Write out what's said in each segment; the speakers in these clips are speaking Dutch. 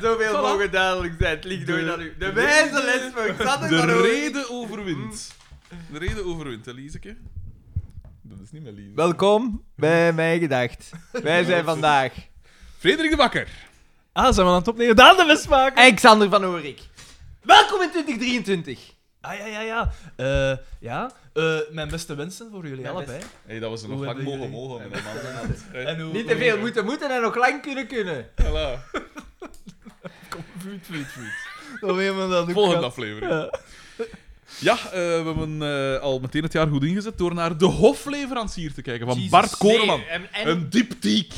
zoveel Voilà. mogen duidelijk zijn. Het ligt nooit De- aan u. De wijze les voor Xander van De Hooydonk. reden overwint. Mm. De reden overwint, hè, Lieseke? Dat is niet mijn Lieseke. Welkom bij Mijn Gedacht. Wij zijn vandaag... Frederik de Bakker. Ah, zijn we aan het opnemen? Daan de Westmaker! En Xander van Oorik. Welkom in 2023. Ah, ja, ja, ja. Eh, ja. Eh, mijn beste wensen voor jullie Mijn allebei. Hey, dat was een Hoe nog lang hebben mogen jullie- mogen met een man. Hey, En hoe- Niet te veel moeten moeten en nog lang kunnen kunnen. voilà. Vuut, vuut, vuut. Dan weet men dat ook Volgende wel. aflevering. Ja, eh, we hebben eh, al meteen het jaar goed ingezet door naar de hofleverancier te kijken van Jezus, Bart Koreman. Nee, en, en- Een dieptiek.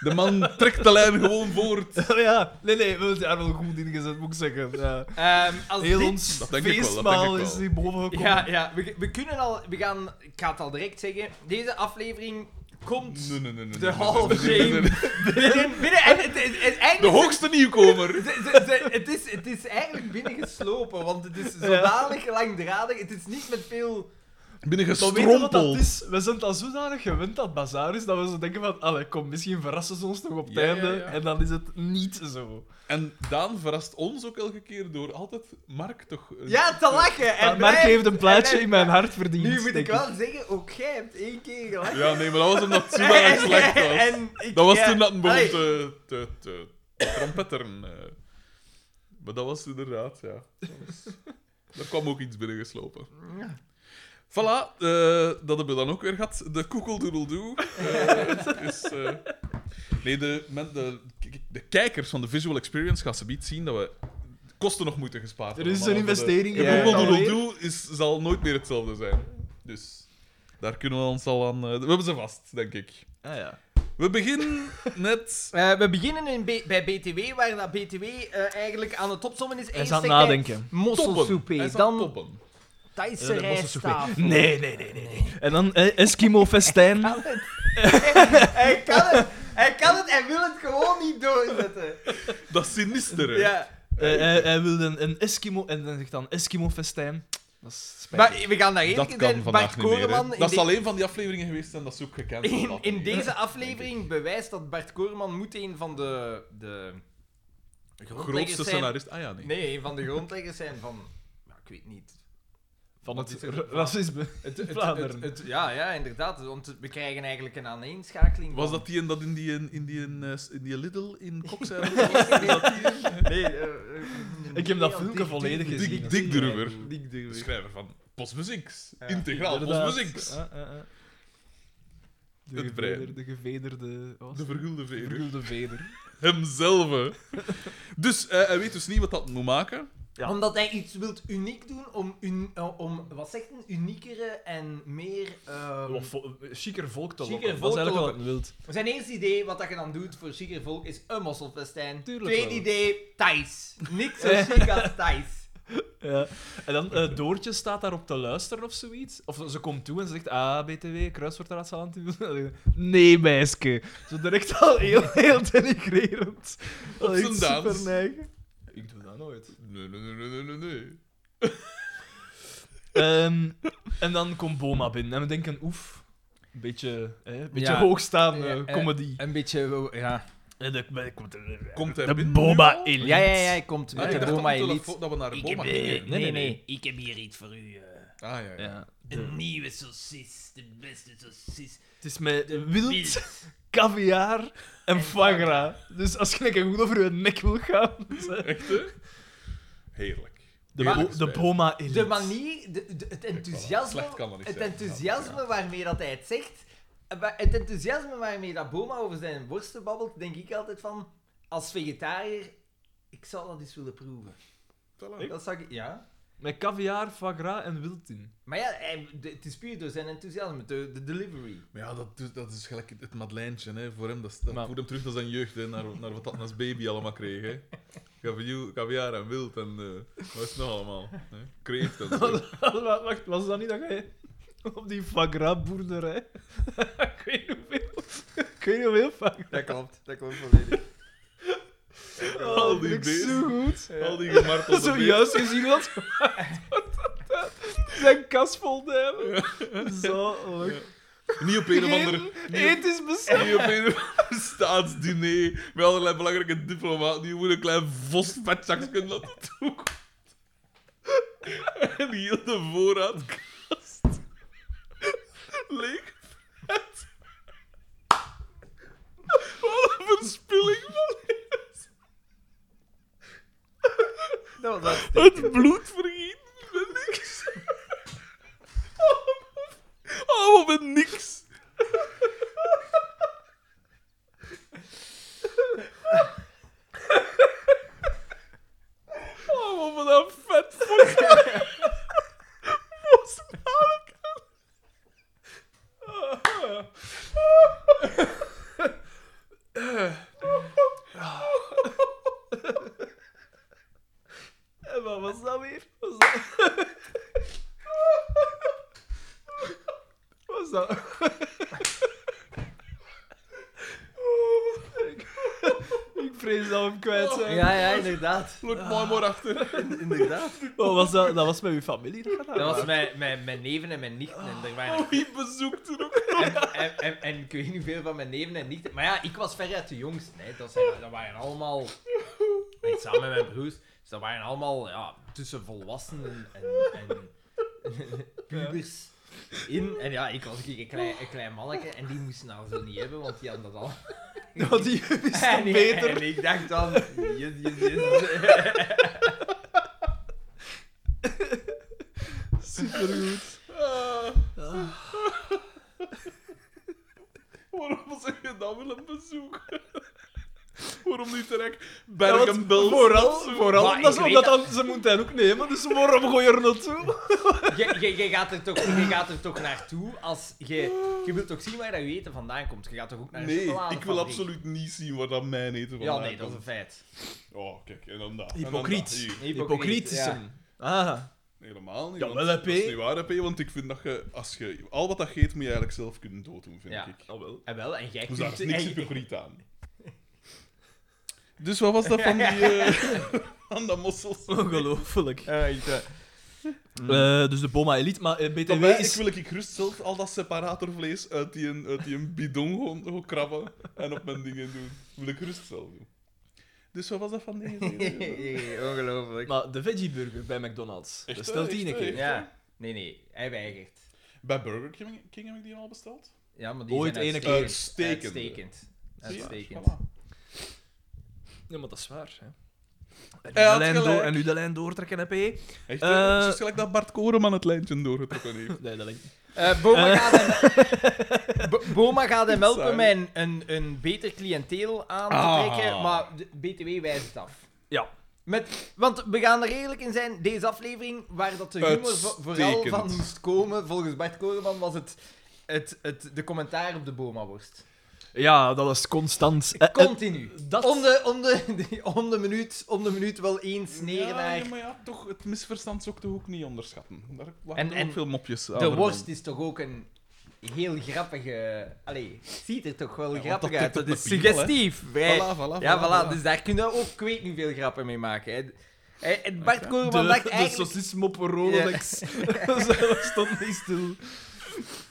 De man trekt de lijn gewoon voort. Ja. ja, nee, nee, we hebben het daar wel goed ingezet, moet ik zeggen. Ja. ehm, als Heel dit- ons Dat denk ik wel, dat feestmaal denk ik wel. is hier boven gekomen. Ja, ja we, we kunnen al... We gaan, ik ga het al direct zeggen. Deze aflevering komt... Nee, nee, nee, nee, De nee, Hall of nee, nee, nee, Shame. nee. Binnen, binnen, en het, het, het eindigt- De hoogste nieuwkomer. Ze- ze- ze- het, is, het is eigenlijk binnengeslopen, want het is zodanig langdradig. Het is niet met veel... Binnen Maar weet je wat dat gestrompeld. is? We zijn al zodanig gewend dat bazaar is, dat we zo denken van, allee, kom, misschien verrassen ze ons nog op het Ja, ja, einde. ja. En dan is het niet zo. En Daan verrast ons ook elke keer door altijd Mark toch. eh, Ja, te lachen! En Maar Mark mij- heeft een plaatje en- in mijn hart verdiend. Nu moet denk ik wel zeggen, ook jij hebt één keer gelachen. Ja, nee, maar dat was omdat Sima erg slecht was. ik- dat was ja, toen dat een begon allee, te, te, te, te trompetteren. eh. Maar dat was inderdaad, ja. Dat was- Daar kwam ook iets binnengeslopen. Ja. Voilà, eh, dat hebben we dan ook weer gehad. De koekeldoedeldoe. eh is, eh, nee, de, men- de, de kijkers van de Visual Experience gaan ze niet zien dat we kosten nog moeten gespaard Er is hebben. een Maar de- investering. de Ja, gedaan alweer. koekeldoedeldoe is zal nooit meer hetzelfde zijn. Dus daar kunnen we ons al aan... eh, we hebben ze vast, denk ik. Ah, ja. We beginnen net. eh, we beginnen in B- bij BTW, waar dat BTW eh, eigenlijk aan het opzommen is. Hij Eerst is aan het zegt hij, nadenken. Toppen. Hij Mosselsoepé, is aan dan toppen. Ja, Thaise dat was een rijsttafel. souper. Nee, nee, nee, nee. nee. En dan eh, Eskimo-festijn. Hij kan het. Hij kan het. Hij kan het. Hij wil het gewoon niet doorzetten. Dat is sinister. Ja. Ja. Eh, hij, hij wilde een, een Eskimo... En dan zegt dan Eskimo-festijn. Dat is Maar spijtig. we gaan daar eerlijk Dat in kan zijn. vandaag Bart niet meer. Koreman... hè. in Dat is de- alleen van die afleveringen geweest en dat is ook gekend. In, in deze aflevering bewijst dat Bart Koreman moet een van de... de grondleggers Grootste zijn- scenarist. Ah ja, nee. Nee, een van de grondleggers zijn van... ja, ik weet niet. Van Wat het is er- ra- racisme. Het, het- Vlaanderen. het- het- ja, ja, inderdaad. Want we krijgen eigenlijk een aaneenschakeling. Was van- dat die en dat in die, in die, in die, eh, s- in die Lidl in Kokzijde? was? Is dat die een? Nee, eh, eh, Ik heb dat nee, filmpje Dick- volledig Dick- gezien. Dick- Dick Durver. Dick De Durver. schrijver van Postmuzieks. Ja, Integraal Inderdaad. Postmuzieks. Ah, ah, ah. De Het brein. gevederde, de gevederde... wat was De het? vergulde veder. Vergulde veder. Hemzelf. hè. Dus eh, hij weet dus niet wat dat moet maken. Ja. Omdat hij iets wilt uniek doen om, un- eh, om wat zegt een uniekere en meer. ehm, Wat vo- eh, Chiquer volk te Chiquer lokken. Dat volk is te eigenlijk wat lokken. het wilt. Zijn eerste idee wat dat je dan doet voor chiquer volk is een mosselfestijn. Tuurlijk Tweede wel. idee, Thais. Niks zo chic als Thais. Ja. En dan eh, Doortje staat daarop te luisteren of zoiets. Of ze komt toe en ze zegt, ah, BTW, kruiswoordraadsel aan het invullen. Nee, meisje. Zo direct al heel, heel denigrerend. Dat is zijn dans. superneigen. Ik doe dat nooit. Nee, nee, nee, nee, nee, nee. Ehm, en dan komt Boma binnen en we denken, oef. Beetje, hè, beetje Ja. hoogstaande Ja, eh, comedy. Een beetje, ja. En dan komt er- Komt hij de binnen nu Boma al? Elite. Ja, ja, ja, ik kom Ah, met ik de dacht Boma op de Elite. telefoon dat we naar de Boma heb, eh, gingen. Nee, Nee, nee, nee, nee. Ik heb hier iets voor u. eh Ah, ja, ja. Ja. een nieuwe saucis. De beste saucis. Het is met Wild. wild, caviar en foie gras. Dus als je lekker goed over je nek wil gaan... zeg- Echt, hè? Heerlijk. De, Heerlijk bo- de spijt. Boma Elite. De manier, de- de- het enthousiasme, Slecht kan dat niet het zijn. enthousiasme waarmee dat hij het zegt, eh, wa- het enthousiasme waarmee dat Boma over zijn worsten babbelt, denk ik altijd van, als vegetariër, ik zou dat eens willen proeven. Voilà. Dat zou ik, ja. Met caviar, foie gras en wild in. Maar ja, hij- de- het is puur door zijn enthousiasme, de, de delivery. Maar ja, dat, doet- dat is gelijk het madeleintje, hè. Voor hem, dat, is- dat Maar- voert hem terug naar zijn jeugd, hè. Naar, naar wat dat als baby allemaal kreeg, hè. Kaviaal- Kaviaar en wild en... eh, wat is het nog allemaal? Hè? Kreeft en zo. Wacht, wacht, was dat niet dat jij op die foie gras boerderij... ik weet niet hoeveel... Ik weet niet hoeveel foie gras... Dat klopt, dat klopt volledig. Al die dat beesten. is zo goed. Al die gemartelde Zo beesten. juist gezien dat Zijn kas vol duimen. Zo leuk. Niet op een of ander... niet op- Eet is best. niet op een of ander staatsdiner met allerlei belangrijke diplomaten die gewoon een klein vos vetjaks kunnen laten toe. En heel de voorraadkast leeg. vet. Wat een verspilling van leven. Dat was dat. Het bloed vergiet met niks. Allemaal met niks. Oh, Allemaal met nou dat vet vospalenk. En wat was dat weer? Was dat... was dat... ik... ik vrees dat we hem kwijt zijn. Ja, ja, inderdaad. Luk Ah. mooi maar achter. Inderdaad. Wat Oh, was dat? dat was met uw familie? Dat gaat Dat was mijn, mijn, mijn neven en mijn nichten. En, er waren, Oh, wie bezoekt er ook nog? en, en, en, en ik weet niet veel van mijn neven en nichten. Maar ja, ik was veruit de jongste. Hè. Dat, zijn, dat waren allemaal... en samen met mijn broers. Dus dat waren allemaal ja, tussen volwassenen en, en pubers in. En ja, ik was een, keer een klein, een klein manneke. En die moesten dat zo niet hebben, want die hadden dat al. Nou, die wist En, het beter. en ik dacht dan... Yes, yes, yes. Supergoed. Ah. Waarom zeg je dat willen bezoeken? Waarom niet direct want Bergen-Belsen? Vooral, of zo? vooral Maar omdat, ik ze, weet omdat dat- dan, ze moeten hen ook nemen, dus waarom gooi je er naartoe? Je, je, je, gaat er toch, je gaat er toch naartoe als je... Je wilt toch zien waar dat je eten vandaan komt. Je gaat toch ook naar een Nee, ik chocoladefabriek? wil absoluut niet zien waar dat mijn eten van Ja, nee, dat is een feit. Oh, kijk, en dan dat. en dan Hypocriet. dat. Hier. Hypocriet is ja. hem. Ah. Helemaal niet. Ja, want wel, Dat is hè, P. niet waar, hè, P, want ik vind dat je, als je al wat dat je eet, moet je eigenlijk zelf kunnen dooddoen, vind Ja. Oh, ik. Ah, wel. En wel, en jij Dus daar is kunt- niks en- hypocriet aan. Dus wat was dat van die... eh, van dat mossels? Ongelooflijk. Eh, ik, eh, Eh, dus de Boma Elite, maar eh, BTW Van mij, is... ik wil ik gerust zelf al dat separatorvlees uit die, uit die bidon gewoon, gewoon krabben en op mijn dingen doen. Wil ik gerust zelf doen. Dus wat was dat van dingen? Ongelooflijk. Maar de veggie burger bij McDonald's. Echt, Bestel hè? die een Echt, hè? keer. Ja. Nee, nee, hij weigert. Bij Burger King, King heb ik die al besteld. Ja, maar die Ooit zijn ene keer. uitstekend. Uitstekend. Zie je? Uitstekend. Voilà. Ja, maar dat is waar. Hè. Hij En, nu de had lijn door, gelijk. en nu de lijn doortrekken, heb je? Echt, Eh, hè? Het is gelijk dat Bart Koreman het lijntje doorgetrokken heeft. Nee, dat lijkt niet. Eh, Boma, Eh. gaat hem, Bo- Boma gaat hem helpen Sorry. met een, een, een beter cliënteel aan te Ah. trekken, maar de BTW wijst het af. Ja. Met, want we gaan er eerlijk in zijn, deze aflevering, waar dat de humor vo- vooral Uitstekend. van moest komen, volgens Bart Koreman, was het, het, het, de commentaar op de Boma-worst. Ja, dat was constant. Eh, eh, Continu. dat- Om, de, om, de, om, de minuut, om de minuut wel één sneer ja, naar... ja, maar ja, toch, het misverstand zou ik toch ook niet onderschatten. Daar En- waren en, en ook veel mopjes aan De verbonden. worst is toch ook een heel grappige... Allee, het ziet er toch wel want grappig dat uit. tikt Dat op is de piemel, hè. suggestief. Wij- Voilà, voilà, ja, voilà. voilà. Dus daar kunnen we ook, ik weet niet, veel grappen mee maken. Hè. Hè, en Bart Koreman de, dacht de eigenlijk... sausismop Rolodex. Ze stond niet stil.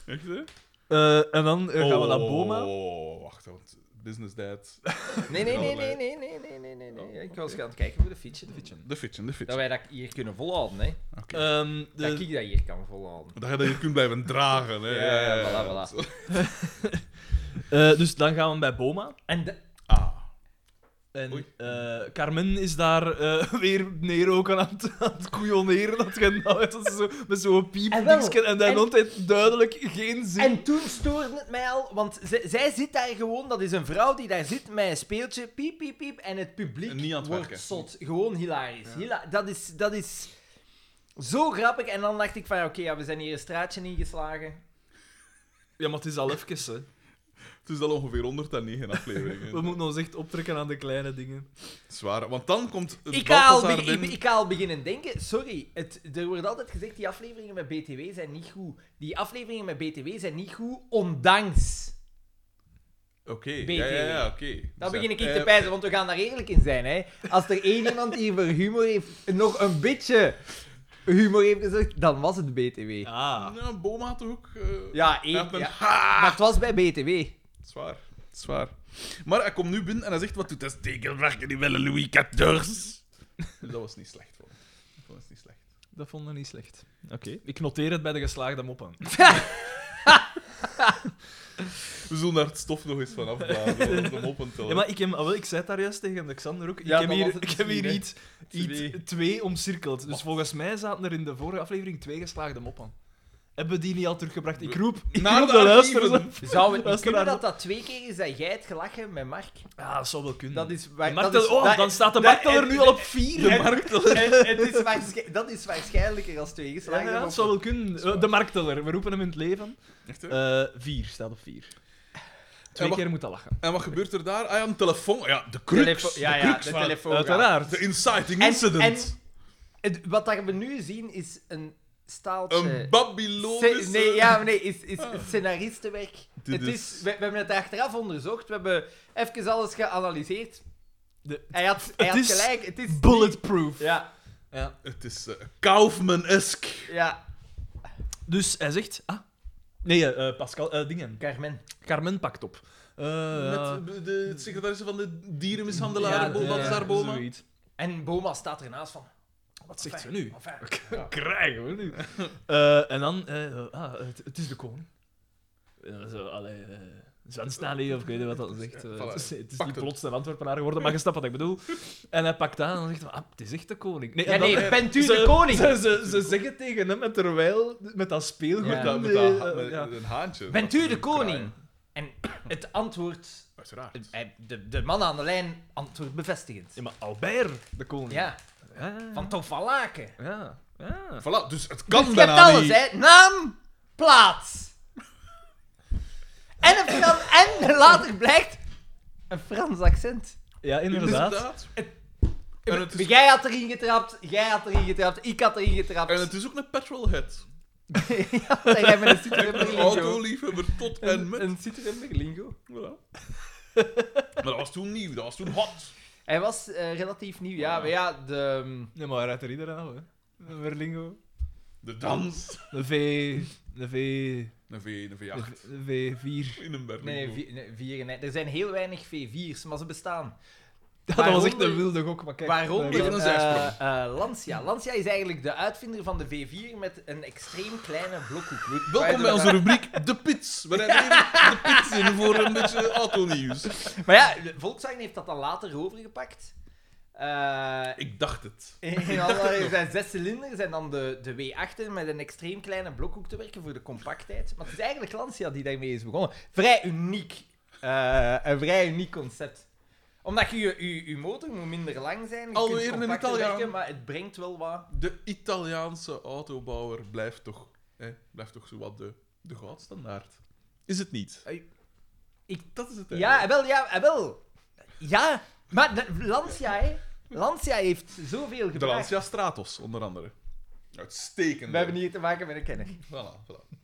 Echt, hè? Eh, en dan eh, gaan we naar Oh, Boma. wacht, want Business Dad. Nee, nee, nee, nee, nee, nee, nee, nee, nee, nee. Ik was gaan kijken voor Oh, de fietsen. De fitchen, de Dat fitchen. wij dat hier kunnen volhouden, hè. Oké. Ehm, de- Dat ik dat hier kan volhouden. Dat je dat hier kunt blijven dragen, hè. Ja, ja, voilà, voilà. eh, dus dan gaan we bij Boma. En de- Ah. En Oei. eh, Carmen is daar eh, weer neerroken aan het, aan het koeioneren. Dat je nou hebt, dat ze zo, met zo'n En wel, piepdingsken. En en- dat heeft duidelijk geen zin. En toen stoorde het mij al, want zij, zij zit daar gewoon, dat is een vrouw die daar zit met een speeltje, piep, piep, piep, en het publiek En niet aan het wordt werken. zot. Gewoon hilarisch. Hila- dat, is, dat is zo grappig. En dan dacht ik van, ja, oké, ja, we zijn hier een straatje ingeslagen. Ja, maar het is al even, hè. Het is al ongeveer 109 We afleveringen. moeten ons echt optrekken aan de kleine dingen. Zwaar. Want dan komt het Ik ga, al Balthazar be- ik, binnen. ik ga al beginnen denken, sorry, het, er wordt altijd gezegd, die afleveringen met BTW zijn niet goed. Die afleveringen met BTW zijn niet goed, ondanks... Oké, BTW. ja, ja, ja, oké. Dan Dus, begin ik eh, te pijzen, want we gaan daar eerlijk in zijn. Hè. Als er één iemand hier voor humor heeft, nog een beetje humor heeft gezegd, dan was het BTW. Ah. Ja, Boma had toch ook... eh, Ja, hij één- had een ja. ha! Maar het was bij BTW. Zwaar. Zwaar. Maar hij komt nu binnen en hij zegt, wat doet dat tegelwerken die willen Louis XIV? Dus dat was niet slecht, vond ik. Dat was niet slecht. Dat vond ik niet slecht. Oké. Ik noteer het bij de geslaagde moppen. We zullen daar het stof nog eens van afblazen, want hem opentellen. Ja, maar ik, heb, ah, wel, ik zei het daar juist tegen Alexander ook. Ik Ja, heb dat was hier, het ik heb hier misschien, iets, iets Twee. twee omcirkeld. Dus volgens mij zaten er in de vorige aflevering twee geslaagde moppen. Hebben we die niet al teruggebracht? Ik roep, ik Naar roep de de, luisteraars archieven. op. Zou het niet Luisteraar kunnen op. dat dat twee keer is dat jij het gelachen met Mark? Ja, dat zou wel kunnen. Dat is... De waar- markt- dat is- oh, dat- Hmm. dan staat de markt dat- er nu al op vier. De markteller. Het- het is waarsch- dat is waarschijnlijker als twee Ja, geslagen. ja, dat zou wel kunnen. Eh, De markteller, we roepen hem in het leven. Echt, hè? Eh vier, staat op vier. Twee wacht. keer moet dat lachen. En wat gebeurt er daar? Ah ja, een telefoon. Ja, de crux. Telefo- ja, de ja, crux de van- telefoon. gaat. Uiteraard. De inciting En- incident. en het- wat dat we nu zien is een staaltje... een Babylonische... Sce- nee, ja, maar nee, is, is het scenaristenwerk. Dit Het is, is- we, we hebben het achteraf onderzocht, we hebben even alles geanalyseerd. De- Hij had, hij Het had is gelijk, het is... Bulletproof. Ja, Ja. Het is eh, Kaufman-esk. ja, Dus hij zegt... Ah, nee, eh, Pascal, eh, dingen. Carmen. Carmen pakt op. Eh, ja. Met de- de secretaresse van de dierenmishandelaar, ja, Ja, Boma, ja, daar Boma. zoiets. En Boma staat ernaast van... Wat zegt ze Enfin, nu? enfin. Krijgen we nu. Eh, en dan, eh, eh, ah, het, het is de koning. Eh, Zo, allee, eh, Zwanstalie, of ik weet niet wat dat zegt. eh, Voilà. het is, het is Pak niet het. plots een Antwerpenaar geworden, maar je snapt wat ik bedoel. En hij pakt aan en zegt, ah, het is echt de koning. Nee, Ja, en dan- nee, bent u ze, de koning? Ze, ze, ze zeggen tegen hem, en terwijl, met dat speelgoed... Ja. Met, dat, met, eh, dat, ha- eh, met ja. een haantje. Bent u de Kraaien. koning? En het antwoord... Uiteraard. hij- De, de man aan de lijn antwoordt bevestigend. Ja, maar Albert, de koning. Ja, Ja, van Tom van Laken. ja, ja. Voilà, dus het kan Je hebt bijna alles, niet. hè. Naam, plaats. En, een Fran- en later blijkt een Frans accent. Ja, Dus inderdaad. En het, is, Jij had erin getrapt, jij had erin getrapt, ik had erin getrapt. en het is ook een petrolhead. ja, jij bent een Citroën-Berlingo. Autoliefhebber tot en met. Een Citroën-Berlingo. Voilà. maar dat was toen nieuw, dat was toen hot. Hij was eh, relatief nieuw, ja. Maar ja, de... ehm, Ja, maar hij rijdt er iedereen aan, hè. Een Berlingo. De dans. Een V... Een V... Een, v, een Een V8 V- een V4. in een Berlin. Nee, vi- nee, vier en- Er zijn heel weinig V4's, maar ze bestaan. Ja, dat Waaronder- was echt een wilde gok, maar kijk. Waaronder Even eh, een zijsprong. eh, Lancia. Lancia is eigenlijk de uitvinder van de V4 met een extreem kleine blokhoek. Weet- Welkom waardoor- bij onze rubriek De Pits. We rijden even de pits in voor een beetje autonieuws. Maar ja, Volkswagen heeft dat dan later overgepakt. Eh Ik dacht het. in allerlei, zijn zes cilinders en dan de, de W8 met een extreem kleine blokhoek te werken voor de compactheid. Maar het is eigenlijk Lancia die daarmee is begonnen. Vrij uniek. Eh, een vrij uniek concept. Omdat je je, je, je motor moet minder lang zijn. Je Alweer kunt een compacter Italiaan. werken, maar het brengt wel wat. De Italiaanse autobouwer blijft toch, hè, blijft toch zowat de, de goudstandaard. Is het niet? Hey. Ik, dat is het Ja, eh, eigenlijk. wel, ja, eh, wel. Ja, maar de- Lancia, hè. Lancia heeft zoveel de gebracht. Lancia Stratos, onder andere. Uitstekend. We hebben hier te maken met een kenner. Voilà, voilà.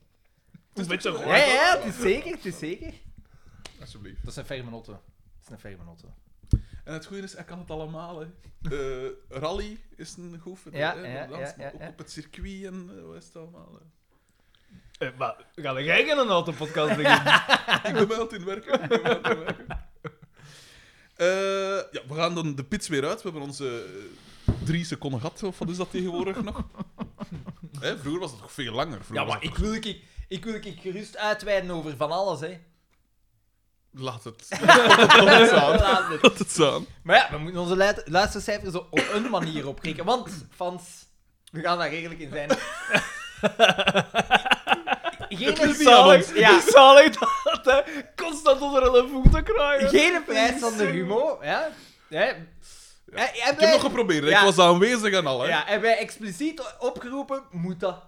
Een beetje Ja, ja, het is zeker, het is zeker. Alsjeblieft. Dat is een Fermanotto. Dat is een Fermanotto. En het goede is, hij kan het allemaal. Hè. Eh, rally is een goed verdeel, Ja, hè, ja, dans, ja, maar ja, ook ja. op het circuit en eh, wat is het allemaal. Hè. Eh, Maar ga jij geen een autopodcast beginnen? Ik ben wel aan het inwerken. ik ben wel aan het inwerken. Eh, ja, we gaan dan de pits weer uit. We hebben onze eh, drie seconden gehad, of wat is dat tegenwoordig nog? Hè, vroeger was het nog veel langer. Vroeger Ja, was maar het ik wil ik, ik wil ik gerust uitweiden over van alles, hè. nog- Laat het. Laat het staan. Laat het. Laat het staan. Maar ja, we moeten onze luid- luistercijfers op een manier opkrikken. Want, fans, we gaan daar redelijk in zijn. Geen Het is prijs van zalig, ons- ja, het is zalig dat hij constant onder een voet te krijgen. geen prijs van de Humo, ja. Hè? Hè, Ik hebben heb wij- nog geprobeerd. hè. Ja. Ik was aanwezig en al. Hè. Ja, hebben wij expliciet opgeroepen, moet dat.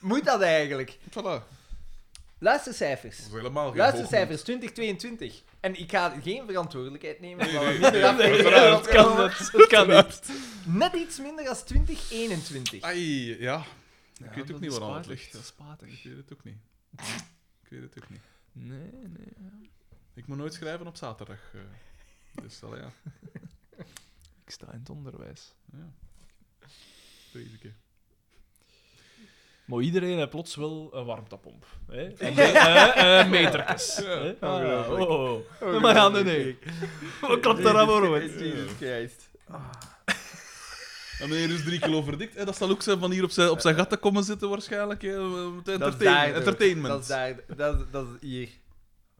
Moet dat eigenlijk. Voilà. Luistercijfers. Dat was helemaal geen Luistercijfers 2022. En ik ga geen verantwoordelijkheid nemen. omdat we nee, minder nee, afleveringen uiteraard, hebben Het kan opgenomen. niet. Het kan niet. Net iets minder dan 2021. Ah, Ai, ja. Ik weet ook niet waar aan het ligt. Dat is Ik spaatig. weet het ook niet. Ik weet het ook niet. Nee, nee. Ik moet nooit schrijven op zaterdag. eh. Dus allee, ja. Ik sta in het onderwijs. ja. Deze keer. Maar iedereen heeft plots wel een warmtepomp. Hè? Van de, eh, eh, metertjes. hè. Ah, ongelooflijk. oh, oh. Maar ja, nee, nee. Wat klopt daar allemaal uit? Jesus Christ. En meneer is dus drie kilo verdikt. hè. dat zal ook zijn van hier op zijn, op zijn gat te komen zitten waarschijnlijk. hè, om te Dat is entertain- daardoor. entertainment. Dat is, daar, dat, is- dat is hier.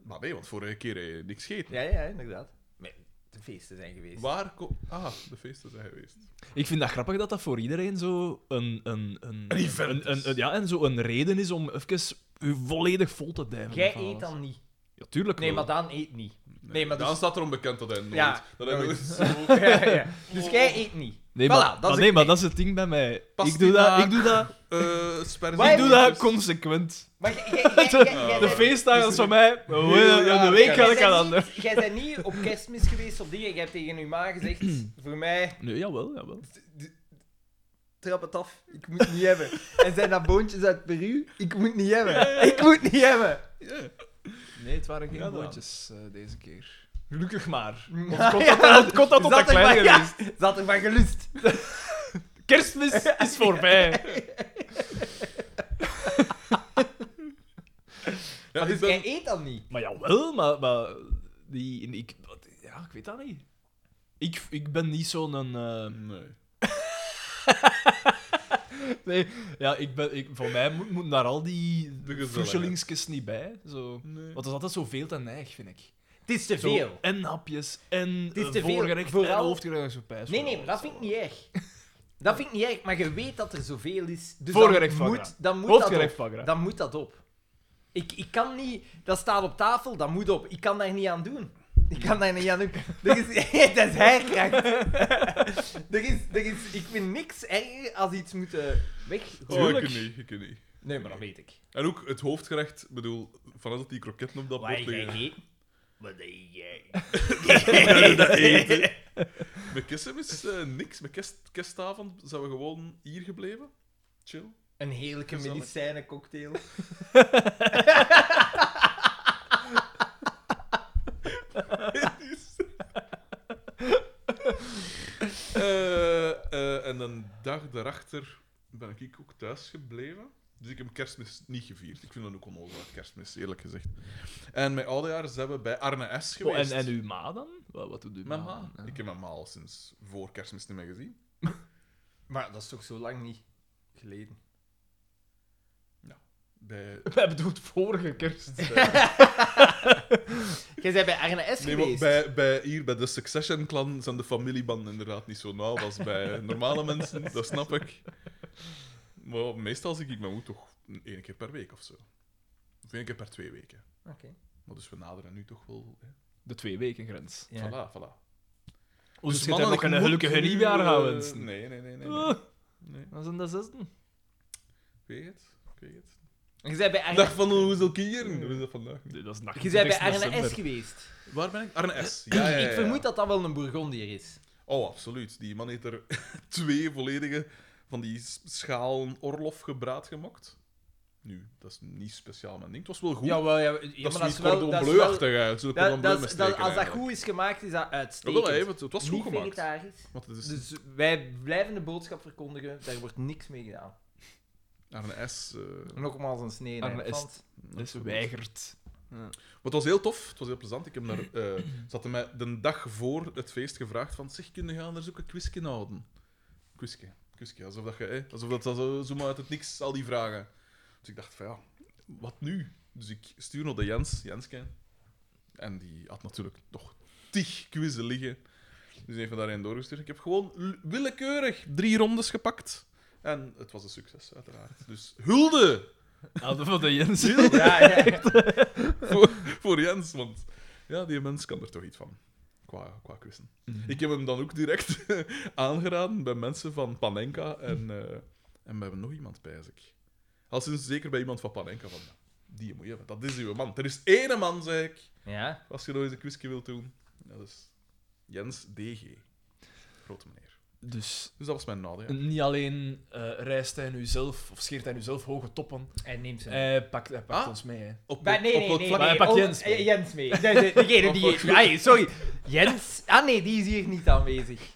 Maar nee, want vorige keer heb je niks gegeten. Ja, ja, inderdaad. Maar de feesten zijn geweest. Waar ko- Ah, de feesten zijn geweest. Ik vind dat grappig dat dat voor iedereen zo een... Een, een, Een event een- is. een- Ja, en zo een reden is om even u volledig vol te duimen. Jij van eet alles. dan niet. Ja, tuurlijk Nee, wel. maar Daan eet niet. Nee, maar dan dus... staat er onbekend dat hij nooit... Ja, dat hij nooit nooit. zo... Ja, ja. Dus jij eet niet. Nee, Voilà, maar, dat maar is nee, het maar ding. dat is het ding bij mij. Ik doe, Pastinaak. dat, ik doe dat, eh sperzie- Wij- ik doe dat consequent. Maar jij- jij- jij- jij- jij- jij- De feestdagen is van mij. oh, ja, De raar, week ga jij ik aan bent ander. niet- Jij bent niet op kerstmis geweest of dingen. Jij hebt tegen uw ma gezegd, voor mij, Nee, jawel, jawel. t- t- trap het af, ik moet het niet hebben. En zijn dat boontjes uit Peru? Ik moet het niet hebben. Ik moet het niet hebben. Nee, het waren geen Ja, dan. bootjes eh, deze keer. Gelukkig maar. Ja, Want kon dat- want kon dat tot Zat dat er maar- kleine ja, geweest. Zat er maar gelust. Kerstmis is voorbij. Ja, Maar is dus dat- jij eet dan niet. Maar jawel, maar... maar die, ik, wat- ja, ik weet dat niet. Ik, ik ben niet zo'n... eh, Nee. nee, ja, ik ben, ik, voor mij moet, moet daar al die De gezelligheid. fusselingsjes niet bij. Zo. nee. Want dat is altijd zo veel te neig, vind ik. Het is te Zo, veel. en hapjes, en is eh, te veel, voorgerecht, vooral- en hoofdgerecht, zo pijs. Nee, nee, maar dat vind ik niet erg. Dat vind ik niet erg, maar je weet dat er zoveel is. Dus Voorgerecht dan van moet, dan moet dat Hoofdgerecht, op. Vagra. Dan moet dat op. Ik, ik kan niet... Dat staat op tafel, dat moet op. Ik kan daar niet aan doen. Ik kan daar niet aan doen. Er is, dat is herkracht. er is, er is, ik vind niks erger als iets moeten Oh, ik weggooien. kan niet, ik kan niet. Nee, maar dat weet ik. En ook het hoofdgerecht, ik bedoel, vanaf dat die kroketten op dat Waar bord jij liggen, eet... Wat deed jij? dat eten. Met kerstmis is eh, niks. Met kerst, kerstavond zijn we gewoon hier gebleven. Chill. Een heerlijke Gezellig. medicijnencocktail. Eh, eh, en een dag daarachter ben ik ook thuis gebleven. Dus ik heb kerstmis niet gevierd. Ik vind dat ook onnozel, kerstmis, eerlijk gezegd. En mijn oudejaars zijn we bij Arne S. Oh, geweest. en, en uw ma dan? Wat, wat doet uw Mijn ma? ma. Ja. Ik heb mijn ma al sinds voor kerstmis niet meer gezien. Maar dat is toch zo lang niet geleden? Bij... Wij bedoelt vorige kerst. Jij bent bij Arne S Nee, maar geweest. bij, bij, hier bij de Succession-clan zijn de familiebanden inderdaad niet zo nauw als bij normale mensen. Dat snap ik. Maar meestal zie ik mijn moeder toch één keer per week of zo. Of één keer per twee weken. Oké. Maar dus we naderen nu toch wel... Hè. De twee weken grens. Ja. Voilà, voilà. Hoe dus Dus je daar mannen, nog een ik moet gelukkige nu, nieuwjaar gaan eh, wensen? Nee, nee, nee. nee, nee. Oh, nee. dat is in de zesde. Ik weet het. Ik weet het. Je bent bij Dag Arne, van hoeveel kieren? Dat is dat vandaag niet. Nee, dat is nacht. je bent bij Arne S geweest. Waar ben ik? Arne S. Ja, ja, ja, ja. Ik vermoed dat dat wel een Bourgondier is. Oh, absoluut. Die man heeft er twee volledige van die s- schalen Orlof gebraad gemaakt. Nu, dat is niet speciaal mijn ding. Het was wel goed. Jawel, ja, ja, dat maar is niet cordon bleu-achtig uit. Zo dat- cordon bleu dat is- met dat- steken Als dat eigenlijk. goed is gemaakt, is dat Jawel, uitstekend. hij heeft het, het was Niet goed gemaakt. vegetarisch. Want het is Dus wij blijven de boodschap verkondigen, daar wordt niks mee gedaan. Arne S. eh, Nogmaals een snee. in Arne het S. zand. Dus weigert. Maar het was heel tof, het was heel plezant. Ik heb daar, eh, ze hadden mij de dag voor het feest gevraagd van zeg, kunnen gaan er zo'n quizje houden? Quizje, quizje. Alsof dat, je, eh, alsof dat, dat zo, zo maar uit het niks, al die vragen. Dus ik dacht van ja, wat nu? Dus ik stuur nog de Jens, Jenske. En die had natuurlijk toch tig quizzen liggen. Dus even daarheen doorgestuurd. Ik heb gewoon l- willekeurig drie rondes gepakt. En het was een succes, uiteraard. Dus hulde Hadden van de Jens. Ja, ja. voor, voor Jens, want ja, die mens kan er toch iets van. Qua, qua quizzen. Mhm. Ik heb hem dan ook direct aangeraden bij mensen van Panenka Mhm. en, eh en we hebben nog iemand bij ik. Al sinds zeker bij iemand van Panenka van die moet je hebben. Dat is uw man. Er is ene man, zei ik, ja. als je nog eens een quizje wilt doen. Dat is Jens DG. Grote meneer. Dus Dus dat was mijn nadeel. niet alleen eh rijst hij nu zelf, of scheert hij nu zelf hoge toppen. En neem ze. Hij pakt, hij pakt Ah. ons mee. Hè. Op, Maar nee, op nee, welk nee. vlak? Maar hij nee, pakt oh, Jens mee. eh, Jens mee. De- de- Degene Op die... welk vlak? Ah, Ai, sorry. Jens... Ah nee, die is hier niet aanwezig.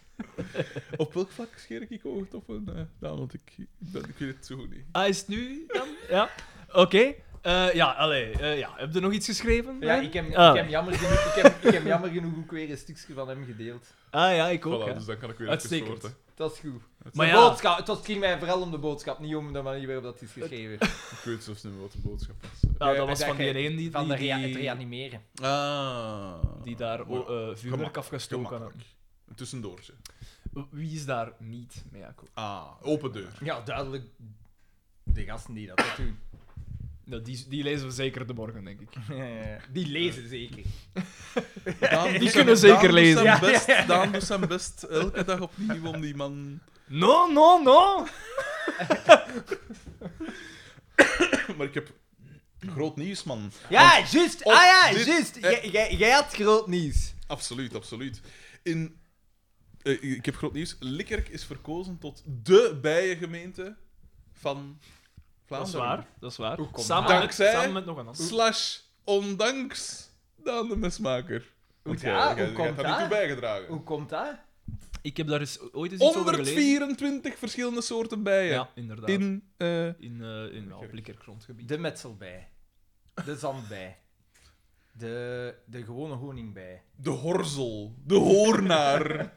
Op welk vlak scheer ik ik oogt op een eh, dame? Want ik, ik, ben- ik weet het zo goed niet. Ah, is het nu dan? Ja. Oké. Eh, ja, allee. eh, ja. Heb je nog iets geschreven? Ja, Ryan? ik heb, Ah. ik, heb jammer genoeg, ik, heb, ik heb jammer genoeg ook weer een stukje van hem gedeeld. Ah ja, ik ook. Voilà, ja. dus dan kan ik weer Uitstekend. even soorten. Dat is goed. Maar de ja. boodschap, het was- het ging mij vooral om de boodschap, niet om de manier waarop dat is geschreven. Ik weet zelfs niet meer wat de boodschap was. Ja, Ja, dat was dat van die je- ene die, Eh, Van de die, rea- het die, reanimeren. Ah. die daar Maar- oh, eh, vuurwerk gemakkelijk, afgestoken had. gemakkelijk. Een tussendoortje. Wie is daar niet mee akkoord? Ah, open deur. Ja, duidelijk de gasten die dat doen. Nou, die, die lezen we zeker de morgen, denk ik. Die lezen zeker. Daan doet kunnen zijn- zeker Daan doet lezen. zijn Best, Daan doet zijn best elke dag opnieuw om die man... No, no, no! Maar ik heb groot nieuws, man. Ja, juist. Ah ja, dit- juist. eh. Jij- Jij jij had groot nieuws. Absoluut, absoluut. In, eh, ik heb groot nieuws. Likkerk is verkozen tot de bijengemeente van Dat is Vlaanderen. waar, dat is waar. Hoe komt Samen, dat? met, Dankzij- samen met nog een ander. Slash ondanks Daan de Mesmaker. Want Hoe jij- dat? jij- Hoe jij komt hebt daar niet dat? toe bijgedragen. Hoe komt dat? Ik heb daar eens ooit eens iets over gelezen. 124 verschillende soorten bijen. Ja, inderdaad. In, In, eh, in, eh, in ja, op Likkerk grondgebied. De metselbij. De zandbij. De, de gewone honingbij. de horzel, de hoornaar.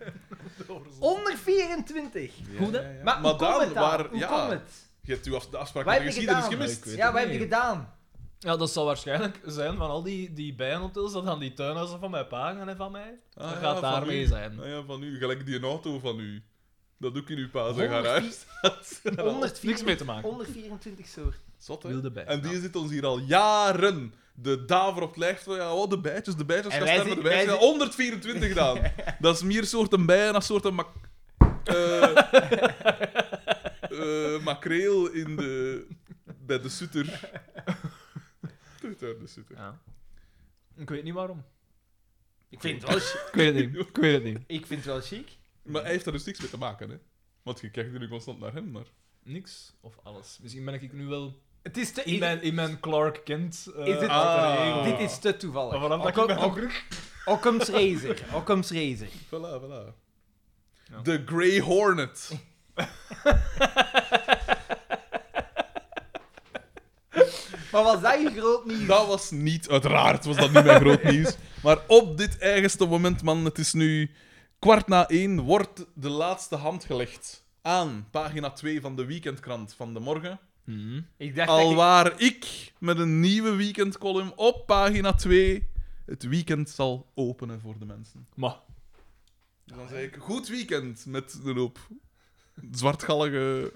Onder 24. Hoe dan? Ja, ja, ja. Maar, hoe komt Daan, het dan? waar- Hoe ja, komt het? Je hebt uw af- de afspraak Wat met de heb je geschiedenis gedaan? gemist. Ja, wat heb je niet. gedaan? Ja, dat zal waarschijnlijk zijn van al die, die bijenhotels dat aan die tuinhuizen van mijn pa gaan en van mij. Ah, dat ja, gaat van daarmee u. zijn. Ah, ja, van u. Gelijk die auto van u. Dat ook in uw pa zijn garage staat. had 124 niks mee te maken. 124 soorten. Zot, hè? Wilde bij. En die ja. zit ons hier al jaren de daver op het lijf. van, Ja, oh, de bijtjes, de bijtjes. En Ga wij staan met de zi- bijtjes. wij Ja, zi- 124 dan. Dat is meer soorten bijen dan soorten mak... eh, eh, makreel in de... Bij de sutter. Toch daar, de sutter. Ja. Ik weet niet waarom. Ik vind het wel, chi- Ik weet het niet. Ik weet het niet. ik vind het wel chic. Maar hij heeft daar dus niks mee te maken, hè. Want je kijkt nu constant naar hem, maar... Niks of alles. Misschien ben ik nu wel Het is te... in mijn, in mijn Clark Kent. eh, Is het- Ah. alter ego. Dit is te toevallig. Maar waarom dat ik Occam- ben Oc- Occam's Razor. Occam's Razor. Voilà, voilà. Ja. De Grey Hornet. Maar was dat je groot nieuws? Dat was niet, uiteraard was dat niet mijn groot nieuws. Maar op dit eigenste moment, man, het is nu kwart na één, wordt de laatste hand gelegd aan pagina 2 van de weekendkrant van de morgen. Mhm. Ik dacht dat Al ik- waar ik met een nieuwe weekendcolumn op pagina 2 het weekend zal openen voor de mensen. Maar, Dus dan zeg ik, goed weekend met een hoop zwartgallige,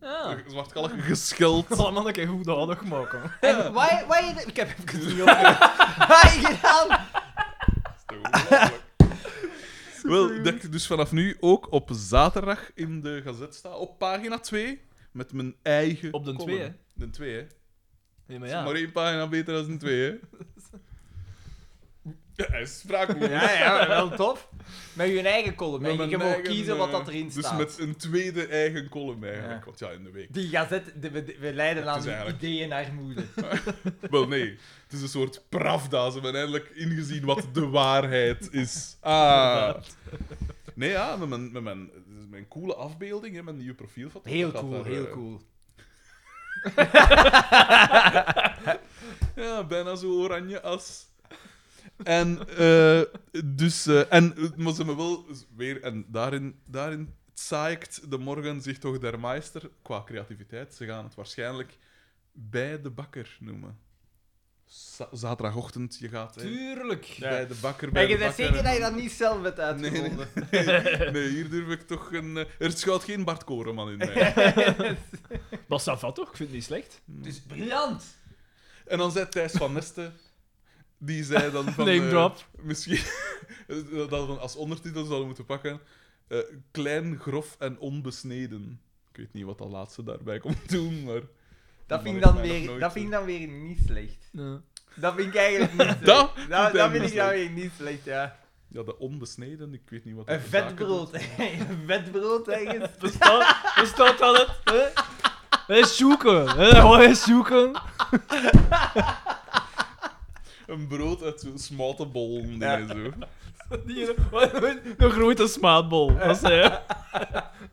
ja. zwartgallige gescheld. Dat zal man een keer goed nodig maken. En waar- waar je- Ik heb even het niet opgelet. Wat heb je gedaan? Wel, dat ik dus vanaf nu ook op zaterdag in de gazet sta, op pagina 2, met mijn eigen Op de column. twee, hè? De 2, hè. Nee, maar Het is ja. Maar één pagina beter dan een 2, hè. Ja, hij is spraakloos. Ja, ja, wel tof. Met je eigen column. hè. Met Je mijn mag eigen, kiezen wat eh, dat erin staat. Dus met een tweede eigen column, eigenlijk. Ja. Want ja, in de week. Die gazet, de- we, we leiden Het aan is eigenlijk- ideeënarmoede. Wel, nee. Het is een soort pravda. Ze hebben eindelijk ingezien wat de waarheid is. Ah. Nee, ja, met mijn, met mijn, dus mijn coole afbeelding, hè, mijn nieuwe profielfoto. Heel dat cool, daar, heel eh, cool. Ja, bijna zo oranje als. En, eh, dus, eh, en eh, maar ze me wel eens weer, en daarin, daarin zaaikt de morgen zich toch der meester qua creativiteit. Ze gaan het waarschijnlijk bij de bakker noemen. Za- zaterdagochtend, je gaat hè, Tuurlijk. bij de bakker. Maar je Bij de bent bakker zeker en dat je dan- dat niet zelf hebt Nee, nee, uitgevonden. nee, nee, hier durf ik toch een. eh, Er schuilt geen Bart Koreman in mij. Dat staat vat toch? Ik vind het niet slecht. Dus briljant. En dan zei Thijs van Nesten, die zei dan van... Name eh, drop. misschien... dat we als ondertitel zouden moeten pakken. eh, klein, grof en onbesneden. Ik weet niet wat dat laatste daarbij komt doen, maar... Dat vind, ik mag dan mij nog nooit weer, dat vind ik doen. dan weer niet slecht. Ja. Dat vind ik eigenlijk niet slecht. Dat dat, vind dat jij vind niet ik dan slecht. weer niet slecht, ja. Ja, de onbesneden, ik weet niet wat dat Een voor vet zaken brood. Een vet brood ergens. Dus Bestaat, bestaat dat het? Hè? Hè, zoeken. Hè, gewoon eens zoeken. doet. Een brood uit zo'n smalte bol. Nee, zo. Die, een grote smaadbol. Dat zei hij.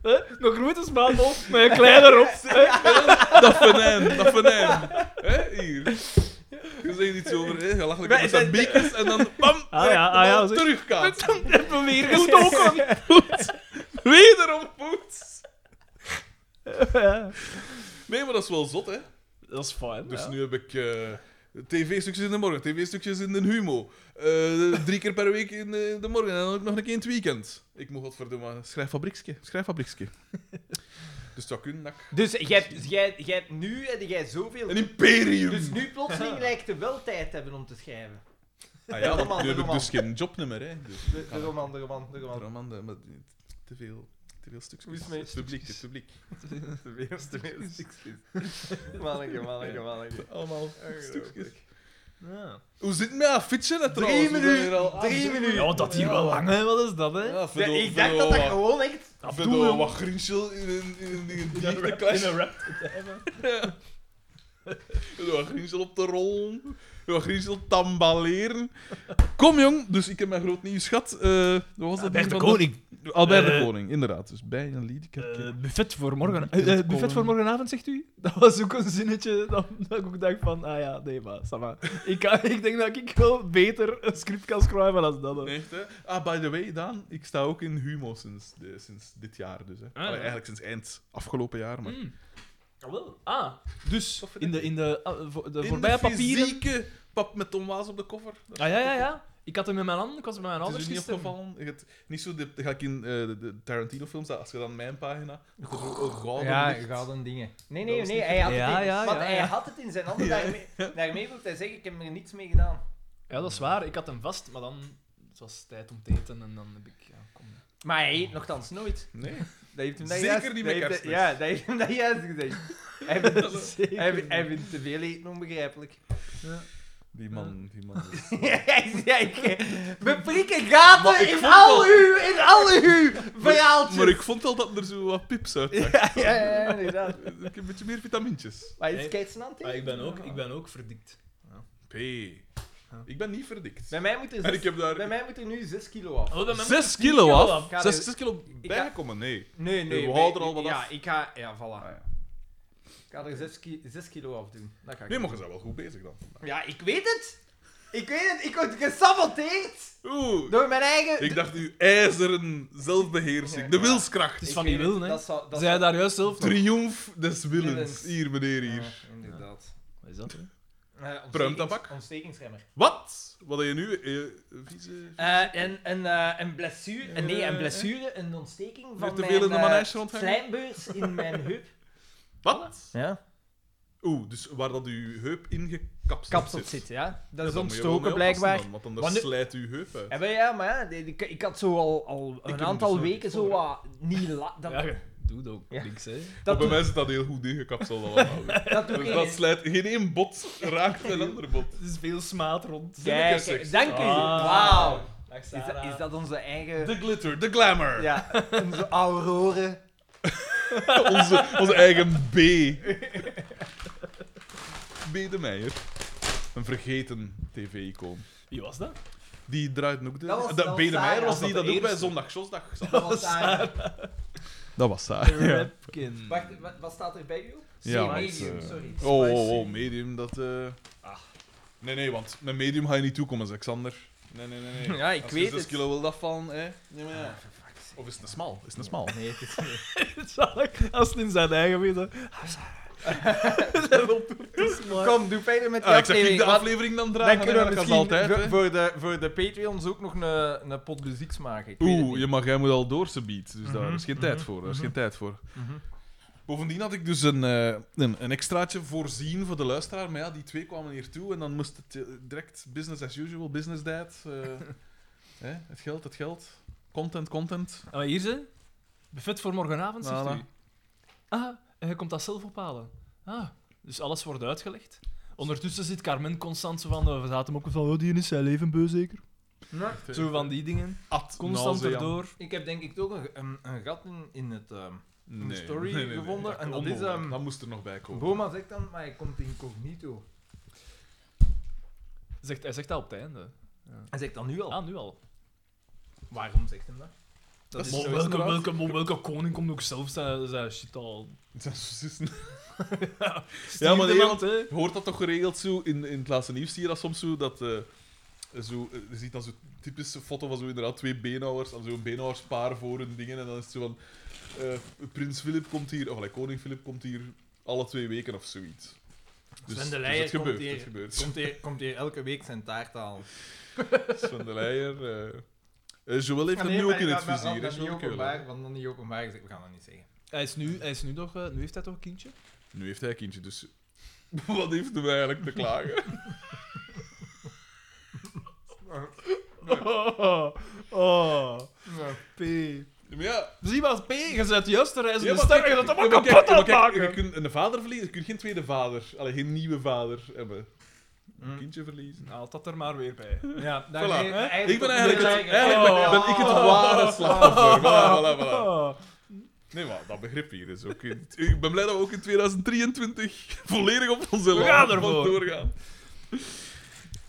Hè? Een grote smaadbol met een kleine op. Dat venijn, dat venijn. Hè, hier. Je zegt iets over, hè, je lacht lekker Wij- met zijn wij- bekers en dan bam, Ah ja, ah ja, zo. terugkaat. Even weer gestoken. Wederom poets. Ja. Nee, maar dat is wel zot, hè. Dat is fijn. Dus ja. nu heb ik eh, tv-stukjes in de morgen, tv-stukjes in de humo. Eh, drie keer per week in eh, de, de morgen en dan ook nog een keer in het weekend. Ik moet wat verdoen, schrijffabriekske, schrijffabriekske. dus dat kun ik. Dus jij hebt, jij, jij hebt nu heb jij zoveel. Een imperium! Dus nu plotseling lijkt er wel tijd te hebben om te schrijven. ah ja, Roman, want nu heb ik roman. dus geen jobnummer, hè. Dus. De, de roman, de roman, de roman. Roman, de- maar die- te veel, te veel stukjes. Hoe is het met het publiek, het publiek. De eerste Manneke, manneke, manneke. Allemaal stukjes. stukjes. Ja. Hoe zit het met dat fietsen, hè, trouwens? Drie We zijn hier minuten, al- drie minuten. Ja, dat hier wel lang, hè? Wat is dat, hè? Ja, Ja, verdoel- ik dacht verdoel dat dat wat- gewoon echt... verdoel wat grinchel in een in een- in een dichte klas. rap. Wat grinchel op te rollen. Wat grinchel tambaleren. Kom, jong. Dus ik heb mijn groot nieuws gehad. Eh, wat was dat? Albert de Van Koning. dat- Albert de Eh. Koning, inderdaad. Dus bij een Liedekerk. Eh, buffet voor morgen. Weekend eh, eh, buffet komen. voor morgenavond, zegt u? Dat was ook een zinnetje dat, dat ik ook dacht van, ah ja, nee, maar, ça va. Ik, kan- ik denk dat ik wel beter een script kan schrijven dan dat. hè. Echt, hè? Ah, by the way, Daan, ik sta ook in Humo sinds, de- sinds dit jaar. Dus, hè. Allee, Ah, ja. Eigenlijk sinds eind afgelopen jaar. Maar. Mm. Wel. Ah, dus in de, in de, ah, vo- de In voorbije de papieren. fysieke pap met Tom Waas op de koffer. Dat is- Ah ja, ja, ja. Ik had hem in mijn handen, ik was bij mijn Het ouders is u niet gisteren. opgevallen. Je hebt niet zo de, dan ga ik in eh, de, de Tarantino-films, dat als je dan mijn pagina... met een ro- een gouden Ja, licht. gouden dingen. Nee, Dat nee, was nee. niet Hij had, Ja, het in, ja, want ja, hij ja. had het in zijn handen. Daarmee, daarmee wil hij zeggen, ik heb er niets mee gedaan. Ja, dat is waar. Ik had hem vast, maar dan het was het tijd om te eten en dan heb ik... Ja, kom. Maar hij eet nogthans nooit. Nee. Dat heeft hem dat Zeker juist- niet dat met heeft- kerstmis. Ja, dat heeft hem dat juist gezegd. Hij vindt- Zeker hij vindt- niet. Hij vindt te veel eten onbegrijpelijk. Die man, die man. is- Hij zei, We prikken gaten ik in vond al wel- uw, in al uw verhaaltjes. Maar ik vond al dat er zo wat pips uit zag. Ja, ja, ja, inderdaad. Ik heb een beetje meer vitamintjes. Maar is Nee. keitsnant Ah, ik, ben ook, ik ben ook verdikt. P. Ik ben niet verdikt. Bij mij moet er En zes- ik heb daar bij mij moet er nu 6 kilo af. Oh, bij mij moet 6 het tien kilo af. af. Ga Zes er- zes kilo bijgekomen, nee. Nee, nee. we bij- houden er al wat ja, af. Ah, Ik ga, ja, voilà. ja. Ik ga er 6 ki zes kilo af doen. Dat ga ik Nee, doen. maar je bent wel goed bezig dan. Ja, ik weet het. Ik weet het. Ik word gesaboteerd Oeh. door mijn eigen... Ik dacht uw ijzeren zelfbeheersing. De wilskracht. Het is Ik van die weet het. wil, hè. Dat zou... Dat Zij zou- daar juist zelf nog. Triomf des willens. Willens. Hier, meneer, hier. Ja, inderdaad. Wat is dat, hè? Eh, Pruimtabak? ontstekings- Ontstekingsremmer. Wat? Wat heb je nu? Eh, vieze... Eh, en, en, eh, een blessure, eh, nee, Eh, een blessure, een ontsteking van Weer te veel in de mijn manege eh, rondhangen? slijmbeurs in mijn heup. Wat? Ja. Oeh, dus waar dat uw heup ingekapseld Kapsel zit. zit, ja. Dat Ja, is dan moet je wel ontstoken mee blijkbaar. oppassen Dan, want anders Want nu- slijt uw heup uit. Ja, maar, ja, maar ja, die- die- ik, had zo al, al heb een hem aantal dus nooit weken zo voor, hè. wat niet la- dat, Ja, doe dat ook Ja. niks, hè. Maar dat, bij doe, mij zit dat heel goed ingekapseld allemaal. Dus dat doe ik dat niet. slijt geen één bot raakt een ander bot. Er is veel smaad rond. Kijk, zinnetjes, zeg. dank u. Ah. Wauw. Dag, Is, dat- Sarah. is dat onze eigen... De glitter, de glamour. Ja, onze auroren. Onze, onze eigen B. B de Meijer. Een vergeten tv-icoon. Wie was dat? Die draait ook de... Dat was- de- dat B de was Meijer Sarah. was die dat Dat ook was de bij eerste. Zondag Sjosdag zat. Dat was daar. Dat was Sarah. Repkin. Wacht, wat, wat staat er bij u? op? Ja, C, want, medium, eh, sorry. Oh, oh, Spicy. oh, medium, dat... eh. Ah. Nee, nee, want met medium ga je niet toekomen, Alexander. Nee, nee, nee. nee. Ja, ik Als weet je 6 het. kilo wil afvallen, hè. Nee, maar Ah, ja. for fuck's sake. Of is het een smal? Is het een smal? Ah, Nee, het is niet. Als het in zijn eigen weet, hè. Kom, doe verder met die Ah, ik zeg aflevering, ik de want- aflevering dan Dan dragen. hè, kunnen we dat misschien kan altijd, voor- hè. voor, de, voor de Patreons ook nog een, een pot muziek maken. Ik weet het Oeh, niet. je mag, jij moet al door ze beat. Dus daar is geen mhm, tijd voor. Daar is geen tijd voor. Mhm. Bovendien had ik dus een, eh, een, een extraatje voorzien voor de luisteraar. Maar ja, die twee kwamen hier toe en dan moest het eh, direct business as usual, business diet. eh, hè, het geld, het geld. Content, content. Ah, maar hier ze. Buffet voor morgenavond, zegt Voilà. u. Ah, en je komt dat zelf ophalen. Ah, dus alles wordt uitgelegd. Ondertussen zit Carmen constant zo van, eh, we zaten hem ook van, oh, die is zijn leven beu zeker. Nou, Zo van die dingen. Ad Constant nauseam. erdoor. ik heb denk ik toch een, een, een gat in, in het... ehm, Nee, Een story gevonden dat en kan dat is, onmogelijk. ehm, Dat moest er nog bij komen. Boma zegt dan, maar hij komt incognito. Zegt, hij zegt dat op het einde. Hij zegt dat nu al. Ah, nu al. Waarom zegt hem dat? Dat is Maar zo, welke, inderdaad. welke, maar welke koning komt ook zelf zijn, zijn shit al? Dat is precies- Stuur maar de nee, land, hè? Je hoort dat toch geregeld zo in, in het laatste nieuws zie je dat soms zo dat eh, zo, eh, je ziet dan zo'n typische foto van zo inderdaad twee beenhouwers en zo'n beenhouwerspaar voor hun dingen en dan is het zo van eh, prins Philip komt hier of like, koning Philip komt hier alle twee weken of zoiets. Dus, Sven de dus Leijer het gebeurt, komt het hier, gebeurt. komt, hier, komt hier elke week zijn taart halen. Sven de Leijer. eh eh, Joël heeft Ah, hem nee, nu ook maar in ja, het maar- vizier, maar niet hè, Joël Keulen. openbaar, Want dan niet openbaar gezegd, we gaan dat niet zeggen. Hij is nu, hij is nu nog, eh, nu heeft hij toch een kindje? Nu heeft hij een kindje, dus wat heeft hem eigenlijk te klagen? Oh, oh, P. maar ja, Zie maar, P, je bent juist de reis Ja, in de maar sterren, kijk, je dat allemaal ja, maar kapot kijk, aan ja, maar maken. kijk, Je kunt een vader verliezen, je kunt geen tweede vader, alleen geen nieuwe vader hebben. Een kindje verliezen. Haal Nou, dat er maar weer bij. Hm. Ja, daar- Voilà. nee, Ik ben eigenlijk, nee, het, eigenlijk Oh, ben, ben ik het ware slachtoffer. Voilà, voilà, voilà. Oh. Nee, maar dat begrip hier is ook... in- ik ben blij dat we ook in 2023 volledig op onze We lijn gaan ervoor. doorgaan.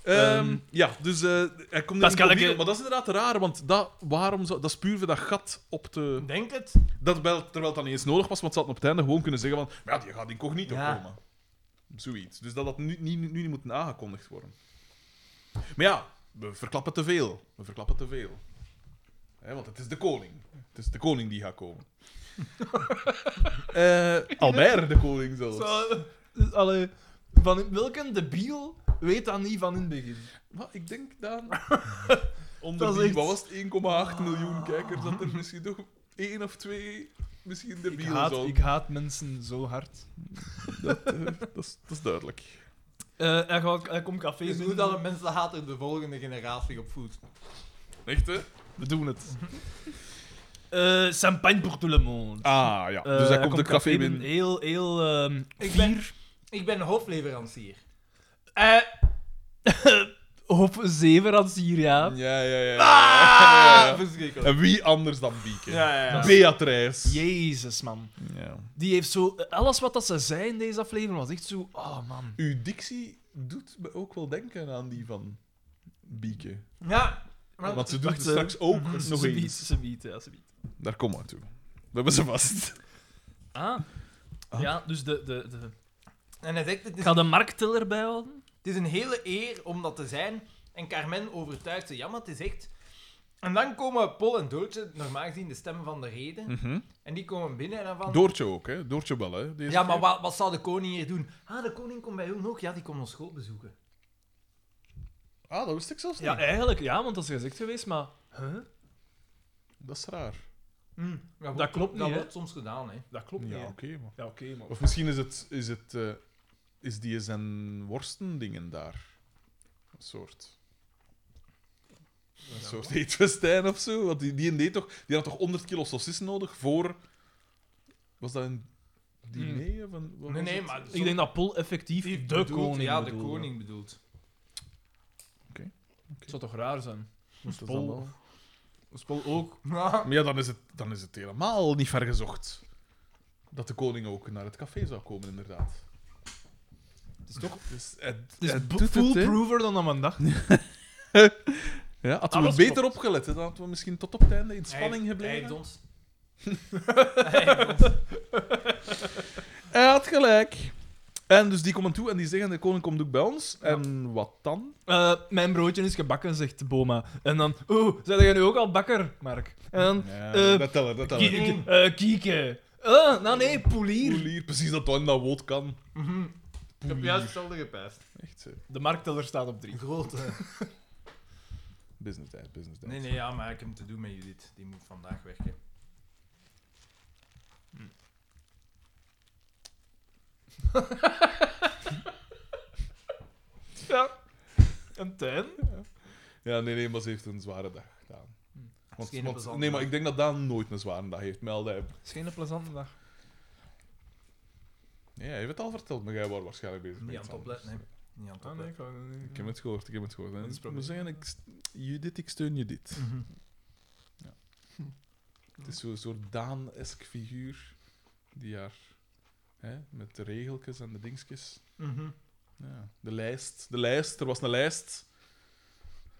Ehm, Ehm, ja, dus eh, hij komt dat in is de kennelijk- Maar dat is inderdaad raar, want dat, waarom zou, dat is puur voor dat gat op te... Denk het. Dat wel, terwijl het dan niet eens nodig was, want ze hadden op het einde gewoon kunnen zeggen van... "Maar Ja, die gaat incognito Ja. komen. Zoiets. Dus dat dat nu, nu, nu niet moet aangekondigd worden. Maar ja, we verklappen te veel. We verklappen te veel. Hè, want het is de koning. Het is de koning die gaat komen. Eh Albert de koning zelfs. Zo, dus, allee, van welke debiel weet dat niet van in het begin? Maar ik denk dan... Dat Onder is die, echt- wat was het, 1,8 miljoen kijkers, dat er misschien toch één of twee misschien de Ik haat, zou... ik haat mensen zo hard. Eh, dat, is- dat is duidelijk. Eh hij, gaat, hij komt cafés Dus hoe doen. dat een mensenhater de volgende generatie op voedt. Echt, hè? We doen het. Eh, champagne pour tout le monde. Ah, Eh, ja. dus hij komt de café in. binnen. Heel, heel... ehm Ik ben, ik ben hoofdleverancier. eh, op zeven als hier, ja. Ja, ja, ja. Ah, ja, ja. verschrikkelijk. En wie anders dan Bieke? Ja, ja, ja. Beatrice. Jezus, man. Ja. Die heeft zo... Alles wat dat ze zei in deze aflevering was echt zo... Oh, man. Uw dictie doet me ook wel denken aan die van Bieke. Ja, maar Want ze doet wacht, het eh, straks ook nog Ze biedt, eens. Ze biedt, ja, ze biedt. Daar komen we toe. We hebben ze vast. Ah. Ah. Ja, dus de, de, de... En hij zegt, het Ik is, ga de marktteller erbij houden. het is een hele eer om dat te zijn. En Carmen overtuigt ze, ja, maar het is echt... En dan komen Paul en Doortje, normaal gezien de stemmen van de reden, Mhm. en die komen binnen en dan van... Doortje ook, hè? Doortje wel, hè? Deze Ja, maar keer. wat, wat zal de koning hier doen? Ah, de koning komt bij hun ook. Ja, die komt ons school bezoeken. Ah, dat wist ik zelfs niet. eh. Ja, eigenlijk, ja, want dat is gezegd geweest, maar... Huh? Dat is raar. Hm, wordt- Dat klopt Dat niet, hè? wordt soms gedaan, hè. Dat klopt Ja, niet. oké, hè. maar. Ja, oké, maar... Of misschien is het. Is, het, eh, is die zijn worstendingen daar? Een soort. Een soort eetfestijn of zo. Want die, die, deed toch, die had toch 100 kilo saucissen nodig voor. Was dat een diner? Of een, wat Nee, was nee, het? maar... Ik denk dat Paul effectief de bedoelt- koning Ja, de bedoelde. koning bedoelt. Het zou toch raar zijn? Dat is dan Paul. wel- Als Paul ook... Ja. Maar ja, dan is, het, dan is het helemaal niet ver gezocht. Dat de koning ook naar het café zou komen, inderdaad. Het is toch... Dus het, Het is het bo- doet het, hè. foolproofer dan dat men dacht. ja, Hadden we Alles beter klopt. opgelet, hè, dan hadden we misschien tot op het einde in spanning Hij- Hij gebleven. heeft ons... Hij heeft ons- Hij had gelijk. En dus die komen toe en die zeggen: de koning komt ook bij ons. En wat dan? Eh, mijn broodje is gebakken, zegt Boma. En dan... Oeh, zijn jij nu ook al bakker, Mark? En dan... eh, dat tellen, dat ki- ki- eh, kieken. Eh, nou nee, poelier. Poelier, precies dat dan dat woord kan. Mhm. Ik heb Poelier. juist hetzelfde gepijst. Echt, eh, De marktteller staat op drie. Een grote. business tijd, business tijd. Nee, nee, ja, maar ik heb te doen met Judith. Die moet vandaag werken. Ja. En ten? Ja, nee, nee, maar ze heeft een zware dag gedaan. Want, Hm. geen want- plezante nee, maar dag. ik denk dat Daan nooit een zware dag heeft. Meld hij. Het is geen plezante dag. Ja, hij heeft het al verteld, maar jij was waarschijnlijk bezig. met Niet aan iets het opletten, hè. anders. Niet aan het Ah, nee, opletten. ik wou- nee, Ik heb het gehoord, ik heb het gehoord. Dat is het Hè. Ik probleem. Mhm. moet zeggen, ik, st- Judith, ik steun je dit. Het is zo'n soort Daan-esk figuur die haar hè, met de regeltjes en de dingetjes. Mhm. Ja. De lijst, de lijst, er was een lijst.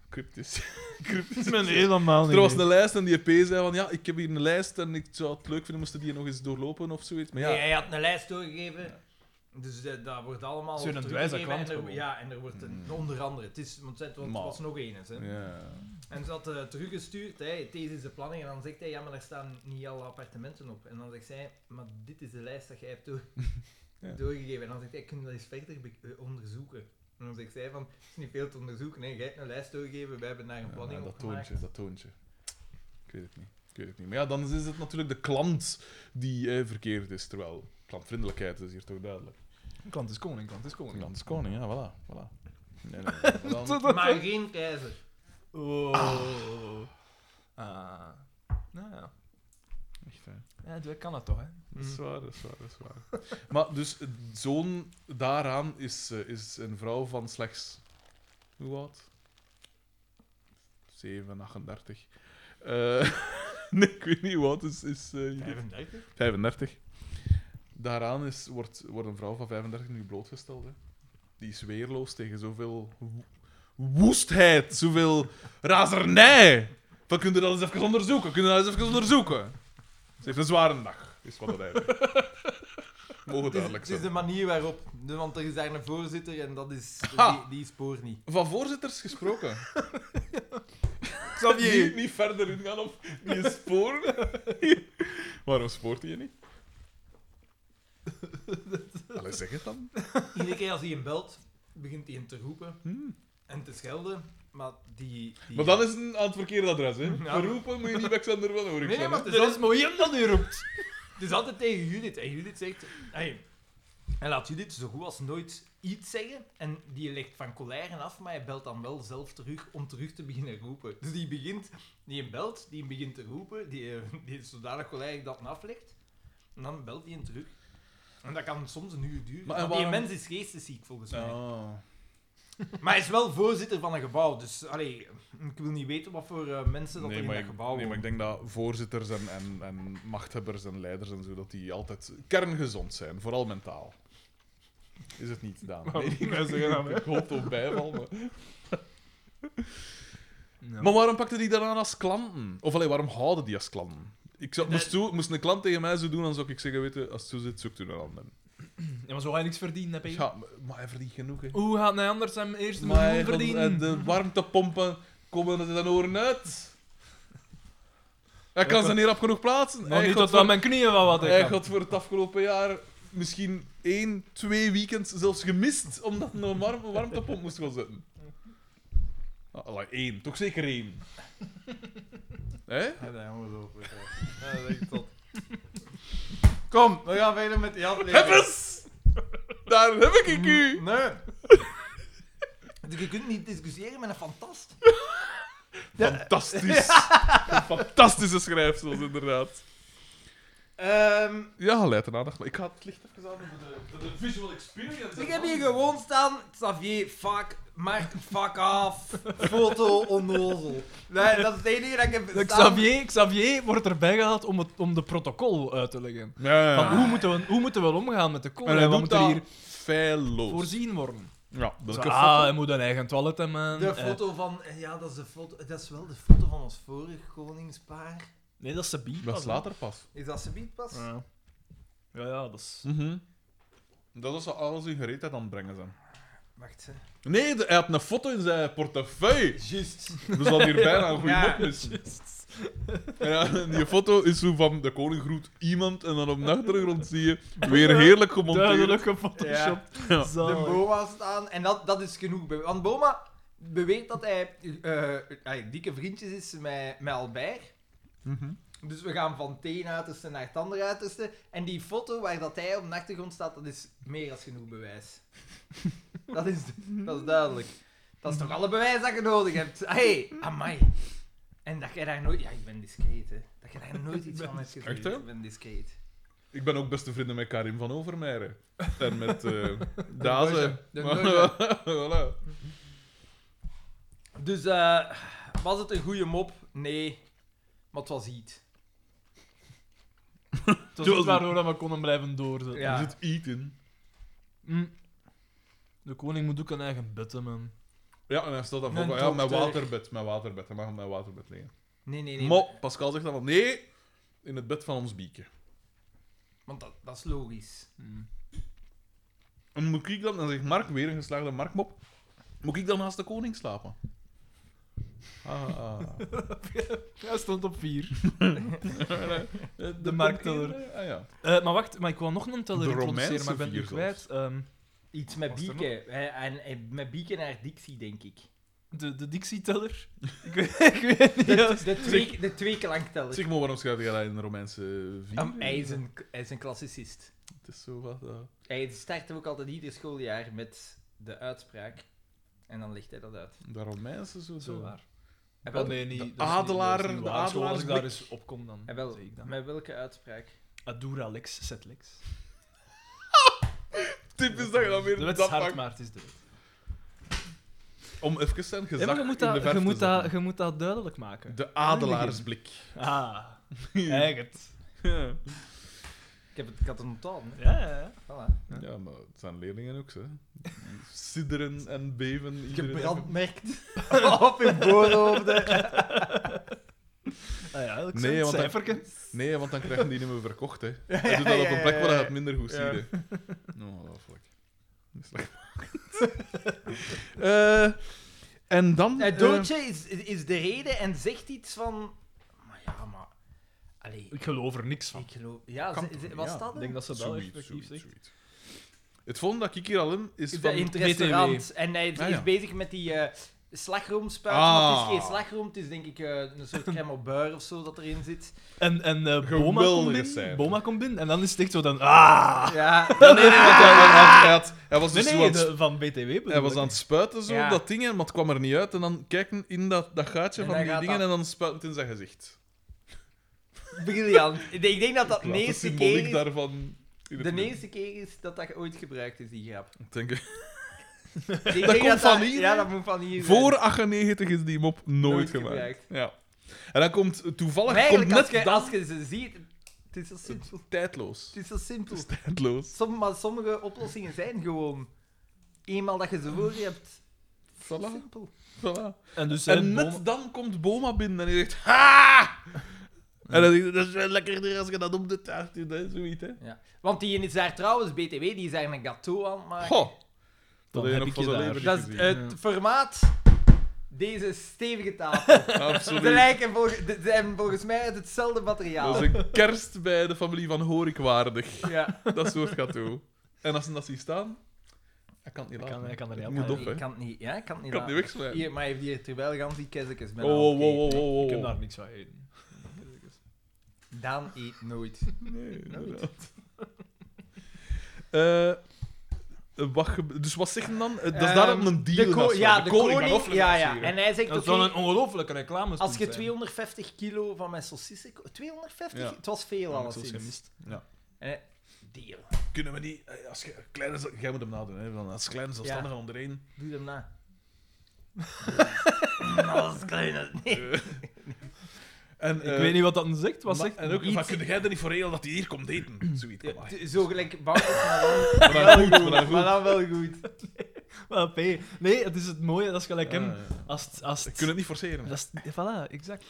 Cryptisch. Cryptisch. ben helemaal niet. Er was een lijst en die EP zei van ja, ik heb hier een lijst en ik zou het leuk vinden moesten die nog eens doorlopen of zoiets. Maar ja, Jij had een lijst doorgegeven. Dus eh, dat wordt allemaal. Zo'n op dwijze teruggegeven klant en er- gewoon. Ja, en er wordt een, onder andere. Het is, want het Maar. was nog één. Hè. ja. En ze had eh, teruggestuurd, hè, deze is de planning. En dan zegt hij, ja, maar daar staan niet alle appartementen op. En dan zegt zij, maar dit is de lijst dat jij hebt door- Ja. doorgegeven. En dan zegt hij, kunnen we dat eens verder be- eh, onderzoeken? En dan zegt zij van, het is niet veel te onderzoeken. Nee, jij hebt een lijst doorgegeven, wij hebben daar een Ja, planning maar op dat gemaakt. toontje, dat toontje. Ik weet het niet. Ik weet het niet. Maar ja, dan is het natuurlijk de klant die eh, verkeerd is. Terwijl klantvriendelijkheid is hier toch duidelijk. Klant is koning, klant is Oh, koning. Klant is koning, ja, voilà. voilà. Nee, nee, nee, dan- Maar geen keizer. Oh. Ah. Nou ja. Echt, hè. Mm. ja, dat kan dat toch, hè? Dat is waar, dat is waar, dat is waar. Maar dus eh, zoon daaraan is, eh, is een vrouw van slechts... Hoe oud? 7, 38. Eh, nee, ik weet niet hoe oud is... is eh, hier. 35? 35. Daaraan is, wordt, wordt een vrouw van 35 nu blootgesteld. Hè. Die is weerloos tegen zoveel wo- woestheid, zoveel razernij. Van, kun je dat eens even onderzoeken? Kun je dat eens even onderzoeken? Ze heeft een zware dag, is wat dat eigenlijk. Mogen Het is, duidelijk het is zijn. de manier waarop. De- Want er is daar een voorzitter en dat is, Ha! die, die spoor niet. Van voorzitters gesproken. Niet, Xavier! niet verder ingaan op die spoor. Waarom spoort hij je niet? Allee, zeg het dan. Iedere keer als hij hem belt, begint hij hem te roepen en te schelden. Maar die... die Hmm. Maar dan is het een aan het verkeerde adres, hè? Ja. Verroepen moet je niet bij Xander van Oerik Nee, zijn, maar hè. het is altijd, mooi hem dat nu roept. het is altijd tegen Judith. En Judith zegt... Hey, en laat Judith zo goed als nooit iets zeggen. En die legt van colère af, maar hij belt dan wel zelf terug om terug te beginnen roepen. Dus die begint... Die hem belt, die hem begint te roepen. Die, eh, die is zodanig colère dat hem aflegt. En dan belt hij hem terug. En dat kan soms een uur duren. Maar en want die waarom- mens is geestesziek, volgens mij. Ah. Maar hij is wel voorzitter van een gebouw, dus allee, ik wil niet weten wat voor eh, mensen dat Nee, er in maar dat ik, gebouw nee, maar ik wonen. denk dat voorzitters en, en, en machthebbers en leiders en zo, dat die altijd kerngezond zijn, vooral mentaal. Is het niet, Daan? Waarom Nee, wij zeggen dat, hè? ik hoop op bijval, maar... Ja. Maar waarom pakte die daaraan als klanten? Of allee, waarom houden die als klanten? Ik zou, Nee. moest, zo- moest een klant tegen mij zo doen, dan zou ik zeggen, weet je, als het zo zit, zoekt u een ander. Ja, maar zo ga je niks verdienen, heb je. Ja, maar- maar hij verdient genoeg, hè. Hoe gaat hij anders hem eerst een Maar miljoen hij kon- eh, verdienen? de warmtepompen komen er dan oren uit. Hij kan ze niet op genoeg plaatsen. Nog Hij niet gaat tot voor- aan mijn knieën van wat Hij ik kan. had voor het afgelopen jaar misschien één, twee weekends zelfs gemist, omdat hij een warm, warmtepomp moest gaan zetten. Ah, Allee, één. Toch zeker één. Hé? Ja, dat gaan we zo over, ja. Ja, dat denk ik tot. Kom, we gaan verder met die aflevering. Hebbes! Daar heb ik u! Nee. Dus je kunt niet discussiëren met een fantast. Fantastisch. Een fantastische schrijfsels, inderdaad. Ehm, Ja, leidt een aandacht. maar Ik ga het licht even aan voor de, voor de visual experience. ik heb hier gewoon staan, Xavier, fuck, Maarten, fuck af, foto, onnozel. Nee, dat is het enige dat ik heb staan. Xavier, Xavier wordt erbij gehaald om, het, om de protocol uit te leggen. Ja, ja, ja. Van, hoe, moeten we, hoe moeten we omgaan met de kool? En en hij wat doet moet er dat hier feilloos. voorzien worden? Ja, dat Zo, is ah, hij moet een eigen toilet hebben. De eh, foto van, ja, dat is, de foto, dat is wel de foto van ons vorige koningspaar. nee, dat is Sabi. Dat is later pas. Is dat subiet pas? Ja. ja, ja, dat is... Mhm. Dat is alles in gereedheid aan het brengen zijn. Wacht, hè. Nee, de- hij had een foto in zijn portefeuille. Juist. We zal hier bijna een goede Ja. mop missen. Ja, en die foto is zo van de koning groet iemand en dan op de achtergrond zie je weer heerlijk gemonteerd. Duidelijk gephotoshopt. Ja. De Zalig. Boma staan. En dat, dat is genoeg. be- Want Boma beweert dat hij eh, eh, dikke vriendjes is met, met Albert. Mhm. Dus we gaan van het een uiterste naar het andere uiterste. En die foto waar dat hij op de achtergrond staat, dat is meer dan genoeg bewijs. dat, is, dat is duidelijk. Dat is toch alle bewijs dat je nodig hebt. Hey, amai. En dat jij daar nooit... Ja, ik ben discreet, hè. Dat jij daar nooit iets van hebt gezien. Echt, hè? Ik ben discreet. Ik ben ook beste vrienden met Karim van Overmeijer. En met eh Dazen. De Neuze. voilà. Dus eh, was het een goede mop? Nee. Maar het was iets. Dat is iets waardoor dat we konden blijven doorzetten. Ja. Er zit eten. Mm. De koning moet ook een eigen bed hebben. Ja, en hij stelt dan voor, Een van, ja, mijn dokter. waterbed, mijn waterbed. Hij mag op mijn waterbed liggen. Nee, nee, nee. Maar Pascal zegt dan van, nee, in het bed van ons bieken. Want dat, dat is logisch. Hmm. En moet ik dan, dan zegt Mark, weer een geslaagde Markmop, moet ik dan naast de koning slapen? Ah, ah. Hij stond op vier. De, marktteller. koning, eh, Ah, ja. Eh, maar wacht, maar ik wou nog een teller De introduceren, Romeinse maar ik ben het nu vier zelfs. kwijt. Ehm, Iets met Was er bieken. Hè, En, en met bieken naar Dixie, denk ik. de, de Dixie-teller. ik, weet- ik weet niet. De, juist. de, twee, de twee klankteller. Zeg maar, waarom schrijf jij dat in de Romeinse vier? Am- hij, is een, hij is een klassicist. Het is zo wat... eh. Hij start ook altijd ieder schooljaar met de uitspraak. En dan legt hij dat uit. de Romeinse zo... Zo de- waar. En Oh, wel, nee, de niet, dat is niet- dat is adelaar- niet de waar. Zo, Als ik adelaarsblik. daar eens op kom, dan en wel, zie ik dat. met welke uitspraak? Adura lex, set lex. Typisch dat je dan weer De wet is dat hard, pakt. maar het is de wet. Om even zijn gezag Ja, maar je moet, in de dat, verf je, te moet dat, zetten. je moet dat duidelijk maken. De adelaarsblik. Ah, eigenlijk. Ja. Ik, heb het, ik had het onthouden. hè. Ja, ja, ja. Voilà. Ja, maar het zijn leerlingen ook, hè. Sidderen en beven. iedereen- Gebrandmerkt op hun voorhoofden. Ah, ja dat Nee, nee, want dat- cijferken. Nee, want dan krijgen die niet meer verkocht, hè. Hij doet dat op een plek waar hij het minder goed ziet, Ja. hè. Nou, dat vlak. Dat is slecht. Eh, en dan... Eh, eh, Doortje is, is de reden en zegt iets van... Maar ja, maar... Allee, Ik geloof er niks van. ik geloof... Ja, Kan ze- toch ze- niet, was ja. dat Ik hem? denk dat ze dat zoiets, effectief zoiets, zegt. zoiets. Het volgende dat ik hier al heb, Is is van... dat in het BTW. restaurant. En hij is, Ah, is ja. bezig met die eh slagroomspuit. Ah. Maar het is geen slagroom, het is denk ik eh, een soort crème au beurre of zo dat erin zit. En, en eh, Boma, komt Geweldige binnen, cijfer. Boma komt binnen en dan is het echt zo dan... Ah! Ja, Ah, nee, nee, want hij, hij- hij had- hij was Nee, dus zo nee, aan het de- van BTW bedoel Hij was ik. aan het spuiten zo, Ja. dat ding, hè, maar het kwam er niet uit. En dan kijken in dat, dat gaatje En van dan die gaat dingen dat. en dan spuit het in zijn gezicht. briljant. Ik denk- ik denk dat dat Ik laat de eerste symboliek keer is, daarvan in het de midden. eerste keer is dat dat ooit gebruikt is, die grap. Ik denk, hè. Ik denk komt van hier, Ja, hè? dat moet van hier zijn. voor 98 is die mop nooit, Nooit gemaakt. gebruikt. Ja. En dan komt toevallig Maar komt eigenlijk, net als je, dat als je ze ziet... Het is zo simpel. tijdloos. Het is zo simpel. Tijdloos. Somm- maar sommige oplossingen zijn gewoon... Eenmaal dat je ze voor je hebt... zo Voilà. Simpel. Voilà. En dus eh, En Boma- net dan komt Boma binnen en hij zegt: Ha! En dan denk ik, dat is wel lekkerder als je dat op de taart doet, hè, zoiets. Hè. Ja. Want die is daar trouwens, BTW, die is daar een gâteau aan het maken. Goh, dat Dan heb heb je nog ik van je zijn daar. leven Dat is gezien. het formaat. Deze stevige tafel. Ze Absoluut. lijken volg- de- zijn volgens mij uit hetzelfde materiaal. Dat is een kerst bij de familie van Horik waardig. Ja. Dat soort gâteau. En als ze dat zien staan, hij kan het niet Hij laten. kan, hij kan er niet aan. Moet op, ik hè. kan het niet, ja, ik kan het niet. Ik kan het niet laten. wegslijpen. Hier, maar hij heeft hier terwijl gans die keizekes met Oh, wow, wow, wow, Ik wow, heb wow. daar niks van eten. Daan eet nooit. Nee, inderdaad. Eh, eh, wat gebe- dus wat zeggen dan? Eh, Dat is Ehm, daarom een deal. de ko- dat ze- ja, de koning. gaat offeren ja, ja. lanceren. En hij zegt, Dat oké, zou een ongelooflijke reclame als je zijn. 250 kilo van mijn saucissen... ko- 250? Ja. Het was veel Ja, ik heb alleszins. gemist. En hij- Deal. Kunnen we niet... eh, Als je, kleine, zel- jij moet hem nadoen, hè. want Als kleine zelfstandige onderheen... Doe hem na. Als kleine... En, eh, Ik weet niet wat dat dan zegt. Wat zegt En ook, iets- van, kun jij er niet voor regelen dat hij hier komt eten? Zoiets. kom maar. T- Zo gelijk bouwt, maar Maar dan, dan goed, maar dan maar dan goed. wel goed. Wel, P. Nee, het is het mooie. Dat is gelijk hem. Ah, Ja, ja. Als het... Als Ik het kan het niet forceren. dat is, voilà, exact.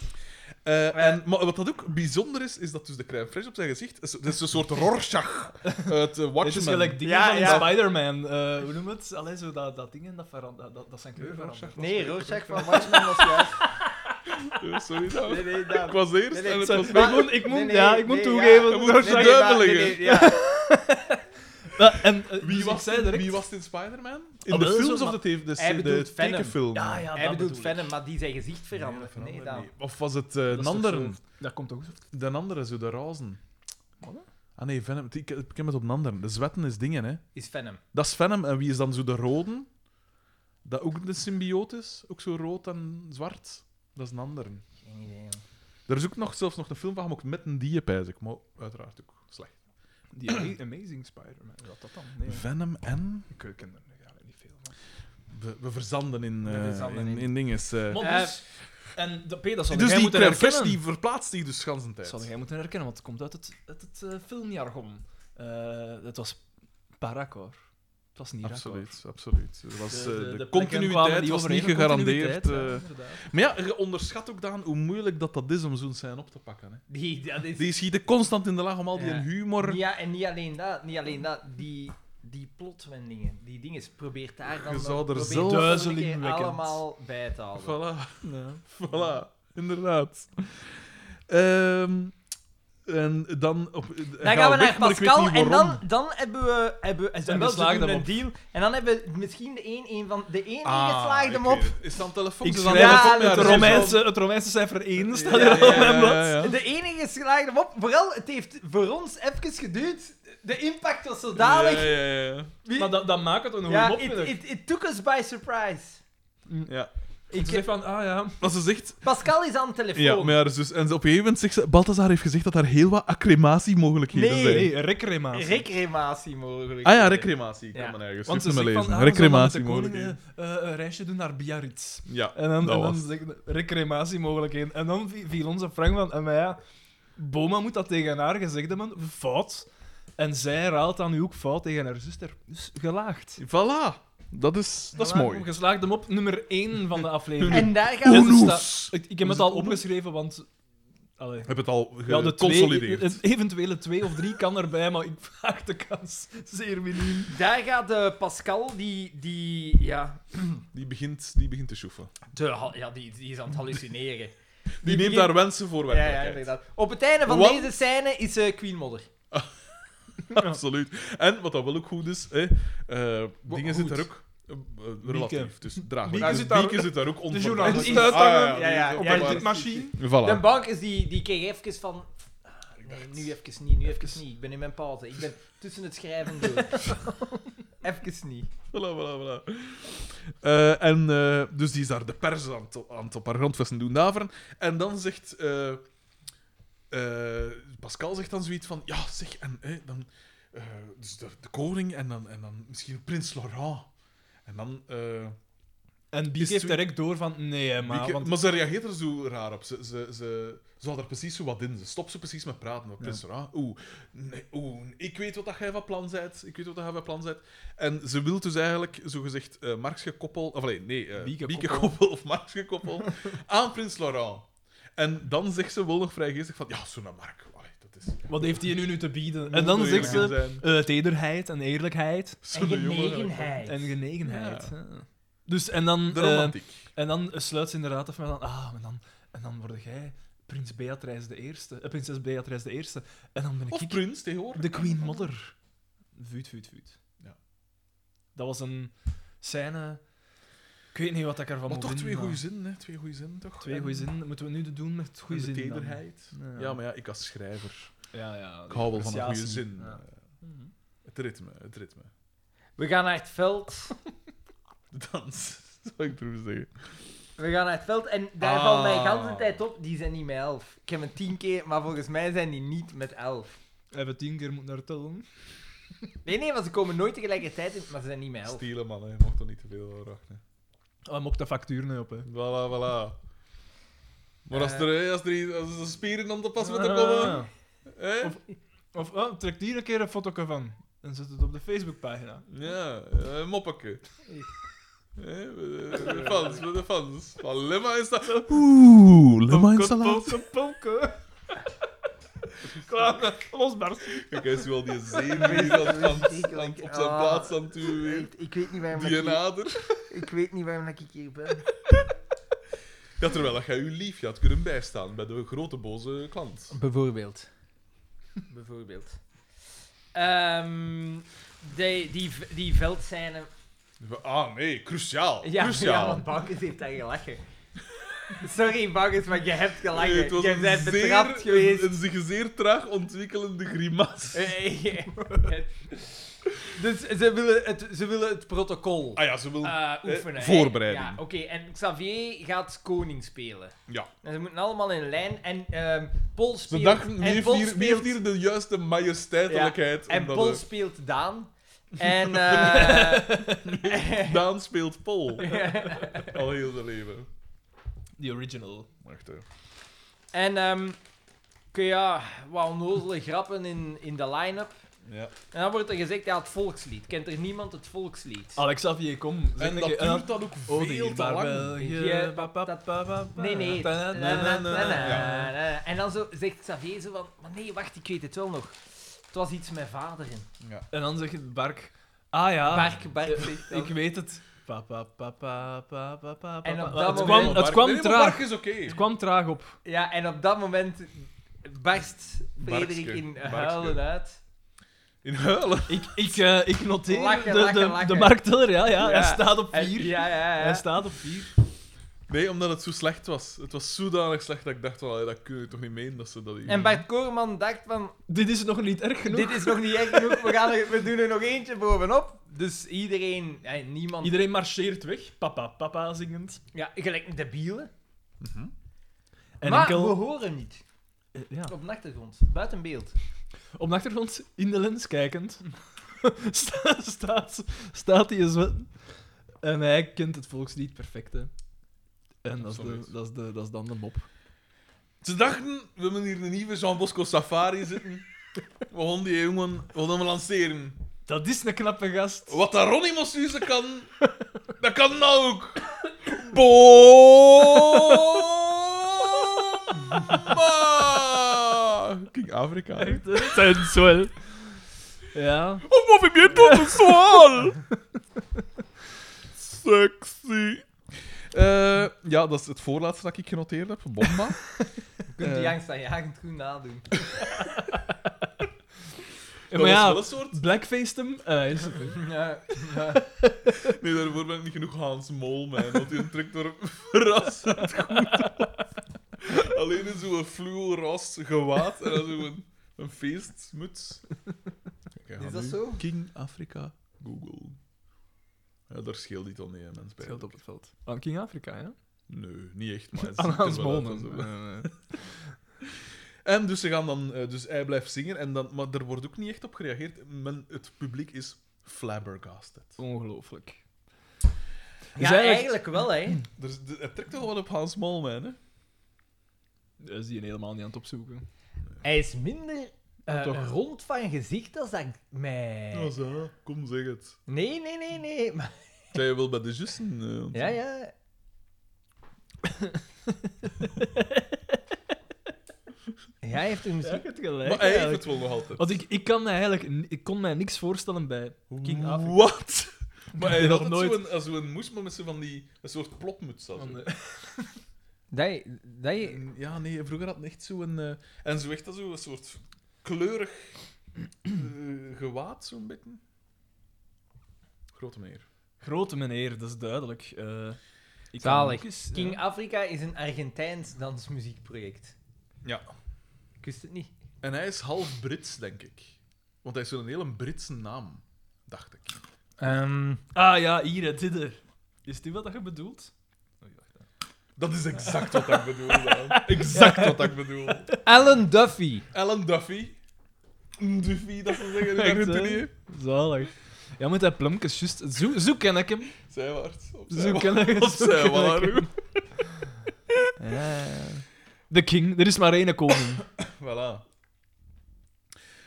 Eh, en, maar wat dat ook bijzonder is, is dat dus de crème fraîche op zijn gezicht... is- Dat is een soort Rorschach uit eh, Watchmen. Dit is gelijk dingen Ja, van ja. Spider-Man. eh, hoe noem je het? Allee, zo dat, dat dingen, dat, verand- dat, dat, dat zijn kleur verandert. Nee, Rorschach van Watchmen was juist. Eh, Sorry, dat Nee, nee, Ik Daan. was eerst Nee, nee, en het sorry. was... Maar- ik moet, ik moet, Nee, nee, ja, ik moet nee, toegeven. ja. Je moet Nee, maar- dubbel liggen. nee, nee, ja. Maar- en, eh, Wie dus ik was, zei in, direct- wie was het in Spider-Man? In Ah, de wel, zo, films of maar- de, te- de, Hij de, bedoelt Venom. tekenfilm? Ja, ah Hij ja, dat bedoelt bedoel ik. Venom, maar die zijn gezicht veranderd. Nee, Nee, dat Daan. niet. Of was het eh Dat een is toch ander? zo- dus Dat komt toch zo. De andere, zo de rozen. Wat? Ah nee, Venom. Ik, ik heb het op een ander. De zwetten is dingen, hè. Is Venom. Dat is Venom. En wie is dan zo de roden? Dat ook de symbioot is. Ook zo rood en zwart. Dat is een ander. Geen idee, joh. Er is ook nog, zelfs nog een film van gemaakt met een diep, eigenlijk. Maar uiteraard ook slecht. Die Ama- Amazing Spider-Man. Wat dat dan? Nee, Venom en... ik ken er eigenlijk niet veel. Maar, We, we verzanden in, eh, We verzanden in, in- in dinges. eh. Eh, dus, en de P, dat zou Dus jij die moeten crème herkennen. fraîche, die verplaatst zich dus de ganse Dat tijd. zou jij moeten herkennen, want het komt uit het, uit het eh, filmjargon. Eh, het was Paracord. Het was niet raar. Absoluut, absoluut. Er was, eh, de, plekken kwamen continuïteit was overeen, niet de gegarandeerd. continuïteit, eh. ja, inderdaad. maar ja, je onderschat ook dan hoe moeilijk dat, dat is om zo'n scène op te pakken. Hè. Die, dat is... Die schieten constant in de laag om al die Ja. humor. Ja, en niet alleen dat, niet alleen dat, die, die plotwendingen, die dingen, probeert daar dan Je nog- zou er probeer dat zelf- nog een keer Duizelingwekkend. allemaal bij te houden. Voilà. Ja. Voilà, inderdaad. Ehm, en dan... Op, eh, Dan gaan we naar Pascal en dan, dan hebben we, hebben, we- Een wel, ze geslaagde doen een mop. deal. En dan hebben we misschien de een, een van de één Ah, ingeslaagde mop. Is dan telefoon? Ik Ze schrijf zijn Ja, telefoon, het het, dat is Romeinse, het Romeinse cijfer 1 staat Ja, hier ja, op mijn ja, blad. ja, ja. De enige geslaagde mop. Vooral, het heeft voor ons even geduurd. De impact was zodanig. Ja, ja, ja. Wie- Maar dat, dat maakt het ook nog ja, een mop. it, vind ik. it, it took us by surprise. ja. Ik Ik, zeg van, ah ja. Maar ze zegt... Pascal is aan de telefoon. Ja, maar haar zus. En ze op een gegeven moment zegt ze... Balthazar heeft gezegd dat er heel wat accrematiemogelijkheden Nee. zijn. Nee, recrematie. Recrematie mogelijk. Ah ja, recrematie. Ik Ja. kan me nergens Want Want ze me zegt lezen. van, ah, we zullen met de recrematie koning mogelijk. eh, eh, een reisje doen naar Biarritz. Ja. En dan, Dat en dan was zeg ik, recrematie mogelijkheden. En dan vi- viel onze Frank van, en maar ja, Boma moet dat tegen haar gezegd hebben, fout. En zij herhaalt dan nu ook fout tegen haar zuster. Dus gelaagd. Voilà. Dat is, dat is Gelaagd, mooi. Geslaagd hem op nummer 1 van de aflevering. En daar gaan we... En ze Onoes. staat- ik, ik heb het al opgeschreven, want... Allee. Ik heb het al Ja, de geconsolideerd. Twee, het eventuele twee of drie kan erbij, maar ik vraag de kans zeer miniem. Daar gaat eh, Pascal, die, die, ja, die, begint, die begint te schoeven. te hal- ja, die, die is aan het hallucineren. Die, Die neemt begint- daar wensen voor ja, ja, werkelijkheid. inderdaad. Op het einde van Want- deze scène is eh, Queen Mother. Absoluut. En wat dat wel ook goed is, hè, eh, dingen goed. zit daar ook. eh, eh, relatief, dus draag Bieke Dus zit daar- Bieke zit daar ook onder. journalist. Ah, ja, Ja, ja, die ja, is ook die- daar. machine. De Voilà. bankers die, die keek even van... ah, Nee, nu even niet, nu even niet. Ik ben in mijn pauze. Ik ben tussen het schrijven door. even niet. Voilà, voilà, voilà. Eh, en eh, dus die is daar de pers aan het, aan het op haar grondvesten doen daveren. En dan zegt... eh, eh, Pascal zegt dan zoiets van... Ja, zeg, en eh, dan... eh, dus de, de koning en dan, en dan misschien prins Laurent. En dan... eh, En Biek Is heeft het- direct door van, nee hè, Maar, ma, want maar ze reageert er zo raar op. Ze, ze, ze, ze had er precies zo wat in. Ze stopt ze precies met praten. Maar Prins Ra, oeh, nee, oeh, ik weet wat dat jij van plan bent. Ik weet wat dat jij van plan bent. En ze wil dus eigenlijk, zogezegd, eh Marx gekoppeld... Of nee, nee eh, Bieke Bieke koppel. koppel of Marx gekoppeld aan Prins Laurent. En dan zegt ze wel nog vrij geestig van... Ja, zo naar Mark. Allee, dat is... wat heeft hij nu nu te bieden? En dan Moet zegt eerlijk ze, zijn. eh, tederheid en eerlijkheid En Zo'n jongen. genegenheid. en genegenheid. ja. Dus, en dan, De eh, romantiek. en dan sluit ze inderdaad af met, van, ah, en dan, en dan word jij prins Beatrice de Eerste, eh, prinses Beatrice de Eerste. En dan ben ik Of prins, tegenwoordig. de Queen Mother. Vuut, vuut, vuut. Ja. Dat was een scène... Ik weet niet wat ik ervan Maar moet toch vinden, twee maar- goede zinnen, hè. Twee goede zinnen, toch? Twee En- goede zinnen. Moeten we nu de doen met goede en de zinnen? dan? tederheid. Ja. Ja, maar ja, ik als schrijver... Ja, ja. Ik hou wel van een goede zin. Ja. Eh, Het ritme, het ritme. We gaan naar het veld. De dans, zou ik durven zeggen. We gaan naar het veld en daar Ah. valt mij de hele tijd op, die zijn niet met elf. Ik heb het tien keer, maar volgens mij zijn die niet met elf. We hebben tien keer moeten naar tellen. Nee, nee, want ze komen nooit tegelijkertijd in, maar ze zijn niet met elf. Stielen, man, hè. je mocht er niet te veel over wachten. Oh, hem op de factuur nu op, hè. Voilà, voilà. Maar als Eh. er, hè, als er, als er spieren om te pas moeten Ah. komen, hè? Of- Of, oh, trek hier een keer een foto van. En zet het op de Facebookpagina. Ja, eh, moppeke. Hè, we- we- we fans, we de fans. Van Lemma installatie. Oeh, Polken, polken. Klaar, losbarst. Kijk, hij is wel die zenuwen hier aan- aan- aan- op zijn Ah. plaats aan het eh, duwen. Ik, ik weet niet waarom ik, Die hier- nader. ik weet niet waarom ik hier ben. Ja, terwijl dat jij je liefje had kunnen bijstaan bij de grote boze klant. Bijvoorbeeld. Bijvoorbeeld. Ehm, die, die, v- die veldscène... Ah, nee, cruciaal. Ja, ja, cruciaal. want Bakkes heeft daar gelachen. Sorry, Bakkes, maar je hebt Nee, gelachen. was Je een bent zeer- betrapt geweest. Een, een zich zeer traag ontwikkelende grimas. Eh, dus ze willen het, ze willen het protocol Ah ja, ze wil... eh, oefenen. eh, hè? voorbereiding. Ja, oké. En Xavier gaat koning spelen. ja. En ze moeten allemaal in lijn. En ehm Paul Ze speelt... dachten, wie en heeft, Paul hier, wie heeft speelt- hier de juiste majesteitelijkheid? En omdat Paul de- speelt Daan. En... eh, Daan speelt Paul. Al heel zijn leven. The original. Wacht, hè. en... ehm, oké, ja, wat onnozele grappen in, in de line-up. Ja. En dan wordt er gezegd, ja, het volkslied. Kent er niemand het volkslied? Ah. Alexavier, kom. Zeg En eh, oh, dat een keer- Ah, en duurt dan ook dan- veel Ode, te maar lang. België. pa, pa, pa, pa, pa. Nee, nee. Ta- na- na- na- na- Ja. Ja. En dan zo zegt Xavier zo van, maar nee, wacht, ik weet het wel nog. Het was iets met vader in. Ja. En dan zegt Bark. Ah ja. Bark, Bark eh, zegt dan. Ik weet het. Pa, pa, pa, pa, pa, pa, pa, En pa, op pa. dat Het moment- kwam, het Bark- kwam nee, maar traag. Bark is oké. Het kwam traag op. Ja, en op dat moment barst Frederik Barkske, in Barkske. huilen uit. In huilen. Ik, ik, eh, ik noteer Lachen, de, lachen, de, lachen. de markteller, ja, ja, Ja. Hij staat op En- 4. Ja, ja, ja. Hij staat op 4. Nee, omdat het zo slecht was. Het was zodanig slecht dat ik dacht, wel, dat kun je toch niet meen dat ze dat hier... En Bart Koorman dacht van, Dit is nog niet erg genoeg. dit is nog niet echt genoeg, we, gaan er, we doen er nog eentje bovenop. Dus iedereen, ja, niemand... Iedereen marcheert weg. Papa, papa zingend. Ja, gelijk een debiele. En maar enkel, we horen niet. eh, ja. Op de achtergrond, buiten beeld. Op de achtergrond, in de lens kijkend, sta- staat, staat hij eens wat. En hij kent het volkslied perfect, hè. En dat is, de, Absoluut. dat, is de, dat is dan de mop. Ze dachten, we hebben hier een nieuwe Jean Bosco Safari zitten. We gaan die jongen we gaan hem lanceren. Dat is een knappe gast. Wat dat Ronnie Mossuze kan, dat kan nou ook. Bomba! King Afrika. hè. Sensueel. Ja. Un movimiento sensual. Sexy. Eh, ja, dat is het voorlaatste dat ik genoteerd heb. Bomba. Je Eh. kunt die angst aan jagend goed nadoen. Dat maar was ja, wel een soort... blackface øh, hem. en hij is- Ja, ja. Nee, daarvoor ben ik niet genoeg Hans Mol, man. Want die trekt er verrassend goed op. Alleen in zo'n fluo ras gewaad en dan zo'n een feestmuts. Ik ga Is dat nu zo? King Africa Google. Ja, daar scheelt niet al nee, mensen bij. Scheelt op het veld. Aan King Afrika, ja? Nee, niet echt, maar het Aan ziet er Hans wel uit als Molen. een- En dus, ze gaan dan, eh, dus hij blijft zingen, en dan, maar er wordt ook niet echt op gereageerd. Men, het publiek is flabbergasted. Øh, Ongelooflijk. Ja, Dus eigenlijk- eigenlijk wel, hè. Er, is- Dus de- het trekt toch wel op Hans Mol, man, hè? Dat is die helemaal niet aan het opzoeken. Hij is minder eh, Toch. rond van gezicht als dat ik mij... Ja, zo, ah, kom, zeg het. Nee, nee, nee, nee. Maar, Zij je wel bij de jussen. eh, ont- ja, ja. ja, hij heeft een Ja, je muziek. hebt gelijk. Maar hij heeft eigenlijk. het wel nog altijd. eh, Want ik, ik, kan mij eigenlijk, ni- ik kon mij niks voorstellen bij King Afrika. Wat? Maar hij heb had nog nooit... nooit- zo'n als zo'n moes, maar met zo'n van die... Een soort plopmuts. als Van zo. de- Dat, je- dat je- En Ja, nee, vroeger had het echt zo'n... eh, en zo echt dat zo, een soort kleurig eh, gewaad, zo'n beetje. Grote meneer. Grote meneer, dat is duidelijk. Eh, ik kan eh. Zalig. ook eens, King ja. Afrika is een Argentijns dansmuziekproject. Ja. Ik wist het niet. En hij is half Brits, denk ik. Want hij is zo'n hele Britse naam, dacht ik. Ehm. Ah ja, hier, hè, dit er. Is dit wat dat je bedoelt? Oh, ik dacht dat. Dat is exact wat ik bedoel, Daan. Exact wat ik bedoel. Alan Duffy. Alan Duffy. Duffy, dat ze zeggen in Echt, hè? Argentinië. Zalig. Ja, met dat plumpjes, juist. Zo, zo ken ik hem. Zij waard. Zo ken ik Of zo zij ken waar. ik hem. Ja, ja. De king, er is maar één koning. Voilà.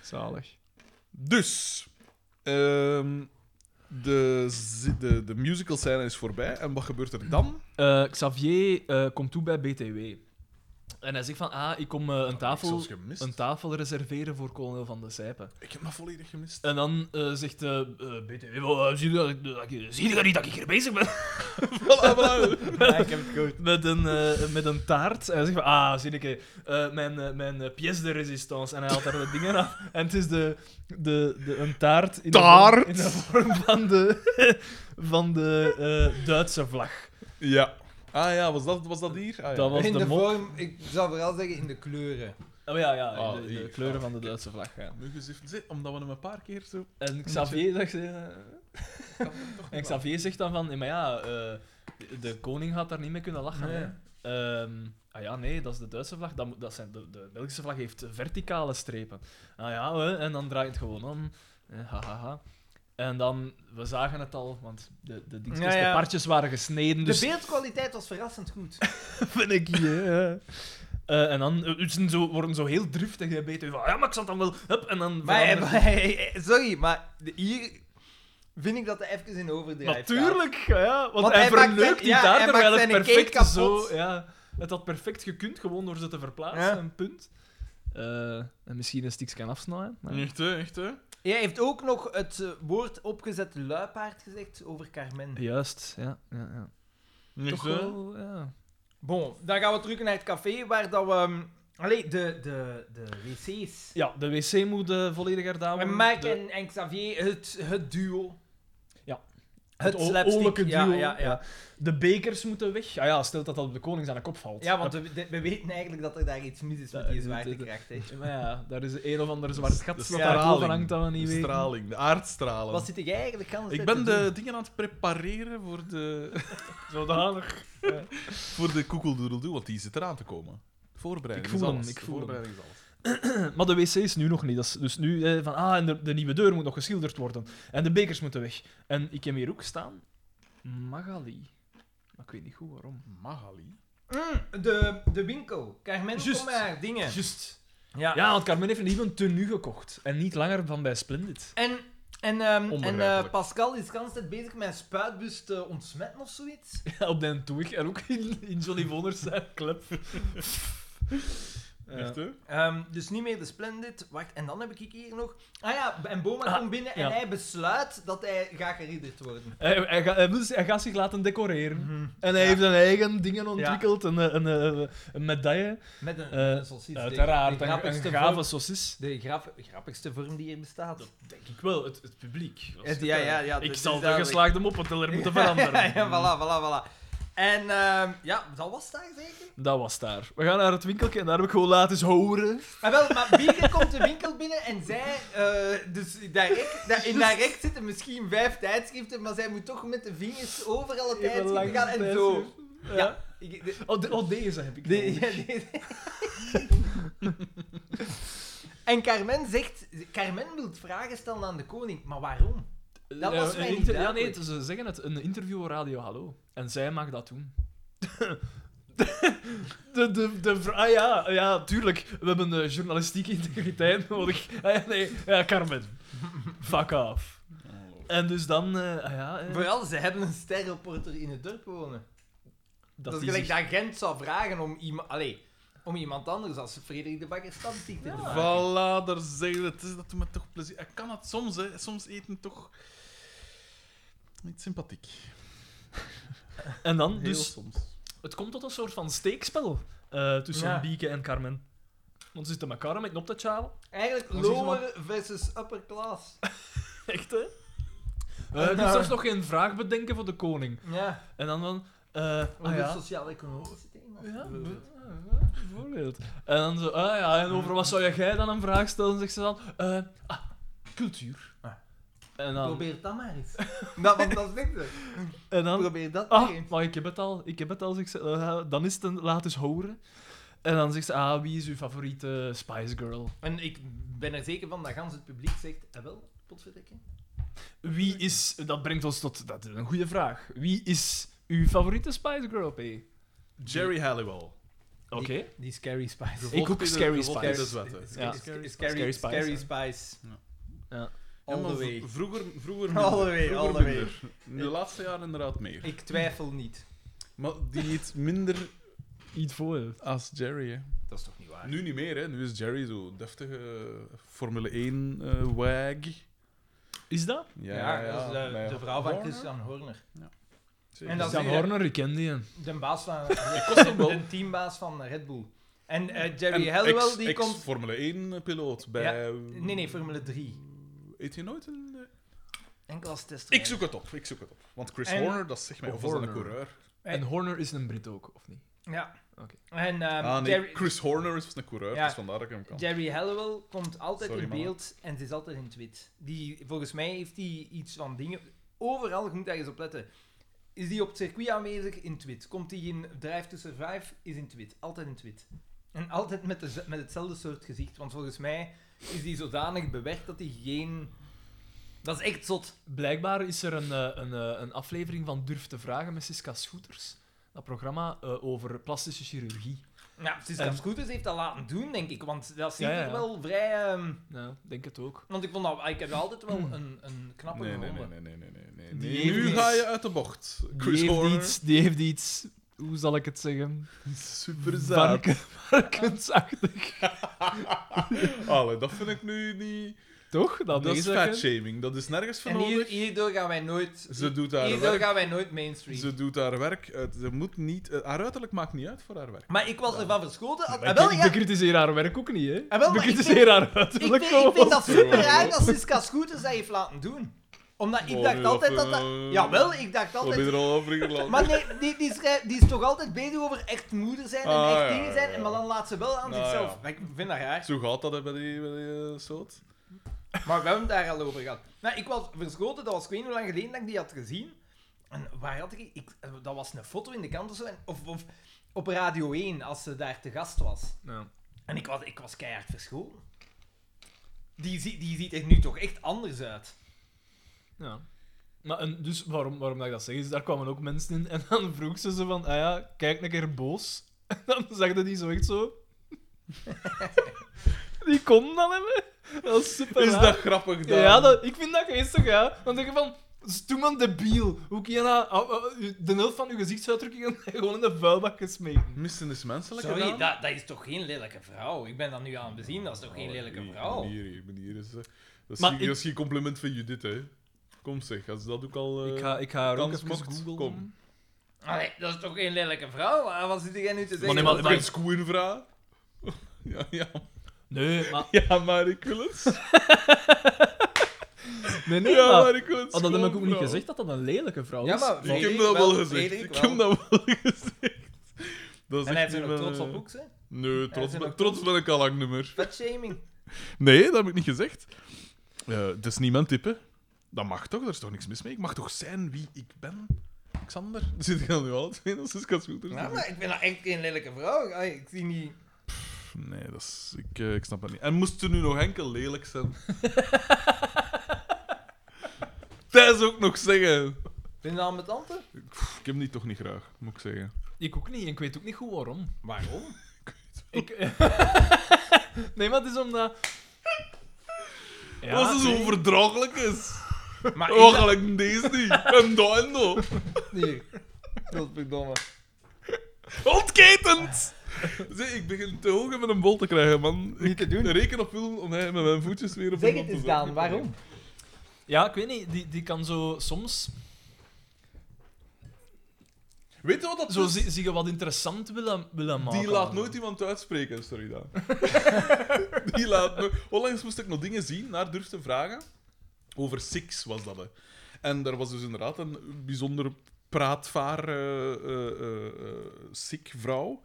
Zalig. Dus, ehm, de, zi- de, de musical scène is voorbij. En wat gebeurt er dan? Eh, Xavier eh, komt toe bij BTW. En hij zegt van, ah, ik kom eh, een, tafel, Ik heb gemist. een tafel reserveren voor kolonel Van de Sijpen. Ik heb dat volledig gemist. En dan eh, zegt eh eh, BTW, wel, eh, zie je dat- dat ik- zie je niet dat ik hier bezig ben? Voilà, voilà. ik heb het gehoord. met een, eh, met een taart. En hij zegt van, ah, zie ik, eh, eh, mijn, eh, mijn eh, pièce de résistance. En hij haalt daar de dingen af. En het is de, de, de, een taart in, De, Taart? vorm, in de vorm van de, van de eh, Duitse vlag. Ja. Ah ja, was dat, was dat hier? Ah, ja. Dat was- In de de mop. vorm, ik zou vooral zeggen in de kleuren. Oh ja, ja, Ah, de, de hier. kleuren van de Duitse vlag. Ja. Nu geziften zitten, omdat we hem een paar keer zo... En Xavier, zegt, eh, en wel. Xavier zegt dan van, eh, maar ja, eh, de koning gaat daar niet mee kunnen lachen. Nee. Hè? Ehm, ah ja, nee, dat is de Duitse vlag. Dat, moet- dat zijn, de, de Belgische vlag heeft verticale strepen. Ah ja, hè, en dan draait het gewoon om. Eh, ha, ha, ha. En dan, we zagen het al, want de, de, dingetjes, Ja, ja. de partjes waren gesneden, De dus beeldkwaliteit was verrassend goed. ben ik hier. hè. Eh, en dan eh, ze zo, worden zo heel driftig en beter van, ja, maar ik zal dan wel, hup, en dan Maar, veranderen. maar- sorry, maar de- hier vind ik dat hij even in overdrijf gaat. Natuurlijk, ja, ja, want, Want hij hij maakt verneukt zijn- die ja, daar, hij terwijl maakt het zijn perfect cake zo... kapot. Ja, het had perfect gekund, gewoon door ze te verplaatsen, Ja. een punt. Eh, en misschien een stiks kan afsnijden. Maar... Echt, hè? Echt, hè? Jij heeft ook nog het eh, woord opgezet luipaard gezegd over Carmen. Juist, ja. ja, ja. Echt, Toch hè? wel, ja. Bon, dan gaan we terug naar het café waar dat we... ehm, Allee, de, de, de wc's. Ja, de wc moet eh, volledig herdaan Maar worden. Mike De- en, en Xavier, het, het duo. Ja. Het, o- slapstick. oorlijke Ja, duo. ja, ja. De bekers moeten weg. Ah ja, stel dat dat op de koning zijn kop valt. ja, want we, de- we weten eigenlijk dat er daar iets mis is met Dat- die dat- zwaartekracht. hè. Maar ja, daar is een of ander zwart gat de dat daar straling. boven hangt dat we niet De weten. straling, de aardstralen. Wat zit jij eigenlijk aan Ik ben de dingen aan het prepareren voor de, Zodanig. voor de koekeldoedeldoe, want die zit eraan te komen. Voorbereiding Ik voel is hem, alles. ik voel hem. Voorbereiding is alles. Maar de wc is nu nog niet. Dat is dus nu eh, van, ah, en de, de nieuwe deur moet nog geschilderd worden. En de bekers moeten weg. En ik heb hier ook staan Magali. Maar ik weet niet goed waarom. Magali. Mm, de, de winkel. Carmen, Juist. kom maar, dingen. Juist. Ja. Ja, want Carmen heeft een nieuwe tenue gekocht. En niet langer van bij Splendid. En, en, ehm, en eh, Onbegrijpelijk. Pascal is de hele tijd bezig met een spuitbus te ontsmetten of zoiets. Ja, op den toeg. En ook in, in Johnny Voners zijn club. Echt, hè? Ehm, dus niet meer de Splendid. Wacht, en dan heb ik hier nog... Ah ja, en Boma Ah, komt binnen ja. en hij besluit dat hij gaat geridderd worden. Hij, hij, gaat- hij wil zich- hij gaat zich laten decoreren. Mhm. En hij Ja. heeft zijn eigen dingen ontwikkeld. Een, eh, een, eh, een medaille. Met een, Eh, een saucies. De- Uiteraard. De, Een, grappigste een gave vorm, saucis. de grap- grappigste vorm die er bestaat. Denk ik wel. Het, het publiek. was Het- het, ja, eh, ja, ja, ik dat zal is de duidelijk. geslaagde moppeteller moeten ja, veranderen. ja, voilà, voilà, voilà. En ehm, ja, dat was het daar zeker. Mm. Dat was daar. We gaan naar het winkeltje en daar heb ik gewoon laten horen. Maar Ah, wel, maar Bieke komt de winkel binnen en zij... eh, dus direct, da- Dus- in direct zitten misschien vijf tijdschriften, maar zij moet toch met de vingers overal het tijdschrift gaan en zo. Ja. Ja. Ik, de- Oh, de- oh, deze heb ik. De- nodig. ja, de- en Carmen zegt... Carmen wil vragen stellen aan de koning, maar waarom? Dat Ja, was Eh, een mij niet inter- Ja, duidelijk. nee, ze zeggen het. Een interview op Radio Hallo. En zij mag dat doen. De, de, de, vra- ah ja, ja, tuurlijk. We hebben eh, journalistieke integriteit nodig. Ah, ja, nee, ja, Carmen. Fuck off. En dus dan, eh, ah ja... eh, Vooral, ze hebben een sterreporter in het dorp wonen. Dat, die is gelijk zich- dat Gent zou vragen om iemand... Allee, om iemand anders als Frederik de Bakker stadsdichter Ah, te maken. Voilà, daar zeg je het. Het is- Dat doet me toch plezier. Ik kan het soms, hè. Soms eten toch... Niet sympathiek. En dan, Heel dus... soms. Het komt tot een soort van steekspel eh, tussen Ja. Bieke en Carmen. Want ze zitten elkaar met op te tjalen. Eigenlijk Dat is iets lower versus upper class. Echt, hè? Eh, ik moet Ja. zelfs nog geen vraag bedenken voor de koning. Ja, Ah, En dan van... eh, wat ah, is ja. sociaal-economische thema? Ja, be- ja, bijvoorbeeld. En dan zo, ah ja, en over wat zou jij dan een vraag stellen? Zegt ze dan, eh, ah, cultuur. Ah. En dan, Probeer dat maar eens. dat, want dat is niks. hè. en dan, Probeer dat maar ah, eens. maar ik heb het al, ik heb het al, zegt ze, eh, dan is het een, laat eens horen. En dan zegt ze, ah, wie is uw favoriete Spice Girl? En ik ben er zeker van dat gans het publiek zegt, eh wel, potverdikke. Wie is, dat brengt ons tot, dat is een goede vraag. Wie is uw favoriete Spice Girl, P? Oké. Jerry Halliwell. Die Scary Spice. Ik ook Scary Spice. Dat is wat, hè. Ja. Scary, scary Scary Spice, Spice. hè. Ja. Ja. All Ja, the maar way. v- Vroeger, vroeger All the minder. way, Vroeger all the way. minder. In de laatste jaren inderdaad meer. Ik twijfel niet. Maar die eet minder Iets voor. als Jerry, hè. Dat is toch niet waar? Nu niet meer, hè. Nu is Jerry zo deftige eh, Formule 1 eh, wag. Is dat? Ja, Ja, ja, dat is de, Nee, de vrouw van Horner? Christian Horner. Zeker. En dat- Jan is- Horner, ik ken die. De baas van... kost hem wel. de teambaas van Red Bull. En eh, En Jerry Halliwell, ex- die ex- komt... Formule 1 piloot bij. Nee, nee, Formule 3. Eet je nooit een. eh, Enkel als test. Ik zoek het op, ik zoek het op. Want Chris En- Horner, dat zegt mij. Of was dat een Horner. coureur? En Horner is een Brit ook, of niet? Ja. Oké. En ehm, ah nee, Jerry, Chris Horner is een coureur, Ja. dus vandaar dat ik hem kan. Jerry Halliwell komt altijd Sorry, in mannen. beeld en ze is altijd in het wit. Die, volgens mij heeft hij iets van dingen... Overal, je moet ergens op letten. Is die op het circuit aanwezig in het wit? Komt hij in Drive to Survive? Is in het wit. Altijd in het wit. En altijd met, de, met hetzelfde soort gezicht. Want volgens mij is die zodanig bewerkt dat hij geen... Dat is echt zot. Blijkbaar is er een, eh, een, eh, een aflevering van Durf te Vragen met Siska Scooters. Dat programma eh, over plastische chirurgie. Ja, precies. En- Dat Scooters heeft dat laten doen, denk ik. Want dat ziet Ja, ja, er ja. wel vrij... ehm, Ja, Nou, denk het ook. want ik vond dat... Ik heb altijd wel een, een knappe Nee, nee, gevonden. nee, nee, nee, nee, nee, nee. Die Nee, heeft Nu iets. ga je uit de bocht. Chris die, heeft Horner. iets, die heeft iets... Hoe zal ik het zeggen? Super zaad. Varken- Varkensachtig. Allee, dat vind ik nu niet... Toch? Dat, Dat is is fatshaming. Dat is nergens voor En hier, nodig. hierdoor gaan wij nooit... Ze doet haar hierdoor werk. gaan wij nooit mainstream. Ze doet haar werk. uit. Ze moet niet... eh, Haar uiterlijk maakt niet uit voor haar werk. Maar ik was ervan verschoten. als- Ik Ah, wel, ja. bekritiseer haar werk ook niet, hè. Ah, wel, maar ik bekritiseer vind- haar Ik uiterlijk vind, ik vind dat Jawel. super raar dat Siska Scooters dat heeft laten doen. Omdat ik Oh, dacht nee, altijd dat, dat dat... eh, Jawel, ik dacht We hebben altijd... er al over gelaten. Maar nee, die, die, is, rij- die is toch altijd bezig over echt moeder zijn en Ah, echt ja, dingen zijn, ja, en ja. maar dan laat ze wel aan Nou, zichzelf. ja. Maar Ik vind dat raar. Zo gaat dat hè, bij die, bij die eh, soort. Maar we hebben het daar al over gehad. Nou, ik was verschoten, dat was ik weet niet hoe lang geleden dat ik die had gezien. En waar had ik, ik Dat was een foto in de krant of zo. en- of, of op Radio 1, als ze daar te gast was. En ik was, ik was keihard verschoten. Die, zie- die ziet er nu toch echt anders uit. Ja. Maar en dus waarom, waarom dat ik dat zeg, is daar kwamen ook mensen in en dan vroeg ze ze van, ah ja, kijk een keer boos. En dan zegde die zo echt zo... die kon dat hebben. Dat is super Is raar. dat grappig dan? Ja, dat, ik vind dat geestig, ja. Dan denk je van, stoem een debiel. Hoe kun je dat... ah, ah, De helft van je gezichtsuitdrukkingen gewoon in de vuilbak gesmeten. Missen is menselijk Sorry, gedaan. dat, dat is toch geen lelijke vrouw? Ik ben dat nu aan het bezien, dat is toch Oh, geen lelijke vrouw? Hier, hier, hier is, eh, dat, is Maar geen, ik- dat is geen compliment van Judith, hè. Kom zeg, als dat ook al... eh, Ik ga, ik ga haar ook kans even mocht, googlen. kom. Allee, dat is toch geen lelijke vrouw? Ah, Wat zit jij nu te zeggen? nee, maar- Als Dat- ik een schoen invraag? Ja, ja, Nee, maar... ja, maar ik wil het. Nee, nee, Ja, maar- maar ik wil het. Ah, dat heb ik ook niet schoenvraag. gezegd dat dat een lelijke vrouw is. Ja, maar Ik heb Frederik dat wel, wel gezegd. Frederik Ik heb wel. dat wel gezegd. Dat is En hij heeft echt er niet ook mijn, trots op eh, boeks, hè? Nee, Hij is trots, er ben- ook trots ben ik al lang niet meer. Fatshaming. Nee, dat heb ik niet gezegd. Eh, het is niet mijn type. Dat mag toch? Er is toch niks mis mee? Ik mag toch zijn wie ik ben? Xander? Zit ik dan nu al twee als Siska Scooters? Nou, maar ik ben dat echt geen lelijke vrouw. Allee, ik zie niet... Nee, dat is, ik, eh, ik snap het niet. En moest ze nu nog enkel lelijk zijn? Thijs ook nog zeggen. Vind je dat met tante? Pff, ik heb die toch niet graag, moet ik zeggen. Ik ook niet. en Ik weet ook niet goed waarom. Waarom? Ik... nee, maar het is omdat... Ja, Als ze zo nee. overdraaglijk is. Maar Oh, ik... gelijk deze niet. En dat en dat. Hier. Godverdomme. Ontketend! Zie, ik begin te hoog met een bol te krijgen, man. Niet te doen. Ik reken op Willem om hij met mijn voetjes weer op Zeg de het grond eens, te zetten. Daan. Waarom? Ja, ik weet niet. Die, die kan zo soms... Weet je wat dat Zo is? zie, zie je wat interessant willen, willen maken. Die laat nooit iemand uitspreken, sorry Daan. Die laat nooit... Onlangs moest ik nog dingen zien, naar durf te vragen. Over Six was dat, hè. En daar was dus inderdaad een bijzonder praatvaar eh, eh, eh, eh, sick vrouw.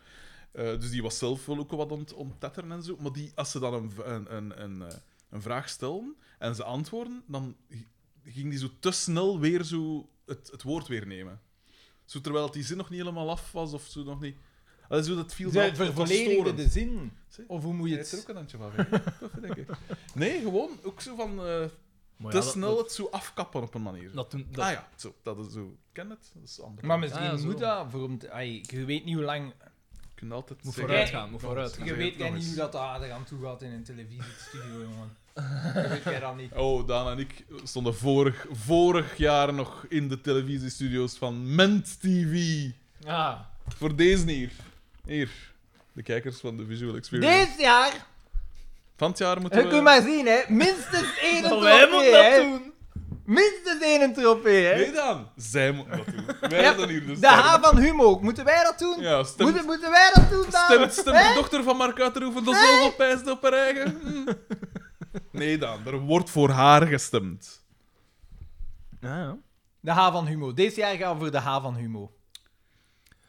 Eh, dus die was zelf wel ook wat aan het onttetteren en zo. Maar die, als ze dan een, v- een, een, een, eh, een vraag stelden en ze antwoorden, dan g- ging die zo te snel weer zo het, het woord weer nemen. Zo, terwijl die zin nog niet helemaal af was of zo nog niet. Allee, zo, dat viel me Ze op, het was vervolledigde storend. de zin. Zie, Of hoe moet je Jij hebt er het... ook een handje van. hè? Tof, denk ik. Nee, gewoon ook zo van eh, Maar te ja, dat- snel Dat, het zo afkappen op een manier. dat, doen- dat- Ah ja, zo, dat is zo. Ik ken het, dat is anders. Maar misschien Ah, ja, zo. moet dat... Voor, om te- ai, je weet niet hoe lang... Je kunt altijd Moet zeggen- vooruit Jij- gaan, moet vooruit gaan. Je zeg weet het nog jij niet eens. hoe dat daar aan toe gaat in een televisiestudio, jongen. Dat weet jij dat niet. Oh, Daan en ik stonden vorig, vorig jaar nog in de televisiestudio's van Ment TV. Ah. Voor deze hier. Hier. De kijkers van de Visual Experience. Dit jaar, Van het jaar moeten dat we... kun je maar zien, hè. Minstens één Maar wij trofee, moeten dat hè. doen. Minstens één trofee, hè. Nee, Daan. Zij moeten dat doen. Wij Ja, zijn hier de De H van Humo, moeten wij dat doen? Ja, stemt, moeten, moeten wij dat doen, dan? stemt, stemt Hè? de dochter van Mark Uiterhoeven dat zoveel pijst op haar eigen? Hm. Nee, Daan. Er wordt voor haar gestemd. Ah, ja. De H van Humo. Deze jaar gaan we voor de H van Humo.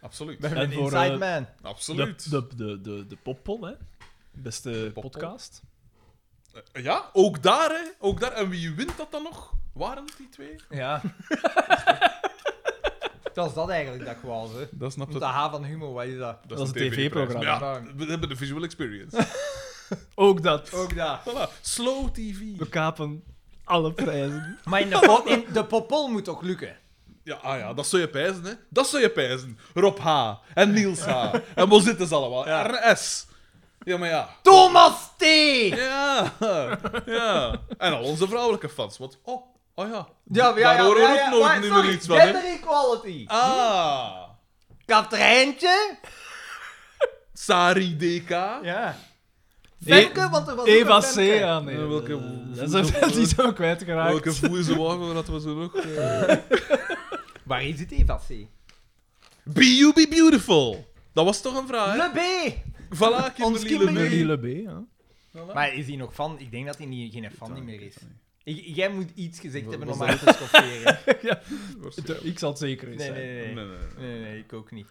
Absoluut. We hebben En een voor, Inside eh, Man. Absoluut. De, de, de, de, de poppol, hè. Beste poppol. podcast. Ja, ook daar, hè. Ook daar. En wie wint dat dan nog? Waren het die twee? Ja. dat is dat eigenlijk dat ik wou, hè. Dat snapt Want de H van Humo, wat is dat? Dat is een TV-programma. Maar Ja, we hebben de visual experience. Ook dat. Ook dat. voilà. Slow TV. We kapen alle prijzen. Maar in de, pop, in de popol moet toch lukken? Ja, ah ja, dat zou je pijzen, hè. Dat zou je pijzen. Rob H. En Niels H. en wat zitten ze allemaal? RS. Ja, maar ja. Thomas T! Ja. Ja. En al onze vrouwelijke fans. Want, oh, oh ja. Ja, Daar horen we ook nooit Maar niet sorry, meer iets van, hè. Gender equality. Ah. Katrijntje. Sari DK. Ja. E- Femke, want er was ook Eva een C. Femke. aan. nee. Eh, welke- Dat is ook- die zijn we kwijtgeraakt. Welke voerse wagen hadden we zo nog? Eh, Waarin zit Eva C? Be You Be Beautiful. Dat was toch een vraag, hè? Le B! Voilà, Ons Kimberly Kimberly. Lebe. Lille B, ja. Maar is hij nog fan? Ik denk dat hij niet, geen fan meer is. Ik- jij moet iets gezegd hebben om was haar te schofferen. Waarschijnlijk. Ik zal het zeker eens Nee, zijn. nee, Nee, nee. nee, nee. Nee, nee, ik ook niet.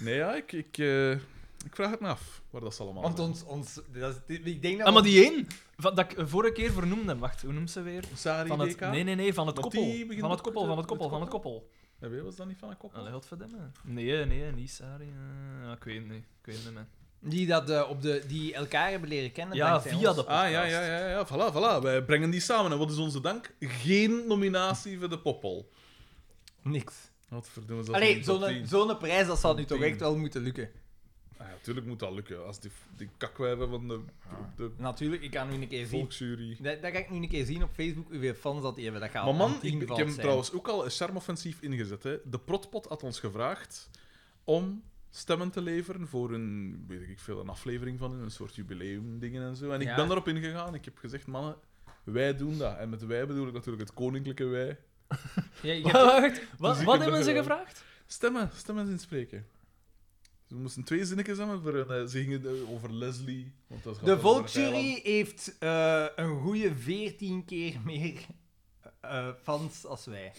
Nee, ja, ik, ik, eh, ik vraag het me af waar dat ze allemaal Want zijn. ons... ons dat is, ik denk dat Ah, maar ons- die één, van, dat ik vorige keer vernoemde, wacht, hoe noemt ze weer? Sari Van het, DK? nee, nee, nee, van het Want koppel. die begint Van het ook koppel, te- van het koppel, het van het koppel. Ah, nee. Was dat niet van een koppel? Allee, godverdamme. Nee, nee, niet Sari. eh, ja, ik weet het niet, ik weet het niet meer. Die, dat, eh, op de, die elkaar hebben leren kennen. Ja, dankzij via ons. de Ah, ja, ja, ja, ja. Voilà, voilà. Wij brengen die samen. En wat is onze dank? Geen nominatie voor de poppel. Niks. Wat verdomme ze Allee, zo'n zo'n prijs, dat zal nu toch tien. echt wel moeten lukken. Ah, ja, tuurlijk moet dat lukken. Als die, die kakwijven van de, Ah. de Natuurlijk, ik kan nu een keer zien. volksjury... Dat, dat ga ik nu een keer zien op Facebook, hoeveel fans dat die hebben. Dat gaat Maar man, aan ik, ik tienvoudig heb zijn. trouwens ook al een charmoffensief ingezet. Hè. De Protpot had ons gevraagd om stemmen te leveren voor een, weet ik veel, een aflevering van hun, een soort jubileumdingen en zo. En ik Ja. ben erop ingegaan. Ik heb gezegd, mannen, wij doen dat. En met wij bedoel ik natuurlijk het koninklijke wij. Ja, je hebt- Wacht, wat, Dus ik wat heb hebben er, ze eh, gevraagd? Stemmen, stemmen inspreken. Ze moesten twee zinnetjes hebben. Voor een, eh, ze gingen eh, over Leslie. Want dat gaat De over Volksjury Thailand. heeft eh, een goede 14 keer meer eh, fans als wij.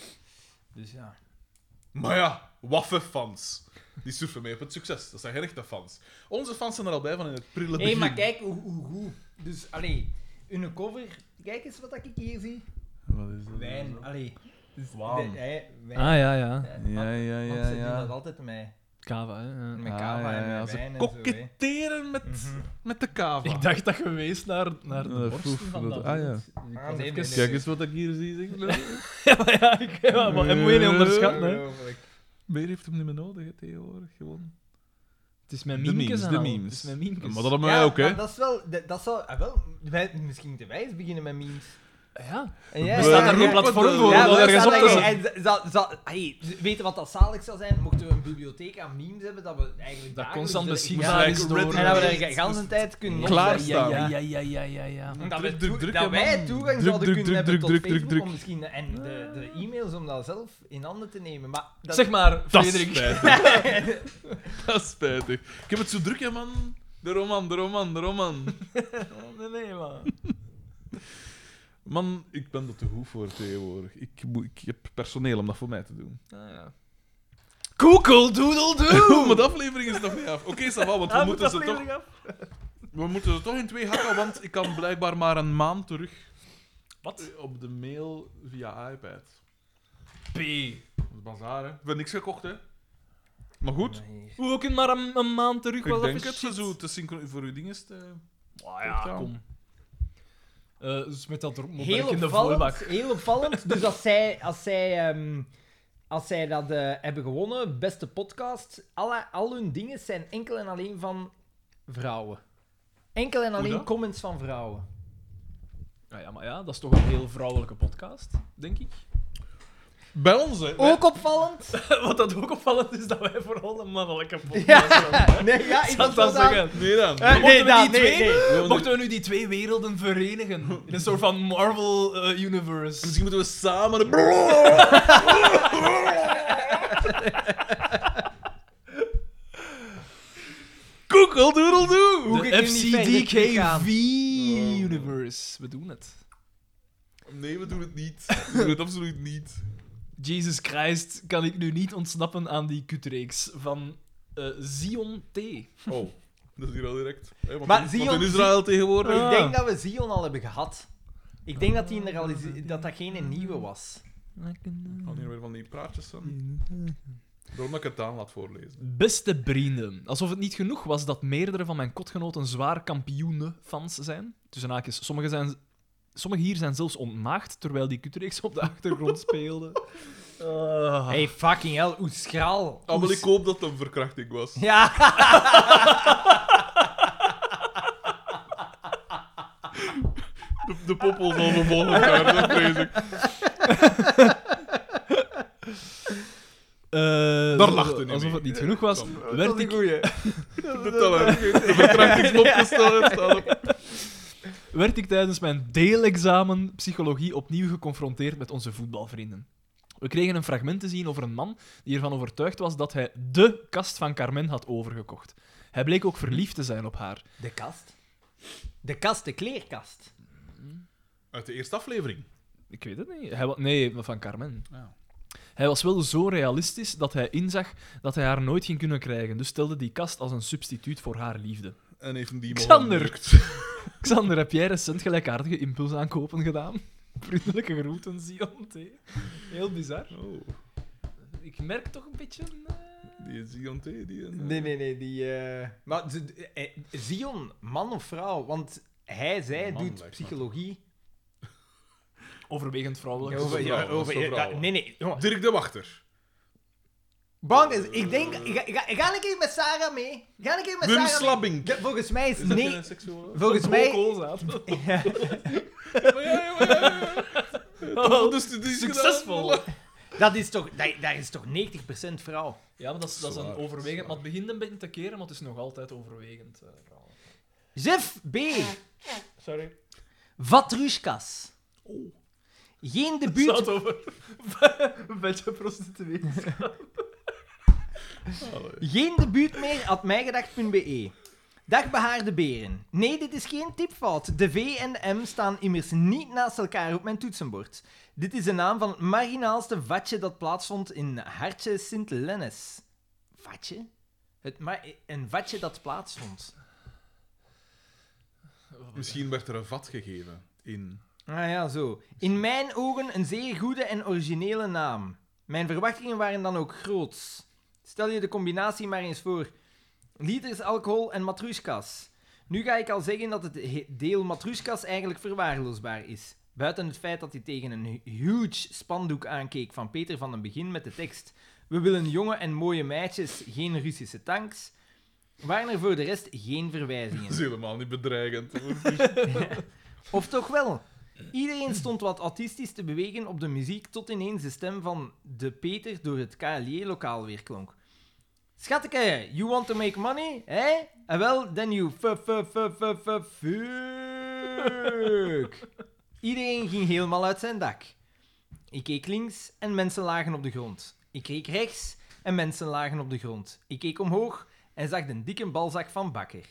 Dus ja. Maar ja, waffe fans. Die surfen mee op het succes. Dat zijn gerechte fans. Onze fans zijn er al bij van in het prille Hé, begin. maar kijk hoe, hoe goed. Dus, allee, hun cover. Kijk eens wat ik hier zie. Wat is dat? Wijn, allee. Dus Wauw. de- hij- wijn. Ah, ja, ja. Eh, Ja, want- ja, Want ja, ze doen dat ja. altijd met, Kava, hè. ja. met Ah, kava ja, en ja, met ze wijn en zo. hè. Koketteren met, Mhm. met de kava. Ik dacht dat je wees naar, naar de Eh, borsten foef, van dat- dat ah, ja. beeld. Ik Ah, was nee, even- nee, nee. Kijk eens wat ik hier zie. Zeg. Nou, Ja, maar ja, ik, ja, maar en moet je niet onderschatten, hè. Ongelooflijk. Meer heeft hem niet meer nodig hè, tegenwoordig. Gewoon. Het is mijn De miemkes memes, aan de al. memes. Het is mijn miemkes. Maar dat hebben wij Dus Ja, ook, hè? maar dat is wel... Dat, dat zou... ah, wel, wij, misschien te wijs beginnen met memes. Ja. En jij- We- Bestaat daar Ja, een platform voor Ja, om dat maar ergens op dat te dat- zetten? en za- za- za- hey, weet je wat dat zalig zou zijn? Mochten we een bibliotheek aan memes hebben, dat we eigenlijk Dat dagelijks constant er- beschikbaar Ja, gelijk is Red door... En dat we daar de hele tijd kunnen Ja, opzetten. klaarstaan. Ja, ja, ja, ja, ja, ja. En Dat, we Druk, druk, toe- druk, dat hè, wij man. toegang Druk, zouden druk, kunnen hebben druk, druk, tot druk, Facebook druk. Ah. om misschien en de, de e-mails om dat zelf in handen te nemen. Maar dat, Zeg maar, Dat is Frederik. spijtig. dat is spijtig. Ik heb het zo druk, hè, man. De roman, de roman, de roman. Nee, nee, man. Man, ik ben er te goed voor tegenwoordig. Ik, moet- ik heb personeel om dat voor mij te doen. Ah, ja. Google doodle Oeh, maar doo! de aflevering is nog niet af. Oké, ça va, want we, Ah, moet moeten dat ze toch, aflevering af? we moeten ze toch in twee hakken, want ik kan blijkbaar maar een maand terug Wat? op de mail via iPad. P. Dat is bazaar, hè. Ik heb niks gekocht, hè. Maar goed, Nee. Hoe ook in maar een, een maand terug ik wel denk even het shit. zo te synchro- voor uw ding is te... Ah, ja, Totaal. kom. Eh, dus met dat Heel mobiel in de opvallend, voorbak. heel opvallend. Dus als zij, als zij, ehm, als zij dat eh, hebben gewonnen, beste podcast, alle, al hun dingen zijn enkel en alleen van vrouwen. Enkel en alleen dat? comments van vrouwen. Ah, ja, maar ja, dat is toch een heel vrouwelijke podcast, denk ik. Bij ons, hè. Ook opvallend. Wat dat ook opvallend is, dat wij vooral een mannelijke podcast hebben. Ja, nee, ja, ik Zou was ik dat wel aan- zeggen? Nee dan. Eh, Mochten, we nee, die nee, twee, nee. mochten we nu die twee werelden verenigen? In een soort van Marvel eh, Universe. Misschien moeten we samen... een- Google doodle doe! Hoe De ik nu niet verder kan gaan. FCDKV Oh. Universe. We doen het. Nee, we doen het niet. We doen het absoluut niet. Jesus Christ, kan ik nu niet ontsnappen aan die kutreeks van eh, Zion T. Oh, dat is hier al direct. Hè, want Maar in, zie want in ons- Israël tegenwoordig. Ik Ah. denk dat we Zion al hebben gehad. Ik denk dat, die er al is, dat dat geen nieuwe was. Ik Oh, kan Oh, hier weer van die praatjes Hmm. aan. Daarom dat ik het aan laat voorlezen. Beste vrienden, alsof het niet genoeg was dat meerdere van mijn kotgenoten zwaar kampioenen-fans zijn. Tussen haakjes, sommigen, zijn, sommigen hier zijn zelfs ontmaagd terwijl die kutreeks op de achtergrond speelde. Hey, fucking hell, hoe schraal. Ah, hoe wel, ik hoop dat het een verkrachting was. Ja. De, de poppel zal vervolgens daar, dat vrees ik. Daar lachte hij eh, Alsof mee. het niet genoeg was, Kom. werd ik, goeie. De teller. De verkrachtingsknop gesteld. staat op. werd ik tijdens mijn deelexamen psychologie opnieuw geconfronteerd met onze voetbalvrienden. We kregen een fragment te zien over een man die ervan overtuigd was dat hij de kast van Carmen had overgekocht. Hij bleek ook verliefd te zijn op haar. De kast. De kast, de kleerkast. Uit de eerste aflevering. Ik weet het niet. Hij wa- nee, van Carmen. Ja. Hij was wel zo realistisch dat hij inzag dat hij haar nooit ging kunnen krijgen, dus stelde die kast als een substituut voor haar liefde. En heeft hem die man Xander. ontdekt. Xander, heb jij recent gelijkaardige impulsaankopen gedaan? Vriendelijke groeten, Zion T. Heel bizar. Oh, Ik merk toch een beetje... eh, die Zion T. Die een, eh, Nee, nee, nee. Die, eh, Maar ze- eh, Zion, man of vrouw? Want hij, zij Man lijkt doet me. psychologie. Overwegend vrouwelijk. Over- vrouw, dat is een ja, vrouw. nee, nee. jongen. Dirk de Wachter. Bang is, ik denk... Ga, ga, ga een keer met Sarah mee. Ga een keer met Wim Sarah mee. Slabbing. De- volgens mij is... Is dat Nee, een seksueel? volgens mij... Koolzaad. Ja, ja, ja, ja, ja. Oh, Toch, Dus die is Succesvol. gedaan. Dat is toch... Dat, dat is toch 90% vrouw? Ja, maar dat is, dat is een Zwaar, overwegend... zwaar. Maar het begint een beetje te keren, maar het is nog altijd overwegend eh, vrouwelijk. Jef B. Sorry. Vatrushkas. Geen Het staat debuut... over een beetje prostituee. Geen debuut meer at mijgedacht.be. E. Dag behaarde beren. Nee, dit is geen tipfout. De V en de M staan immers niet naast elkaar op mijn toetsenbord. Dit is de naam van het marginaalste vatje dat plaatsvond in Hartje Sint-Lennes. Vatje? Het ma- een vatje dat plaatsvond. Misschien werd er een vat gegeven in... Ah ja, zo. In mijn ogen een zeer goede en originele naam. Mijn verwachtingen waren dan ook groots. Stel je de combinatie maar eens voor. Liters alcohol en matroeskas. Nu ga ik al zeggen dat het he- deel matroeskas eigenlijk verwaarloosbaar is. Buiten het feit dat hij tegen een hu- huge spandoek aankeek van Peter van den Begin met de tekst We willen jonge en mooie meisjes, geen Russische tanks, waren er voor de rest geen Dat verwijzingen. is helemaal niet bedreigend. Of toch wel? Iedereen stond wat autistisch te bewegen op de muziek tot ineens de stem van de Peter door het KLJ-lokaal weer klonk. Schatteke, you want to make money? Hé? Eh wel, then you fu- fu- fu- fu- fu- fuck. Iedereen ging helemaal uit zijn dak. Ik keek links en mensen lagen op de grond. Ik keek rechts en mensen lagen op de grond. Ik keek omhoog en zag de dikke balzak van Bakker.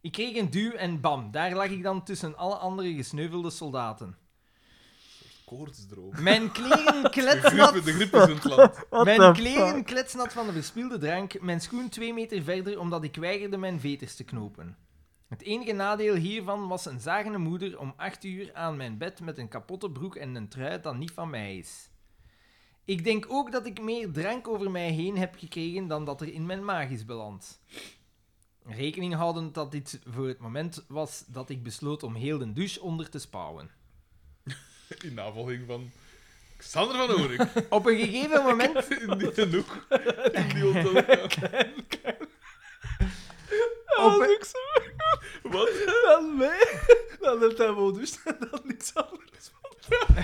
Ik kreeg een duw en bam, daar lag ik dan tussen alle andere gesneuvelde soldaten. Koortsdroom. Mijn kleren De griep, kletsnat, de griep is in het land. mijn kleren kletsnat van de verspilde drank, mijn schoen twee meter verder omdat ik weigerde mijn veters te knopen. Het enige nadeel hiervan was een zagende moeder om acht uur aan mijn bed met een kapotte broek en een trui dat niet van mij is. Ik denk ook dat ik meer drank over mij heen heb gekregen dan dat er in mijn maag is beland. Rekening houdend dat dit voor het moment was dat ik besloot om heel de douche onder te spouwen. In navolging van Xander van Oorik. Op een gegeven moment In die in de hoek. In die hotel. Op- dat is ook Oh, zo. Wat? Dan mij. Dan heeft hij wel dus en dan niks anders. Ah,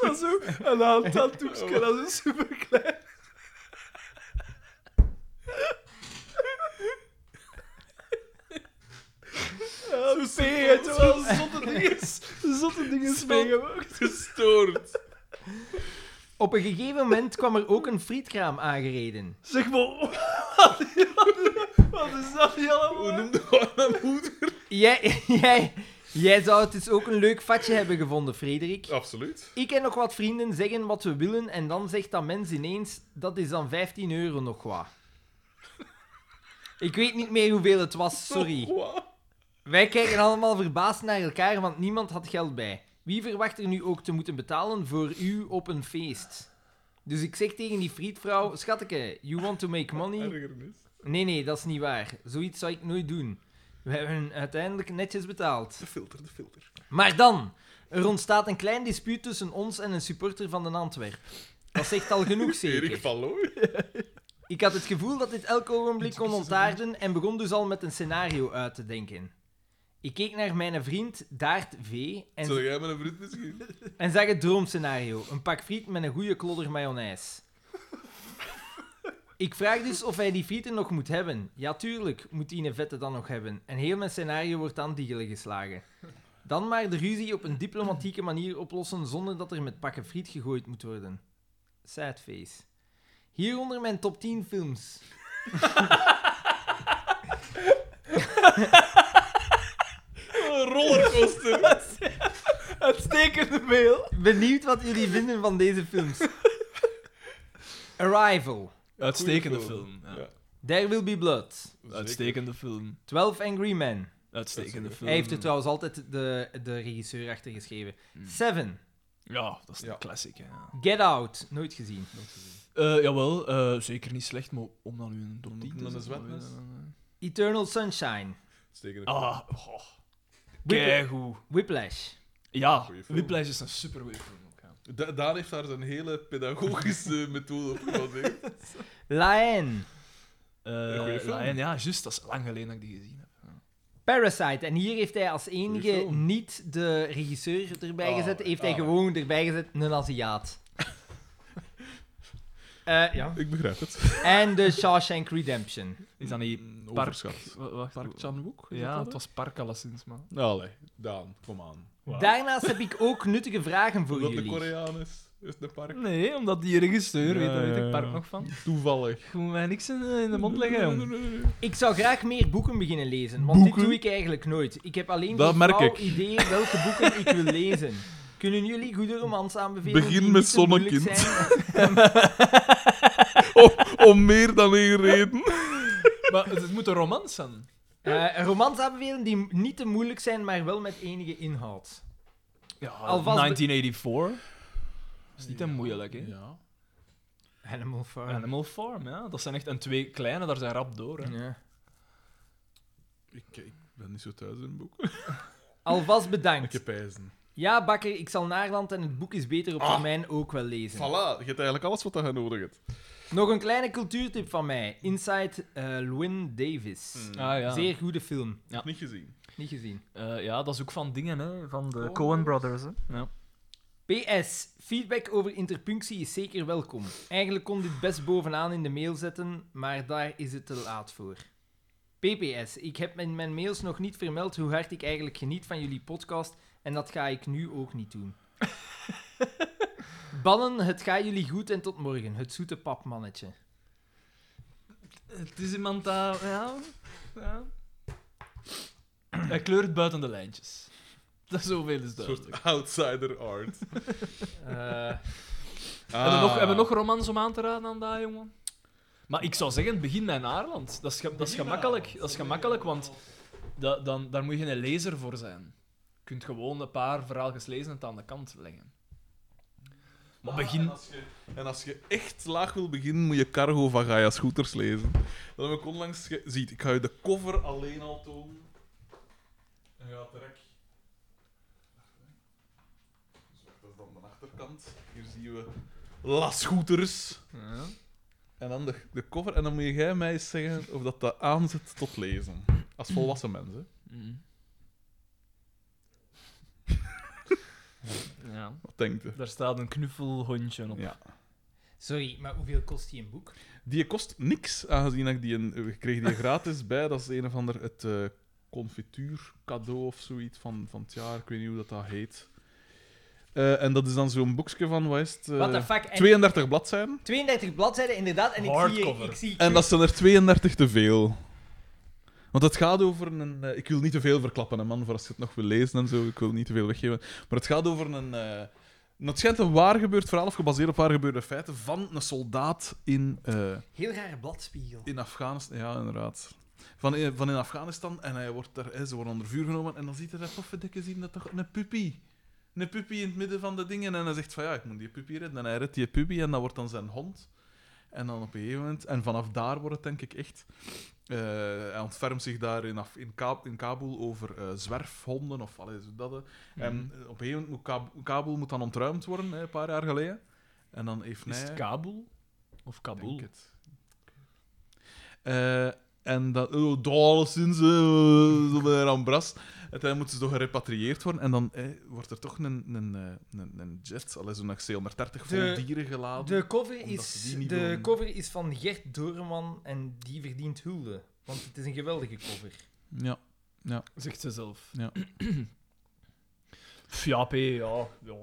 dat is zo. En dan tattoekje, dat is super klein. Ja, Ah, P, het is wel zotte dingen. Zotte dingen meegemaakt. Gestoord. Op een gegeven moment kwam er ook een frietkraam aangereden. Zeg maar, wat, wat- wat is dat hier Hoe allemaal? noemde we haar moeder? Jij, jij, jij zou het dus ook een leuk vatje hebben gevonden, Frederik. Absoluut. Ik en nog wat vrienden zeggen wat we willen en dan zegt dat mens ineens, dat is dan 15 euro nog wat. Ik weet niet meer hoeveel het was, sorry. Oh, Wat? Wij kijken allemaal verbaasd naar elkaar, want niemand had geld bij. Wie verwacht er nu ook te moeten betalen voor u op een feest? Dus ik zeg tegen die frietvrouw, schatteke, you want to make money? Ergernis. Nee, nee, dat is niet waar. Zoiets zou ik nooit doen. We hebben uiteindelijk netjes betaald. De filter, de filter. Maar dan, er ontstaat een klein dispuut tussen ons en een supporter van de Antwerp. Dat zegt al genoeg Erik zeker. van Looy. Ik had het gevoel dat dit elk ogenblik kon ontaarden en begon dus al met een scenario uit te denken. Ik keek naar mijn vriend Daart V en Zou jij met een vriend misschien? En zeg het droomscenario. Een pak friet met een goede klodder mayonaise. Ik vraag dus of hij die frieten nog moet hebben. Ja, tuurlijk moet die een vette dan nog hebben. En heel mijn scenario wordt aan diegelen geslagen. Dan maar de ruzie op een diplomatieke manier oplossen zonder dat er met pakken friet gegooid moet worden. Sad face. Hieronder mijn top 10 films. Een rollercoaster. Uitstekende mail. Benieuwd wat jullie vinden van deze films. Arrival. Uitstekende Goeie film. ja. Ja. There Will Be Blood. Uitstekende film. 12 Angry Men. Uitstekende film. Hij heeft er trouwens altijd de, de regisseur achter geschreven. Hmm. Seven. Ja, dat is Ja. een classic. Hè. ja. Get Out. Nooit gezien. Eh, jawel, eh, zeker niet slecht, maar om dan nu een top Om 10 dan te een zetten, zwetnes. eh, eh, Eternal Sunshine. Uitstekende eh. film. Ah, goh. Whipla- Keigoed. Whiplash. Ja, Goeie film. Whiplash is een supergoeie film ook. Ja. Da- daar heeft daar zijn hele pedagogische methode op gebaseerd. Lion. Eh, goeie film. Lion, ja, juist, dat is lang geleden dat ik die gezien heb. Parasite. En hier heeft hij als Goeie enige film. niet de regisseur erbij Ah, gezet. Heeft hij ah. gewoon erbij gezet een Aziat. Eh, ja. Ik begrijp het. En The Shawshank Redemption. Is dat niet Mm, Park? Overschat. wa- wacht, Park Chan-wook? is Ja, dat het dat? was Park alleszins, man. Allee, Daan, kom aan. Daarnaast heb ik ook nuttige vragen voor Omdat de jullie. Koreaan is, is de park. Nee, omdat die regisseur, weet, daar weet ik Park nog van. Toevallig. Ik moet mij niks in, eh, in de mond leggen, jong. Ik zou graag meer boeken beginnen lezen, want dit Boeken? doe ik eigenlijk nooit. Ik heb alleen Dat geen merk flauw ik. idee welke boeken ik wil lezen. Kunnen jullie goede romans aanbevelen? Begin die niet met zo moeilijk Zonnekind. zijn? om, Oh, om meer dan één reden. Maar het, het moet een romans zijn. Eh, romans aanbevelen die niet te moeilijk zijn, maar wel met enige inhoud. Ja, Alvast be- 1984. Dat is niet te moeilijk, hè. Ja. Animal Farm. Animal Farm, ja. Dat zijn echt... En twee kleine, daar zijn rap door, hè. Ja. Ik, ik ben niet zo thuis in boeken. Alvast Ik bedankt. heb ijzen. Ja, Bakker, ik zal Naarland en het boek is beter op Ah. termijn ook wel lezen. Voilà, je hebt eigenlijk alles wat je nodig hebt. Nog een kleine cultuurtip van mij. Inside eh Llewyn Davis. Hmm. Ah, ja. Zeer goede film. Ja. Niet gezien. Niet gezien. Eh, ja, dat is ook van dingen, hè. Van de Coen Coen Brothers, hè. Ja. PS, feedback over interpunctie is zeker welkom. Eigenlijk kon dit best bovenaan in de mail zetten, maar daar is het te laat voor. PPS, ik heb in mijn mails nog niet vermeld hoe hard ik eigenlijk geniet van jullie podcast en dat ga ik nu ook niet doen. Bannen, het gaat jullie goed en tot morgen. Het zoete papmannetje. Het is iemand dat... Ja, ja. Hij kleurt buiten de lijntjes. Dat is zoveel is Een duidelijk. soort outsider art. Eh, Hebben, we nog, hebben we Ah. nog romans om aan te raden aan dat, jongen? Maar ik zou zeggen, begin met Naarland. Dat is, ge- dat is gemakkelijk. Dat is gemakkelijk, want da- dan, daar moet je geen lezer voor zijn. Je kunt gewoon een paar verhaaltjes lezen en het aan de kant leggen. Maar En begin... als, je, en als je echt laag wil beginnen, moet je Cargo van Gaia Scooters lezen. Dat heb ik onlangs gezien. Ik ga je de cover alleen al tonen. En je gaat direct... Zo, dat is dan de achterkant. Hier zien we La Scooters. Ja. En dan de, de cover. En dan moet jij mij eens zeggen of dat, dat aanzet tot lezen. Als volwassen mensen. Mm. ja. Wat denkt je? Daar staat een knuffelhondje op. Ja. sorry, maar hoeveel kost die een boek? Die kost niks, aangezien ik die een, ik kreeg die gratis bij. Dat is een of ander het eh confituur cadeau of zoiets van, van het jaar. Ik weet niet hoe dat, dat heet. Eh, en dat is dan zo'n boekje van, wat is het? eh, What the fuck? En 32 bladzijden. 32 bladzijden, inderdaad. En ik zie, Hardcover. ik zie En dat zijn er 32 te veel. Want het gaat over een... eh, ik wil niet te veel verklappen, hè, man, voor als je het nog wil lezen en zo. Ik wil niet te veel weggeven. Maar het gaat over een... eh nou, het schijnt een waar gebeurd verhaal, of gebaseerd op waar gebeurde feiten, van een soldaat in... eh, heel rare bladspiegel. in Afghanistan, ja, inderdaad. Van, in- van in Afghanistan en hij wordt daar, hè, ze worden onder vuur genomen en dan ziet hij dat toffe dikke zien dat toch een puppy. Een puppy in het midden van de dingen en hij zegt van ja, ik moet die puppy redden. En hij redt die puppy en dat wordt dan zijn hond. En dan op een gegeven moment, en vanaf daar wordt het denk ik echt. eh, hij ontfermt zich daar in, Af- in, Ka- in Kabul over eh, zwerfhonden of Mhm. allee, zo dat. eh. En eh, op een gegeven moment moet Kab- Kabul moet dan ontruimd worden, hè, een paar jaar geleden. En dan heeft Is hij... het Kabul? Of Kabul? Denk het. Eh, en dan, oh, dollar sinds, eh, zo bij een Rambras. Uiteindelijk moeten ze toch gerepatrieerd worden. En dan eh, wordt er toch een, een, eh, een, een jet, al is het nog 730, vol De- dieren geladen. De cover, Omdat ze is, die niet de wilden. cover is van Gert Doorman en die verdient hulde. Want het is een geweldige cover. Ja. Zegt ze zelf. Ja. Pff, Ja, P, ja. ja.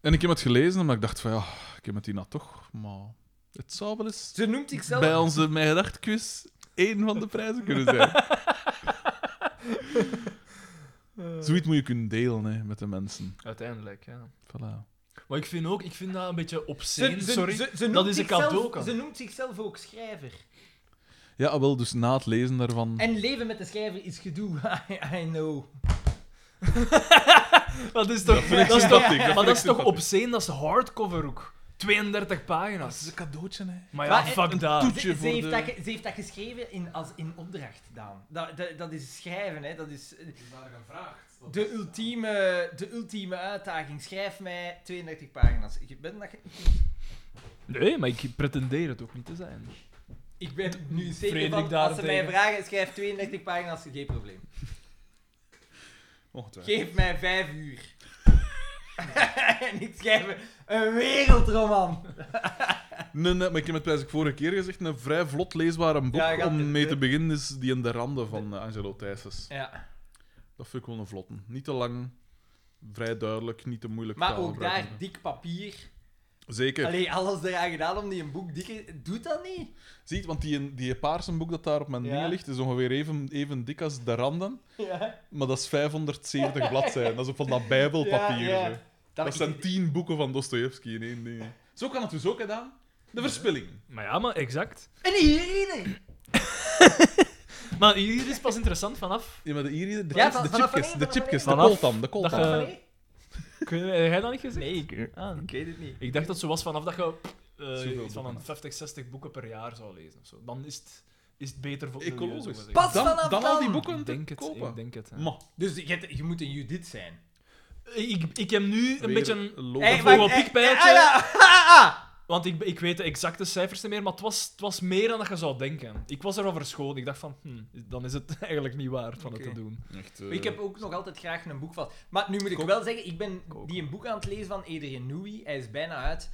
En ik heb het gelezen, omdat ik dacht van ja, ik heb het hierna toch, maar het zou wel eens Ze noemt zichzelf... bij onze Mijn Gedacht quiz één van de prijzen kunnen zijn. Zoiets moet je kunnen delen hè, met de mensen. Uiteindelijk, ja. Voilà. Maar ik vind ook, ik vind dat een beetje Ze, obscene, ze- sorry. ze- ze noemt dat is een zichzelf- cadeau, kan. Ze noemt zichzelf ook schrijver. Ja, wel, dus na het lezen daarvan... En leven met de schrijver is gedoe. I, I know. Dat is toch... vind ik dat is toch sympathiek, dat maar vind dat ik is toch sympathiek. obscene, dat is hardcover ook. 32 pagina's. cadeautje, hè. Maar ja, Maar, eh, fuck dat. toet- Ze, voor ze heeft de- dat, ge- ze heeft dat geschreven in, als in opdracht, Daan. Dat, dat, dat is schrijven, hè. Dat is eh, de ultieme, de ultieme uitdaging. Schrijf mij 32 pagina's. Ik ben, dat, ge- Nee, maar ik pretendeer het ook niet te zijn. ik ben nu zeker Vredig van, als ze daarentegen. mij vragen, schrijf 32 pagina's, geen probleem. Ongetwijfeld. Geef mij vijf uur. en ik schrijf een wereldroman. Nee, nee, maar ik heb het prijs ik vorige keer gezegd, een vrij vlot leesbare boek Ja, gaat- om mee de- te beginnen is die in de randen van eh, Angelo Thijsens. Ja. Dat vind ik wel een vlotte. Niet te lang, vrij duidelijk, niet te moeilijk. Maar ook taalgebruik. daar, dik papier. Zeker. Allee, alles eraan gedaan om die een boek dikker... Doet dat niet? Ziet, want die, die paarse boek dat daar op mijn Ja. ding ligt, is ongeveer even, even dik als de randen, Ja. maar dat is 570 bladzijden. Dat is op van dat bijbelpapier. Ja, ja. zo. Dat, zijn tien boeken van Dostoevsky in één ding. hè. Zo kan het dus ook gedaan. De verspilling. Maar ja, maar exact. En iedereen! Maar hier is pas interessant vanaf. Ja, maar de, hier, de, Ja, chips- van- de vanaf chipjes, wanneer, vanaf de chipjes, de wanneer? coltan, de coltan. Dat je- Van, nee, Kun je, heb jij dat niet gezegd? ik, Ah. ik weet het niet. Ik dacht dat zo was vanaf dat je eh, Zoveel iets van boeken. een 50, 60 boeken per jaar zou lezen. Of zo. Dan is het, is het beter voor het milieu, zo Ecologisch. gezegd. Pas dan, vanaf dan al die dan. boeken Ik denk te het, kopen. ik denk het. ja. Ma, Dus je, je moet een Judith zijn. Ik, ik heb nu een weer beetje een... lopen. Hey, Eh, maar- maar... een eh, eh, piekpijltje. ah, ja. Ah, ah. Want ik, ik weet de exacte cijfers niet meer, maar het was, het was meer dan dat je zou denken. Ik was erover schoon. Ik dacht van, hm, dan is het eigenlijk niet waard van Oké. het te doen. Echt, Maar Ik heb ook nog altijd graag een boek vast. Maar nu moet ik Eh. Koop. wel zeggen, ik ben Koop. die een boek aan het lezen van Adrien Nui. Hij is bijna uit.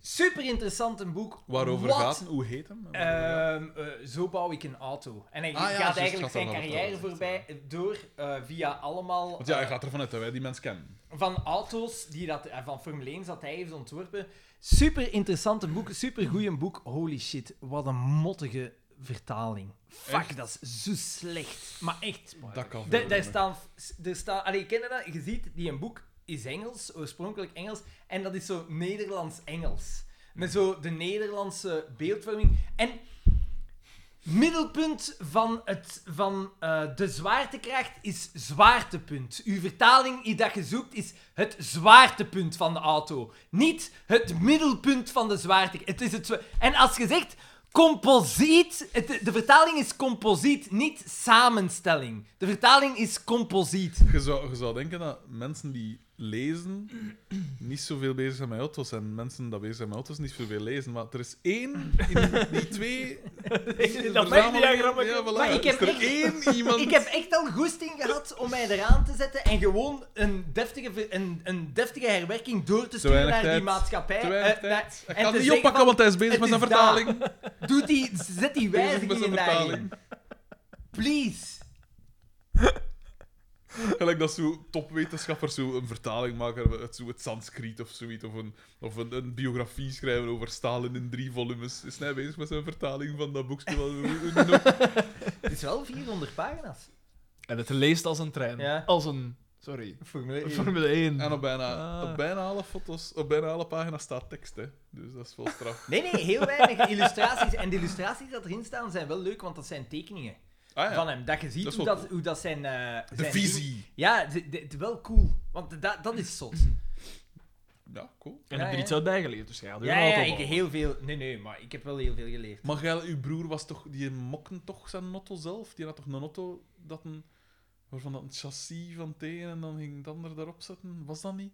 Super interessant een boek. Waarover Wat gaat het? Hoe heet hem? Ehm, eh, zo bouw ik een auto. En hij Ah ja, gaat juist, eigenlijk gaat zijn daarover carrière trouwens, voorbij door eh, via allemaal Want ja, eh, hij gaat ervan uit dat wij die mensen kennen. van auto's die dat, eh, van Formule 1 dat hij heeft ontworpen. Super interessante boek, super goeie boek. Holy shit, wat een mottige vertaling. Fuck, Echt? dat is zo slecht. Maar echt. Dat kan Da- veel Daar doen, staan, daar staan, allee, ken je dat? Je ziet, die een boek is Engels, oorspronkelijk Engels, en dat is zo Nederlands-Engels. Met zo de Nederlandse beeldvorming. En middelpunt van, het, van eh, de zwaartekracht is zwaartepunt. Uw vertaling i- dat je zoekt is het zwaartepunt van de auto. Niet het middelpunt van de zwaartekracht. Het is het zwa- en als je zegt composiet, het- de vertaling is composiet, niet samenstelling. De vertaling is composiet. Je zou, je zou denken dat mensen die lezen niet zoveel bezig zijn met auto's en mensen die bezig zijn met auto's niet zoveel lezen. Maar er is één in die twee... Dat verzamelingen- mag diagrammen. Ja, voilà. Maar ik heb is er echt- één iemand... Ik heb echt al goesting gehad om mij eraan te zetten en gewoon een deftige, ver- een, een deftige herwerking door te sturen weinig naar die tijd. maatschappij. Te weinig Eh, tijd. na- Hij kan te het niet zeggen oppakken, van, want hij is bezig het met zijn is daar. vertaling. Doe die, zet die Bezig met zijn wijzigingen daarin. vertaling. Please. Gelijk dat zo topwetenschappers zo een vertaling maken uit zo het Sanskriet of zoiets. Of, een, of een, een biografie schrijven over Stalin in drie volumes. Is hij bezig met zijn vertaling van dat boekje? wat we doen? Het is wel 400 pagina's. En het leest als een trein. Ja. Als een... Sorry. Formule één. Formule 1. en op bijna, Ah. op bijna alle foto's, op bijna alle pagina's staat tekst. Hè. Dus dat is wel straf. Nee, nee, heel weinig illustraties. En de illustraties die erin staan zijn wel leuk, want dat zijn tekeningen Ah ja, van hem. Dat je ziet Dat is hoe, wel dat, hoe dat zijn... eh, de zijn visie. Ja, de- de- de- wel cool. Want dat, dat is zot. Mm. Ja, cool. En Ja, heb je er ja. iets uit bijgeleerd, dus jij had er Ja, een ja, auto ik bouwen. heel veel... Nee, nee, maar ik heb wel heel veel geleerd. Maar jij, uw broer was toch, die mokken toch zijn auto zelf? Die had toch een auto dat een, waarvan dat een chassis van tegen en dan ging het ander daarop zetten? Was dat niet?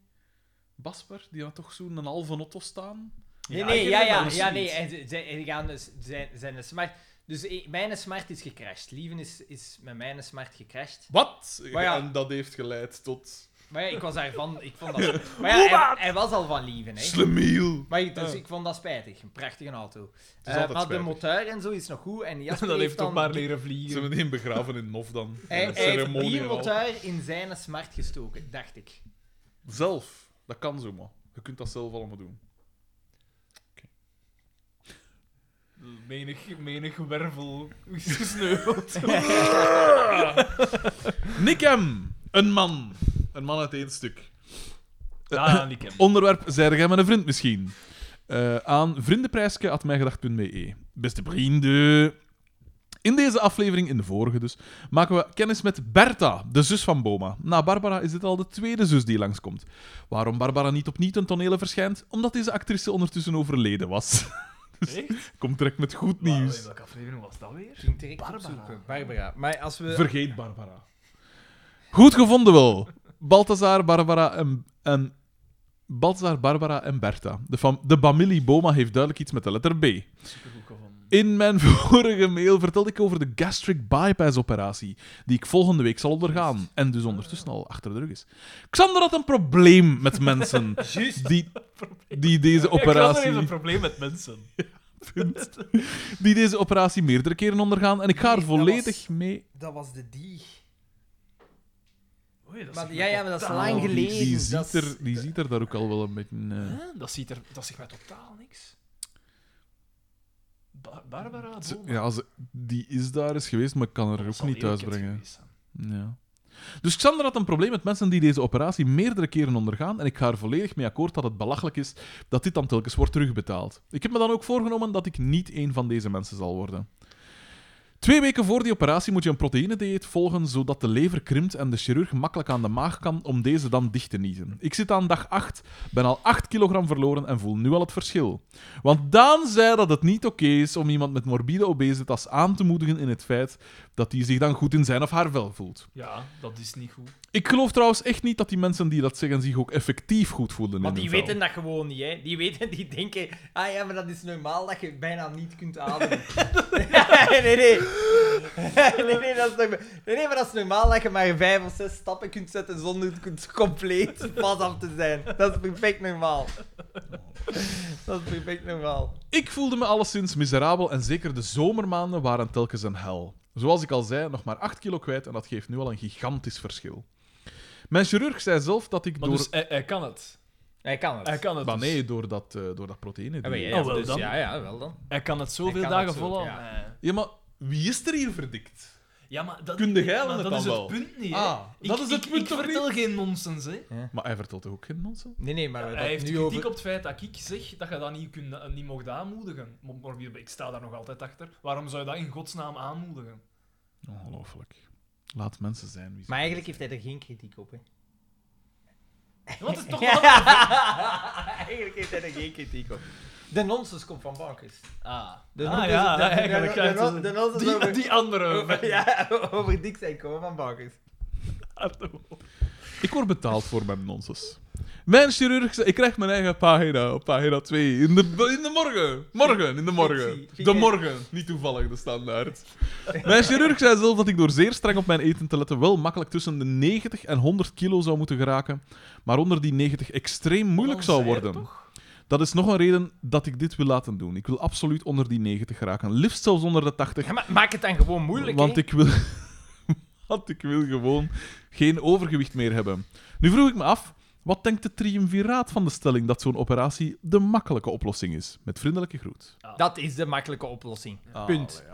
Basper, die had toch zo'n halve auto staan? Nee, Ja, nee, ik ja, herinner ja, me ja, zoiets. nee. En ze, ze- en die gaan dus, zijn, zijn smart. Dus eh, mijn smart is gecrashed. Lieven is, is met mijn smart gecrashed. Wat? Maar ja. En dat heeft geleid tot... Maar ja, ik was daarvan. Ik vond dat. Maar ja, hij, hij was al van Lieven, hè? Slemiel! Maar ik- dus Ja. ik vond dat spijtig. Een prachtige auto. Eh, altijd maar de spijtig. motor en zo is nog goed. En Jasper Dat heeft dan, toch maar leren Ze hebben vliegen. die begraven in Nof dan. Hij, Een hij heeft ceremonie die en al. motor in zijn smart gestoken, dacht ik. Zelf. Dat kan zomaar. Je kunt dat zelf allemaal doen. Menig, menig wervel is gesneuveld. Nick M. Een man. Een man uit één stuk. Ja, die ken Onderwerp, zei jij met een vriend misschien? Eh, aan vriendenprijske.mijgedacht.be. e. Beste vrienden. In deze aflevering, in de vorige dus, maken we kennis met Bertha, de zus van Boma. Na Barbara is dit al de tweede zus die langskomt. Waarom Barbara niet opnieuw ten tonele verschijnt? Omdat deze actrice ondertussen overleden was. Echt? Komt direct met goed Wow, nieuws. welke aflevering was dat weer? Ging direct Barbara. opzoeken. Barbara. Maar als we. Vergeet Barbara. Goed gevonden wel. Balthazar, Barbara en, en Balthazar, Barbara en Bertha. De, fam- de familie Boma heeft duidelijk iets met de letter B. Supergoed gevonden. In mijn vorige mail vertelde ik over de gastric bypass operatie, die ik volgende week zal ondergaan en dus ondertussen al achter de rug is. Xander had een probleem met mensen die, die deze Ik operatie had een probleem met mensen. punt. die deze operatie meerdere keren ondergaan en ik ga er Nee, dat was- volledig mee. Dat was de dieg. Oei, dat Maar, zegt ja, mij ja, maar dat is totaal lang Oh, Die, geleden. die, dat ziet is- er, die ziet er daar ook al wel een beetje. eh, Huh? Dat, ziet er, dat zegt mij totaal niks. Ba- Barbara Ze- Boma. Ja, ze- die is daar eens geweest, maar ik kan haar Dat ook zal niet heel kut thuisbrengen. geweest zijn. Ja. Dus Xander had een probleem met mensen die deze operatie meerdere keren ondergaan. En ik ga er volledig mee akkoord dat het belachelijk is dat dit dan telkens wordt terugbetaald. Ik heb me dan ook voorgenomen dat ik niet één van deze mensen zal worden. Twee weken voor die operatie moet je een proteïnedieet volgen zodat de lever krimpt en de chirurg makkelijk aan de maag kan om deze dan dicht te niezen. Ik zit aan dag 8, ben al 8 kilogram verloren en voel nu al het verschil. Want Daan zei dat het niet oké is om iemand met morbide obesitas aan te moedigen in het feit dat hij zich dan goed in zijn of haar vel voelt. Ja, dat is niet goed. Ik geloof trouwens echt niet dat die mensen die dat zeggen zich ook effectief goed voelen. Want in die hun vel. weten dat gewoon niet, hè. Die weten, die denken... Ah ja, maar dat is normaal dat je bijna niet kunt ademen. nee, nee. nee, nee, dat is normaal. nee, nee, maar dat is normaal dat je maar vijf of zes stappen kunt zetten zonder kunt compleet pas af te zijn. Dat is perfect normaal. dat is perfect normaal. Ik voelde me alleszins miserabel en zeker de zomermaanden waren telkens een hel. Zoals ik al zei, nog maar 8 kilo kwijt en dat geeft nu al een gigantisch verschil. Mijn chirurg zei zelf dat ik Maar door... dus, hij, hij kan het. Hij kan het. Hij kan het. Maar dus. nee, door dat, eh, door dat proteïne. Ah, maar Oh, wel dan. Ja, ja, wel dan. Hij kan het zoveel Hij kan dagen het zo, volhouden. ja. Eh, Ja, maar wie is er hier verdikt? Ja, maar dat, Kunde jij maar wel het dat dan is wel? het punt niet. hè. Ah, dat ik, is het ik- punt Ik toch vertel geen nonsens, hè. Maar hij vertelt toch ook geen nonsens? Nee, nee, maar we Hij hebben heeft het kritiek nu over... op het feit dat ik zeg dat je dat niet, kunt, eh, niet mocht aanmoedigen. Mo- Morbier, Ik sta daar nog altijd achter. Waarom zou je dat in godsnaam aanmoedigen? Ongelooflijk. Laat mensen zijn wie ze Maar eigenlijk heeft hij er geen kritiek op, hè. Want het is toch wel- Ja. Eigenlijk heeft hij er geen kritiek op. De nonsens komt van bankers. Ah, De ah nonsens- ja, de- de- eigenlijk. de- ja, de- het de is- nonsens die, over- die andere. Over, ja, over dik zijn komen van bankers. Ik word betaald voor mijn nonsens. Mijn chirurg zei... Ik krijg mijn eigen pagina op pagina 2. In de, in de morgen. Morgen, in de morgen. Fictie. De morgen. Niet toevallig, de standaard. Mijn chirurg zei zelf dat ik door zeer streng op mijn eten te letten wel makkelijk tussen de 90 en 100 kilo zou moeten geraken, maar onder die 90 extreem moeilijk zou zei het worden. Dat is nog een reden dat ik dit wil laten doen. Ik wil absoluut onder die 90 geraken. Liefst zelfs onder de 80. Ja, maar maak het dan gewoon moeilijk, Want hè. ik wil... Want ik wil gewoon geen overgewicht meer hebben. Nu vroeg ik me af, wat denkt de triumviraat van de stelling dat zo'n operatie de makkelijke oplossing is? Met vriendelijke groet. Dat is de makkelijke oplossing. Punt.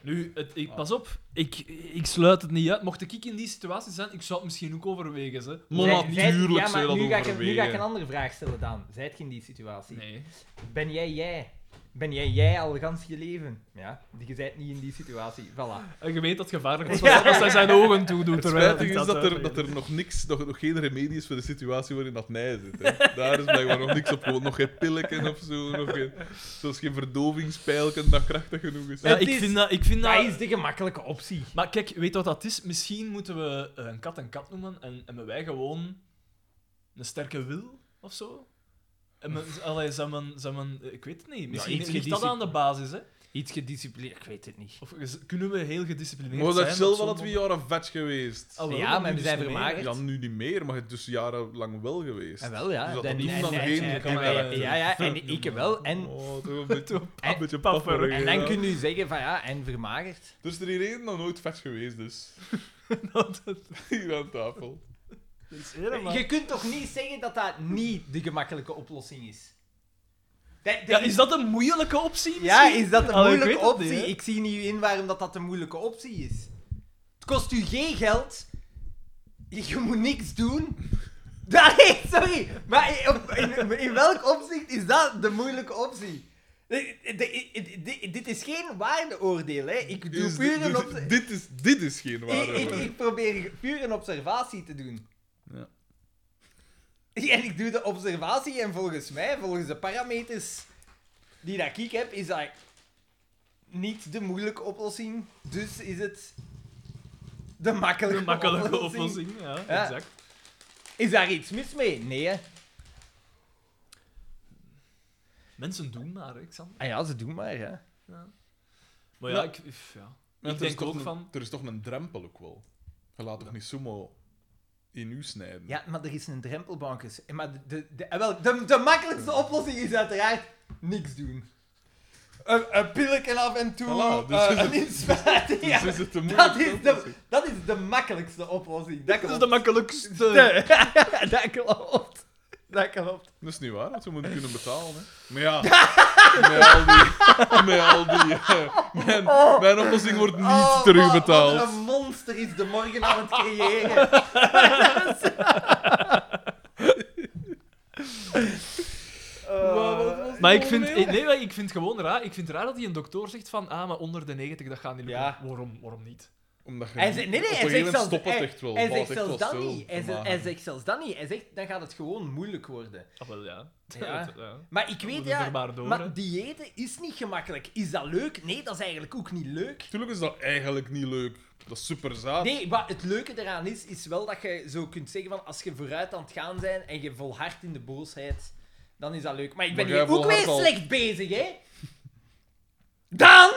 Nu, het, ik, pas op, ik, ik sluit het niet uit. Mocht ik in die situatie zijn, ik zou het misschien ook overwegen. Hè. Maar Zij- zij- natuurlijk ja, maar zou je dat nu ga, ik, nu ga ik overwegen. een andere vraag stellen, Daan. Zijt je in die situatie? Nee. Ben jij jij? Ben jij jij al gans je leven? Ja, je bent niet in die situatie. Voilà. En je weet dat het gevaarlijk is als, als hij zijn ogen toedoet. Het terwijl spijtige ik is dat er, uitleg. dat er nog niks, nog, nog geen remedie is voor de situatie waarin dat nij zit. Hè. Daar is blijkbaar nog niks op. Gewoon nog geen pilletje of zo. Nog geen, zelfs geen verdovingspijlken dat krachtig genoeg is. Ja, Het ik, is- vind dat, ik vind Nou, dat... Dat is de gemakkelijke optie. Maar kijk, weet wat dat is? Misschien moeten we eh, een kat een kat noemen en hebben wij gewoon een sterke wil. of zo. En men, allee, zou men, zou men, ik weet het niet. Misschien iets ligt dat aan de basis, hè? Iets gedisciplineerd, ik weet het niet. Of is- kunnen we heel gedisciplineerd Maar zijn? dat is op zelf wel zo'n dat we moment? jaren vet geweest. Ah, wel, Ja, dan maar nu we dus zijn niet meer. vermagerd. Ja, nu niet meer, maar het is dus jarenlang wel geweest. En wel, ja. Dus dat Dan- doen en- dan en- geen- eh, en- kan en- wel, en- Ja, ja, en ik wel. En, Oh, toch een beetje, en- een beetje pafferig. pafferig, en dan ja. kun je zeggen van ja, en vermagerd. Dus er hier één nog nooit vet geweest, dus. Hier aan tafel. Dat is helemaal- Je kunt toch niet zeggen dat dat niet de gemakkelijke oplossing is? Dat, dat Ja, is dat een moeilijke optie? Ja, misschien? is dat een Allee, ik moeilijke weet het optie? niet, hè. ik zie niet in waarom dat, dat een moeilijke optie is. Het kost u geen geld. Je moet niks doen. Ah, Nee, sorry. Maar in, op- in, in welk opzicht is dat de moeilijke optie? De- de- de- de- dit is geen waardeoordeel, hè. Ik doe Is puur dit- een dus obs- dit, is, dit is geen ik, waarde. ik, ik probeer puur een observatie te doen. Ja. En ik doe de observatie en volgens mij, volgens de parameters die dat ik heb, is dat niet de moeilijke oplossing. Dus is het de makkelijke, Een makkelijke oplossing. oplossing, ja, Ja. exact. Is daar iets mis mee? Nee, hè. Mensen doen maar, hè, Xander. Ah ja, ze doen maar, hè. Maar ja, Ja. ik... if, ja. Maar Ik er is denk toch ook een- van- Er is toch een drempel ook wel. Je laat toch niet sumo in u snijden? Ja, maar er is een drempel, bankers. En Maar de, de, de, eh, wel, de, de makkelijkste oplossing is uiteraard niks doen. Een, een pilletje af en toe, Voilà, dus eh, is een inspuiting. Dus ja. is het te dat, moeilijk? is de, dat is de makkelijkste oplossing. Dat Dat is klopt. de makkelijkste. Nee. dat klopt. Dat klopt. Dat is niet waar, dat ze moeten kunnen betalen. Hè. Maar ja, met al die... Met al die eh, mijn, mijn oplossing wordt niet Oh, Wat, wat terugbetaald. een monster is de morgen aan het creëren. Eh, Maar ik vind, eh, nee, maar ik vind gewoon raar. Ik vind raar dat hij een dokter zegt van, ah, maar onder de 90, dat gaat niet lukken. Ja. Waarom, waarom niet? Omdat je Hij zegt, nee, nee, op hij een zegt gegeven moment zelfs, stopt het hij, echt wel. hij valt zegt echt wel zelfs dat stil. niet. Hij zegt, Maar- hij zegt zelfs dat niet. Hij zegt, dan gaat het gewoon moeilijk worden. Ah, wel, ja. Ja. ja. Maar ik moeten weet, we ja, er maar door, hè. maar diëten is niet gemakkelijk. Is dat leuk? Nee, dat is eigenlijk ook niet leuk. Tuurlijk is dat eigenlijk niet leuk. Dat is super zaad. Nee, maar het leuke eraan is, is wel dat je zo kunt zeggen van als je vooruit aan het gaan bent en je volhardt in de boosheid, dan is dat leuk. Maar ik ben Maar jij hier ook volhardt weer al. slecht bezig, hè? Dan!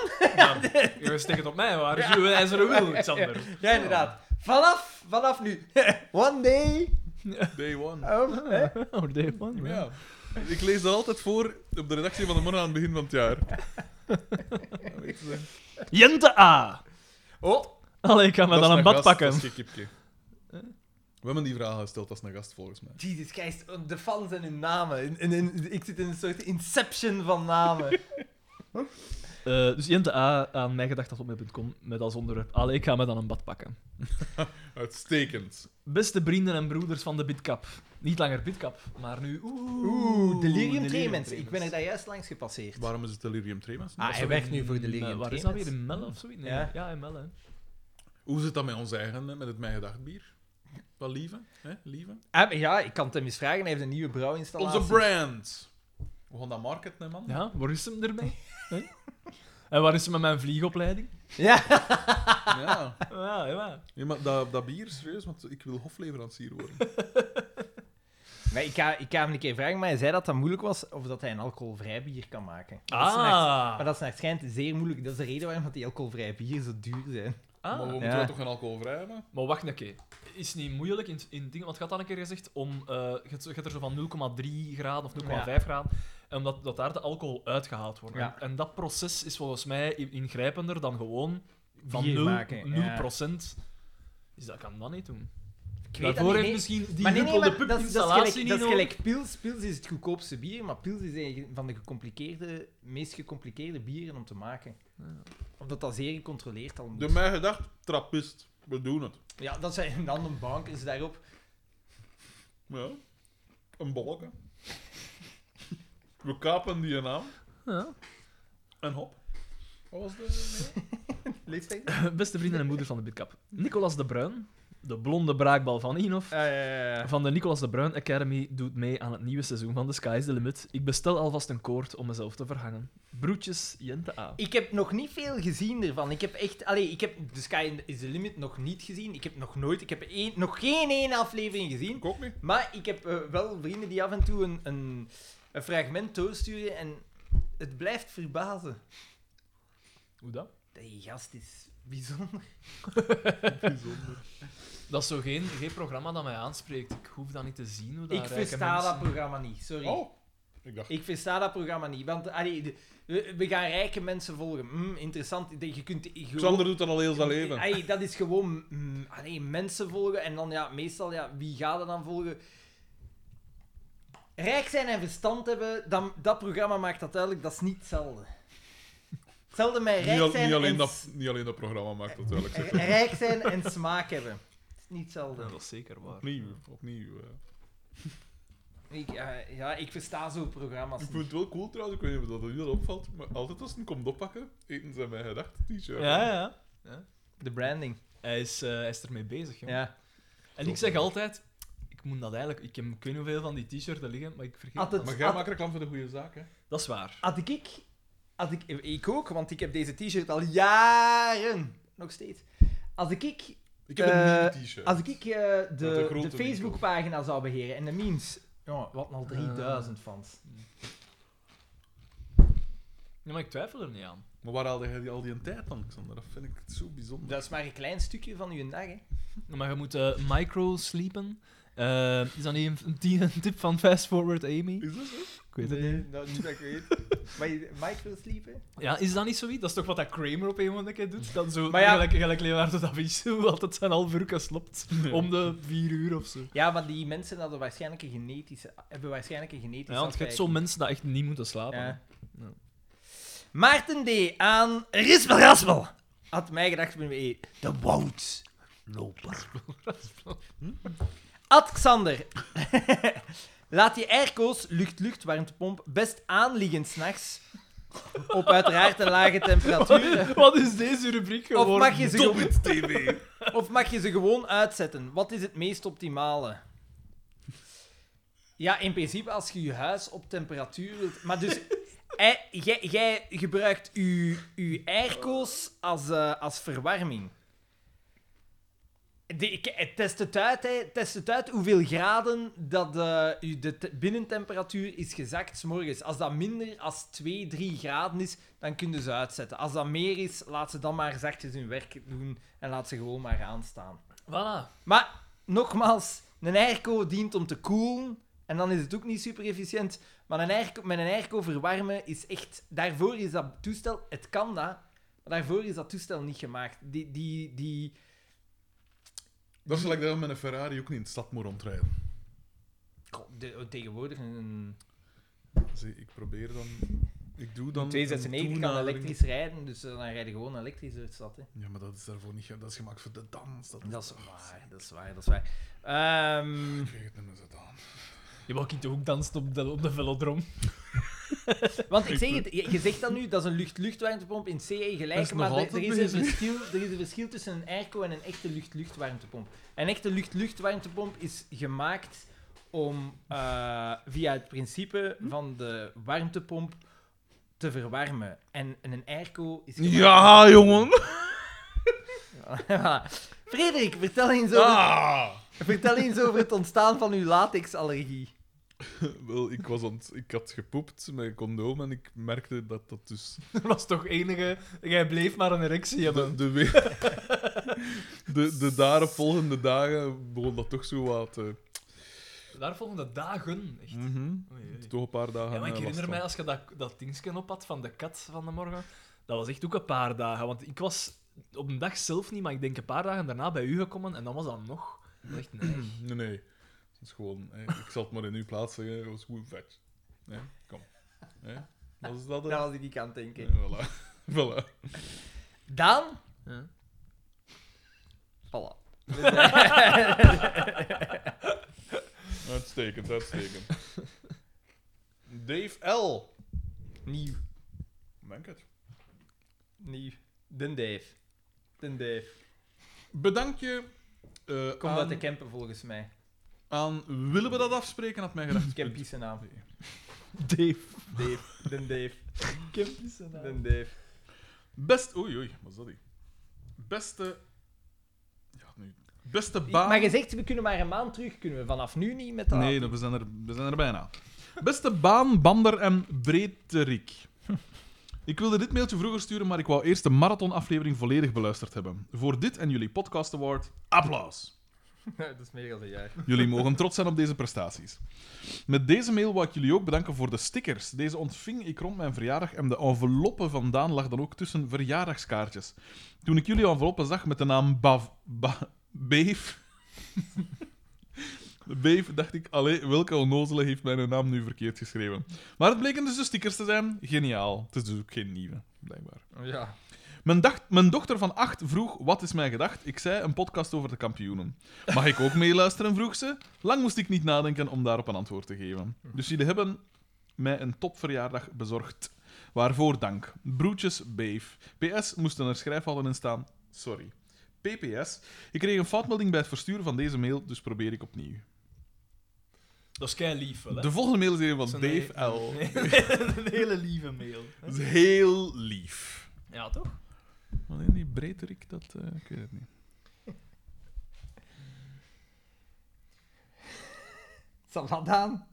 Je steekt het op mij, waar is uw ijzeren wil, Xander? Ja, inderdaad. Vanaf, vanaf nu. One day. Day Ah, one. of, hè? Oh, day one, Ja. Ik lees dat altijd voor op de redactie van de morgen aan het begin van het jaar. Ja, weet je. Jente A. Oh, Allee, ik ga me Dat is dan een een bad gast, pakken. dat is geen kipje. We hebben die vraag gesteld, dat is een gast volgens mij. Jesus Christ, oh, de fans en hun namen. In, in, in- ik zit in een soort inception van namen. Eh, dus Jente A aan mijgedacht.com met als onderwerp, allee, ik ga me dan een bad pakken. Uitstekend. Beste vrienden en broeders van de Bitkap. Niet langer Bitkap, maar nu... Oeh, Oeh, Delirium Tremens. Tremens. Ik ben er daar juist langs gepasseerd. Waarom is het delirium tremens? Ah, hij Sorry, werkt nu voor eh, Delirium Waar is dat Tremens. weer? In Melle of zoiets? Nee, Ja. ja. in Melle. hè. Hoe zit dat met ons eigen, hè, met het Mijn Gedacht bier? Wel lieve, hè? Lieve. Ah, maar ja, ik kan het hem eens vragen. Hij heeft een nieuwe brouwinstallatie. Onze brand. We gaan dat marketen, hè, man. Ja, waar is hem ermee? Hè? en waar is hem met mijn vliegopleiding? Ja, Ja. Ah, Ja, ja. Nee, maar dat, dat bier, serieus, want ik wil hofleverancier worden. maar ik, ga, ik ga hem een keer vragen, maar hij zei dat dat moeilijk was of dat hij een alcoholvrij bier kan maken. Maar dat is naar- Ah. maar dat is naar het schijnt zeer moeilijk. Dat is de reden waarom dat die alcoholvrij bier zo duur zijn. Ah. maar we Maar, moeten ja. wel toch geen alcoholvrij hebben? wacht een keer. Is niet moeilijk in, in dingen, want je had al een keer gezegd om, eh, je hebt zo- je hebt er zo van 0,3 graden of 0,5 graden, en omdat dat daar de alcohol uitgehaald wordt. Ja. En, en dat proces is volgens mij in- ingrijpender dan gewoon van Bier 0, maken, ja. procent. Dus dat kan dat niet doen. Ik weet Daarvoor dat heeft dus niet. nee. misschien die Maar nee, nee, huppelde maar dat, is- dat is installatie gelijk, niet dat is nodig. gelijk pils. Pils is het goedkoopste bier, maar pils is een van de gecompliceerde, meest gecompliceerde bieren om te maken. Omdat dat zeer gecontroleerd al moet. De Mijn Gedacht, trappist. We doen het. Ja, dat zijn dan de bankers daarop. Ja. Een bolk, hè. We kapen die naam. Ja. En hop. Wat was de... Lees Beste vrienden en moeders van de Bitkap. Nicolas de Bruin, de blonde braakbal van Inof. Ja, ja, ja. Van de Nicolas de Bruin Academy doet mee aan het nieuwe seizoen van The Sky is the Limit. Ik bestel alvast een koord om mezelf te verhangen. Broertjes, Jente A. Ik heb nog niet veel gezien ervan. Ik heb echt... Allee, ik heb The Sky is the Limit nog niet gezien. Ik heb nog nooit... Ik heb één, nog geen één aflevering gezien. Ik ook niet. Maar ik heb eh, wel vrienden die af en toe een, een, een fragment doorsturen en het blijft verbazen. Hoe dat? Die gast is bijzonder. Dat is zo geen, geen programma dat mij aanspreekt. Ik hoef dat niet te zien hoe dat ik Nou, rijke versta mensen- dat programma niet, sorry. Oh, ik dacht. Ik versta dat programma niet, want allee, de- we, we gaan rijke mensen volgen. Mm, interessant. Je kunt gewoon- Xander doet dat al heel zijn leven. Allee, dat is gewoon mm, allee, mensen volgen en dan ja, meestal, ja, wie gaat er dan volgen? Rijk zijn en verstand hebben, dan, dat programma maakt dat duidelijk, dat is niet hetzelfde. Hetzelfde met Niet, rijk al- zijn, eh, niet, alleen en, dat, s- niet alleen dat programma maakt dat duidelijk. zeg. rijk zijn en smaak hebben. Het is niet hetzelfde. Ja, dat is zeker waar. Opnieuw, opnieuw. eh. Ik, eh, ja, ik versta zo'n programma's Ik niet. vind het wel cool trouwens, ik weet niet of dat jullie opvalt, maar altijd als ze een komt oppakken, eten ze mij gedacht t-shirt. Ja, ja. De branding. Hij is, eh, hij is ermee bezig, jongen. Ja. En ik zeg altijd, ik moet dat eigenlijk... Ik heb ik weet niet hoeveel van die t-shirts er liggen, maar ik vergeet Had het- Maar jij Ad- maakt reclame voor de goede zaak, hè? Dat is waar. Had ik, ik, had ik, ik ook, want ik heb deze t-shirt al jaren, nog steeds. Als ik, ik Ik heb een Eh, nieuw t-shirt. Als ik eh, de de, grote de, Facebookpagina zou beheren en de memes, ja, wat al 3000 fans. Ja, maar ik twijfel er niet aan. Maar waar haalde jij die, al die tijd dan, Xander? Dat vind ik zo bijzonder. Dat is maar een klein stukje van uw dag, hè? Maar je moet eh, micro-sleepen. Eh, is dat niet een, een tien- een tip van Fast Forward Amy? Is dat zo? Ik weet het niet. Nee, dat niet dat ik weet. Maar je- micro sleepen? Ja, is dat niet zoiets? Dat is toch wat dat Kramer op een moment een keer doet? Dan zo, Maar ja- gelijk, gelijk Leonardo da Vinci, hoe altijd zijn half uur slopt. Om de vier uur of zo. Ja, maar die mensen hadden waarschijnlijk een genetische, hebben waarschijnlijk een genetische Ja, want je hebt zo'n afwijking. mensen dat echt niet moeten slapen. Ja. Ja. Maarten D. aan Rispel Raspel. Had mij gedacht, ben we De Wout. Ad Xander. Laat je airco's, lucht, lucht, warmtepomp best aanliggen s'nachts. Op uiteraard een lage temperatuur. Wat is deze rubriek Of geworden? mag, je ze gewoon, TV. of mag je ze gewoon uitzetten? Wat is het meest optimale? Ja, in principe als je je huis op temperatuur wilt. Maar dus, eh, jij- jij gebruikt je, je airco's als, eh, als verwarming. De, ik- eh, test het uit, hè. Test het uit hoeveel graden dat eh, u de te- binnentemperatuur is gezakt 's morgens. Als dat minder als 2, 3 graden is, dan kun je ze uitzetten. Als dat meer is, laat ze dan maar zachtjes hun werk doen en laat ze gewoon maar aanstaan. Voilà. Maar nogmaals, een airco dient om te koelen. En dan is het ook niet super efficiënt. Maar een airco, met een airco verwarmen is echt. Daarvoor is dat toestel. Het kan dat. Maar daarvoor is dat toestel niet gemaakt. Die, die, die, Dat is gelijk dat je met een Ferrari ook niet in de stad moet rondrijden. Goh, de- tegenwoordig een. Zie, ik probeer dan... Ik doe dan... Dan een 296 kan toenadering. elektrisch rijden. Dus eh, dan rijden gewoon elektrisch door de stad. Hè. Ja, maar dat is daarvoor niet... ge- Dat is gemaakt voor de dans. Dat, Dat is waar. Dat is waar. Dat is waar. Ehm, Ik weet het niet meer zo aan. Je wou kind toch ook dansen op de, op de velodrom? want ik zeg het, je, je zegt dat nu, dat is een lucht-luchtwarmtepomp in CE Dat gelijk, is maar nog er, er altijd is een bezig. verschil, er is een verschil tussen een airco en een echte lucht-luchtwarmtepomp. Een echte lucht-luchtwarmtepomp is gemaakt om eh, via het principe van de warmtepomp te verwarmen. En een airco is gemaakt Ja, jongen! Frederik, vertel eens, over, Ah! vertel eens over het ontstaan van uw latexallergie. Wel, ik, was aan het- ik had gepoept met een condoom en ik merkte dat dat dus... Dat was toch enige... Jij bleef maar een erectie hebben. De, de, we- de, de daaropvolgende dagen begon dat toch zo wat... te- Daar volgende dagen, echt. Mm. Mhm. Oei, oei. Toch een paar dagen Ja, maar ik eh, last herinner van. mij, als je dat, dat dingetje op had van de kat van de morgen, dat was echt ook een paar dagen. Want ik was op een dag zelf niet, maar ik denk een paar dagen daarna bij u gekomen en dan was dat nog. Dat was echt nee. Nee, nee. Het is gewoon, hè, ik zal het maar in uw plaats zeggen, dat was goed vet. Hè, kom. Hè, wat is dat? hè? Dat was ik niet aan het denken. Hè, Eh, voilà. voilà. Daan? Ja. Voilà. Uitstekend, uitstekend. Dave L. Nieuw. Dank het. Nieuw. Den Dave. Den Dave. Bedank je Eh, Komt aan, uit de Kempen volgens mij. aan willen we dat afspreken, had mij gedacht. Kempie zijn naam. Dave. Dave. Den Dave. Kempis Den Dave. Best... Oei, oei, wat is dat hier? Beste... Ja, nu... Beste baan... Maar je zegt, we kunnen maar een maand terug. Kunnen we vanaf nu niet met dat? Nee, dat- we zijn, er, we zijn er bijna. Beste Baan, Bander en Breedterik. Ik wilde dit mailtje vroeger sturen, maar ik wou eerst de marathonaflevering volledig beluisterd hebben. Voor dit en jullie podcast award, applaus. dat is meer dan een jaar. Jullie mogen trots zijn op deze prestaties. Met deze mail wou ik jullie ook bedanken voor de stickers. Deze ontving ik rond mijn verjaardag en de enveloppe vandaan lag dan ook tussen verjaardagskaartjes. Toen ik jullie enveloppen zag met de naam Bav... Ba- Beef... Beef, dacht ik, allee, welke onnozele heeft mijn naam nu verkeerd geschreven. Maar het bleken dus de stickers te zijn. Geniaal. Het is dus ook geen nieuwe, blijkbaar. Ja. Mijn, dacht- mijn dochter van acht vroeg, wat is mij gedacht? Ik zei, een podcast over de kampioenen. Mag ik ook meeluisteren, vroeg ze. Lang moest ik niet nadenken om daarop een antwoord te geven. Dus jullie hebben mij een topverjaardag bezorgd. Waarvoor dank. Broertjes, beef. PS, moesten er schrijfhouden in staan. Sorry. PPS, ik kreeg een foutmelding bij het versturen van deze mail, dus probeer ik opnieuw. Dat is kei lief, wel, hè? De volgende mail is een van Zo'n Dave he- L. Een hele lieve mail. hè. Dat is heel lief. Ja, toch? Alleen die Breiterik, dat... eh, ik weet het niet. Saladaan.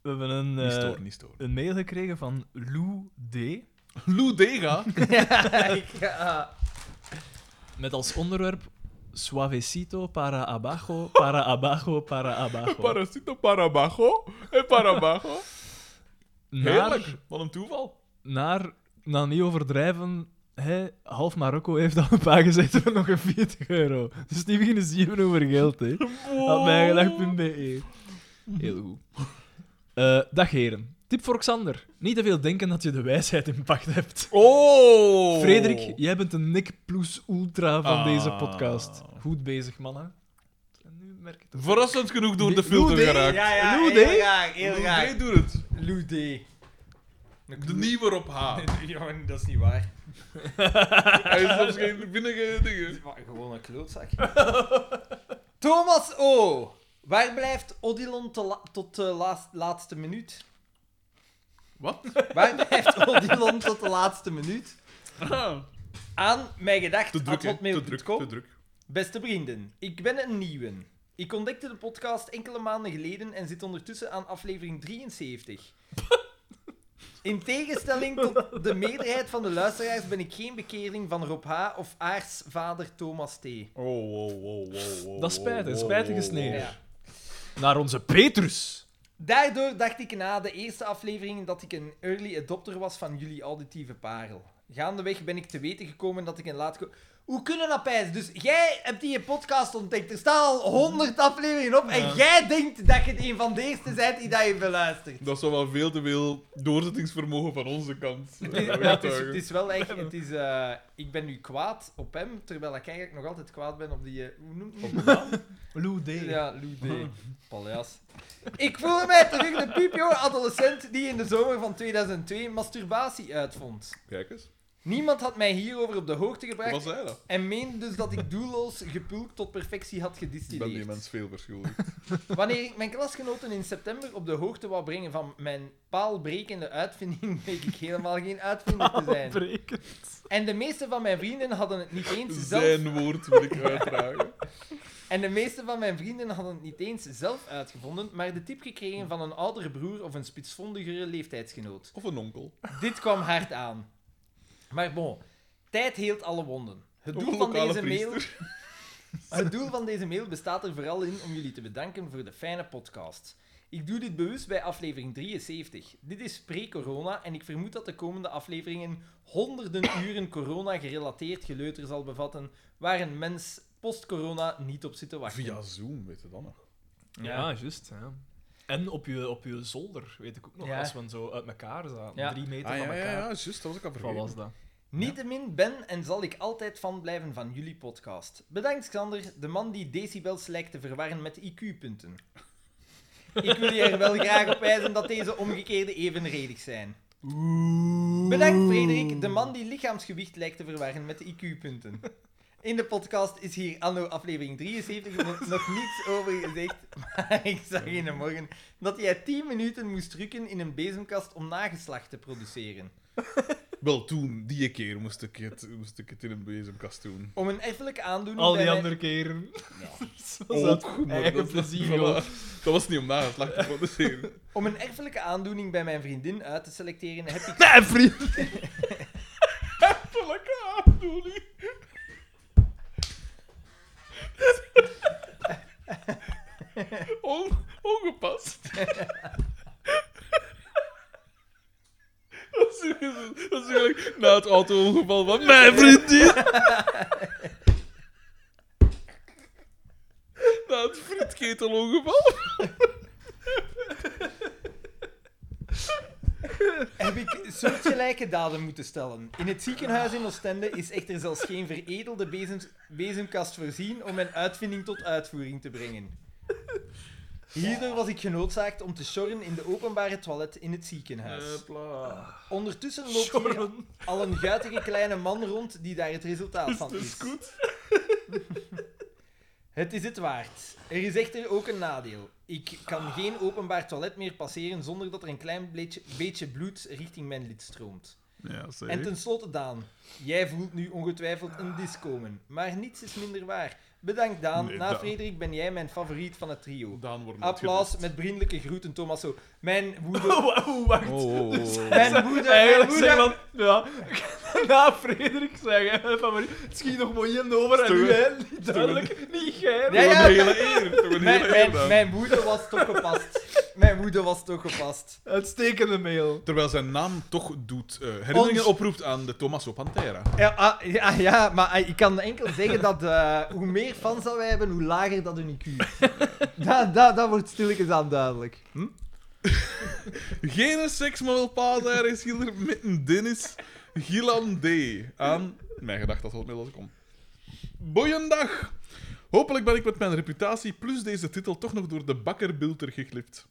We hebben een, Niet eh, storen, niet storen. een mail gekregen van Lou D. Lou Dega. ja, ik, ja. Met als onderwerp Suavecito para abajo, para abajo, para abajo. Parasito Parabago. En Parabago. Naar, wat een toeval. naar, nou niet overdrijven, hè, half Marokko heeft al een paar gezet voor nog een 40 euro. Dus niet beginnen zeven over geld, hè. Op mijngedacht.be. E. Heel goed. Eh, dag heren. Tip voor Xander. Niet te veel denken dat je de wijsheid in pacht hebt. Oh! Frederik, jij bent de Nick Plus Ultra van Ah. deze podcast. Goed bezig, mannen. En nu merk ik het. Verrassend genoeg door Nee, de filter Lou D. geraakt. ja, ja, Lou heel D? graag, heel graag. Lou D doet het. Lou D. De nieuwe op H. Ja, dat is niet waar. Hij is soms geen binnenge dingen. Maar Gewoon een klootzak. Thomas O. Waar blijft Odilon te la- tot de laas- laatste minuut? Wat? Waar blijft Odilon tot de laatste minuut? Ah, Aan mijn gedacht, te druk, hè. te druk, hotmail.com. te druk. Beste vrienden, ik ben een nieuwe. Ik ontdekte de podcast enkele maanden geleden en zit ondertussen aan aflevering 73. In tegenstelling tot de meerderheid van de luisteraars ben ik geen bekeerling van Rob H. of Aars vader Thomas T. Oh, wow, wow, wow, wow, Dat is spijtig, wow, spijtige wow, sneer. Ja. Naar onze Petrus. Daardoor dacht ik na de eerste aflevering dat ik een early adopter was van jullie auditieve parel. Gaandeweg ben ik te weten gekomen dat ik een laat... Hoe kunnen dat pijzen? Dus jij hebt die podcast ontdekt. Er staan al honderd afleveringen op en jij denkt dat je het een van de eerste bent die dat heeft beluisterd. Dat is toch wel veel te veel doorzettingsvermogen van onze kant. eh, Het is, wegtuigen. het is, het is wel echt... Het is, eh, ik ben nu kwaad op hem, terwijl ik eigenlijk nog altijd kwaad ben op die... eh, hoe noemt hij Lou D. Ja, Lou Oh. D. Paljas. Ik voelde mij terug de piepjonge adolescent die in de zomer van 2002 masturbatie uitvond. Kijk eens. Niemand had mij hierover op de hoogte Wat was gebracht hij dat? en meende dus dat ik doelloos gepulkt tot perfectie had Ik ben die gedistilleerd. mens veel verschuldigd. Wanneer ik mijn klasgenoten in september op de hoogte wou brengen van mijn paalbrekende uitvinding, bleek ik helemaal geen uitvinder te zijn. Breken. En de meeste van mijn vrienden hadden het niet eens zelf... Zijn woord wil ik uitdragen. En de meeste van mijn vrienden hadden het niet eens zelf uitgevonden, maar de tip gekregen van een oudere broer of een spitsvondigere leeftijdsgenoot. Of een onkel. Dit kwam hard aan. Maar bon, tijd heelt alle wonden. Het Of doel, een van lokale deze mail, priester. het doel van deze mail bestaat er vooral in om jullie te bedanken voor de fijne podcast. Ik doe dit bewust bij aflevering 73. Dit is pre-corona en ik vermoed dat de komende afleveringen honderden uren corona-gerelateerd geleuter zal bevatten, waar een mens post-corona niet op zit te wachten. Ah, Via Zoom, weet je dan nog. Ja, juist. Ja. En op je, op je zolder, weet ik ook nog, Ja. als we zo uit elkaar zaten. Ja. Drie meter Ah, ja, van ja, elkaar. ja, juist, dat was ik al Wat vergeten. was dat? Niettemin ben en zal ik altijd fan blijven van jullie podcast. Bedankt, Xander, de man die decibels lijkt te verwarren met IQ-punten. Ik wil je er wel graag op wijzen dat deze omgekeerde evenredig zijn. Bedankt, Frederik, de man die lichaamsgewicht lijkt te verwarren met IQ-punten. In de podcast is hier anno aflevering 73 nog- nog niets over gezegd, maar ik zag in de morgen dat jij 10 minuten moest drukken in een bezemkast om nageslacht te produceren. Wel, toen, die keer, moest ik het, moest ik het in een bezemkast doen. Om een erfelijke aandoening Al die bij mij- andere keren. Ja. Zo zat eigen plezier, voilà. joh. Dat was niet om nageslacht te produceren. Om een erfelijke aandoening bij mijn vriendin uit te selecteren heb ik... Nee, vriend. Lekker aandoening. On, ongepast. dat is eigenlijk- dat is eigenlijk na het auto-ongeval van mijn vriendin. na het frietketelongeval. heb ik soortgelijke daden moeten stellen. In het ziekenhuis in Oostende is echter zelfs geen veredelde bezems- bezemkast voorzien om mijn uitvinding tot uitvoering te brengen. Hierdoor was ik genoodzaakt om te sjorren in de openbare toilet in het ziekenhuis. Hopla. Ondertussen loopt hier Jorren. al een guitige kleine man rond die daar het resultaat van is. Het is het waard. Er is echter ook een nadeel. Ik kan geen openbaar toilet meer passeren zonder dat er een klein beetje, beetje bloed richting mijn lid stroomt. Ja, En zeker. tenslotte, Daan, jij voelt nu ongetwijfeld een dis komen. Maar niets is minder waar. Bedankt, Daan. Nee, Na Daan. Frederik ben jij mijn favoriet van het trio. Daan wordt net Applaus met vriendelijke groeten, Tommaso. Mijn woede... Wow, wacht. geroepen. Oh, oh, oh, oh. Mijn woede... Mijn Eigenlijk zeg woede... dan, ja, na Frederik zeggen, hè, van maar het schiet nog mooi in over en Stoer. nu hè, niet duidelijk, niet geir. Ja, ja. Toch een hele eer. Toch een Mijn, hele eer, mijn, Daan. mijn woede was toch gepast. Mijn woede was toch gepast. Uitstekende mail. Terwijl zijn naam toch doet eh, herinneringen Ons- oproept aan de Tommaso Pantera. Ja, ah, ja, ja, maar ah, ik kan enkel zeggen dat eh, hoe meer fans dat wij hebben, hoe lager dat hun IQ is. dat, dat, dat wordt stilletjes aan duidelijk. Hm? Geen seks, maar wel paaseieren is hier met een Dennis Gilan D. Aan mijn gedacht dat het middels komt. Boeiendag! Hopelijk ben ik met mijn reputatie plus deze titel toch nog door de bakkerbilter geglipt.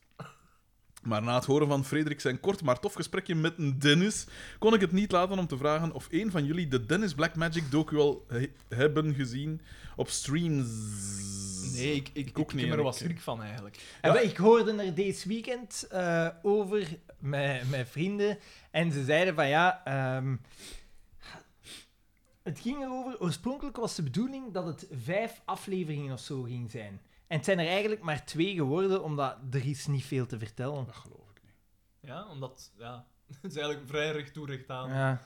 Maar na het horen van Frederik zijn kort maar tof gesprekje met een Dennis, kon ik het niet laten om te vragen of een van jullie de Dennis Black Magic docu al he- hebben gezien op streams. Nee, ik, ik, Ik ook ik niet, heb er ik- wat schrik van eigenlijk. En ik hoorde er deze weekend eh, over met mijn vrienden. En ze zeiden van ja. ehm, het ging erover. Oorspronkelijk was de bedoeling dat het vijf afleveringen of zo ging zijn. En het zijn er eigenlijk maar twee geworden, omdat er is niet veel te vertellen. Dat geloof ik niet. Ja, omdat, ja, het is eigenlijk vrij recht toe, recht aan. Ja.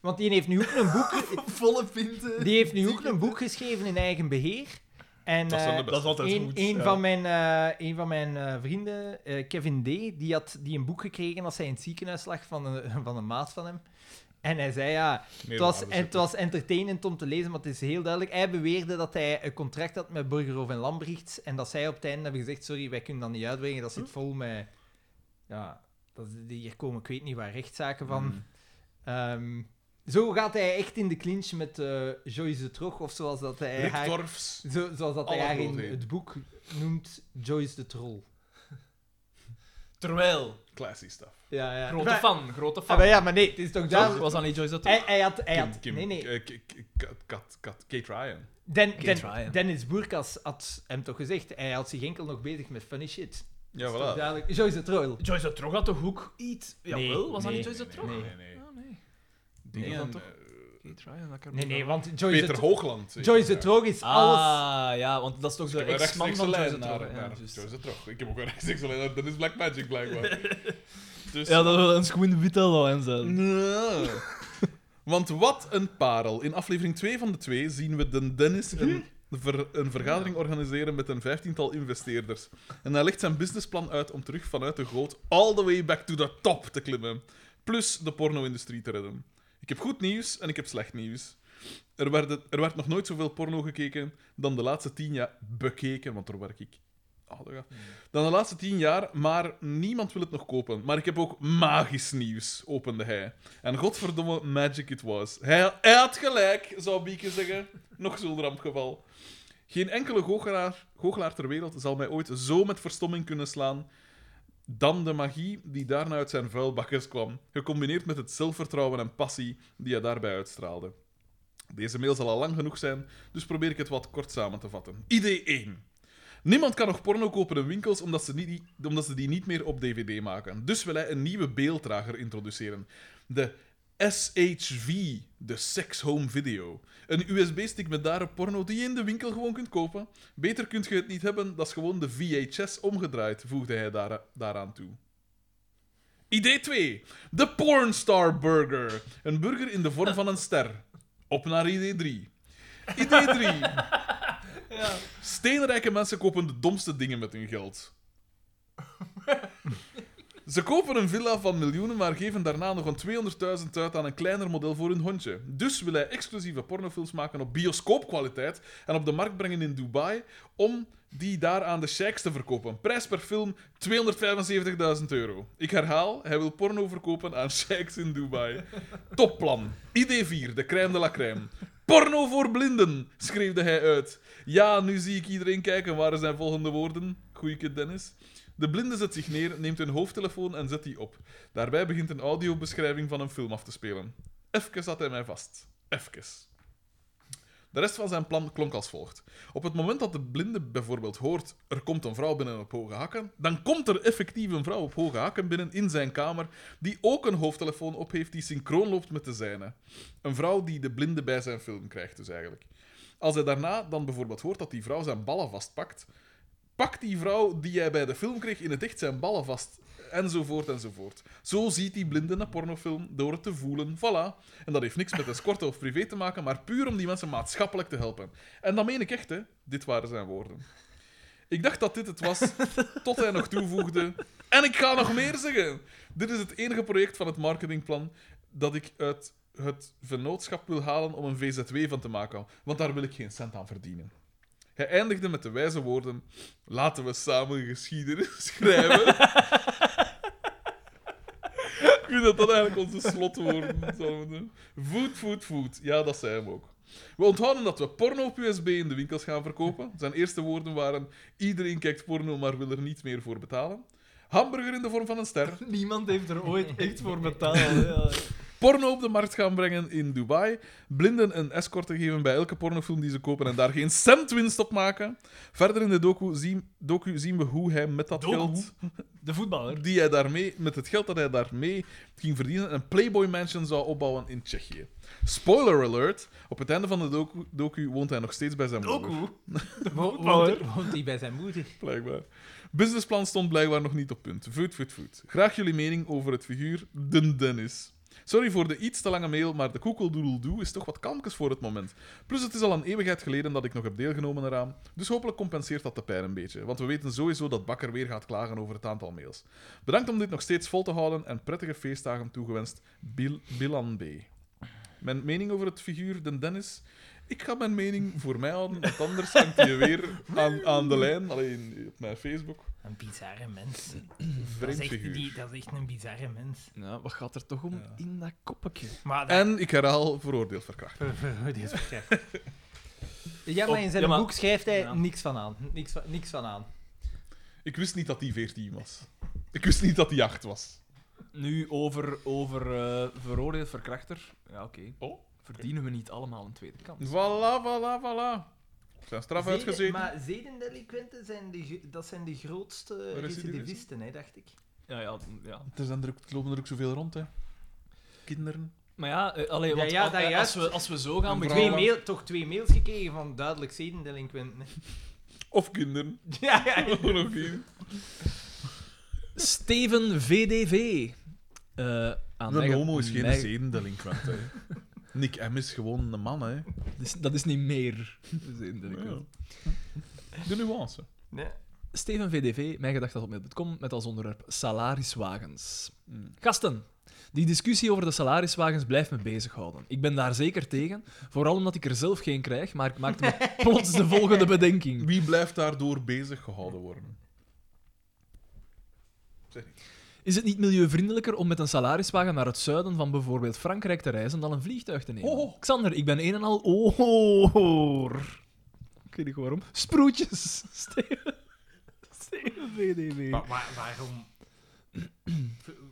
Want die heeft nu ook een boek, Volle pinten. eh, die heeft nu ook een boek geschreven in eigen beheer. En, Dat zijn de eh, Dat is altijd Een, goed. een ja. van mijn, eh, een van mijn eh, vrienden, eh, Kevin D., die had die een boek gekregen als hij in het ziekenhuis lag van een, van een maat van hem. En hij zei ja, het was, en, het was entertainend om te lezen, maar het is heel duidelijk. Hij beweerde dat hij een contract had met Burgerhof en Lambrichts. En dat zij op het einde hebben gezegd: Sorry, wij kunnen dat niet uitbrengen. Dat zit vol met. Ja, dat, hier komen ik weet niet waar rechtszaken van. Mm. Ehm, zo gaat hij echt in de clinch met eh, Joyce de Trog, of zoals dat hij Rick haar- Torfs. zo, zoals dat hij Alle haar in grootheden. het boek noemt, Joyce de Troll. Terwijl, Classy stuff. Ja, ja. grote maar, fan, grote fan. Ah, maar ja, maar nee, het is toch Toch? duidelijk. Was dat niet Joyce dat Hij, toch? hij had... Hij had Kim, nee, Kim, nee. eh, K- K- Kat- Kat- Kat- Kate Ryan. Den, Kate Den- Ryan. Dennis Boerkas had hem toch gezegd, hij had zich enkel nog bezig met funny shit. Ja, Dat is toch voilà. duidelijk. Joyce de Troll. Joyce dat Trog had toch ook iets? Jawel, was dat nee, niet Joyce dat nee, Trog? nee, nee, Oh, nee. Dingen, Nee, dan toch? eh, Kate Ryan, dat kan Nee, nee, want Joyce Peter de, Hoogland. weet Joyce je, de ja. Troll is alles... Ah, ja, want dat is toch Ik de heb een ex-man rechtstreekse van Joyce lijn dat naar, Trog. naar, Ja, juist. Joyce de Trog. Ik heb ook een rechtstreekse lijn naar Dennis Black Magic, blijkbaar. dus... Ja, dat wil eens gewoon wit al en zo. Nee. Want wat een parel. In aflevering 2 van de 2 zien we den Dennis een, ver- een vergadering organiseren met een vijftiental investeerders. En hij legt zijn businessplan uit om terug vanuit de goot all the way back to the top te klimmen. Plus de porno-industrie te redden. Ik heb goed nieuws en ik heb slecht nieuws. Er werd, er werd nog nooit zoveel porno gekeken dan de laatste tien jaar... Bekeken, want daar werk ik. Ah, daar gaat- Dan de laatste tien jaar, maar niemand wil het nog kopen. Maar ik heb ook magisch nieuws, opende hij. En godverdomme, magic it was. Hij, hij had gelijk, zou Bieke zeggen. Nog zo'n rampgeval. Geen enkele goochelaar, goochelaar ter wereld zal mij ooit zo met verstomming kunnen slaan dan de magie die daarna uit zijn vuilbakkers kwam, gecombineerd met het zelfvertrouwen en passie die hij daarbij uitstraalde. Deze mail zal al lang genoeg zijn, dus probeer ik het wat kort samen te vatten. Idee 1. Niemand kan nog porno kopen in winkels omdat ze, niet, omdat ze die niet meer op DVD maken. Dus wil hij een nieuwe beelddrager introduceren. De SHV, de Sex Home Video. Een USB-stick met daarop porno die je in de winkel gewoon kunt kopen. Beter kunt je het niet hebben, dat is gewoon de VHS omgedraaid, voegde hij daar, daaraan toe. Idee 2. De Pornstar Burger. Een burger in de vorm van een ster. Op naar idee 3. Idee 3. Steenrijke mensen kopen de domste dingen met hun geld. Ze kopen een villa van miljoenen, maar geven daarna nog een 200.000 uit aan een kleiner model voor hun hondje. Dus wil hij exclusieve pornofilms maken op bioscoopkwaliteit en op de markt brengen in Dubai om die daar aan de sheiks te verkopen. Prijs per film 275.000 euro. Ik herhaal, hij wil porno verkopen aan sheiks in Dubai. Topplan. Idee 4, de crème de la crème. Porno voor blinden, schreeuwde hij uit. Ja, nu zie ik iedereen kijken. Waar zijn volgende woorden? Goeie kid, Dennis. De blinde zet zich neer, neemt een hoofdtelefoon en zet die op. Daarbij begint een audiobeschrijving van een film af te spelen. Even zat hij mij vast. Even. De rest van zijn plan klonk als volgt. Op het moment dat de blinde bijvoorbeeld hoort, er komt een vrouw binnen op hoge hakken, dan komt er effectief een vrouw op hoge hakken binnen in zijn kamer, die ook een hoofdtelefoon op heeft die synchroon loopt met de zijne. Een vrouw die de blinde bij zijn film krijgt dus eigenlijk. Als hij daarna dan bijvoorbeeld hoort dat die vrouw zijn ballen vastpakt, pakt die vrouw die hij bij de film kreeg in het echt zijn ballen vast. Enzovoort, enzovoort. Zo ziet die blinde een pornofilm door het te voelen. Voilà. En dat heeft niks met escorten of privé te maken, maar puur om die mensen maatschappelijk te helpen. En dat meen ik echt, hè. Dit waren zijn woorden. Ik dacht dat dit het was, tot hij nog toevoegde... En ik ga nog meer zeggen! Dit is het enige project van het marketingplan dat ik uit het vennootschap wil halen om een VZW van te maken. Want daar wil ik geen cent aan verdienen. Hij eindigde met de wijze woorden... Laten we samen geschiedenis schrijven. Ik vind dat dat eigenlijk onze slotwoorden zouden doen. Food, food, food. Ja, dat zijn hem ook. We onthouden dat we porno op USB in de winkels gaan verkopen. Zijn eerste woorden waren... Iedereen kijkt porno, maar wil er niet meer voor betalen. Hamburger in de vorm van een ster. Niemand heeft er ooit echt voor betaald. Ja. Porno op de markt gaan brengen in Dubai. Blinden een escort te geven bij elke pornofilm die ze kopen en daar geen cent winst op maken. Verder in de docu zien, docu zien we hoe hij met dat Docu? geld... De voetballer. die hij daarmee, met het geld dat hij daarmee ging verdienen, een Playboy Mansion zou opbouwen in Tsjechië. Spoiler alert: op het einde van de docu, docu woont hij nog steeds bij zijn moeder. Doku. Wo- Woont woont hij bij zijn moeder? Blijkbaar. Businessplan stond blijkbaar nog niet op punt. Voet, voet, voet. Graag jullie mening over het figuur Den Dennis. Sorry voor de iets te lange mail, maar de koekeldoedeldoe is toch wat kalmkes voor het moment. Plus het is al een eeuwigheid geleden dat ik nog heb deelgenomen eraan, dus hopelijk compenseert dat de pijn een beetje, want we weten sowieso dat Bakker weer gaat klagen over het aantal mails. Bedankt om dit nog steeds vol te houden en prettige feestdagen toegewenst, Bil Bilan B. Mijn mening over het figuur Den Dennis? Ik ga mijn mening voor mij houden, want anders hangt hij weer aan, aan de lijn, alleen op mijn Facebook. Een bizarre mens. Dat is, Vreemd echt, figuur. die, dat is echt een bizarre mens. Nou, wat gaat er toch om Ja. in dat koppetje? Maar dat... En ik herhaal, veroordeeld verkracht. Ver- ver- dit is verkeerd. Ja, maar in zijn Ja, maar- boek schrijft hij Oh, Ja. niks van aan. Niks van, niks van aan. Ik wist niet dat hij 14 was. Ik wist niet dat hij 8 was. Nu over, over eh, veroordeeld verkrachter. Ja, oké. Oh. Verdienen we niet allemaal een tweede kans? Voilà, voilà, voilà. Zijn straf Zeden- uitgezeten. Maar zedendelinquenten zijn de, gro- dat zijn de grootste Recidivisten? recidivisten, hè, dacht ik. Ja, ja, ja. Er, zijn er, ook- er lopen er ook zoveel rond, hè. Kinderen. Maar ja, eh, allee, Ja, want ja, al- dat eh, als, juist. we, als we zo gaan Een Twee beginnen... vrouw. mail, toch twee mails gekregen van duidelijk zedendelinquenten. hè. Of kinderen. Ja, ja. ja. Gewoon ook niet. Steven VDV. Eh aan Ah, Een mij ge- homo is geen mij- zedendelinquent, hè. Nick M is gewoon een man, hè. Dus dat is niet meer. Dus zedendelinquent. De nuance. Nee. Steven VDV, mijngedacht.com, met als onderwerp salariswagens. Hmm. Gasten, die discussie over de salariswagens blijft me bezighouden. Ik ben daar zeker tegen, vooral omdat ik er zelf geen krijg, maar ik maakte me plots de volgende bedenking. Wie blijft daardoor bezig gehouden worden? Zeg niet. Is het niet milieuvriendelijker om met een salariswagen naar het zuiden van bijvoorbeeld Frankrijk te reizen dan een vliegtuig te nemen? Oh. Xander, ik ben een en al oor. Ik weet niet waarom. Sproetjes. Steven. Steven VDV. Maar, waar- waarom?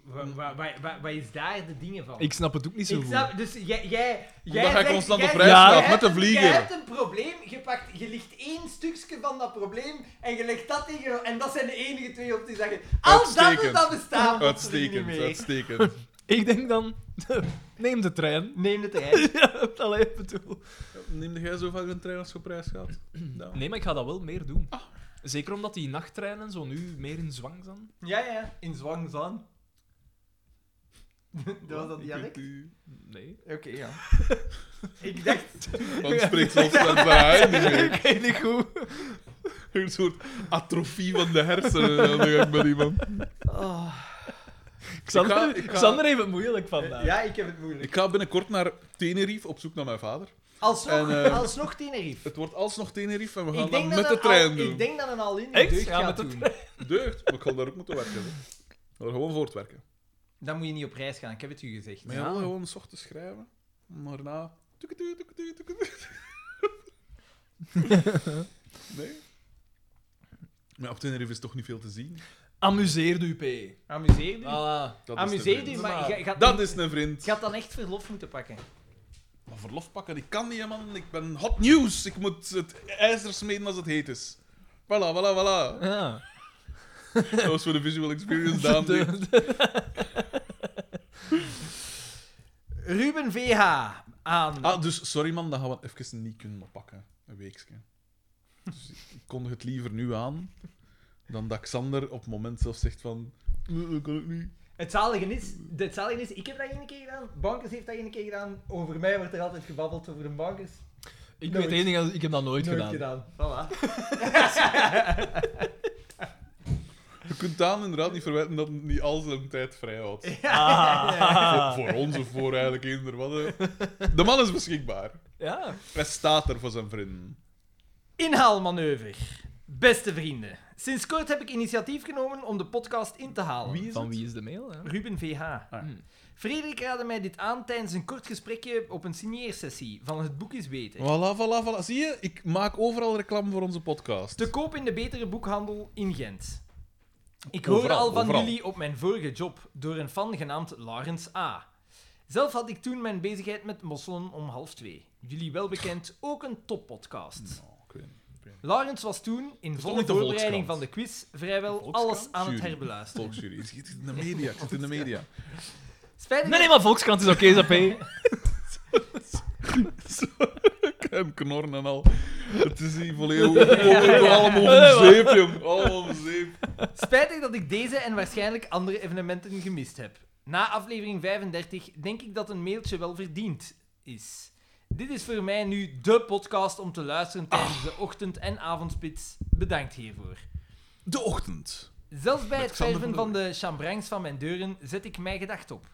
Wa- wa- wa- wa- Wat is daar de dingen van? Ik snap het ook niet zo Ik goed. snap- dus jij... jij, jij Omdat jij zegt- constant op jij- reis jij gaat hebt met de een- vlieger. Jij hebt een probleem, je, pakt, je ligt één stukje van dat probleem en je legt dat tegen... En dat zijn de enige twee op die zeggen... Als Oh, dat is, Uitstekend. dat bestaat plotseling Uitstekend, niet meer. uitstekend. Ik denk dan, neem de trein. Neem de trein. Ja, allee, ik bedoel. Neemde jij zo vaak een trein als je op reis gaat? Nou. Nee, maar ik ga dat wel meer doen. Ah. Zeker omdat die nachttreinen zo nu meer in zwang zijn. Ja, ja. In zwang zaan. dat was dat Ik dialect? weet niet. Nee. Oké, ja. ik dacht... Want spreekt zelfs met haar niet meer. weet niet goed. Een soort atrofie van de hersenen aan de gang met iemand. Oh. Xander, Ik ga- ik ga- Xander heeft het moeilijk vandaag. Ja, ik heb het moeilijk. Ik ga binnenkort naar Tenerife op zoek naar mijn vader. Alsnog, En, eh, alsnog Tenerife. Het wordt alsnog Tenerife en we gaan Ik dat denk, met dat de een trein al, doen. ik denk dat een al-in Echt? deugd Ja, gaat met de doen. Deugd, maar ik ga daar ook moeten werken. hè. Ik ga er gewoon voor het werken. Dan moet je niet op reis gaan, ik heb het u gezegd. Maar Ja. ja, gewoon s ochtends schrijven. en Daarna... toeketu, toeketu, toeketu. Nee? Maar ja, op Tenerife is toch niet veel te zien. Amuseer u, P. E. Amuseer u. Voilà. Ah, Dat is een Amuseer u, vriend. maar je gaat, Dat niet- is een vriend. je gaat dan echt verlof moeten pakken. Maar verlof pakken, ik kan niet, man. Ik ben hot nieuws. Ik moet het ijzer smeden als het heet is. Voilà, voilà, voilà. Ja. Dat was voor de visual experience, Daan. De- Ruben VH aan. Ah, dus sorry man, dat gaan we even niet kunnen oppakken. Een weekje. Dus ik ik kondig het liever nu aan dan dat Xander op het moment zelf zegt van... Nee, dat kan ik niet. Het, zalige is, het zalige is, ik heb dat één keer gedaan, Bankers heeft dat één keer gedaan, over mij wordt er altijd gebabbeld over de Bankers. Ik Nooit. weet één ding, ik heb dat nooit, Nooit gedaan. gedaan. Voilà. Je kunt Daan inderdaad niet verwijten dat hij niet al zijn tijd vrijhoudt. Ah. Voor, voor ons of voor eigenlijk eender wat. hè. De man is beschikbaar. Ja. Hij staat er voor zijn vrienden. Inhaalmanoeuvre. Beste vrienden, sinds kort heb ik initiatief genomen om de podcast in te halen. Wie is Van het? wie is de mail? Hè? Ruben VH. ja. Hm. Frederik raadde mij dit aan tijdens een kort gesprekje op een signeersessie van Het Boek is Beter. Voilà, voilà, voilà. Zie je, ik maak overal reclame voor onze podcast. Te koop in de Betere Boekhandel in Gent. Ik hoor Overal, al van overal. jullie op mijn vorige job door een fan genaamd Laurens A. Zelf had ik toen mijn bezigheid met mosselen om half twee. Jullie wel bekend, ook een toppodcast. Oh, ik weet niet. Laurens was toen, in toch volle niet de voorbereiding Volkskrant? van de quiz, vrijwel Volkskrant? alles aan het Jury. herbeluisteren. Volksjury. Ik zit in de media. Ik zit in de media. Spijtig Nee, nee, maar Volkskrant is oké, okay, Zo, en knorren en al. Het is hier volledig over- allemaal om zeep, jong. Allemaal om zeep. Spijtig dat ik deze en waarschijnlijk andere evenementen gemist heb. Na aflevering 35 denk ik dat een mailtje wel verdiend is. Dit is voor mij nu dé podcast om te luisteren tijdens de ochtend- en avondspits. Bedankt hiervoor. De ochtend. Zelfs bij Met het Xander verven van van de chambrangs van mijn deuren zet ik mijn gedacht op.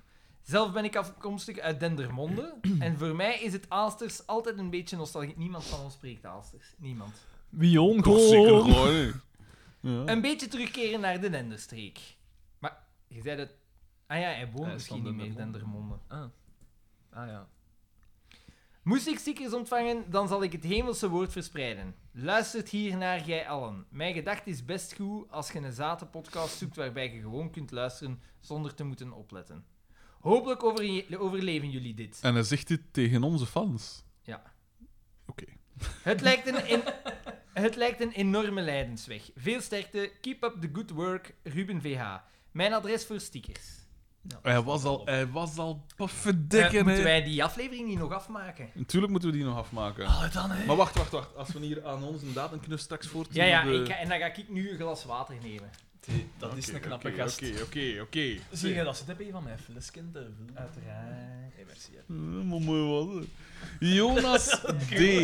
Zelf ben ik afkomstig uit Dendermonde en voor mij is het Aalsters altijd een beetje nostalgie. Niemand van ons spreekt Aalsters. Niemand. Wion, Toch zeker gewoon. gewoon, hè. Oh. Ja. Een beetje terugkeren naar de Nenderstreek. Maar je zei dat. Ah ja, hij woont Hij is misschien van niet meer in Dendermonde. Dendermonde. Ah. ah ja. Moest ik stickers ontvangen, dan zal ik het hemelse woord verspreiden. Luistert hier naar gij allen. Mijn gedachte is best goed als je een zatenpodcast zoekt waarbij je gewoon kunt luisteren zonder te moeten opletten. Hopelijk overje- overleven jullie dit. En hij zegt dit tegen onze fans. Ja. Oké. Het lijkt een, en- het lijkt een enorme lijdensweg. Veel sterkte, keep up the good work, Ruben VH. Mijn adres voor stickers. Hij was al... Hij was al... Eh, Pufferdikken, moeten hè. wij die aflevering niet nog afmaken? Natuurlijk moeten we die nog afmaken. Allee, Ah, dan, hè. Maar wacht, wacht, wacht. Als we hier aan onze datum kunnen we straks Ja, voortzetten. ja, de... ik ga- en dan ga ik nu een glas water nemen. Dat is een Oké, knappe oké, gast. Oké, oké, oké. Zie je, dat zit heb je van mijn flesken te vullen. Uiteraard. Nee, merci. hè. Eh, Maar mooi was het. Jonas D.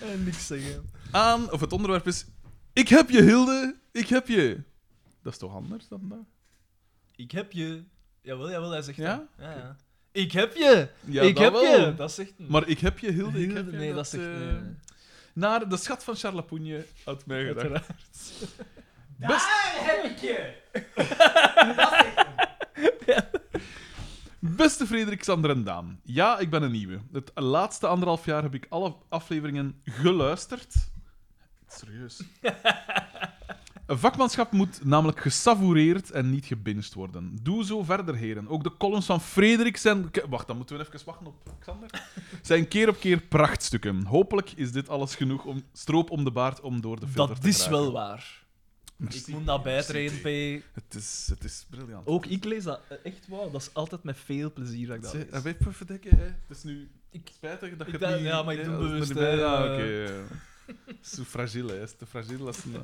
En niks zeggen. aan, of het onderwerp is: Ik heb je, Hilde, ik heb je. Dat is toch anders dan dat? Ik heb je. Jawel, jawel, hij zegt Ja? dat. Ja, ja. Ik heb je. Ja, ik dat heb wel. je. Dat zegt Maar ik heb je, Hilde, ik Hilde, heb je. nee, dat zegt- eh, nee, nee. Naar de schat van Charlapogne had mij gedacht. Daar heb ik je! Beste Frederik, Sander en Daan. Ja, ik ben een nieuwe. Het laatste anderhalf jaar heb ik alle afleveringen geluisterd. Serieus. Een vakmanschap moet namelijk gesavoureerd en niet gebinged worden. Doe zo verder, heren. Ook de columns van Frederik zijn... K- Wacht, dan moeten we even wachten op Xander. Zijn keer op keer prachtstukken. Hopelijk is dit alles genoeg om stroop om de baard om door de filter Dat te is geraken. wel waar. Ik moet dat bijtreden, P. Het is, het is briljant. Ook ik lees dat eh, echt waar. Dat is altijd met veel plezier dat ik dat Zeg, lees. en weet je, verdikken, hè? Het is nu Ik- spijtig dat je ik het dacht- niet... ja, maar ik doe als het bewust, er niet bij- hè, Ja, eh. oké. ja. Het is zo fragiel, hè. Het is te fragiel als een...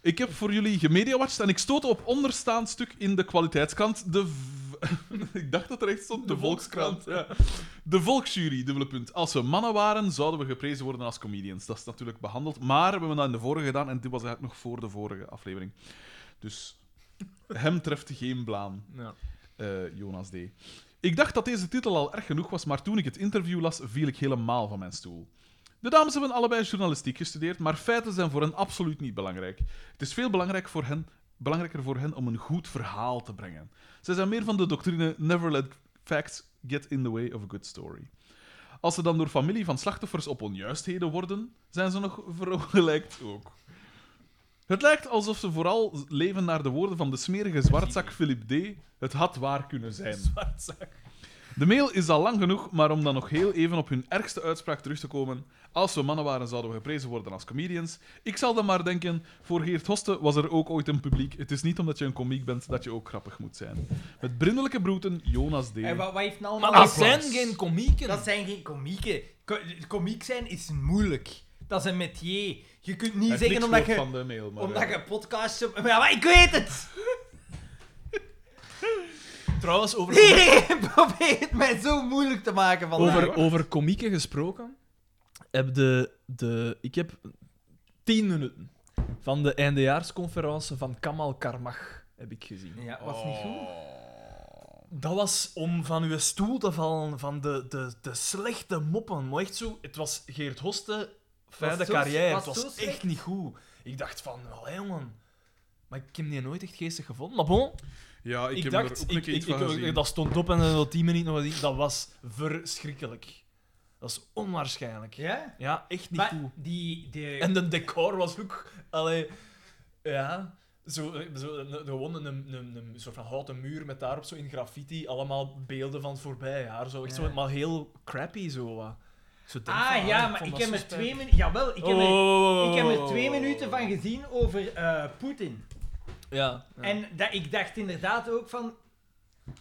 Ik heb voor jullie gemediawatcht en ik stoot op onderstaand stuk in de kwaliteitskant. De... v- ik dacht dat er echt stond. De, De Volkskrant. ja. De Volksjury, dubbele punt. Als we mannen waren, zouden we geprezen worden als comedians. Dat is natuurlijk behandeld, maar we hebben dat in de vorige gedaan en dit was eigenlijk nog voor de vorige aflevering. Dus hem treft geen blaam. Ja. Eh, Jonas D. Ik dacht dat deze titel al erg genoeg was, maar toen ik het interview las, viel ik helemaal van mijn stoel. De dames hebben allebei journalistiek gestudeerd, maar feiten zijn voor hen absoluut niet belangrijk. Het is veel belangrijk voor hen, belangrijker voor hen om een goed verhaal te brengen. Zij zijn meer van de doctrine never let facts get in the way of a good story. Als ze dan door familie van slachtoffers op onjuistheden worden, zijn ze nog verongelijkt ook. Het lijkt alsof ze vooral leven naar de woorden van de smerige zwartzak Philip D. Het had waar kunnen zijn. De mail is al lang genoeg, maar om dan nog heel even op hun ergste uitspraak terug te komen. Als we mannen waren, zouden we geprezen worden als comedians. Ik zal dan maar denken, voor Geert Hoste was er ook ooit een publiek. Het is niet omdat je een komiek bent dat je ook grappig moet zijn. Met brindelijke broeten, Jonas D. En wat, wat heeft nou Maar allemaal- dat zijn geen komieken. Dat zijn geen komieken. Ko- Komiek zijn is moeilijk. Dat is een metier. Je kunt niet Hij heeft zeggen niks omdat gehoord je, van de mail, maar, omdat eh, je podcasts... op- Maar ja, maar ik weet het! Trouwens, over, Iedereen probeert het mij zo moeilijk te maken vandaag. over, over komieken gesproken. Heb de, de, ik heb tien minuten van de eindejaarsconferentie van Kamal Karmach heb ik gezien. Ja, was Oh. niet goed. Dat was om van uw stoel te vallen van de, de, de slechte moppen. Maar echt zo, het was Geert Hoste, fijne Was zo- carrière. was het zo was slecht? echt niet goed. Ik dacht van, hé man. Maar ik heb die nooit echt geestig gevonden. Maar bon, Ja, ik, ik, heb er dacht, ook een ik, keer ik, iets van ik- gezien. dat stond op en dan dat 10 minuten nog eens- Dat was verschrikkelijk. Dat is onwaarschijnlijk. Ja, Ja? echt niet Maar goed. die... die... En de decor was ook. Allee, ja. Zo, zo, een- gewoon een, een, een, een soort van houten muur met daarop zo in graffiti allemaal beelden van het voorbije jaar. Zo, echt Ja. zo, maar heel crappy zo. wat. Zo denk van, ah ja, maar vond ik heb dat zo er spijtig. twee minuten... Jawel, ik heb er, Oh. ik heb er twee minuten van gezien over eh, Poetin. Ja. ja. En dat, ik dacht inderdaad ook van...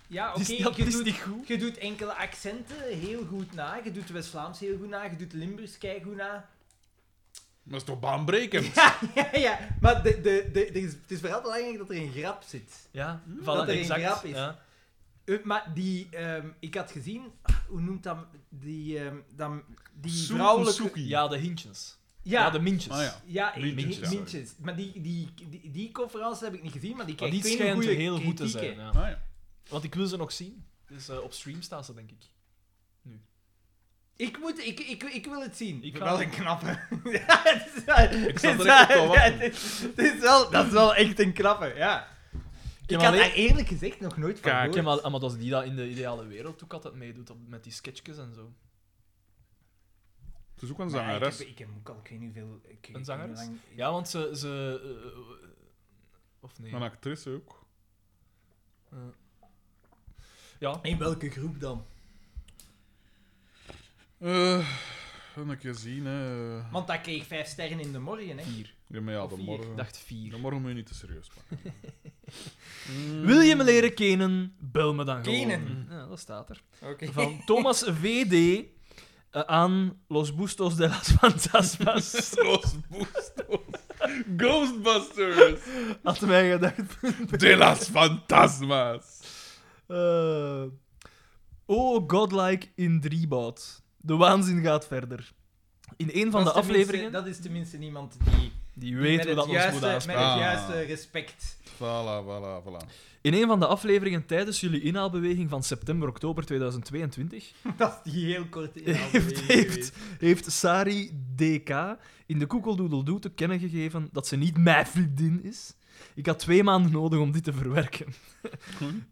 Ja, Ah, Het oké, is, dat je is doet niet goed. Je doet enkele accenten heel goed na. Je doet West-Vlaams heel goed na. Je doet Limburgs kei goed na. Maar dat is toch baanbrekend? Ja, ja, ja. Maar de, de, de, de- het is vooral belangrijk dat er een grap zit. Ja, voilà, Hmm, dat er een exact. grap is. Ja. Eh, maar die... ehm, ik had gezien... ah, Hoe noemt dat... Die, ehm dat die Soe- vrouwelijke... Soekie. ja, de hintjes. Ja, Ja, ja, de mintjes. Ah, ja. eh, Mintjes, mi- ja. mintjes. Maar die, die, die, die conferentie heb ik niet gezien, maar die Maar kreeg die veel schijnt goede heel goed te kritieken. zijn. Ja. Ah, ja. Want ik wil ze nog zien. Dus eh, op stream staan ze, denk ik. Ik, moet, ik, ik, ik wil het zien. Ik Ik ga- wel een knappe. ja, het is wel, ik sta direct op te wachten. het is, het is wel, dat is wel echt een knappe, ja. Ik, heb had alleen- daar eerlijk gezegd nog nooit van Kaak. gehoord. Ja, maar, ah, maar dat is die dat in de ideale wereld ook altijd meedoet op, met die sketchjes en zo. Het is ook een Maar ja, ik, zangeres. heb, ik heb ook al, ik weet niet hoeveel... Ik, Een zangeres? lang- Ja, want ze. ze eh, eh, of nee? Een actrice ook. Eh. ja, In welke groep dan? Eh, een keer zien, hè. Want dat kreeg vijf sterren in de morgen, hè. vier. Ja, maar ja, Of de vier. morgen... Ik dacht vier. De morgen moet je niet te serieus pakken. Mm. Wil je me leren kennen? Bel me dan gewoon. Mm. Kenen. Ja, dat staat er. Oké. Van Thomas VD eh, aan Los Bustos de las Fantasmas. Los Bustos. Ghostbusters. Had mij gedacht. De las Fantasmas. Eh, oh, godlike in Driebout. De waanzin gaat verder. In Dat een van de is tenminste- afleveringen... Dat is tenminste niemand die... Die weet weten we dat ons juiste, moet Met aanspreken. het Ah. juiste respect. Voilà, voilà, voilà. In een van de afleveringen tijdens jullie inhaalbeweging van september-oktober 2022 Dat is die heel kort in heeft, heeft, heeft Sari DK in de koekeldoedeldoe te kennen gegeven dat ze niet mijn vriendin is. Ik had twee maanden nodig om dit te verwerken.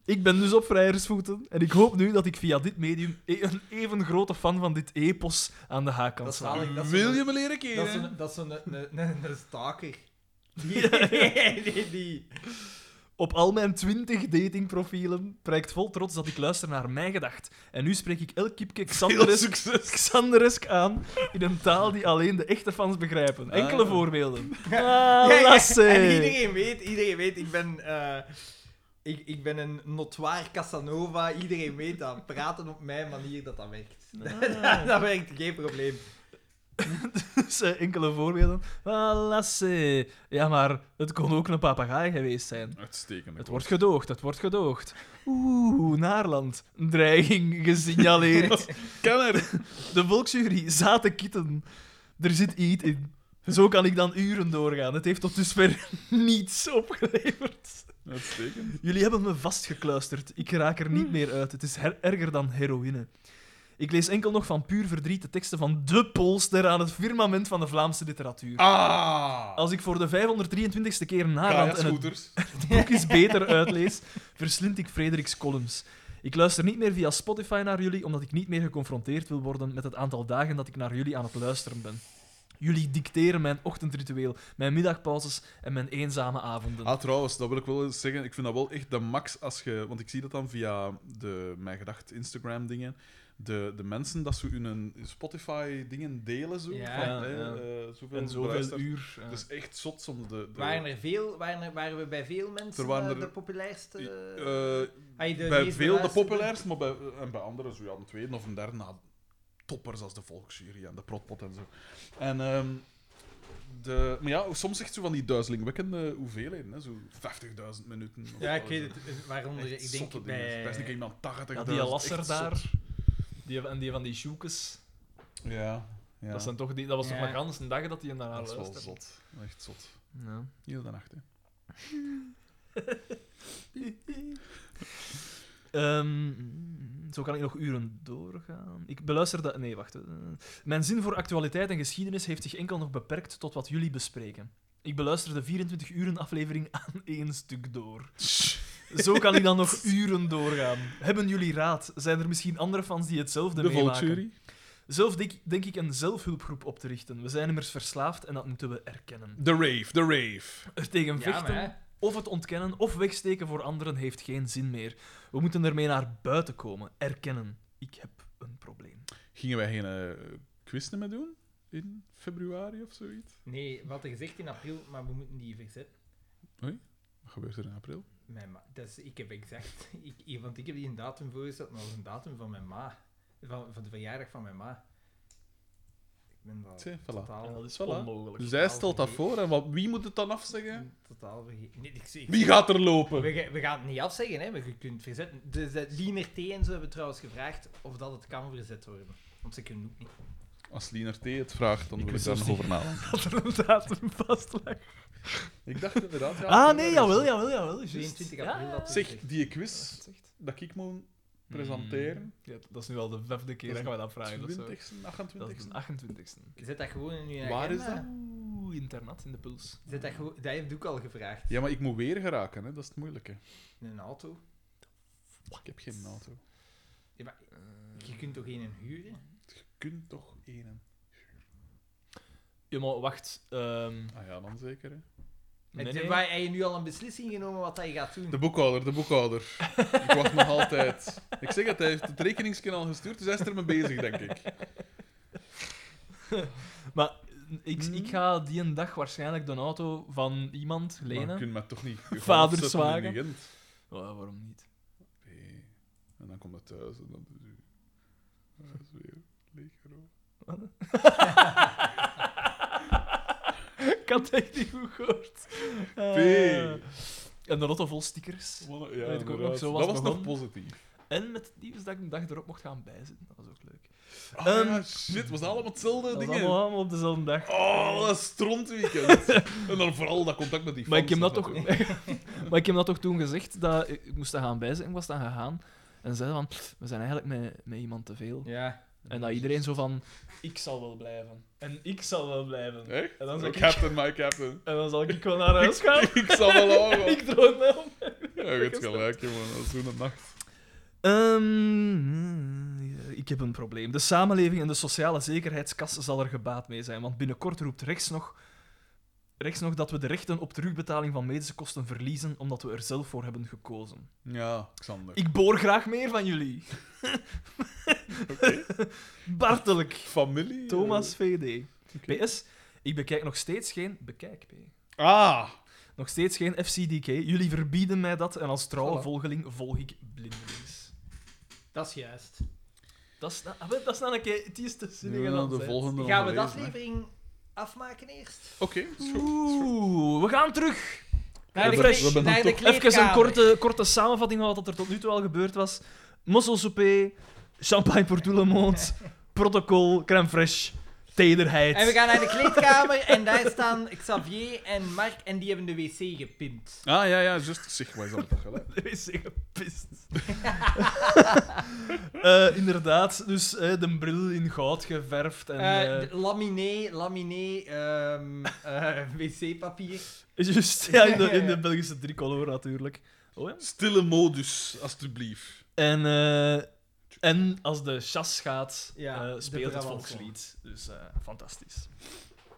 Ik ben dus op vrijersvoeten en ik hoop nu dat ik via dit medium e- een even grote fan van dit epos aan de haak kan Dat is slaan. zalig, dat is Wil een- je me leren Dat is kennen? een, dat is een, een, een, een staker. Die, die, die, die. Op al mijn twintig datingprofielen prijkt vol trots dat ik luister naar mijn gedacht. En nu spreek ik elk kiepje Xanderesk, Xanderesk aan in een taal die alleen de echte fans begrijpen. Enkele Ah. voorbeelden. Ja, Ah, ja, lasse. En iedereen weet, iedereen weet, ik ben, eh, ik, ik ben een notoire Casanova. Iedereen weet dat praten op mijn manier dat dat werkt. Ah. dat, dat werkt, geen probleem. Dus, eh, enkele voorbeelden. Ah, lasse. Ja, maar het kon ook een papegaai geweest zijn. Uitstekend. Het wordt gedoogd, het wordt gedoogd. Oeh, Naarland. Dreiging gesignaleerd. kenner. De volksjury, zaten kitten. Er zit iets in. Zo kan ik dan uren doorgaan. Het heeft tot dusver niets opgeleverd. Uitstekend. Jullie hebben me vastgekluisterd. Ik raak er niet meer uit. Het is her- erger dan heroïne. Ik lees enkel nog van puur verdriet de teksten van de polster aan het firmament van de Vlaamse literatuur. Ah! Als ik voor de 523ste keer Naarland en het Kaja-scooters. boek eens beter uitlees, verslind ik Frederiks columns. Ik luister niet meer via Spotify naar jullie, omdat ik niet meer geconfronteerd wil worden met het aantal dagen dat ik naar jullie aan het luisteren ben. Jullie dicteren mijn ochtendritueel, mijn middagpauzes en mijn eenzame avonden. Ah, trouwens, dat wil ik wel eens zeggen. Ik vind dat wel echt de max als je... Want ik zie dat dan via de Mijn Gedacht Instagram-dingen. De, de mensen dat ze hun Spotify-dingen delen, zo. Ja, van, ja. hè, eh, zoveel en zoveel beluisterd. uur. eh. Het is echt zot soms. De, de, Waren, er veel, waren, er- waren we bij veel mensen Er waren eh, er- de populairste? Eh, Ai, de bij meest veel de beluisterde? populairst, maar bij, en bij anderen zo ja, een tweede of een derde na toppers als de Volksjury en de Protpot en zo. En ehm, de, maar ja, soms echt zo van die duizelingwekkende hoeveelheden, hè, zo 50.000 minuten. of Ja, ik zo. weet het. Waaronder, Echt ik denk zotte ik dingen. bij... Best een keer iemand 80. Ja, die Alasser daar. Die, en die van die Sjoekes. Ja, ja. Dat, zijn toch die, dat was Ja. toch maar gans een dag dat die hem daarna Dat is wel luisterde. zot. Echt zot. Ja. Heel de nacht, hè. Ehm, zo kan ik nog uren doorgaan. Ik beluister dat. Nee, wacht. eh. Mijn zin voor actualiteit en geschiedenis heeft zich enkel nog beperkt tot wat jullie bespreken. Ik beluister de 24 uren aflevering aan één stuk door. Zo kan ik dan nog uren doorgaan. Hebben jullie raad? Zijn er misschien andere fans die hetzelfde De meemaken? Volksjury. Zelf denk, denk ik een zelfhulpgroep op te richten. We zijn immers verslaafd en dat moeten we erkennen. De Rave, de Rave. Er tegen Ja, maar vechten, hè. of het ontkennen of wegsteken voor anderen heeft geen zin meer. We moeten ermee naar buiten komen. Erkennen. Ik heb een probleem. Gingen wij geen eh, quiz meer doen? In februari of zoiets? Nee, we hadden gezegd in april, maar we moeten die verzetten. Wat gebeurt er in april? Mijn ma- dat is, ik heb exact... Ik, ik- want ik heb die een datum voorgesteld, maar dat was een datum van mijn ma. Van, van de verjaardag van mijn ma. Ik ben dat Zie, voilà. totaal, En dat is Voilà. onmogelijk. Zij Dus stelt dat voor en wat, wie moet het dan afzeggen? totaal vergeten. Nee, ik, ik- Wie gaat er lopen? we, ga- we gaan het niet afzeggen, hè, maar je kunt het verzetten. Dus, De, de Liener T en zo hebben trouwens gevraagd of dat het kan verzet worden. Want ze kunnen ook niet. Als Liener T het vraagt, dan Ik wil ik wist daar zelfs nog over nadenken. Dat er een datum vast lag. Ik dacht inderdaad... Ja, Ah, nee, jawel, jawel, jawel. juist. 22 april Ja, dat ja, Zeg, die ja. quiz dat ik moet presenteren... Ja, dat is nu al de vijfde keer Dat dat is we Hmm. dat vragen. Dat is, zo. 20 dat is 28 de 28e. Zet dat gewoon in je Waar is agenda. dat? Oeh, internat in de puls. Zet dat gewoon... Dat heeft ook al gevraagd. Ja, maar ik moet weer geraken, hè. dat is het moeilijke. In een auto. Ik heb geen auto. Ja, maar je kunt toch geen huren? Je kunt toch één. Ja, maar wacht. ehm, Ah ja, dan zeker. Hè. nee, Het- nee. Waar heb je nu al een beslissing genomen wat hij gaat doen? De boekhouder, de boekhouder. ik wacht nog altijd. Ik zeg het, hij heeft het rekeningskanaal gestuurd, dus hij is er mee bezig, denk ik. Maar ik, ik ga die een dag waarschijnlijk de auto van iemand Maar je lenen. kunt mij toch niet... je Vader hand zetten zwagen. in Gent. Ja, waarom niet? Nee. En dan komt het thuis en dan is u... Dat is weer leeggeroofd. ik had het echt niet goed gehoord. Ah. Pee. en de lotto vol stickers. Wat een- Weet ik ook nog, inderdaad. zo was dat het was nog begonnen. positief. En met het nieuws dat ik een dag erop mocht gaan bijzitten. Dat was ook leuk. Ah, Ehm, ja, shit, was dat allemaal hetzelfde Dat was dingen? allemaal, allemaal op dezelfde dag. Oh, wat een strontweekend. en dan vooral dat contact met die fans. Maar ik, heb dat toch, natuurlijk. maar ik heb dat toch toen gezegd, dat ik ik moest daar gaan bijzitten. Ik was dan gegaan en zei van, we zijn eigenlijk met, met iemand te veel. Ja. En dat iedereen zo van, ik zal wel blijven. En ik zal wel blijven. Echt? En dan Oh, zeg ik- captain, my captain. En dan zal ik wel naar huis gaan. ik zal wel horen. ik droom wel. Ja, je hebt gelijk, jongen. Dat is hoe de nacht. Ehm, ik heb een probleem. De samenleving en de sociale zekerheidskas zal er gebaat mee zijn, want binnenkort roept rechts nog... Rechts nog dat we de rechten op terugbetaling van medische kosten verliezen omdat we er zelf voor hebben gekozen. Ja, Xander. Ik boor graag meer van jullie. Bartelijk. Familie? Thomas VD. PS, ik bekijk nog steeds geen... Bekijk, P. Ah! Nog steeds geen FCDK. Jullie verbieden mij dat en als trouwe Voilà. volgeling volg ik blindelings. Dat is juist. Dat is, na- ah, wel, dat is dan een keer het eerste zinnige Ja, antwoord. de volgende Gaan we de onderlezen, hè. aflevering afmaken eerst? Oké, is goed. Oeh, we gaan terug. Naar de de We hebben- we hebben naar de toch- Even een korte, korte samenvatting van wat er tot nu toe al gebeurd was. Mosselsouper, champagne pour tout le monde, protocol, crème fraîche, tederheid. En we gaan naar de kleedkamer en daar staan Xavier en Mark en die hebben de wc gepimpt. Ah, ja, ja, juist. Zeg, wij zijn toch gelijk. De wc gepist. Eh, inderdaad, dus eh, de bril in goud geverfd. En, Eh, eh, d- laminé, laminé, ehm, eh, wc-papier. juist, ja, in de, in de Belgische tricolor natuurlijk. Oh, ja. Stille modus, alstublieft. En, eh, en als de chas gaat, Ja, eh, de speelt het Brabantsong. volkslied. Dus eh, fantastisch.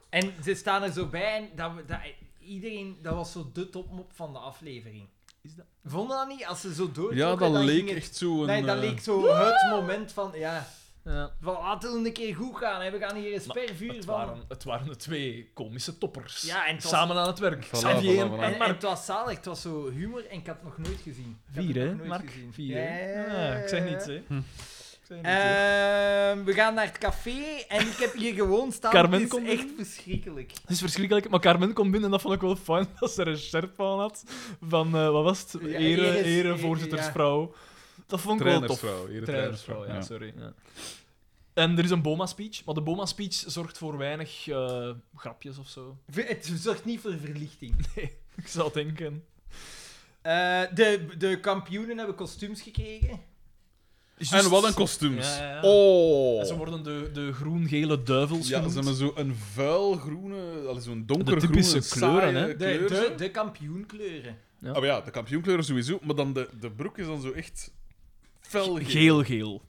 En ze staan er zo bij en dat, we- dat, iedereen, dat was zo de topmop van de aflevering. Is dat- Vonden dat niet? Als ze zo door Ja, dat leek ging het- echt zo een... Nee, dat eh, leek zo het moment van, ja, Ja. van laten we een keer goed gaan. Hè. We gaan hier een Maar spervuur Het van... waren, het waren de twee komische toppers. Ja, en het was- Samen aan het werk. Voilà, Xavier voilà, voilà. En, en en Mark. het was zalig, het was zo humor en ik had het nog nooit gezien. Ik had Vier, het nog hè, nooit Mark? gezien. Vier, Ja, hè? ja, ja, Ah, ik zeg ja, niets, ja. hè. Ik zeg niets, hè. Ehm, we gaan naar het café en ik heb hier gewoon staan. Carmen het is komt echt binnen. verschrikkelijk. Het is verschrikkelijk, maar Carmen komt binnen en dat vond ik wel fijn dat ze er een shirt van had. Van, eh, wat was het? Ja, Ere, eres- ere voorzittersvrouw. Dat vond ik wel tof. Trainersvrouw. Hier, Trainersvrouw, ja, sorry. Ja. En er is een Boma-speech, maar de Boma-speech zorgt voor weinig eh, grapjes of zo. Ver- Het zorgt niet voor verlichting. Ik zou denken. Eh, de, de kampioenen hebben kostuums gekregen. En wat een kostuums. Ja, ja, ja. Oh! En Ze worden de, de groen-gele duivels Ja, genoemd. ze hebben zo een vuilgroene, allee, zo'n donkergroene, typische saaie kleuren, hè. De, kleur zo. de, de kampioenkleuren. Ah, maar ja, de kampioenkleuren sowieso, maar dan de, de broek is dan zo echt felgeel. Geel-geel.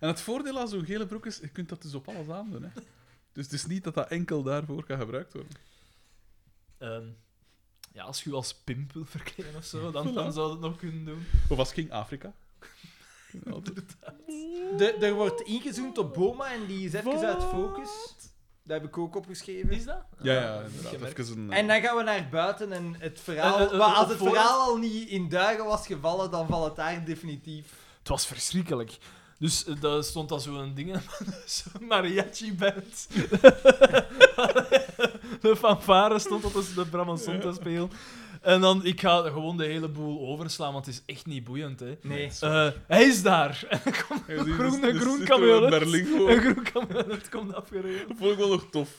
En het voordeel aan zo'n gele broek is, je kunt dat dus op alles aandoen. Hè. Dus het is niet dat dat enkel daarvoor kan gebruikt worden. Ehm, ja, als je je als pimp wil verkleden of zo, dan, dan Voilà. zou je het nog kunnen doen. Of als King Afrika. Altijd. De, er wordt ingezoomd op Boma en die is even uit focus. Dat heb ik ook opgeschreven. Is dat? Ja, Ah, ja, niet inderdaad. gemerkt. Even een, En dan gaan we naar buiten en het verhaal... Eh, eh, eh, maar als op het voorhand- verhaal al niet in duigen was gevallen, dan valt het daar definitief. Het was verschrikkelijk. Dus eh, daar stond dan zo'n ding, zo'n mariachi-band. de fanfare stond op de Bramanson te spelen. En dan, ik ga gewoon de hele boel overslaan, want het is echt niet boeiend, hè. Nee. Eh, hij is daar! Ja, zie je, groen- dus- een dus groen zitten we kamionet. naar Lingo. Een groen kamionet komt afgereden. Dat vond ik wel nog tof.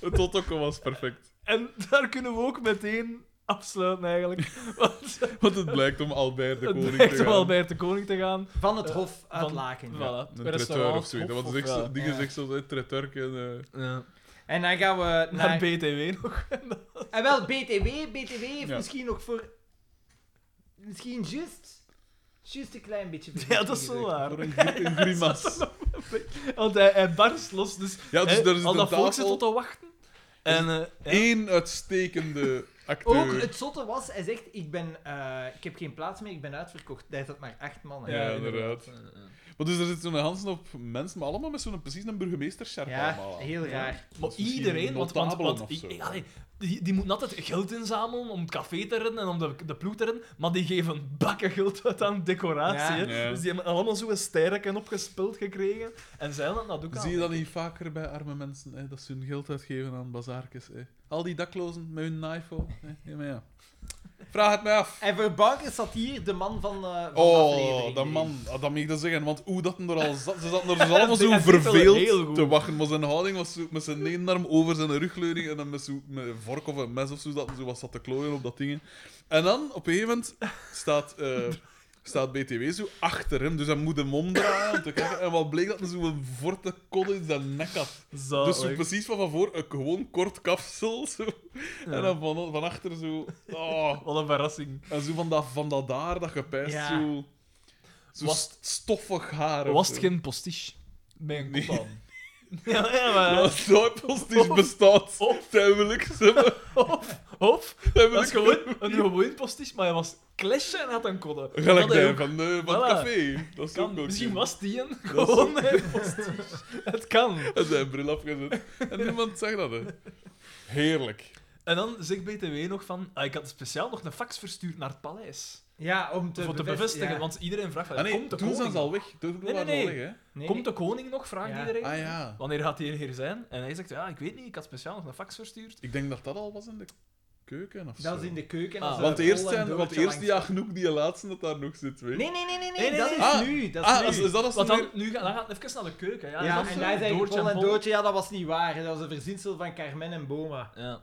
Het totokken was perfect. En daar kunnen we ook meteen afsluiten, eigenlijk. Want Want het blijkt om Albert de het Koning blijkt te gaan. wel bij de koning te gaan. Van het Eh, hof uit van- Laken. Voilà. Een Bij traiteur restaurant, of zoiets. hof Dat was of echt wel. zo- dingen ja. zegt zoals een traiteur. en, eh, Ja. En dan gaan we Naar naar... BTW nog. En wel, BTW, BTW heeft Ja. misschien nog voor... Misschien juist... Juist een klein beetje Ja, dat is wel waar. Voor een, gri- een grimas. Want hij, hij barst los, dus, Ja, dus hè, daar zit al een dat volk zit tafel. tot te wachten. En, eh, ja. Eén uitstekende acteur. Ook het zotte was, hij zegt, ik, ben, eh, ik heb geen plaats meer, ik ben uitverkocht. Daar zat maar acht mannen. Ja, inderdaad. Eh, eh. Maar dus er zit zo'n Hansen op mensen, maar allemaal met zo'n precies een burgemeester Ja, allemaal aan. heel raar. Maar misschien iedereen, want, want, notabelen want of i- zo. i- allee, die, die moeten altijd geld inzamelen om het café te redden en om de, de ploeg te redden, maar die geven bakken geld uit aan decoratie. Ja. hè. Ja. Dus die hebben allemaal zo'n sterken opgespeld gekregen en zij dat dat ook aan. Zie je dat niet vaker bij arme mensen, hè, dat ze hun geld uitgeven aan bazaarkes. Hè. Al die daklozen met hun iPhone. Hè. Ja, maar ja. Vraag het mij af. En voor Bankers zat hier de man van, eh van de Oh, aflevering. dat man, ah, dat mag ik dat zeggen, want hoe dat hem er al zat, ze zaten er dus allemaal zo Hij zit wel heel verveeld goed. te wachten, maar zijn houding was zo, met zijn ene arm over zijn rugleuning en dan met, zo, met een vork of een mes of zo, dat hij zo wat zat te klooien op dat ding. En dan, op een gegeven moment, staat, eh, staat BTW zo achter hem, dus hij moet hem omdraaien om te kijken, en wat bleek dat hij zo'n forte kodde in zijn nek had. Zalig. Dus zo precies van van voor, een gewoon kort kapsel, zo. en dan van, van achter zo... Oh. Wat een verrassing. En zo van dat, van dat daar, dat gepijst, Ja. zo... Zo Was- st- stoffig haar. of Was het zo. geen postiche? Mijn Nee. kop aan. Ja, ja, maar... Dat Duivelstisch bestaat. Duidelijk. zeg maar. Of, of, dat is Duidelijk. gewoon een gewoon postiche, maar hij was klesje en had een kodde. Gelijk Dat hij daar ook van, eh, van het Voilà. café. Dat is ook kan. nog Misschien zo. was die een is gewoon een postiche. Het kan. En zijn bril afgezet. En niemand zag dat, hè. Heerlijk. En dan zegt BTW nog van... ah, ik had speciaal nog een fax verstuurd naar het paleis. Ja, om te, Om te bevest- bevestigen, ja. want iedereen vraagt... Ah, nee, komt de toen zijn koning? ze al weg. Toen Nee, waren ze nee, al nee. weg, Nee, Komt de koning nog? Vraagt Ja. iedereen. hè. Ah ja. Wanneer gaat hij hier zijn? En hij zegt, ja, ik weet niet, ik had speciaal nog een fax verstuurd. Ik denk dat dat al was in de keuken of zo. Dat is in de keuken. Ah, als Want er eerst, Paul en zijn, want Doortje eerst die langs- Agnoek, die laatste dat daar nog zit, weet je. Nee, nee, nee, nee, nee, Nee, nee, dat nee. is Ah. nu. Dat is Ah, nu. als, is dat als Want dan... dan, nu, ga- dan gaat het even naar de keuken. Ja, dus ja, Dat is en zo, daar zei Doortje Paul en Pol. Doortje, ja, dat was niet waar. hè. Dat was een verzinsel van Carmen en Boma. Ja.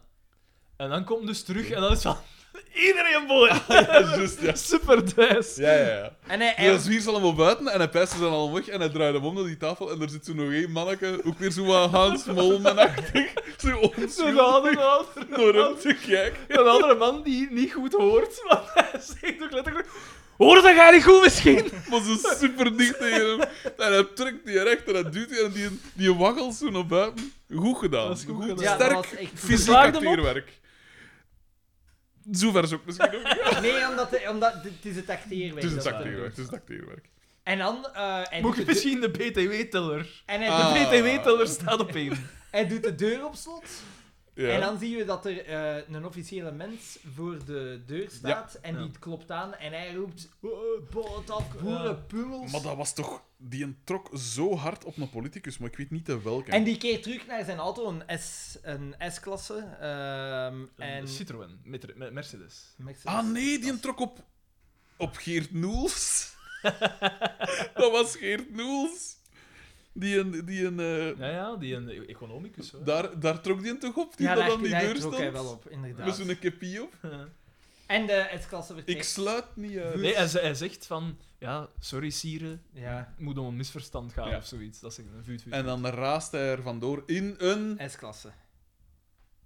En dan komt dus terug en dan is van... Iedereen boy! juist, ja. Super thuis! Ja, ja, ja. En hij, En dan zwier ze allemaal buiten en hij pijst ze dan allemaal weg en hij draait hem om naar die tafel en er zit zo nog één manneke, ook weer zo wat Hans Molman-achtig, zo Zo'n onschuldig andere, andere, door hem te kijken. een andere man die niet goed hoort, want hij zegt ook letterlijk... Hoor dat ga niet goed misschien? Maar zo super dicht tegen hem. En hij trekt die recht en hij duwt die en die, die waggelt zo naar buiten. Goed gedaan. Dat is goed gedaan. Ja, dat Sterk was echt goed. fysiek Slaagde hem op? acteerwerk. Zover is ook misschien ook. niet. Nee, omdat, de- omdat de- het is het acteerwerk. Het is het dat acteerwerk. Het is het acteerwerk. En dan... eh hij Moet doet ik de deur- misschien de BTW-teller? En hij, Ah. doet, De BTW-teller staat op één. hij doet de deur op slot. Ja. En dan zien we dat er eh, een officiële mens voor de deur staat. En die klopt aan. En hij roept... Bot af, boeren, pummels. Maar dat was toch... Die trok zo hard op een politicus, maar ik weet niet de welke. En die keert terug naar zijn auto, een, S, een S-klasse. ehm, en... En... Eh, Citroën, met, met Mercedes. Mercedes. Ah nee, die trok op... Op Geert Noels. dat was Geert Noels. Die een... Die een eh, Ja, ja, die een e- economicus. Hoor. daar, daar trok die hem toch op? Die Ja, dat daar, aan die daar deur Dus trok stond? hij wel op, inderdaad. Met zo'n kepie op? En de S-klasse vertrekt. Ik sluit niet uit. Nee, hij, ze- hij zegt van, ja, sorry Sire, Ja, het moet om een misverstand gaan Ja. of zoiets. Dat zegt een vuut, vuut. En dan raast hij er vandoor in een... S-klasse.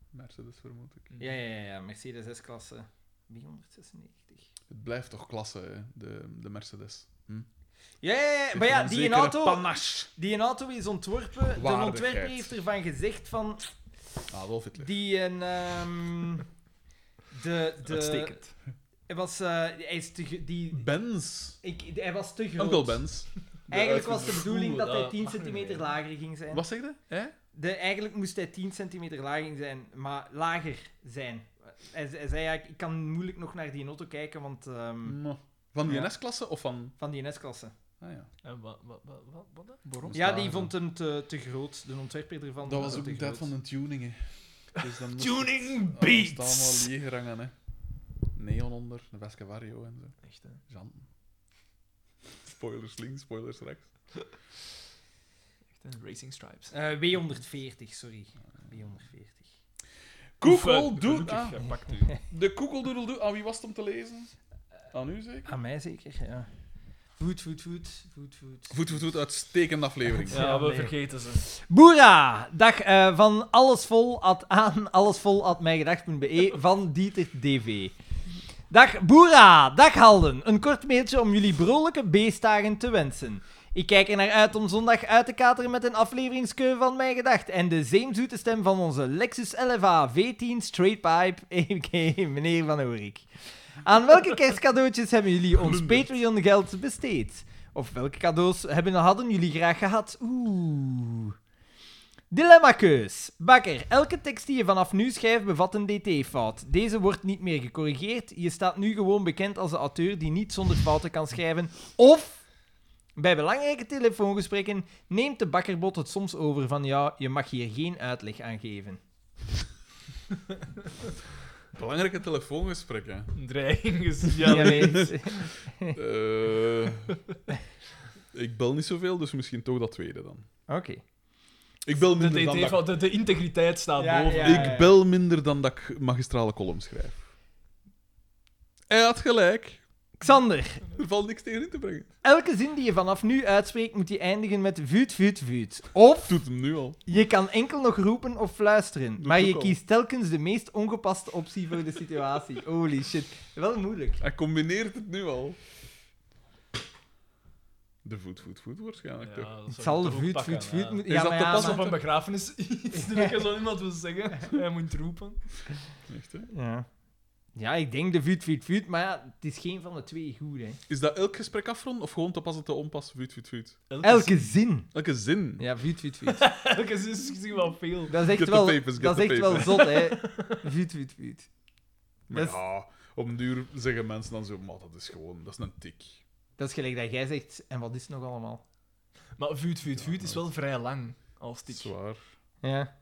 Mercedes, vermoed ik. Mm. Ja, ja, ja, ja, Mercedes S-klasse. 396. Het blijft toch klasse, hè, de, de Mercedes. Hm? Ja, ja, ja, maar Heeft ja, een die zekere een auto, Panache. die een auto is ontworpen. De Waardigheid. ontwerper heeft ervan gezegd van Adolf Ah, Hitler. die een. ehm, de, de, Uitstekend. hij was, eh, hij is te, ge- die, Benz. ik, hij was te groot. Uncle Benz. De Eigenlijk was de uitgever. bedoeling dat hij dat 10 mag niet centimeter meer. lager ging zijn. Wat zeg je? Hè? De, eigenlijk moest hij 10 centimeter lager zijn, maar lager zijn. Hij, hij zei ja, ik ik kan moeilijk nog naar die auto kijken, want ehm, Mwah. Van die Ja. NS-klasse of van... van die NS-klasse. Ah, ja. En wat, wat, wat, wat, wat dan? Waarom? Ja, die vond hem te, te groot, de ontwerper ervan. Dat vond was hem ook te de tijd groot. van de Ah, tuning, hè. Dus dan moest Tuning het- dan moest het Beats! allemaal leegrangen, hè. Neon onder, de Vescavario en zo. Echt, hè. Jan. Spoilers links, spoilers rechts. Echt, hè. Racing Stripes. Eh, W140, sorry. Ah, W140. Koekel doet... Gelukkig Ah, gepakt u. de koekeldoedel doet... Aan wie was het om te lezen? Aan u, zeker? Aan mij zeker, ja. Voet, voet, voet, voet, voet. Voet, voet, voet. Uitstekende aflevering. Ja, we nee. vergeten ze. Boera! Dag eh, van allesvol at aan allesvol@mijgedacht.be e, van Dieter DV. Dag Boera! Dag Halden! Een kort mailtje om jullie vrolijke beestdagen te wensen. Ik kijk er naar uit om zondag uit te kateren met een afleveringskeu van Mijn Gedacht en de zeemzoete stem van onze Lexus LFA V10 Straight Pipe, a.k.a. meneer Van Oorik. Aan welke kerstcadeautjes hebben jullie ons Patreon-geld besteed? Of welke cadeaus hebben, hadden jullie graag gehad? Oeh. Dilemmakeus. Bakker, elke tekst die je vanaf nu schrijft bevat een dt-fout. Deze wordt niet meer gecorrigeerd. Je staat nu gewoon bekend als de auteur die niet zonder fouten kan schrijven. Of, bij belangrijke telefoongesprekken, neemt de bakkerbot het soms over van jou. Je mag hier geen uitleg aan geven. Belangrijke telefoongesprekken. Een dreiging is... Ja, Ja, weet. Eh, ik bel niet zoveel, dus misschien toch dat tweede dan. Oké. Ik bel de, minder dan DT dat... van- de, de integriteit staat Ja, boven. ja. Ik bel minder dan dat ik magistrale column schrijf. Hij had gelijk. Xander, Er valt niks tegen in te brengen. Elke zin die je vanaf nu uitspreekt, moet je eindigen met vuut, vuut, vuut. Of Doet hem nu al. je kan enkel nog roepen of fluisteren, Doe maar ik je ook al. kiest telkens de meest ongepaste optie voor de situatie. Holy shit, wel moeilijk. Hij combineert het nu al. De voet, voet, voet waarschijnlijk toch? dat Het zal zou toch vuut, pakken, vuut, vuut ja. moeten... Is dat te maar pas Pas op maar- een begrafenis. Iets dat je zo iemand wil zeggen. Hij moet roepen. Echt, hè? Ja. ja, ik denk de vuut, vuut, vuut, maar ja, het is geen van de twee goed, hè. Is dat elk gesprek afronden of gewoon te pas en te onpas? Vuut, vuut, vuut. Elke zin. Elke zin. Ja, vuut, vuut, vuut. Elke zin is misschien wel veel. Dat is echt Get the wel, papers, get dat is the echt wel zot, hè. Vuut, vuut, vuut. Maar Dat is- ja, op een duur zeggen mensen dan zo, maar dat is gewoon, dat is een tik. Dat is gelijk dat jij zegt, en wat is het nog allemaal? Maar vuut, vuut, vuut is wel vrij lang als tik. Zwaar. Ja.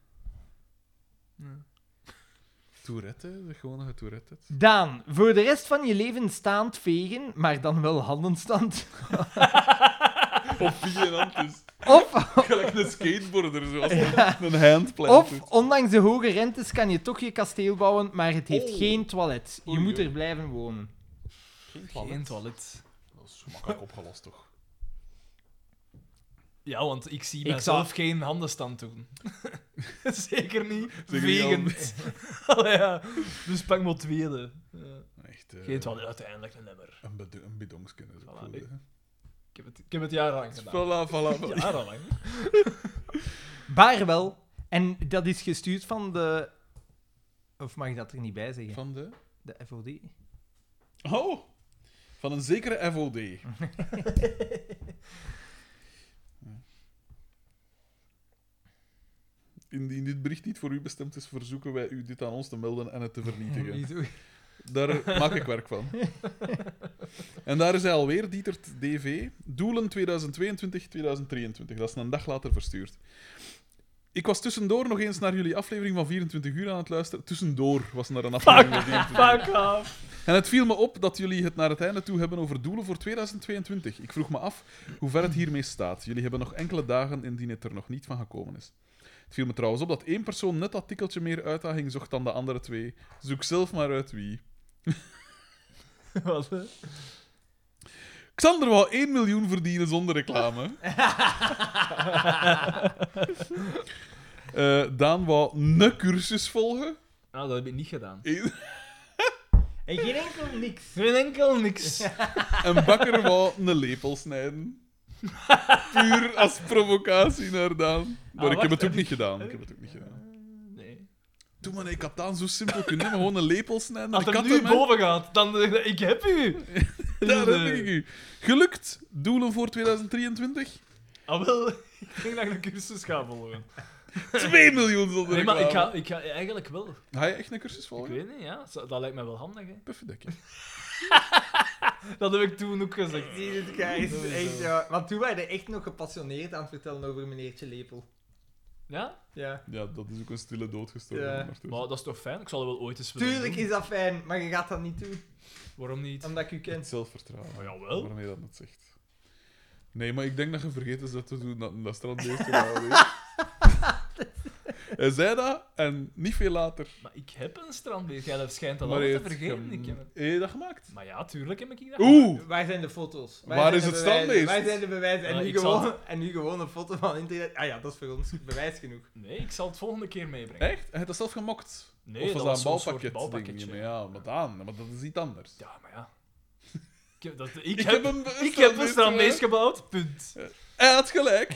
Tourette, hè? Zeg gewoon dat je Tourette hebt. Daan, voor de rest van je leven staand vegen, maar dan wel handenstand. Of vigilante is. Of, Gelijk een skateboarder, zoals een handplant of, doet. ondanks de hoge rentes kan je toch je kasteel bouwen, maar het heeft Oh. geen toilet. Je Oei, moet oei. er blijven wonen. Geen toilet. Dat is gemakkelijk opgelost, toch? Ja, want ik zie Ik mezelf geen handenstand doen. Zeker niet. Zeker niet Vegend. Allee, ja. Dus pak maar tweede. Ja. Echt, eh, Geen toilet, uiteindelijk een nummer. Een, bedo- een bidonsken is ook Voilà, goed, ik- hè. Ik heb het, ik heb het jarenlang gedaan. Voilà, voilà, voilà. Jarenlang. Baar wel. En dat is gestuurd van de... Of mag ik dat er niet bij zeggen? Van de... De FOD? Oh! Van een zekere FOD. Indien dit bericht niet voor u bestemd is, verzoeken wij u dit aan ons te melden en het te vernietigen. Wieso? Daar maak ik werk van. En daar is hij alweer, Dietert DV. Doelen 2022, 2023. Dat is een dag later verstuurd. Ik was tussendoor nog eens naar jullie aflevering van 24 uur aan het luisteren. Tussendoor was naar een aflevering van 24 uur. Fuck off. En het viel me op dat jullie het naar het einde toe hebben over doelen voor 2022. Ik vroeg me af hoe ver het hiermee staat. Jullie hebben nog enkele dagen indien het er nog niet van gekomen is. Het viel me trouwens op dat één persoon net dat tikkeltje meer uitdaging zocht dan de andere twee. Zoek zelf maar uit wie. Wat, hè? Xander wou 1 miljoen verdienen zonder reclame. Eh, Daan wou ne cursus volgen. Nou, dat heb ik niet gedaan. Eén- En geen enkel niks. Geen enkel niks. En Bakker wou een lepel snijden. Puur als provocatie naar Daan. Maar Ah, ik heb het wacht, ook heb niet gedaan. Ik heb het ook niet gedaan. Nee. Toen maar, ik had Daan zo simpel kunnen hebben. Gewoon een lepel snijden. Als Ik het had nu hem, hè. boven gaat, dan... eh, Ik heb u. Daar Dus, heb eh, ik u. Gelukt. Doelen voor 2023? Ah, wel. Ik denk dat ik een cursus ga volgen. 2 miljoen zonder Nee, maar ik reclame. ga, ik ga eigenlijk wel. Ga je echt een cursus Ik volgen? weet niet, ja. Zo- Dat lijkt mij wel handig, hè. Puffendekje. Dat heb ik toen ook gezegd. Jesus Christ, echt, ja. Want toen waren we echt nog gepassioneerd aan het vertellen over meneertje Lepel. Ja? Ja. Ja, dat is ook een stille dus dood gestorven. Ja. Arthur. Maar dat is toch fijn? Ik zal er wel ooit eens willen Tuurlijk doen. is dat fijn, maar je gaat dat niet doen, Waarom niet? omdat ik u ken. Het zelfvertrouwen. Maar jawel. Waarmee dat het zegt. Nee, maar ik denk dat je vergeten is dat te doen dat dat strandbeest gedaan heeft. Hij zei dat en niet veel later. Maar ik heb een strandbeest. Jij dat schijnt dat maar allemaal hij te heeft vergeten. gem- Ik heb... Heb je dat gemaakt? Maar ja, tuurlijk heb ik dat. Oeh! Waar zijn de foto's? Waar zijn is de het bewijzen? standbeest? Waar zijn de bewijzen? En, Ah, nu ik zal gewoon, en nu gewoon een foto van internet. Ah ja, dat is voor ons bewijs genoeg. Nee, ik zal het volgende keer meebrengen. Echt? Hij heeft dat zelf gemokt? Nee, of was dat dat, een was zo'n bouwpakket? soort bouwpakketje. ding? Ja, maar Daan, maar dat is iets anders. Ja, maar ja. Ik heb, dat, ik heb, een, ik heb een strandbeest strandbeest gebouwd. Punt. Hij had gelijk.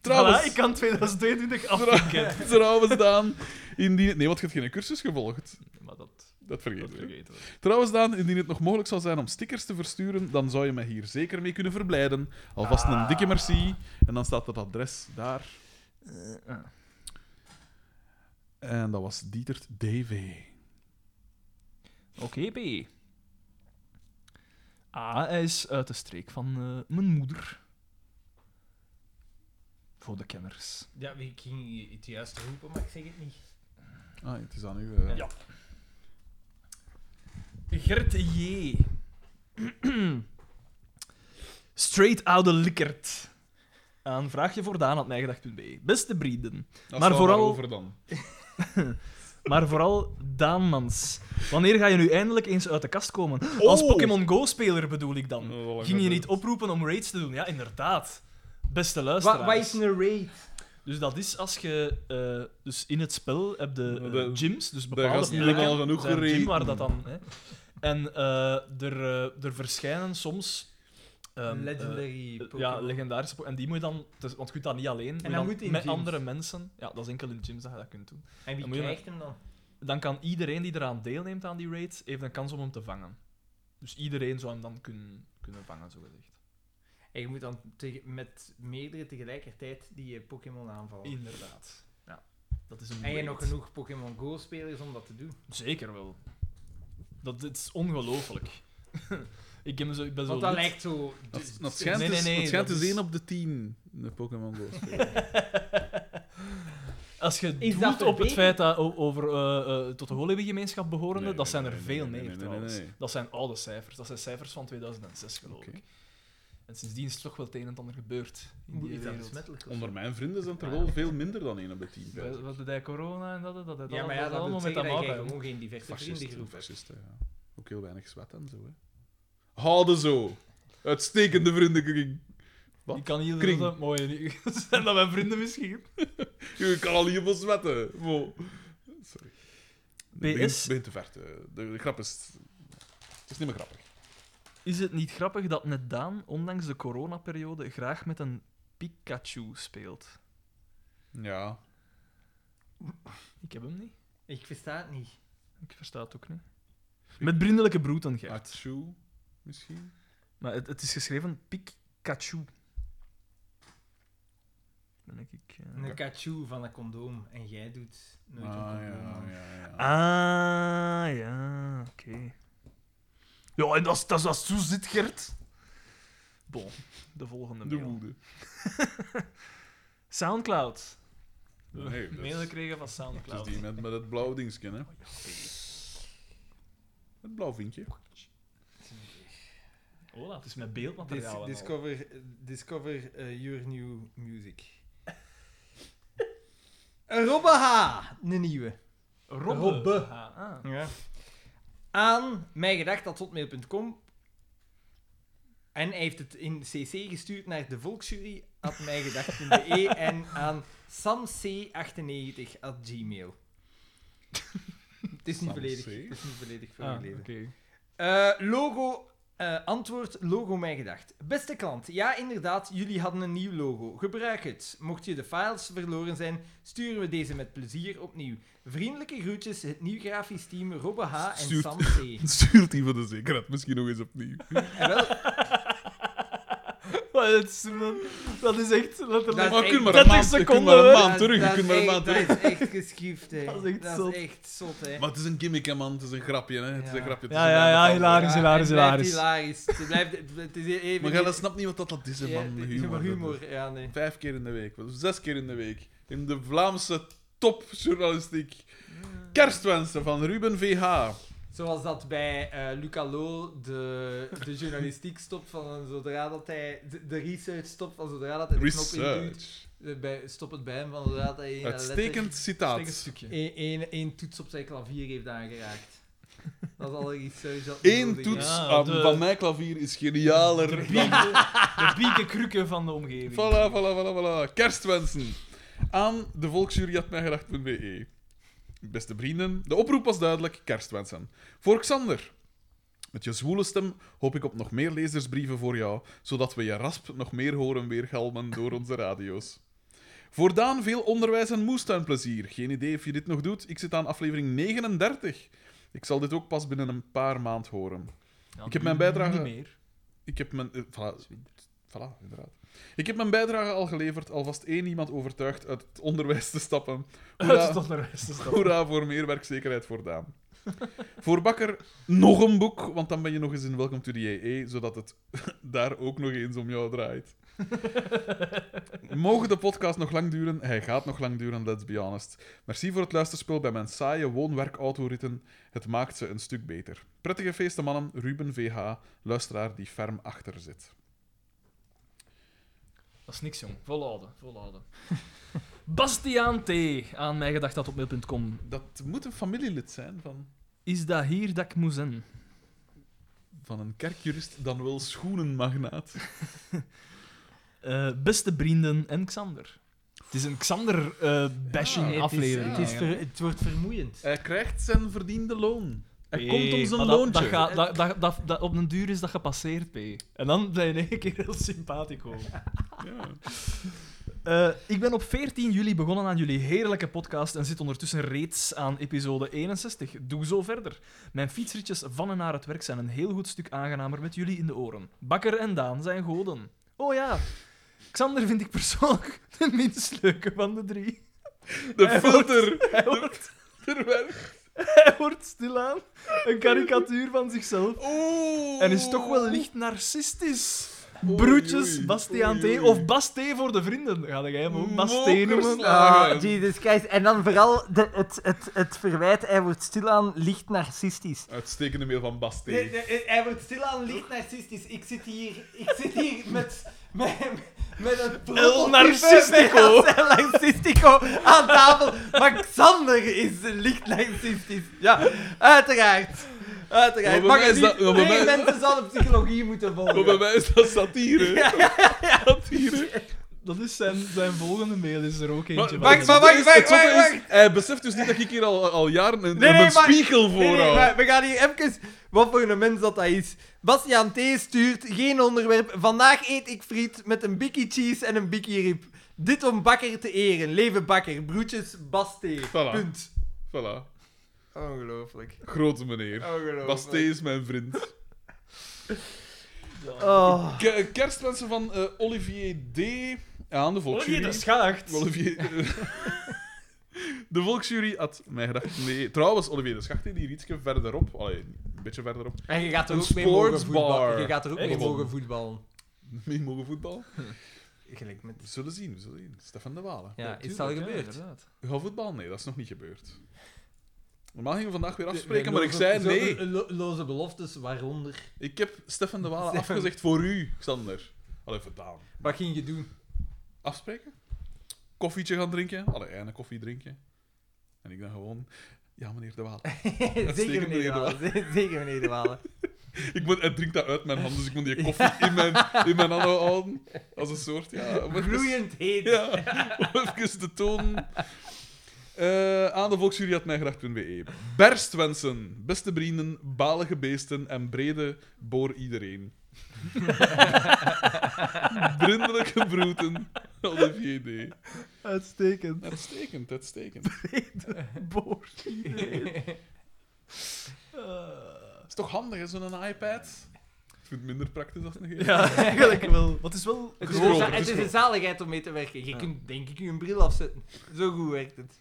Trouwens. Trouwens, ik kan 2022 afpikken. trouwens Daan, indien... Nee, want je hebt geen cursus gevolgd. maar dat, Dat vergeet dat ik. vergeten we. Trouwens, Daan, indien het nog mogelijk zou zijn om stickers te versturen, dan zou je mij hier zeker mee kunnen verblijden. Alvast Ah. een dikke merci. En dan staat het adres daar. Eh, ah. En dat was Dietert DV. Oké, B. A, hij is uit de streek van eh, mijn moeder. Voor de kenners. Ja, ik ging het juist roepen, maar ik zeg het niet. Ah, het is aan u. eh. Ja. Gert J. Straight oude Likert. Een vraagje voor Daan at mijgedacht.be. Beste vrienden, Dat Maar zal vooral- daarover dan. Maar vooral Daanmans. Wanneer ga je nu eindelijk eens uit de kast komen? Als Oh. Pokémon Go-speler bedoel ik Dat dan. is al lang Ging je geleden. niet oproepen om raids te doen? Ja, inderdaad. Beste Wat, luisteraars. wat is een raid? Dus dat is als je... eh, dus in het spel heb de, eh, De- gyms, dus de bepaalde gasten hebben al genoeg zijn gym gereden. waar dat dan... Hè. En eh, er, eh, er verschijnen soms Ehm, eh, Legendary Pokémon. ja, legendarische Pokémon. En die moet je dan, dus- want je kunt dat niet alleen, moet je dan moet je in met gyms. andere mensen. Ja, dat is enkel in gyms dat je dat kunt doen. en wie dan moet je krijgt hem dan? Dan kan iedereen die eraan deelneemt aan die raid, heeft een kans om hem te vangen. Dus iedereen zou hem dan kunnen, kunnen vangen, zogezegd. En je moet dan tege- met meerdere tegelijkertijd die eh, Pokémon Oh. aanvallen. Inderdaad. Ja, dat is een En je raid. hebt nog genoeg Pokémon Go-spelers om dat te doen. Zeker wel. Dat, dit is ongelooflijk. ik, heb zo, ik ben zo Want dat lid- lijkt zo... Dat, dat schijnt Nee, nee, dus- nee, dat schijnt dat dus is- één op de 10 in de Pokémon Go. Als je Is dat doet op het verbeter- feit dat o- over, eh, eh, tot de Hollywood-gemeenschap behorende, Nee, nee, dat zijn er nee, nee, veel nee, meer nee, nee, trouwens. nee, nee. Dat zijn oude cijfers. Dat zijn cijfers van 2006, geloof Oké. ik. En sindsdien is toch wel het een en het ander gebeurd in Moet die iets aan wereld. besmettelijk of zo? Onder mijn vrienden zijn het er wel veel minder dan één op de 10. Wat- Wat bedoel corona en dat? dat, dat Ja, maar ja, dat allemaal wil met zeggen dat dat jij maatwerk. gewoon geen diverse Fascisten, vriendengroep hebt. fascisten, ja. Ook heel weinig zwet en zo. Hè. Houden zo. Uitstekende vriendenkring. Wat? Ik kan hier Kring. dat mooi. Zijn dat mijn vrienden misschien? Je kan al hiervan zwetten. Wow. Sorry. Nee, het Begint, PS? begint te ver. te- De, de grap is... Het is niet meer grappig. Is het niet grappig dat net Daan, ondanks de coronaperiode, graag met een Pikachu speelt? Ja. Ik heb hem niet. Ik versta het niet. Ik versta het ook niet. Met vriendelijke broeten, Gert. Achu, misschien? Maar het, het is geschreven Pikachu. Dan denk ik... eh. Een kachu van een condoom. En jij doet nooit een ah, condoom. ja, aan. ja, ja. Ah, ja, oké. Ja, en als dat als zo zit, Gert... Bon, de volgende De mail. woede. Soundcloud. Nee, dat Mail is, gekregen van dat is Soundcloud. die met, met het blauwe dingetje, hè. Het blauw vinkje. Hola, het is met Dis- beeldmateriaal. en al. discover discover eh, your new music. Robbe H. Een nieuwe. Robbe. Robbe. Ah, ah. Ja. Aan mijngedacht.hotmail.com En hij heeft het in cc gestuurd naar de volksjury at mijngedacht.be en aan samc98 at gmail. Het is niet Sam volledig. C? Het is niet volledig Ah, voorgelezen. oké. Eh, logo. eh, antwoord, logo mij gedacht. Beste klant, ja inderdaad, jullie hadden een nieuw logo. Gebruik het. Mocht je de files verloren zijn, sturen we deze met plezier opnieuw. Vriendelijke groetjes, het nieuw grafisch team Robbe H. en Stuurt. Sam C. Stuurt die van de zekerheid misschien nog eens opnieuw. En wel, Maar het is- Dat is echt letterlijk... Dat Maar is echt- kun maar een 30 maand, kun seconden, maar een hè? maand terug. Je dat, kunt maar is een echt- maand terug. dat is echt geschift, hè. Dat is echt dat zot. is echt zot, hè. Maar het is een gimmick, hè, man. Het is een grapje, hè. Het is Ja. een grapje. het Ja, is een ja, ja, grapje. hilarisch, Ja, hilarisch, het blijft hilarisch. hilarisch. Het blijft... Het is even... Maar jij snapt niet wat dat is, hè, Ja, man. het is Humor. humor, ja, nee. Vijf keer in de week. wel, Zes keer in de week. In de Vlaamse topjournalistiek. Kerstwensen van Ruben VH. Zoals dat bij eh Luca Lo de, de journalistiek stopt van zodra dat hij... De, de research stopt van zodra dat hij de knop induwt. Research. Eh, Bij, stopt het bij hem van zodra dat hij... Uitstekend Steek een citaat. stukje. Eén één toets op zijn klavier heeft aangeraakt. Dat is al een research dat Eén nodig toets is. Ja, aan- de- van mijn klavier is genialer. De dan- pieken, de pieken krukken van de omgeving. Voilà, voilà, voilà, voilà. Kerstwensen. Aan de volksjuryatmijgedacht.be. E. Beste vrienden, de oproep was duidelijk. Kerstwensen. Voor Xander. Met je zwoele stem hoop ik op nog meer lezersbrieven voor jou, zodat we je rasp nog meer horen weergalmen door onze radio's. Voor Daan veel onderwijs en moestuinplezier. Geen idee of je dit nog doet. Ik zit aan aflevering 39. Ik zal dit ook pas binnen een paar maand horen. Ja, Ik heb nu mijn bijdrage- Niet meer. Ik heb mijn... eh, voilà, voilà, inderdaad. Ik heb mijn bijdrage al geleverd, alvast één iemand overtuigd uit het onderwijs te stappen. Het is Hoera, toch de rest. is dat- hoera voor meer werkzekerheid voor Daan. voor Bakker nog een boek, want dan ben je nog eens in Welcome to the JE, zodat het daar ook nog eens om jou draait. Mogen de podcast nog lang duren? Hij gaat nog lang duren, let's be honest. Merci voor het luisterspel bij mijn saaie woon-werk-autoritten. Het maakt ze een stuk beter. Prettige feesten, mannen. Ruben VH, luisteraar die ferm achter zit. Dat is niks, jong. Volhouden, volhouden. Bastiaan T. Aan mij gedacht dat op mail.com. Dat moet een familielid zijn van, Is dat hier dat ik moet zijn? van een kerkjurist, dan wel schoenenmagnaat. Eh, beste vrienden en Xander. Het is een Xander-bashing Nee, het is- aflevering. Het, is ver- het wordt vermoeiend. Hij krijgt zijn verdiende loon. Er komt ons een maar dat- loontje. Dat, gaat- dat, dat, dat, dat- op een duur is dat gepasseerd, P. En dan ben je in één keer heel sympathico. Ja. Eh, ik ben op 14 juli begonnen aan jullie heerlijke podcast en zit ondertussen reeds aan episode 61. Doe zo verder. Mijn fietsritjes van en naar het werk zijn een heel goed stuk aangenamer met jullie in de oren. Bakker en Daan zijn goden. Oh ja, Xander vind ik persoonlijk de minst leuke van de drie. De filter. Hij wordt, Verwerkt. hij wordt stilaan een karikatuur van zichzelf Oeh. en is toch wel licht narcistisch. Oei, Broertjes, oei, Bastiaan oei, oei. T. Of Bas T voor de vrienden. Ga jij hem ook Bas T noemen? Mokerslagen. Ah, Jesus Christ. En dan vooral de, het, het, het verwijt, hij wordt stilaan licht narcistisch. Uitstekende mail van Basti. Nee, nee, eh, hij wordt stilaan licht narcistisch. Ik zit hier, ik zit hier met, met, met een prototype narcistico. met El narcistico aan tafel. Maar Xander is licht narcistisch. Ja, uiteraard. Uiteraard. Maar Maar bij mij is dat- maar bij meer mij- mensen zouden psychologie moeten volgen. Maar bij mij is dat satire. Satire. Dat is zijn, zijn volgende mail, is er ook eentje wacht, van. maar- wacht, Het zotte wacht, is- wacht, Hij beseft dus niet dat ik hier al, al jaren een, Nee, een maar- spiegel Nee, nee, voor hou. maar we gaan hier even... Wat voor een mens dat dat is. Bastiaan T. stuurt geen onderwerp. Vandaag eet ik friet met een bikkie cheese en een bikkie rib. Dit om bakker te eren. Leven bakker. Broertjes Bas T. Punt. Voilà. Ongelooflijk. Grote meneer. Ongelooflijk. Basté is mijn vriend. Oh. Ke- Kerstwensen van eh, Olivier D. Aan de Olivier de volksjury. Schacht. Olivier... De volksjury had mij gedacht... Nee, trouwens, Olivier de Schacht die hier ietsje verderop... Allee, een beetje verderop. En je gaat er Een ook mee mogen sportsbar. voetballen. Je gaat er ook mee Echt? mogen voetballen. Mee mogen voetballen. Gelijk met... We zullen zien, we zullen zien. Stefan de Walen. Ja, is dat al gebeurd? Gaan voetbal? Nee, dat is nog niet gebeurd. Normaal gingen we vandaag weer afspreken, maar ik zei Zo- nee. lo- Loze beloftes, waaronder. Ik heb Stefan de Walen Stefan. afgezegd voor u, Xander. Allee, verdaan. Wat ging je doen? Afspreken? Koffietje gaan drinken? Allee, en een koffie drinken. En ik dan gewoon... Ja, meneer de Walen. Zeker meneer De meneer De Walen. Zeker meneer De Walen. Ik moet, hij drinkt dat uit mijn hand, dus ik moet die koffie in mijn, in mijn handen houden. Als een soort, ja... om even- Groeiend heet. Ja, om even te tonen. Eh, aan de volksjury had mij gedacht.be. Berstwensen, beste vrienden, balige beesten en brede boor iedereen. Brindelijke broeten, Olivier D. Uitstekend. Uitstekend, uitstekend. Boor. Eh. is toch handig, hè, zo'n iPad? Ik vind het minder praktisch als een gele. ja, eigenlijk wel. Want het is wel... Het is, Grover, een za- het is het is een Grover. zaligheid om mee te werken. Je kunt denk ik je een bril afzetten. Zo goed werkt het.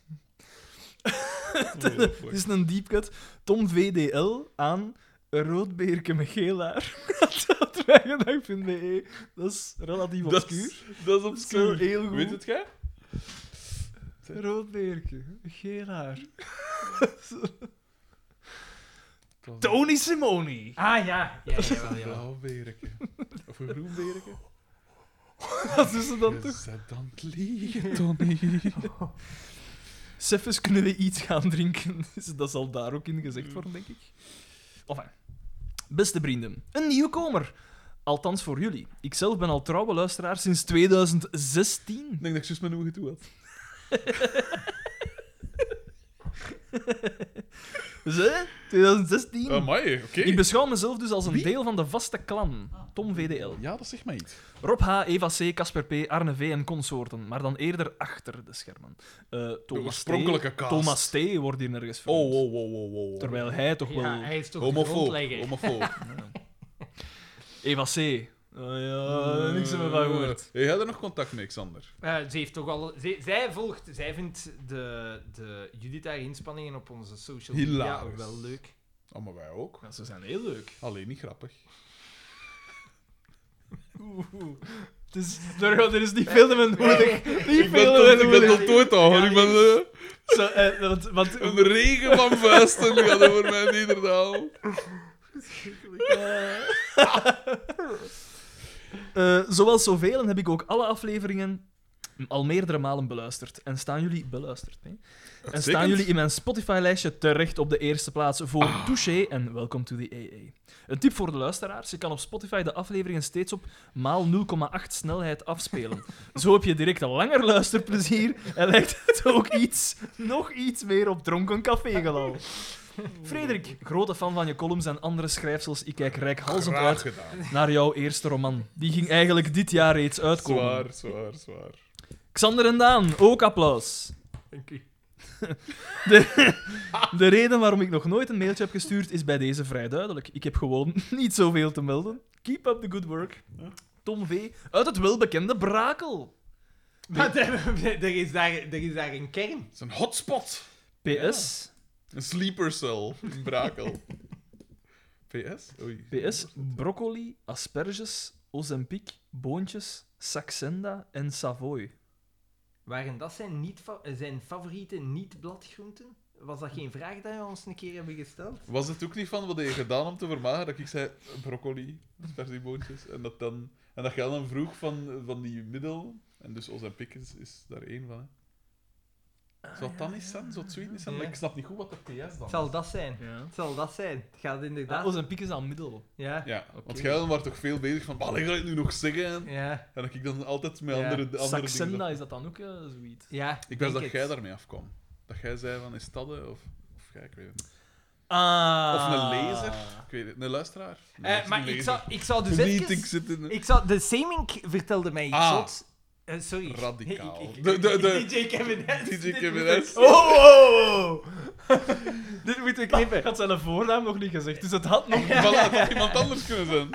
Oh, Het fuck. is een deepcut. Tom VDL aan roodbeerke met geel haar. Dat wij gedacht vinden, hé. Dat is relatief Dat is, dat obscuur. is Dat is wel obscuur. heel goed. Weet het jij? Roodbeerke, geel haar. Tony Simoni. Ah ja. ja, Blauwberken. Of een groenberken. Dat is ze dan Je toch. zet dan het liegen, Tony. Sef is kunnen we iets gaan drinken. Dus Dat zal daar ook in Mm. gezegd worden, denk ik. Enfin. Beste vrienden, een nieuwkomer. Althans voor jullie. Ikzelf ben al trouwe luisteraar sinds 2016. Ik denk dat ik juist mijn ogen toe had. Ze? 2016? Oh, Amai, oké. Ik beschouw mezelf dus als een deel van de vaste clan. Tom VDL. Ja, dat zegt mij iets. Rob H., Eva C., Casper P., Arne V. en consorten. Maar dan eerder achter de schermen. Eh, Thomas oorspronkelijke T. cast. Thomas T. wordt hier nergens van. Oh, wow, wow, wow, wow. Terwijl hij toch wel... hij is toch Homofoob. de Homofoob. Eva C. Eh, Eh, ja, niks hebben we van gehoord. Hey, jij had er nog contact mee, Xander? Eh, ze heeft toch al... ze- zij volgt... Zij vindt de, de Judith haar inspanningen op onze social media Hilarisch. ook wel leuk. Oh, maar wij ook. Ja, ze zijn heel leuk. Alleen niet grappig. Het is, er, er is niet veel te doen. Niet Ik ben veel tot, te ik ben doen. tot ooit al. hoor. Ik ben eh, Zo, eh, want, want, een regen van vuisten gaat over mij niederdaal. Eh, zoals zoveel heb ik ook alle afleveringen al meerdere malen beluisterd. En staan jullie beluisterd? Nee? En staan jullie in mijn Spotify-lijstje terecht op de eerste plaats voor Ah. Touché en Welcome to the AA. Een tip voor de luisteraars: je kan op Spotify de afleveringen steeds op maal 0,8 snelheid afspelen. Zo heb je direct een langer luisterplezier en lijkt het ook iets, nog iets meer op dronken café gelal. Frederik, grote fan van je columns en andere schrijfsels. Ik kijk rijkhalsend Graag uit gedaan. naar jouw eerste roman. Die ging eigenlijk dit jaar reeds uitkomen. Zwaar, zwaar, zwaar. Xander en Daan, ook applaus. Dank u. De, de reden waarom ik nog nooit een mailtje heb gestuurd is bij deze vrij duidelijk. Ik heb gewoon niet zoveel te melden. Keep up the good work. Tom V. uit het welbekende Brakel. Maar er, er is daar, er is daar een kern. Het is een hotspot. PS. Een sleeper cell in Brakel. PS? Oei. PS. Broccoli, asperges, ozempic, boontjes, saxenda en savoy. Waren dat zijn, niet fa- zijn favoriete niet-bladgroenten? Was dat geen vraag dat we ons een keer hebben gesteld? Was het ook niet van wat heb je gedaan om te vermagen? Dat ik zei broccoli, sperzieboontjes. En dat, dan, en dat jij dan vroeg van, van die middel. En dus Os en Pik is, is daar één van. Hè. Zou dat dan niet zijn? Zou het zoiets niet zijn? Maar Ah, Ja. ik snap niet goed wat dat PS dan Het is. zal dat zijn. Ja. Het zal dat zijn. Het gaat inderdaad... Ah, ozempic is aan middel. ja. Ja, want jij was toch veel bezig van, wat ga ik nu nog zeggen? Ja. En dat ik dan altijd met Ja. andere, andere dingen... Saxenda is dat dan ook eh, zoiets. Ja. Ik wist denk dat het. jij daarmee afkwam. Dat jij zei van, is dat hè? of... Of jij, ik weet het niet. Ah. Of een lezer. Ik weet het Een luisteraar. Nee, het Eh, is maar een ik lezer. zou, ik zou dus Niet, ik even... zit in... een- Ik zou... De Semink vertelde mij iets Ah. zots. Eh, sorry. Radicaal. Ik- ik- De- de- de- DJ Kevin S. DJ Dit Kevin moet ik- S. Oh, oh, oh. Dit moeten we knippen. Ik had zijn voornaam nog niet gezegd, dus het had nog Voilà, het had iemand anders kunnen zijn.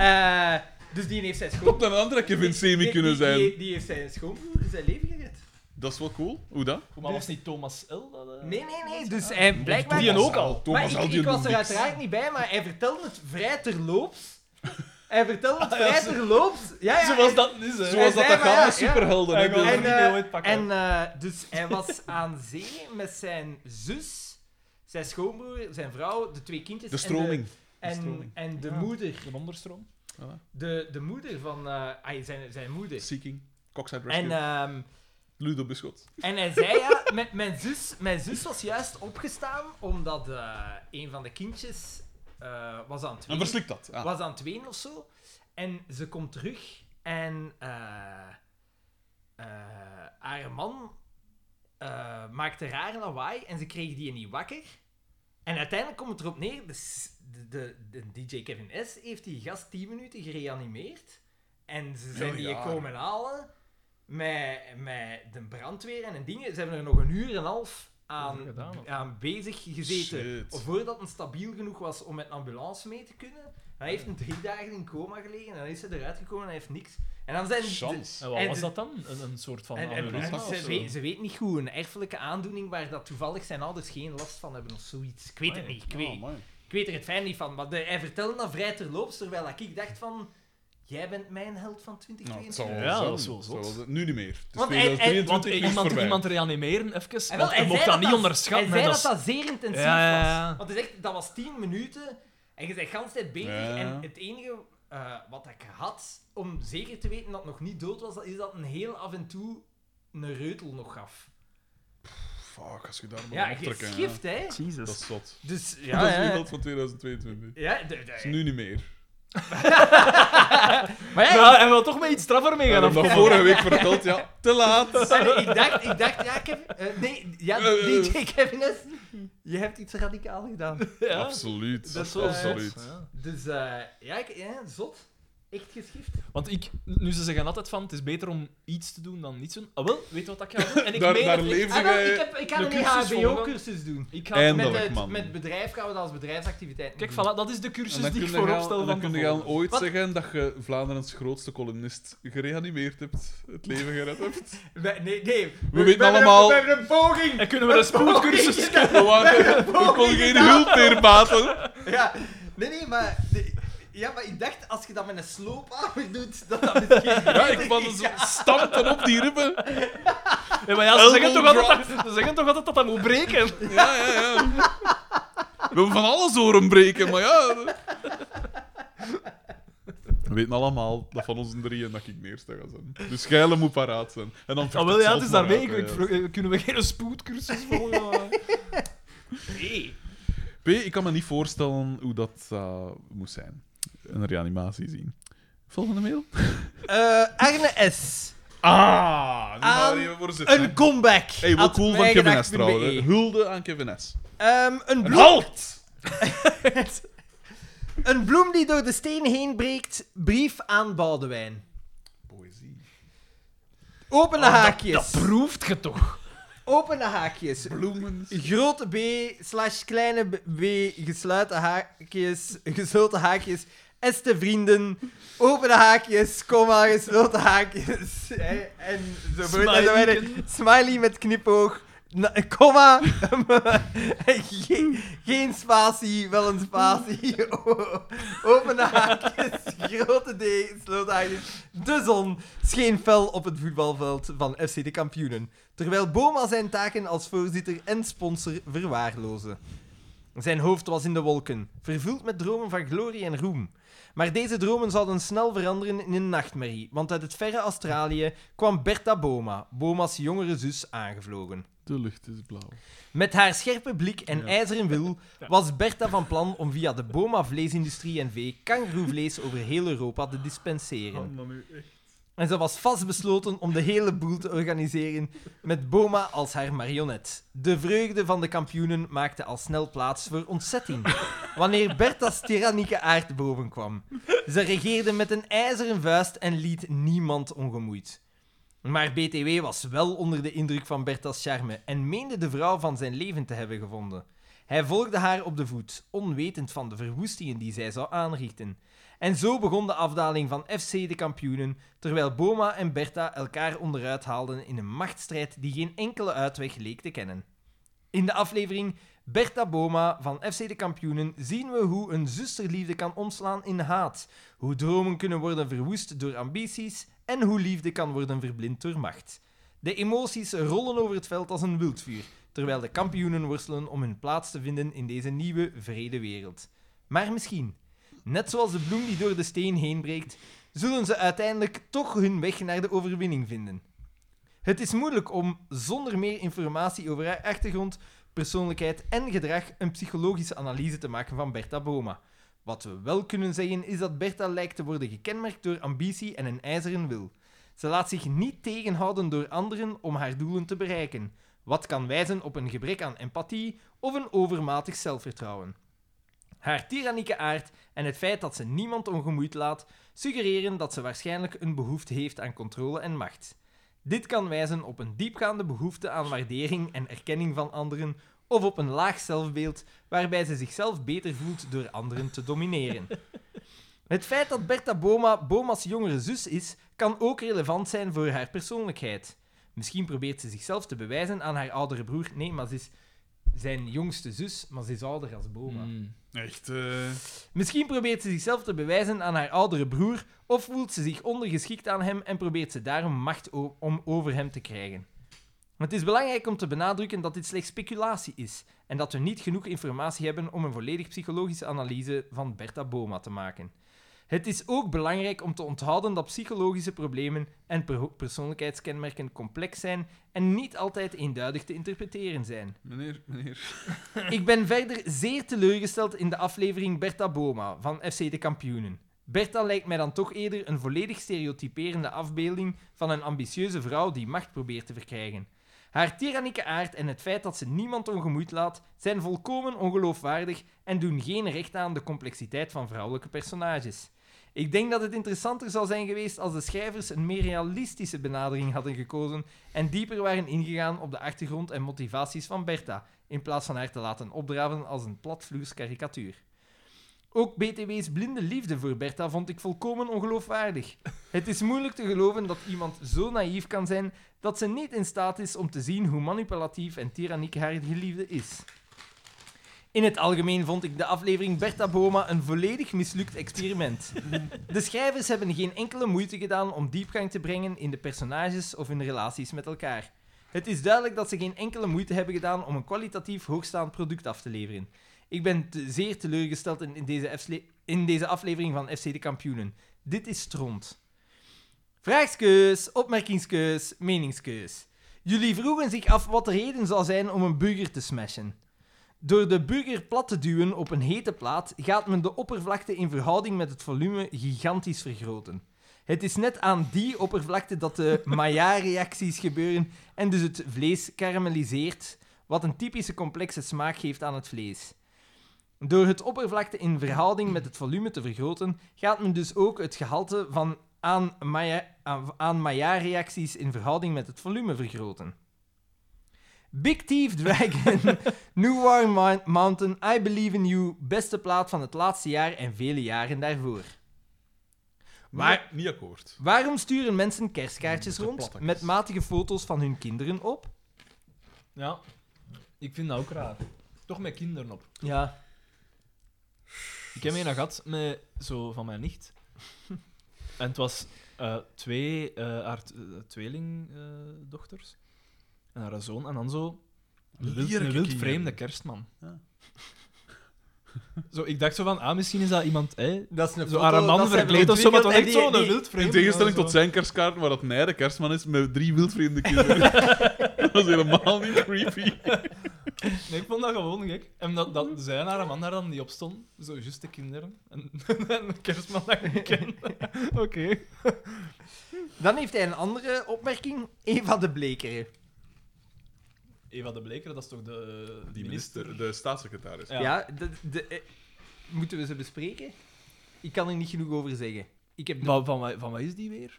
Eh, dus die heeft zijn schoon... Klopt, dat een andere Kevin Semi Die- kunnen die- die- zijn. Die, die heeft zijn schoonbroer zijn leven gered. Dat is wel cool. Hoe dat? Maar was niet Thomas L? Dat, eh? Nee, nee, nee. Dus hij blijkbaar... Die en ook al. Maar Thomas ik- L. ik, die was doet er niks. uiteraard niet bij, maar hij vertelde het vrij terloops. Hij vertelde Ah, het vrij terloops. Ja, ja, Zoals en- dat is, hè. Zoals Hij dat zei dat maar, gaat met ja, ja. superhelden. hè. Hij Ik wil- bedoel, En, die eh, wil ooit pakken. en eh, dus hij was aan zee met zijn zus, zijn schoonbroer, zijn vrouw, de twee kindjes. De stroming. En de, en, stroming. en de Ja. moeder. Een onderstroom. Voilà. De, de moeder van... eh, ah, zijn, zijn moeder. Seeking. Cockside En, Rescue. ehm, Ludo Beschot. en hij zei ja, met mijn zus, mijn zus was juist opgestaan omdat eh, een van de kindjes eh, was aan het En wenen. verslikt dat. Ah. was aan het wenen of zo. En ze komt terug en eh, eh, haar man eh, maakte raar lawaai en ze kreeg die niet wakker. En uiteindelijk komt het erop neer, de, s- de, de, de DJ Kevin S heeft die gast 10 minuten gereanimeerd. En ze zijn die raar. komen halen met, met de brandweer en dingen. Ze hebben er nog een uur en een half aan, Gedaan, of? aan bezig gezeten. Shit. Voordat het stabiel genoeg was om met een ambulance mee te kunnen. Hij heeft een drie dagen in coma gelegen en dan is hij eruit gekomen en hij heeft niks. En dan zijn... Chance. Ah, En wat En was de- dat dan? Een, een soort van eh, En, en- aneurysma en Aneurysma of ze, zo? weet, ze weet niet goed, een erfelijke aandoening waar dat toevallig zijn ouders geen last van hebben of zoiets. Ik weet het Amai. niet, ik weet, Oh, man. ik weet er het fijn niet van. Maar de, hij vertelde dat vrij terloops, terwijl dat ik dacht van... Jij bent mijn held van Nou, het 2022. zal wel Ja, zijn. dat is wel Het zot. zal wel zijn. Nu niet meer. Het is Want hij- hij- 2023, Want het is iemand, voorbij. iemand reanimeren, even. En wel, want je hij mocht zei dat niet Hij onderschatten. zei hè, dat dat dat zeer intensief Ja, ja, ja. was. Want hij zegt, dat was 10 minuten en je bent gans tijd bezig. Ja. En het enige eh, wat ik had, om zeker te weten dat het nog niet dood was, dat is dat een heel af en toe een reutel nog gaf. Fuck, als je daar maar Ja, aan je trekken, hè. schift, hè. Dat Jesus. is zot. Dus, ja, Dat is ja. iemand van 2022. Ja, de- Dat is de- nu niet meer. Maar ja, Ja, en wil toch met iets straffer mee Ik gaan heb dat afkomen. vorige week verteld, ja. Te laat. Sorry, ik dacht, ik dacht, ja, Kevin, eh, nee, ja, Eh, eh. DJ Kevin S, je hebt iets radicaal gedaan. Ja. Absoluut. Dat is wel Absoluut. Ja. Dus, eh, ja, ik, ja, zot. Echt geschift. Want ik, nu ze zeggen altijd van, het is beter om iets te doen dan niets te doen. Ah wel, weet je wat ik ga doen? En ik Daar- meen daar het leef echt. Ah, wel, ik, jij heb, ik de ga een E cursus volgen? HBO-cursus doen. Ik ga... En- Met, Eindelijk, het, man. met bedrijf gaan we dat als bedrijfsactiviteit Kijk, voilà, doen. dat is de En cursus dan die kun ik je al- vooropstel en dan van kun je tevoren. al ooit Wat? zeggen dat je Vlaanderens grootste columnist gereanimeerd hebt, het leven gered hebt. We- nee, nee. We, weten hebben allemaal- Een, we hebben een poging. En kunnen we een spoedcursus... spoedcursus We, waren, Oh we eh, kon geen hulp meer baten. Ja. Nee, nee, maar... nee. Ja, maar ik dacht, als je dat met een sloopamer doet, dat dat misschien... Ja, ik was stampten op die ribben. Ja, maar ja, ze Elbow zeggen, toch altijd dat, ze zeggen toch altijd dat dat moet breken. Ja, ja, ja. We hebben van alles horen breken, maar ja... eh. We weten allemaal dat van ons drieën dat ik de eerste ga zijn. Dus Geile moet paraat zijn. En dan Ah, vecht wel, het ja, zelf het is maar daarmee. uit, Ik, hè, ik ja. vroeg, eh, kunnen we geen spoedcursus volgen? Nee. P, ik kan me niet voorstellen hoe dat eh, moest zijn. Een reanimatie zien. Volgende mail. Eh, Arne S. Ah, nu gaan Aan we er even voor zitten. Een comeback. Hey, wel At cool van Kevin S mijgedacht.be. trouwens. Hulde aan Kevin S. Ehm, een Een blog. halt! Een bloem die door de steen heen breekt. Brief aan Boudewijn. Poëzie. Opene Ah, haakjes. Dat proeft je toch? Opene haakjes. Bloemen. Grote B slash kleine b- B, gesluiten haakjes, gesloten haakjes, este vrienden, opene haakjes, komma, gesloten haakjes, hè, en zo voort en zo verder. Smiley met knipoog, na- komma, geen, geen spatie, wel een spatie, O- opene haakjes, grote D, gesloten haakjes, de zon scheen fel op het voetbalveld van FC de kampioenen terwijl Boma zijn taken als voorzitter en sponsor verwaarloosde. Zijn hoofd was in de wolken, vervuld met dromen van glorie en roem. Maar deze dromen zouden snel veranderen in een nachtmerrie, want uit het verre Australië kwam Bertha Boma, Boma's jongere zus, aangevlogen. De lucht is blauw. Met haar scherpe blik en ijzeren wil was Bertha van plan om via de Boma vleesindustrie en vee kangeroevlees over heel Europa te Oh, dispenseren. En ze was vastbesloten om de hele boel te organiseren met Boma als haar marionet. De vreugde van de kampioenen maakte al snel plaats voor ontzetting wanneer Bertha's tyrannieke aard bovenkwam. Ze regeerde met een ijzeren vuist en liet niemand ongemoeid. Maar BTW was wel onder de indruk van Bertha's charme en meende de vrouw van zijn leven te hebben gevonden. Hij volgde haar op de voet, onwetend van de verwoestingen die zij zou aanrichten. En zo begon de afdaling van FC de kampioenen, terwijl Boma en Bertha elkaar onderuit haalden in een machtsstrijd die geen enkele uitweg leek te kennen. In de aflevering Bertha Boma van FC de Kampioenen zien we hoe een zusterliefde kan omslaan in haat, hoe dromen kunnen worden verwoest door ambities en hoe liefde kan worden verblind door macht. De emoties rollen over het veld als een wildvuur, terwijl de kampioenen worstelen om hun plaats te vinden in deze nieuwe, vrede wereld. Maar misschien, net zoals de bloem die door de steen heen breekt, zullen ze uiteindelijk toch hun weg naar de overwinning vinden. Het is moeilijk om, zonder meer informatie over haar achtergrond, persoonlijkheid en gedrag een psychologische analyse te maken van Bertha Boma. Wat we wel kunnen zeggen is dat Bertha lijkt te worden gekenmerkt door ambitie en een ijzeren wil. Ze laat zich niet tegenhouden door anderen om haar doelen te bereiken, wat kan wijzen op een gebrek aan empathie of een overmatig zelfvertrouwen. Haar tyrannieke aard en het feit dat ze niemand ongemoeid laat, suggereren dat ze waarschijnlijk een behoefte heeft aan controle en macht. Dit kan wijzen op een diepgaande behoefte aan waardering en erkenning van anderen, of op een laag zelfbeeld waarbij ze zichzelf beter voelt door anderen te domineren. Het feit dat Bertha Boma Boma's jongere zus is, kan ook relevant zijn voor haar persoonlijkheid. Misschien probeert ze zichzelf te bewijzen aan haar oudere broer. Nee, maar ze is zijn jongste zus, maar ze is ouder als Boma. Echt. eh, Misschien probeert ze zichzelf te bewijzen aan haar oudere broer, of voelt ze zich ondergeschikt aan hem en probeert ze daarom macht o- om over hem te krijgen. Het is belangrijk om te benadrukken dat dit slechts speculatie is en dat we niet genoeg informatie hebben om een volledig psychologische analyse van Bertha Boma te maken. Het is ook belangrijk om te onthouden dat psychologische problemen en per- persoonlijkheidskenmerken complex zijn en niet altijd eenduidig te interpreteren zijn. meneer, meneer. Ik ben verder zeer teleurgesteld in de aflevering Bertha Boma van FC de Kampioenen. Bertha lijkt mij dan toch eerder een volledig stereotyperende afbeelding van een ambitieuze vrouw die macht probeert te verkrijgen. Haar tyrannieke aard en het feit dat ze niemand ongemoeid laat, zijn volkomen ongeloofwaardig en doen geen recht aan de complexiteit van vrouwelijke personages. Ik denk dat het interessanter zou zijn geweest als de schrijvers een meer realistische benadering hadden gekozen en dieper waren ingegaan op de achtergrond en motivaties van Bertha in plaats van haar te laten opdraven als een platvloers karikatuur. Ook BTW's blinde liefde voor Bertha vond ik volkomen ongeloofwaardig. Het is moeilijk te geloven dat iemand zo naïef kan zijn dat ze niet in staat is om te zien hoe manipulatief en tyranniek haar geliefde is. In het algemeen vond ik de aflevering Bertha Boma een volledig mislukt experiment. De schrijvers hebben geen enkele moeite gedaan om diepgang te brengen in de personages of hun relaties met elkaar. Het is duidelijk dat ze geen enkele moeite hebben gedaan om een kwalitatief hoogstaand product af te leveren. Ik ben te- zeer teleurgesteld in, in, deze afsle- in deze aflevering van FC de Kampioenen. Dit is stront. Vraagskeus, opmerkingskeus, meningskeus. Jullie vroegen zich af wat de reden zou zijn om een burger te smashen. Door de burger plat te duwen op een hete plaat gaat men de oppervlakte in verhouding met het volume gigantisch vergroten. Het is net aan die oppervlakte dat de Maillard-reacties gebeuren en dus het vlees karamelliseert, wat een typische complexe smaak geeft aan het vlees. Door het oppervlakte in verhouding met het volume te vergroten, gaat men dus ook het gehalte van aan Maya- aan- aan Maillard-reacties in verhouding met het volume vergroten. Big Thief Dragon, New War Mount- Mountain, I Believe in You, beste plaat van het laatste jaar en vele jaren daarvoor. Waar- Niet, niet akkoord. Waarom sturen mensen kerstkaartjes Met de rond plattekjes. met matige foto's van hun kinderen op? Ja. Ik vind dat ook raar. Toch met kinderen op. Ja, Ik heb een gehad met zo van mijn nicht. En het was eh, twee, eh, haar t- eh, tweelingdochters eh, en haar zoon. En dan zo een wild, een Lierke wild kinderen. vreemde kerstman. Ja. Zo, ik dacht zo van, ah, misschien is dat iemand... hè, dat is een zo aan een man verkleed of zo, maar dan echt zo'n wild vreemde. In tegenstelling zo. tot zijn kerstkaart, waar dat nijde kerstman is met drie wildvreemde kinderen. dat was helemaal niet creepy. Nee, ik vond dat gewoon gek. En dat, dat zij en haar man daar dan die op stond, zo juist de kinderen. En, en de kerstman dat ik niet ken. Oké. Dan heeft hij een andere opmerking. Eva de Blekeren. Eva de eh, Bleker, dat is toch de, de Die minister, de staatssecretaris. Ja, Ja. de, de, eh, moeten we ze bespreken? Ik kan er niet genoeg over zeggen. Ik heb Van, van, wa- van wat is die weer?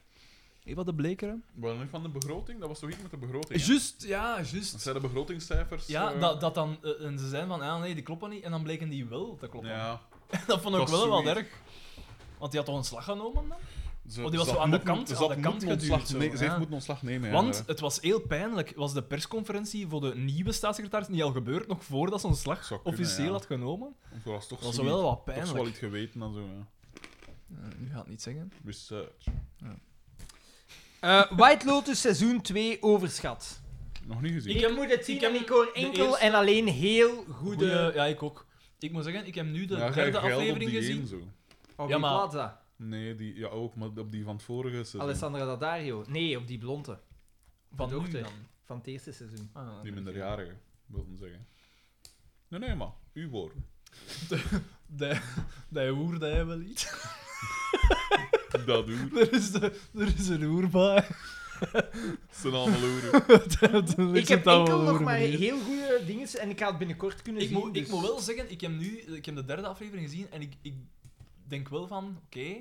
Eva de Bleker? Wat nog van de begroting? Dat was toch iets met de begroting? hè? Juist, ja, Dat juist. zijn de begrotingscijfers. Ja, eh, dat, dat dan, eh, en ze zijn van, ah nee, die kloppen niet. En dan bleken die wel te kloppen. Ja. Dat vond ik Dat is wel wel zoiets. erg. Want die had toch een slag genomen dan? Ze, Oh, die was ze zo had aan de moeten- kant- ze aan had de moeten kant geduwd ontslag zo, ne- Ze ja. heeft moeten ontslag nemen. ja, Want inderdaad. het was heel pijnlijk. Was de persconferentie voor de nieuwe staatssecretaris niet al gebeurd, nog voordat ze een slag Zou kunnen, officieel ja. had genomen? Want er was toch Dat was zoiets- wel wat toch wel pijnlijk. iets geweten dan zo. Ja. Eh, nu gaat het niet zeggen. Research. Eh, White Lotus seizoen 2 overschat. Nog niet gezien. Ik Ik, heb- moet het zien ik heb en ik hoor de enkel eerste- en alleen heel goede... Goeie- ja, ik ook. Ik moet zeggen, ik heb nu de Ja, jij derde geld op aflevering die gezien. één zo. Op Ja, Oh, die maar- plaat, dat. Nee, die, ja, ook, maar op die van het vorige seizoen. Alessandra Daddario. Nee, op die blonde. Van De nu dochter. dan. Van het eerste seizoen. Ah, Die minderjarige, wil ik zeggen. Nee, nee, maar. Uw woorden. Dat dat hoer dat hij wel iets. Dat doen. Er is, de, er is een hoer bij. Ze zijn allemaal loeren. Ik heb enkel nog maar heel goede dingen en ik ga het binnenkort kunnen Ik zien. moet, dus- ik moet wel zeggen, ik heb nu ik heb de derde aflevering gezien en ik, ik denk wel van, oké,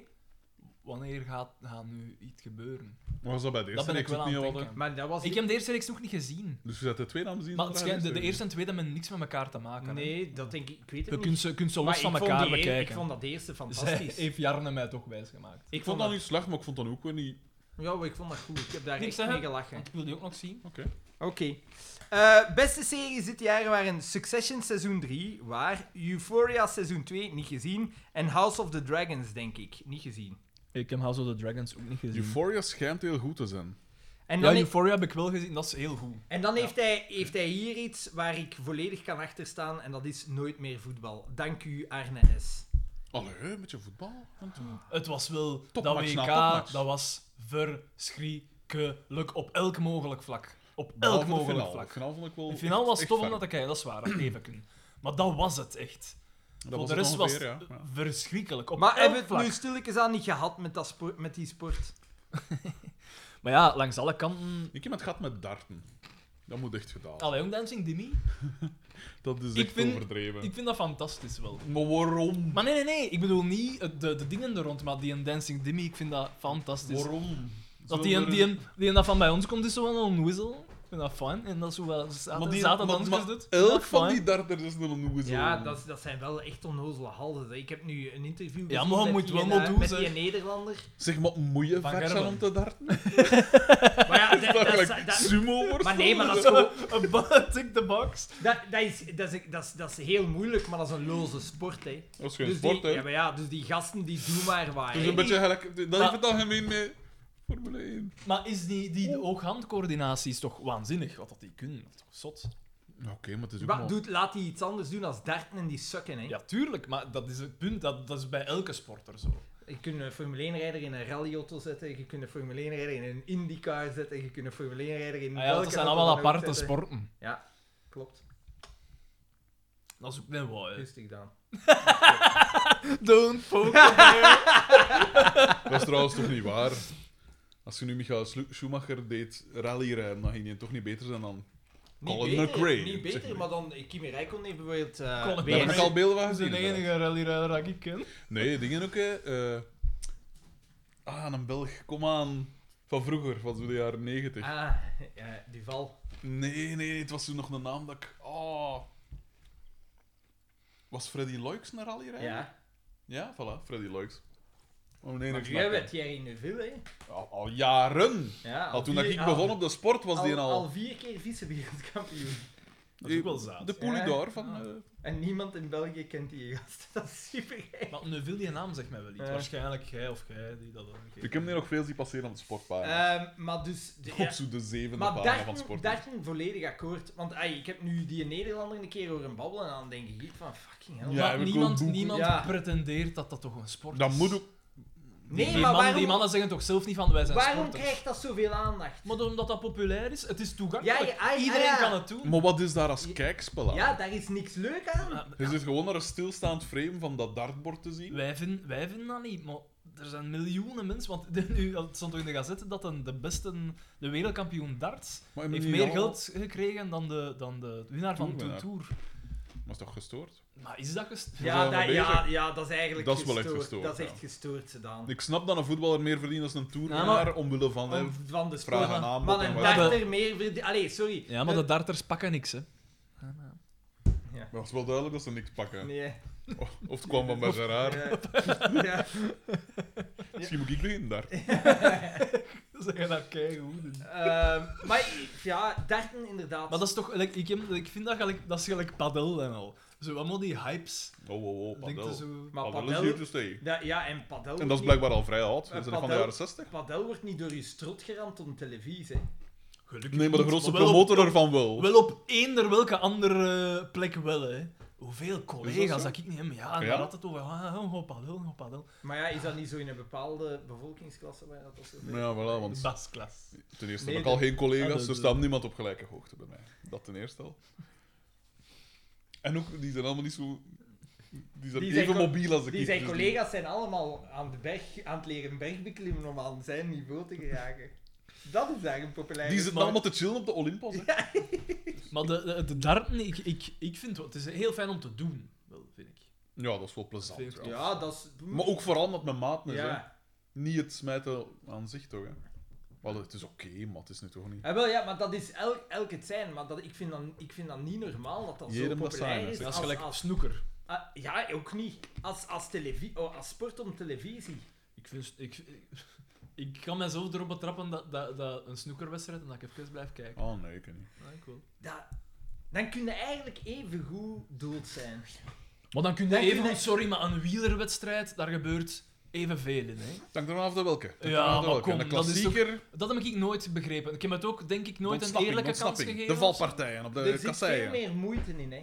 wanneer gaat, gaat nu iets gebeuren? Maar was dat bij de Dat eerste ben ik reeks wel ook aan niet het hadden? denken. Maar dat was... Ik heb de eerste reeks nog niet gezien. Dus je zet de tweede aan zien? Maar het schijnt- de, de eerste en tweede hebben niks met elkaar te maken. hè. Nee, dat denk ik... Ik weet Je het kunt niet. ze, kunt ze Maar los van ik vond elkaar die eer- bekijken. Ik vond dat eerste Zij fantastisch. heeft Jarne mij toch wijsgemaakt. Ik vond dat niet slecht, maar ik vond dat ook wel niet... Ja, maar ik vond dat goed. Ik heb daar Niks echt zeggen? mee gelachen. Want ik wil die ook nog zien. Oké. Eh, beste series dit jaar waren Succession seizoen 3, waar Euphoria seizoen 2 niet gezien en House of the Dragons, denk ik, niet gezien. Ik heb House of the Dragons ook niet gezien. Euphoria schijnt heel goed te zijn. En ja, dan, he- Euphoria heb ik wel gezien, dat is heel goed. en dan Ja. heeft, hij, heeft hij hier iets waar ik volledig kan achterstaan en dat is nooit meer voetbal. Dank u, Arne S. Allee, met je voetbal. Want- Het was wel dat Topmatch WK, na topmatch. dat was verschrikkelijk op elk mogelijk vlak. Op elk Behalve de mogelijk finale. vlak. De finale vond ik wel... De finale was echt tof fijn. om dat te kijken, dat is waar, even kunnen. Maar dat was het echt. Dat Voor was de rest was ongeveer, het ja. Ja. verschrikkelijk. Op Maar elk hebben we vlak. het nu stilletjes aan niet gehad met, dat sport, met die sport? Maar ja, langs alle kanten. Ik heb het gehad met darten. Dat moet echt gedaan. Allee, Young Dancing Dimmy. Dat is Ik echt vind- overdreven. Ik vind dat fantastisch wel. Maar waarom? Maar nee, nee, nee. Ik bedoel niet het- de, de dingen er rond, maar die een Dancing Dimmy, ik vind dat fantastisch. Waarom? Zullen Dat die, we een, er- die, een, die een dat van bij ons komt, is zo wel een whistle. Ik vind dat fun. En dat is zo wel Maar die- zaten maar- dansjes maar doet. Elk Dat van fijn. die darters is nog een hoezo. Ja, dat, is- dat zijn wel echt onnozele halden. Ik heb nu een interview gezien Ja, maar je met, moet die, wel eh, maar doen, met die zeg. Nederlander. Zeg maar, moet je Van vaak zijn Gerwen. om te darten? Maar ja, dat- Dat dat is is- like dat- sumo wordt. maar nee, maar dat is gewoon... Een ba- tick the box. Dat, dat, is, dat, is, dat, is, dat is heel moeilijk, maar dat is een loze sport, hè. Dat is geen dus sport, die, hè. Ja, maar ja, dus die gasten die doen maar waar. Dus Dat is hè. een beetje gelijk... Dat Maar- heeft het algemeen met Formule 1. Maar is die, die oog-handcoördinatie is toch waanzinnig? Wat dat die kunnen, dat is toch zot? Oké, maar het is ook Wat doet, laat die iets anders doen als darten en die sukken, hè. Ja, tuurlijk, maar dat is het punt. Dat, dat is bij elke sporter zo. Ah Je kunt een Formule 1-rijder in een rallyauto zetten, je kunt een Formule 1-rijder in een IndyCar zetten, je kunt een Formule 1-rijder in Ah ja, welke dat zijn auto allemaal dan ook aparte zetten. sporten. Ja, klopt. Dat is ook net Eh, wat, hè. Rustig dan. Don't poke Dat is trouwens toch niet waar? Als je nu Michael Schu- Schumacher deed rallyrijden, dan ging hij toch niet beter zijn dan Niet Colin beter, McRae, Niet zeg beter, maar. maar dan eh, Kimi Räikkönen heeft bijvoorbeeld... eh, Colin weer- Daar heb ik al beelden van Dat is gezien. de enige rallyrijder dat ik ken. Nee, dingen ook, hè. Eh, ah, een Belg, kom aan. Van vroeger, van zo de jaren negentig. Ah, ja, Duval. Nee, nee, het was toen nog een naam dat ik... Oh. Was Freddy Loix naar al rijden? Ja. Ja, voilà, Freddy Loix. Oh nee, Maar niks jij maken. bent Thierry Neuville, hè? al, al jaren. Ja, Al toen dat vier- ik begon op de sport was al, die al... al vier keer vice-wereldkampioen. Dat is ook wel zaad. De poelie Ja. daar van... Ah. eh, En niemand in België kent die gast. Dat is super gek. Maar Neville, die naam zegt mij wel iets. Ja. Waarschijnlijk jij of jij die dat dan ik heb er nog veel die passeren op het sportpagina. Ehm, maar dus... De, ja, op zo de zevende maar pagina van Darten, sport. Darten volledig akkoord. Want ai, ik heb nu die Nederlander een keer horen babbelen en dan denk ik van fucking hell. Ja, Maar we komen niemand, boeken. niemand Ja. pretendeert dat dat toch een sport Dat is. moet ook... Nee, die, maar man- waarom- die mannen zeggen toch zelf niet van wij zijn Waarom sporters. krijgt dat zoveel aandacht? Maar omdat dat populair is, het is Ja, toegankelijk. ja, ah, ja, Iedereen ja. kan het doen. Maar wat is daar als Ja. kijkspel aan? Ja, daar is niks leuk aan. Maar Je zit gewoon naar een stilstaand frame van dat dartbord te zien. Wij, vinden wij vinden dat niet, maar er zijn miljoenen mensen. Want de- nu het stond toch in de gazette dat een, de beste, de wereldkampioen darts, Maar in heeft New meer York- geld gekregen dan de, dan de winnaar van de Toerwinnaar. Tour. Maar is toch gestoord? Maar is dat gest... Ja, zijn dat, wel ja, bezig. ja, dat is eigenlijk Dat is wel gestoord. echt gestoord, Dat is ja. echt gestoord, Sedaan. Ik snap dat een voetballer meer verdient als een toerwinnaar, Ja, maar- omwille van... hè, Om- Van de Vraag sport. aan aanbod Maar en een wat. darter meer verdien- Allee, sorry. Ja, maar de darters pakken niks, hè. Maar het is wel duidelijk dat ze niks pakken. Nee. Of, of het kwam van Bergeraar. Ja. Ja. Misschien moet ik beginnen daar. Ze gaan dat keigoed doen. Ehm, maar ja, darten inderdaad. Maar dat is toch... like, ik, heb- ik vind dat, gelijk, dat is gelijk padel en al. Zo, allemaal die hypes. Oh, oh, oh, Denk je padel. zo... Maar Padel is hier te steken. dat- ja, en padel... En wordt dat is niet- blijkbaar al vrij oud. We zijn van de padel- jaren 60. Padel wordt niet door je strot geramd om televisie. hè. Gelukkig Nee, maar de niet, grootste wel op- promotor ervan wel. Wel op eender welke andere eh, plek wel, hè. Hoeveel Is collega's dat zo? dat ik niet heb. Ja, en Ja? daar had het over. Ah, ah, oh, padel, oh, padel. Maar ja, is dat niet zo in een bepaalde bevolkingsklasse waar dat al zo veel- Ja, voilà, want Basklas. ten eerste Nee, dus, eh, heb ik al dat- geen Ah, collega's. dus dat- Er staat niemand op gelijke hoogte bij mij. Dat ten eerste al. En ook, die zijn allemaal niet zo... Die zijn Die zijn even co- mobiel als ik. Die dus zijn collega's zijn allemaal aan, de berg, aan het leren bergbeklimmen om aan zijn niveau te geraken. Dat is daar een populaire Die zitten sport. allemaal te chillen op de Olympos. hè. Maar de, de, de darten, ik, ik, ik vind wel- het is heel fijn om te doen, wel, vind ik. Ja, dat is wel plezant. Vind- Ja. Ja, dat is... Maar ook vooral met mijn maat. is, hè. Ja. Niet het smijten aan zich, toch? Hè? Wel, het is oké, maar het is nu toch niet... Ja, Ah, wel, ja, maar dat is elk, elk het zijn. Maar dat, ik, vind dat, ik vind dat niet normaal dat dat zo Jedem dat zijn, populair hè. is. Dat Als, is gelijk als- snoeker. ah, ja, ook niet. Als, als, televi- oh, als sport om televisie. Ik, vind, ik, ik, ik kan mezelf erop betrappen dat, dat, dat een snoekerwedstrijd, en dat ik even blijf kijken. Oh, nee, ik weet niet. Ja, ik wel. Dat, dan kun je eigenlijk even goed dood zijn. Maar dan kun je Dan kun even... je- Sorry, maar een wielerwedstrijd, daar gebeurt evenveel in, hè. Dank er vanaf de welke. Het hangt Ja, ervan af maar welke. kom, een dat is toch- klassieker, Dat heb ik nooit begrepen. Ik heb het ook, denk ik, de nooit een ontsnapping, eerlijke de kans ontsnapping, gegeven. De valpartijen op de er zit veel kasseien. meer moeite in, hè.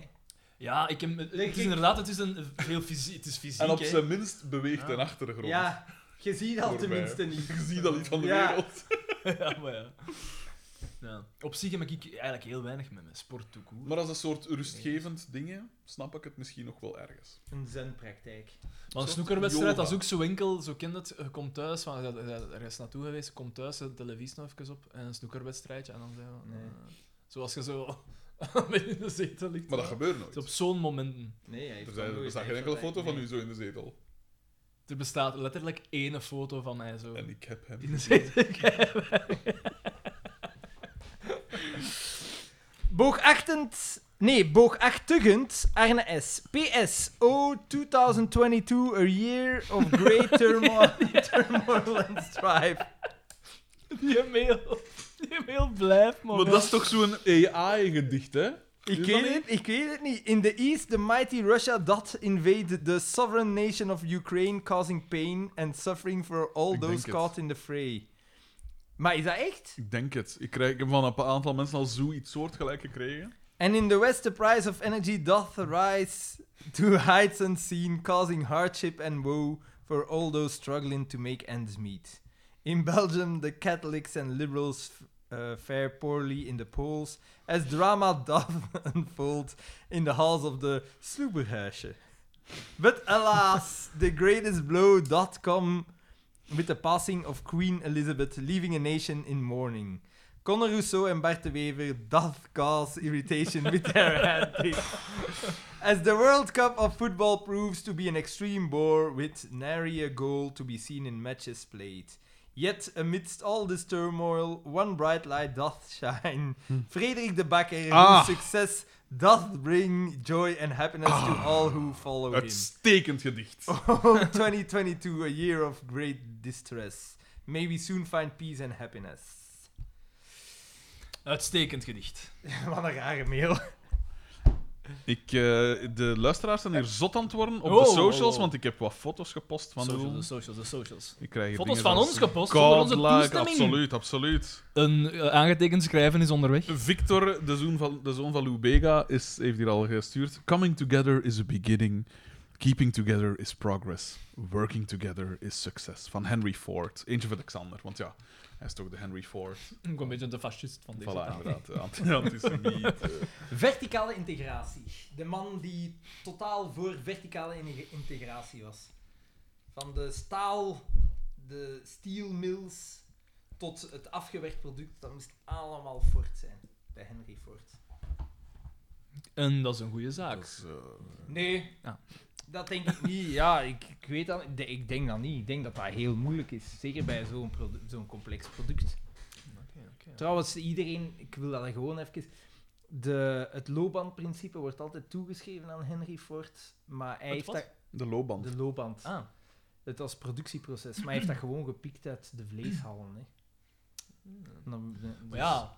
Ja, ik heb, het Denk is ik- inderdaad het is een, heel fysiek. Het is fysiek En op hè. zijn minst beweegt Ja. een achtergrond. Ja, je ziet dat Voorbij. tenminste niet. Je ziet dat niet van de Ja. wereld. ja, maar ja. Ja. Op zich heb ik eigenlijk heel weinig met mijn sport toe Maar, Maar als een soort rustgevend ding, hè, snap ik het misschien nog wel ergens. Een zenpraktijk. een soort snoekerwedstrijd, dat is yoga. ook zo enkel. Zo kent het. Je komt thuis, van, je bent ergens naartoe geweest, je komt thuis, de televisie nog even op en een snoekerwedstrijdje. En dan zijn we, Nee. eh, zoals je zo in de zetel ligt. Maar dat gebeurt nooit. Het is op zo'n momenten. Nee, hij heeft Er, dat zijn, er nooit, staat hij geen heeft enkele dat foto van u eigenlijk- zo in de zetel. Er bestaat letterlijk één foto van mij zo. En ik heb hem. In de zetel. Boogachtend... Nee, boogachtigend Arne S. PS. Oh, 2022, a year of great turmoil, turmoil and strife. Die mail, die mail blijft, man. Maar dat is toch zo'n AI-gedicht, hè? Ik Is dat weet, het, ik weet het niet. In the east, the mighty Russia dot invade the sovereign nation of Ukraine, causing pain and suffering for all Ik denk those het. caught in the fray. Maar is dat echt? Ik denk het. Ik, krijg, ik heb van een pa- aantal mensen al zoiets soortgelijk gekregen. And in the west, the price of energy doth rise to heights unseen, causing hardship and woe for all those struggling to make ends meet. In Belgium, the Catholics and liberals uh, fare poorly in the polls, as drama doth unfold in the halls of the Sluberhuisje. But alas, the greatest blow doth come with the passing of Queen Elizabeth, leaving a nation in mourning. Conor Rousseau en Bart de Wever, that cause irritation with their antics. As the World Cup of football proves to be an extreme bore with nary a goal to be seen in matches played. Yet, amidst all this turmoil, one bright light doth shine. Frederik de Bakker, Ah. whose success doth bring joy and happiness to all who follow him. Uitstekend gedicht. Oh, 2022, a year of great distress. May we soon find peace and happiness. Uitstekend gedicht. Wat een rare mail. Ik, eh, de luisteraars zijn hier zot aan het worden op Oh, de socials, oh, oh. want ik heb wat foto's gepost van Socials, de... de socials, de socials. Ik krijg hier Foto's dingen van zoals ons gepost, zonder onze godlike, toestemming. Absoluut, absoluut. Een eh, aangetekend schrijven is onderweg. Victor, de zoon van, de zoon van Lou Bega, is, heeft hier al gestuurd. Coming together is a beginning. Keeping together is progress. Working together is success. Van Henry Ford. Eentje van Alexander, want ja, hij is toch de Henry Ford. Ik ben een beetje de fascist van Voilà, deze taal. inderdaad. eh, anti- Antisemiet. eh. Verticale integratie. De man die totaal voor verticale in- integratie was. Van de staal, de steel mills, tot het afgewerkt product, dat moest allemaal Ford zijn. Bij Henry Ford. En dat is een goede zaak. Dat is, eh, Nee, Ja. dat denk ik niet. Ja, ik, ik weet dat de- Ik denk dat niet. Ik denk dat dat heel moeilijk is. Zeker bij zo'n produ- zo'n complex product. Trouwens, iedereen, ik wil dat gewoon even. De, het loopbandprincipe wordt altijd toegeschreven aan Henry Ford, maar hij Het heeft wat? dat, de loopband. de loopband. Ah, Het was productieproces, maar hij heeft dat gewoon gepikt uit de vleeshallen. Hè. Dan- dan- maar dus- Hmm. ja.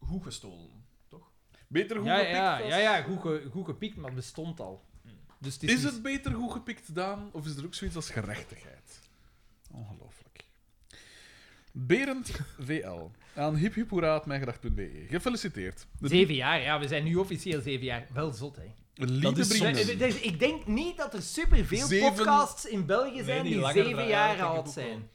Goed gestolen. Beter goed ja, gepikt, ja, vast? ja, ja, goed, ge- goed gepikt, maar het bestond al. Hmm. Dus het is, Is niet- het beter goed gepikt, Daan, of is er ook zoiets als gerechtigheid? Ongelooflijk. Berend VL aan hiphiphoeraatmijngedacht.be. E. Gefeliciteerd. De Zeven jaar, ja, we zijn nu officieel zeven jaar. Wel zot, hè? Dat liefdebrief. is- Dus ik denk niet dat er superveel Zeven- podcasts in België zijn die die langer zeven draaien, jaar denk ik oud ook zijn.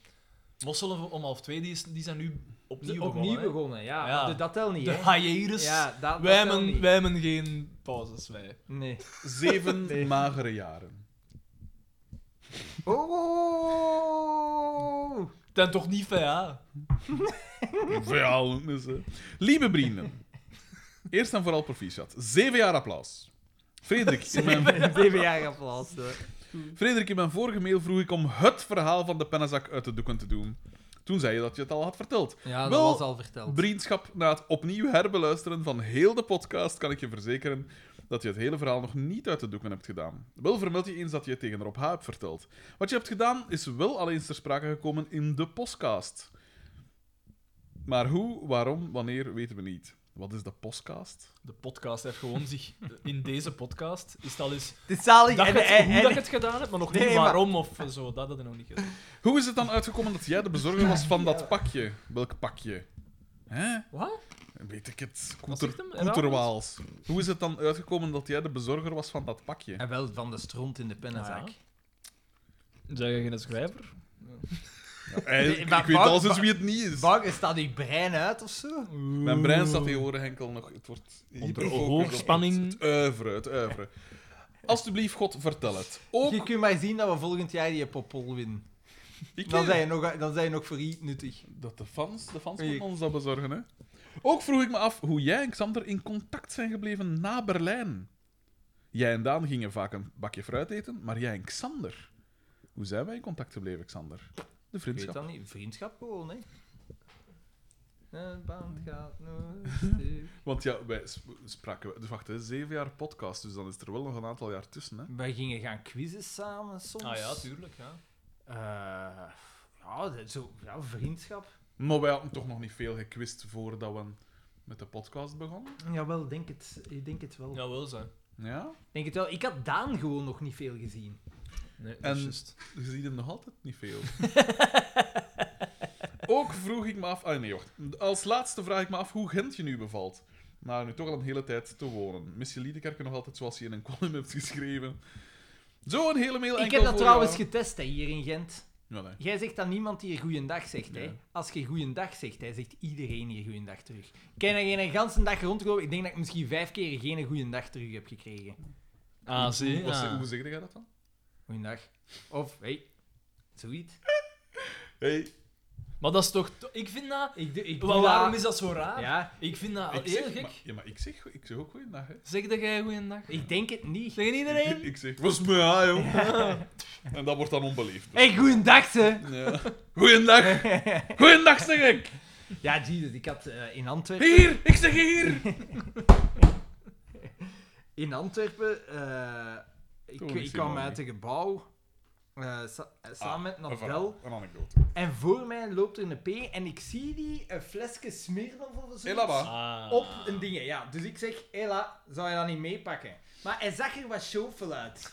Mosselen om half twee, die, is, die zijn nu opnieuw Opnieuw, begonnen. hè. begonnen, ja. Ja. maar de- dat tel niet, De hè. hiatus. Ja, dat, dat wij, tel niet. hebben, wij hebben geen pauzes, wij. Nee. Zeven magere jaren. Oh! Ten toch niet VA? Veel is hè. Lieve vrienden. Eerst en vooral proficiat. Zeven jaar applaus. Frederik, in mijn, Zeven jaar applaus, hoor. Frederik, in mijn vorige mail vroeg ik om het verhaal van de pennenzak uit de doeken te doen. Toen zei je dat je het al had verteld. Ja, dat Wel, was al verteld. Vriendschap, na het opnieuw herbeluisteren van heel de podcast kan ik je verzekeren dat je het hele verhaal nog niet uit de doeken hebt gedaan. Wel vermeld je eens dat je het tegen Rob H. hebt verteld. Wat je hebt gedaan is wel al eens ter sprake gekomen in de podcast. Maar hoe, waarom, wanneer, weten we niet. Wat is de podcast? De podcast heeft gewoon zich... In deze podcast is het al eens... Het is zalig. Dat en, je het, en- hoe en- dat je het gedaan hebt, maar nog Nee, niet maar- waarom of zo. Dat had ik nog niet gedaan. Hoe is het dan uitgekomen dat jij de bezorger was van dat pakje? Welk pakje? Hè? Wat? Weet ik het. Wat Koeter, zegt hem? Koeterwaals. Hoe is het dan uitgekomen dat jij de bezorger was van dat pakje? En wel van de stront in de pennenzak. Ah, Zijn je geen schrijver? Eh, Nee, ik maar ik weet Bart- al sinds Bart- wie het niet is. Bang, staat uw brein uit of zo? Mijn brein staat tegenwoordig enkel nog. Het wordt Onder hyperfocus op hoogspanning. Het uivre, het uivre. Alsjeblieft, God, vertel het. Je Ook kunt maar zien dat we volgend jaar die popol winnen. ik Dan weet zijn je nog, dan zijn je nog voor iets nuttig. dat de fans, de fans Ik- moeten ons dat bezorgen. Hè. Ook vroeg ik me af hoe jij en Xander in contact zijn gebleven na Berlijn. Jij en Daan gingen vaak een bakje fruit eten, maar jij en Xander. Hoe zijn wij in contact gebleven, Xander? De Ik weet vriendschap. dat niet. Vriendschap gewoon, hè. Een band gaat nooit stuk. Want ja, wij sp- spraken. Dus wacht, hè, zeven jaar podcast, dus dan is er wel nog een aantal jaar tussen. Hè. Wij gingen gaan quizzen samen soms. Ah ja, tuurlijk. Ja. Eh, ja, dat- zo, ja, vriendschap. Maar wij hadden toch nog niet veel gekwist voordat we met de podcast begonnen. Jawel, denk het, ik denk het wel. Jawel, zijn. Ja? Denk het wel. Ik had Daan gewoon nog niet veel gezien. Nee, dat En- is juist. Je ziet hem nog altijd niet veel. Ook vroeg ik me af... Ah, nee, wacht. Als laatste vraag ik me af hoe Gent je nu bevalt. Na nu toch al een hele tijd te wonen. Miss je Liedekerke nog altijd zoals je in een column hebt geschreven. Zo'n hele mail ik enkel heb dat voor trouwens jou. getest hè, hier in Gent. Ja, nee. Jij zegt dat niemand hier goeiedag zegt. Nee. Hè. Als je goeiedag zegt, hij zegt iedereen hier goeiedag terug. Ik heb er geen ganse dag rondgelopen. Ik denk dat ik misschien vijf keer geen goeiedag terug heb gekregen. Ah, zie. Hoe- ja. Hoe, hoe zeg jij dat dan? Goeiedag. Of, hey, zoiets. Hey. Maar dat is toch... to- Ik vind dat... Ik, doe- ik Wa- doe waarom dat- is dat zo raar? Ja, Ik vind dat Ik heel zeg, gek. maar- ja, maar ik zeg, ik zeg ook goeiedag, hè. Zeg dat jij goeiedag. ik denk het niet. Zeg iedereen? Ik zeg, was me aan, joh. En dat wordt dan onbeleefd. Hey, goeiedag, ze. Ja. Goeiedag. Goeiedag, zeg ik. Ja, Jesus, ik had eh, in Antwerpen... Hier, ik zeg hier. In Antwerpen, eh, ik, Toen is ik hij kwam mooi. uit een gebouw eh, sa- eh, Ah, samen met een Nadel. verhaal, Een anekdote. En voor mij loopt er een P en ik zie die een flesje Smirnoff of zo Elaba. Ah. op een ding. Ja, dus ik zeg, Ela, zou je dat niet meepakken? Maar hij zag er wat chauffeur uit.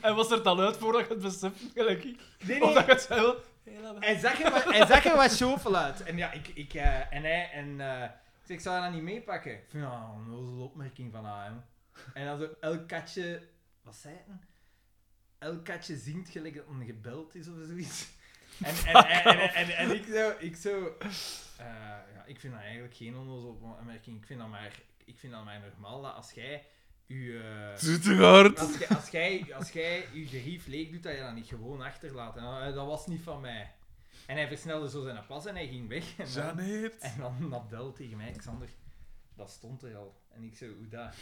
en was er dan uit voordat je het beseft, gelijk ik? Nee, nee, Of dat je het zei wel... Heel laat. hij zag er wat, hij zag er wat chauffeur uit. En ja, ik, ik eh, en hij, en eh, ik zeg, zou je dat niet meepakken? Ik vind, ja, een onnozele opmerking van hem. En dan zo, elk katje, wat zei het? nou? Elk katje zingt gelijk dat een gebeld is of zoiets. En, en, en, en, en, en- en ik zo, ik zo, eh, ja, ik vind dat eigenlijk geen onnozele opmerking. Ik vind dat maar, ik vind dat maar normaal dat als jij je... eh, Zoete hard. als jij als jij- als jij je gerief leeg doet, dat je dat niet gewoon achterlaat. En dan, eh, dat was niet van mij. En hij versnelde zo zijn pas en hij ging weg. En dan, Janet. en dan Nadel tegen mij, Xander, dat stond er al. En ik zo, hoe dat?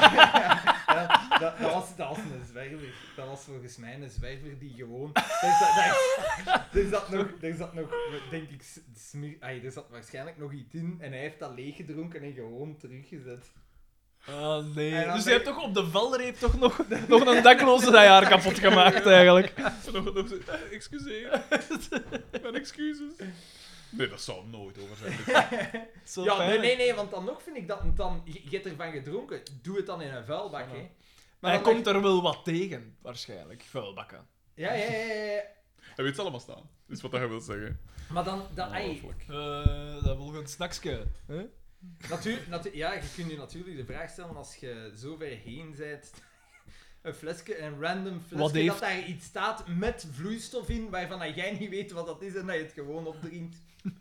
Ja, dat, dat, was, dat was een zwerver. Dat was volgens mij een zwerver die gewoon... Dus Er zat, daar- er zat dus nog, er zat nog, denk ik, s- smeer- ai, er zat waarschijnlijk nog iets in. En hij heeft dat leeggedronken en gewoon teruggezet. Ah, nee. En dan Dus je ben hebt toch op de valreep toch nog, nog een dakloze dat jaar kapot gemaakt, eigenlijk. Nog- nog- eh, Excuseer. Mijn excuses. Nee, dat zal nooit over zijn. Zo ja, nee, pijnlijk. nee, nee, want dan nog vind ik dat het dan... Je je hebt ervan gedronken, doe het dan in een vuilbak, hè. Maar hij dan komt er wel wat tegen, waarschijnlijk. Vuilbakken. Ja, ja, ja, ja, ja. Hij weet het allemaal staan. Is wat hij wil zeggen. Maar dan... dan ai, Ongelooflijk. Eh dat volgende snacksje. Huh? natuur, natuur, ja, je kunt je natuurlijk de vraag stellen als je zo ver heen bent... Een flesje, een random Wat flesje, heeft- dat daar iets staat met vloeistof in, waarvan dat jij niet weet wat dat is en dat je het gewoon opdrinkt. Ik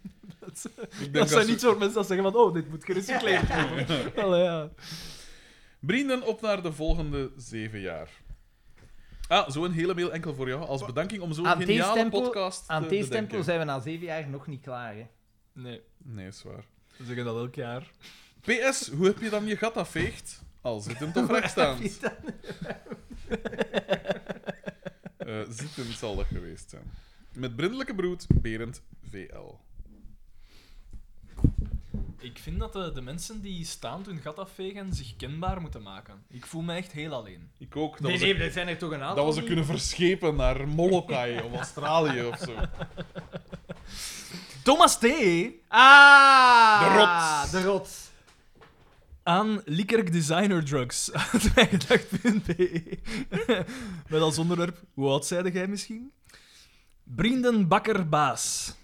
denk Dat zijn dat niet ze- soort mensen dat zeggen van, oh, dit moet gerecycleerd worden. Allee, ja. Vrienden, op naar de volgende zeven jaar. Ah, zo'n hele mail enkel voor jou. Als bedanking om zo'n Aan deze geniale tempo- podcast Aan te deze bedenken. tempo zijn we na zeven jaar nog niet klaar, hè. Nee, Nee, is waar. we zeggen dat elk jaar. PS, hoe heb je dan je gat afveegd? Al zittend of rechtstaand? Eh zittend zal dat geweest zijn. Met brindelijke broed, Berend VL. Ik vind dat de, de mensen die staand hun gat afvegen zich kenbaar moeten maken. Ik voel me echt heel alleen. Ik ook. Dat Nee, was nee, een, er zijn er toch een aantal dat was een die- kunnen verschepen naar Molokai of Australië of zo. Thomas T. Ah! De rots. De rots. aan Liekerk Designer Drugs. uit mijngedacht.be. Met als onderwerp, hoe oud zeide jij misschien? Vrienden, bakker, baas.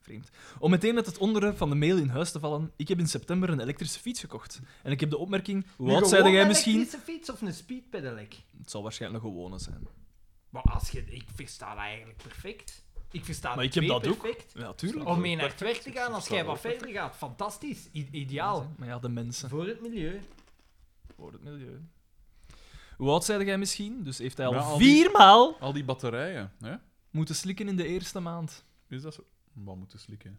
Vreemd. Om meteen met het onderwerp van de mail in huis te vallen, ik heb in september een elektrische fiets gekocht. En ik heb de opmerking, hoe Nu oud gewoon zeide jij een misschien? elektrische fiets of een speedpedelec? Het zal waarschijnlijk een gewone zijn. Maar als je... Ik versta dat eigenlijk perfect. Ik versta Maar de ik heb twee dat ook. perfect. Ja, tuurlijk. Om mee naar het werk te gaan als Versta jij dat wat ook verder gaat. Fantastisch. I- ideaal. Maar ja, de mensen. Voor het milieu. Voor het milieu. Hoe oud zeide jij misschien? Dus heeft hij al, Ja, al die- viermaal Al die batterijen, hè? moeten slikken in de eerste maand. Is dat zo? Wat moeten slikken?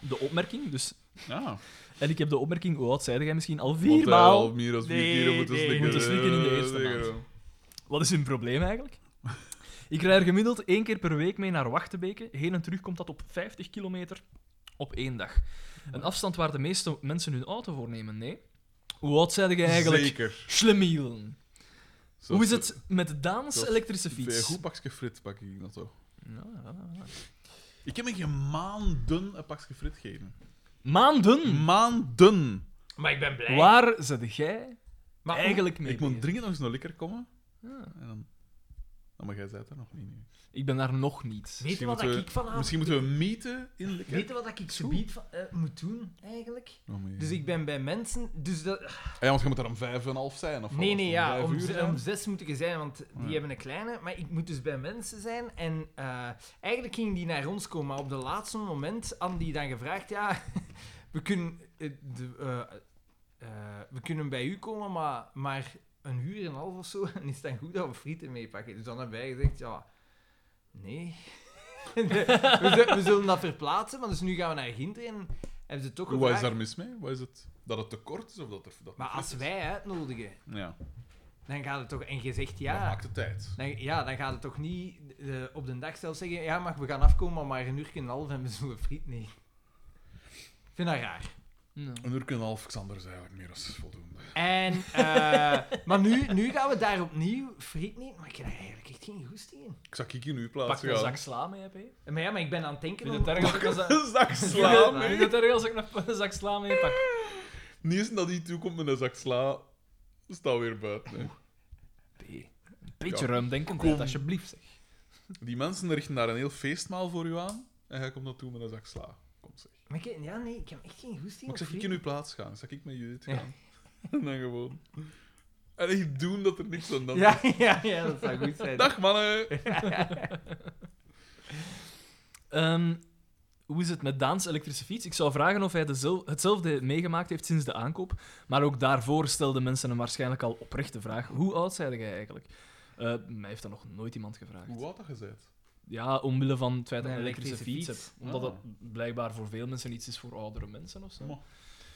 De opmerking, dus Ah, En ik heb de opmerking, hoe oud zeide jij misschien? Al want hij had viermaal. al meer dan eh, vier Nee, keer moeten nee, slikken. moeten slikken in de eh, eerste tegen maand. hem. Wat is hun probleem eigenlijk? Ik rij er gemiddeld één keer per week mee naar Wachtebeke. Heen en terug komt dat op 50 kilometer op één dag. Een afstand waar de meeste mensen hun auto voor nemen, nee. Hoe oud zeide jij eigenlijk? Zeker. Schlemielen. Zo- Hoe is het met Daans Zoals- elektrische Bij een fiets? goed pakje frit pak ik dat toch. Ja, ja, ja. Ik heb me geen maanden een pakje frit gegeven. Maanden. Maanden! Maar ik ben blij. Waar zet jij Maar hoe- eigenlijk mee Ik moet bezig? dringend nog eens naar Likker komen. Ja. En dan... dan maar jij zei er nog niet. nu. Ik ben daar nog niet. Weet je wat moeten ik vanavond... Misschien moeten we meten in Likker. Weet je wat ik subiet van- eh, moet doen, eigenlijk? Oh, nee. Dus ik ben bij mensen... Dus dat, Ah Ja, want je moet er om vijf en half zijn. Of wat Nee, was nee, het, ja. vijf Om, uur ze- zijn? om zes moet ik er zijn, want die Ja. hebben een kleine. Maar ik moet dus bij mensen zijn. En eh, eigenlijk ging die naar ons komen. Maar op de laatste moment had die dan gevraagd: Ja, we kunnen, eh, de, eh, eh, we kunnen bij u komen, maar, maar een uur en een half of zo. En is het dan goed dat we frieten meepakken? Dus dan hebben wij gezegd: Ja, nee. we, zullen, we zullen dat verplaatsen, maar dus nu gaan we naar Ginter en hebben ze toch Wat is gevraagd... daar mis mee? Wat is het? Dat het te kort is of dat er... Dat Maar het als fit wij uitnodigen, is? Ja, dan gaat het toch... En je zegt dat ja... maakt de tijd. Dan, ja, dan gaat het toch niet eh, op de dag zelf zeggen... Ja, maar we gaan afkomen, maar een uur en een half en we zullen friet. Nee. Ik vind dat raar. Een uur en een half, Xander, is eigenlijk meer dan voldoende. En, eh, maar nu, nu gaan we daar opnieuw friet niet. Maar ik heb daar eigenlijk echt geen goesting in. Ik zag Kiki in uw Pak plaats een gaan. zak sla mee, heb je? Maar ja, maar ik ben aan het denken Vind je om- het erg als ik een zak- Een zak Ja, sla maar- mee. vind je het erg als ik een een zak sla mee pak? Niet eens dat hij toekomt met een zak sla, staat weer buiten. hè. Een beetje Ja. ruim denken, Kom. alsjeblieft. Zeg. Die mensen richten daar een heel feestmaal voor u aan en jij komt naartoe met een zak sla. Kom zeg. Maar ik, ja, nee, ik heb echt geen goesting Maar ik op zag ik friet. in uw plaats gaan. Zag ik met Judith gaan. En dan gewoon... En echt doen dat er niks aan dat Ja, ja, ja, dat zou goed zijn. Dag mannen! Ehm, hoe is het met Daans elektrische fiets? Ik zou vragen of hij dezel- hetzelfde meegemaakt heeft sinds de aankoop. Maar ook daarvoor stelden mensen hem waarschijnlijk al oprechte vraag. Hoe oud zijde jij eigenlijk? Eh, mij heeft dat nog nooit iemand gevraagd. Hoe oud dat je bent? Ja, omwille van het feit dat Een je een elektrische, elektrische fiets fiets. hebt. Omdat Ah. dat blijkbaar voor veel mensen iets is voor oudere mensen of zo. Mo.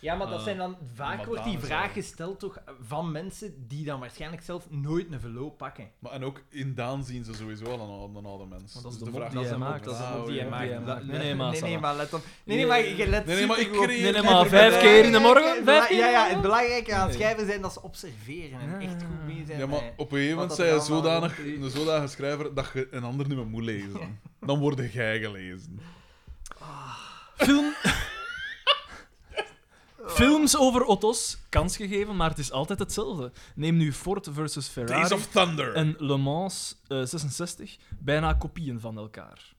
Ja, maar dat Eh, zijn dan... Vaak maar wordt die daar is vraag al- gesteld toch van mensen die dan waarschijnlijk zelf nooit een verloop pakken. Maar en ook in Daan zien ze sowieso al een oude, een oude mens. Want dat Dus is de mop vraag die is- hij een mop, maakt. Dat is een Ah, mop die ja, je ja, maakt. ja. Dat- Nee, nee, maar, Nee, nee, Sarah. maar let op. Nee, nee, maar je let Nee, nee, maar ik supergoed op. creëer... Nee, nee, ik maar heb vijf erbij. keer in de morgen? Het Vijf bela- keer Ja, in de ja, morgen? het belangrijke aan Nee. schrijven zijn dat ze observeren en echt goed mee zijn. bij- Ja, maar op een gegeven moment dat zei er je allemaal zodanig, rond is. een zodanige schrijver dat je een ander niet meer moet lezen. Dan word jij gelezen. Film... Films over auto's, kans gegeven, maar het is altijd hetzelfde. Neem nu Ford versus Days Ferrari of Thunder. en Le Mans eh, 66, bijna kopieën van elkaar.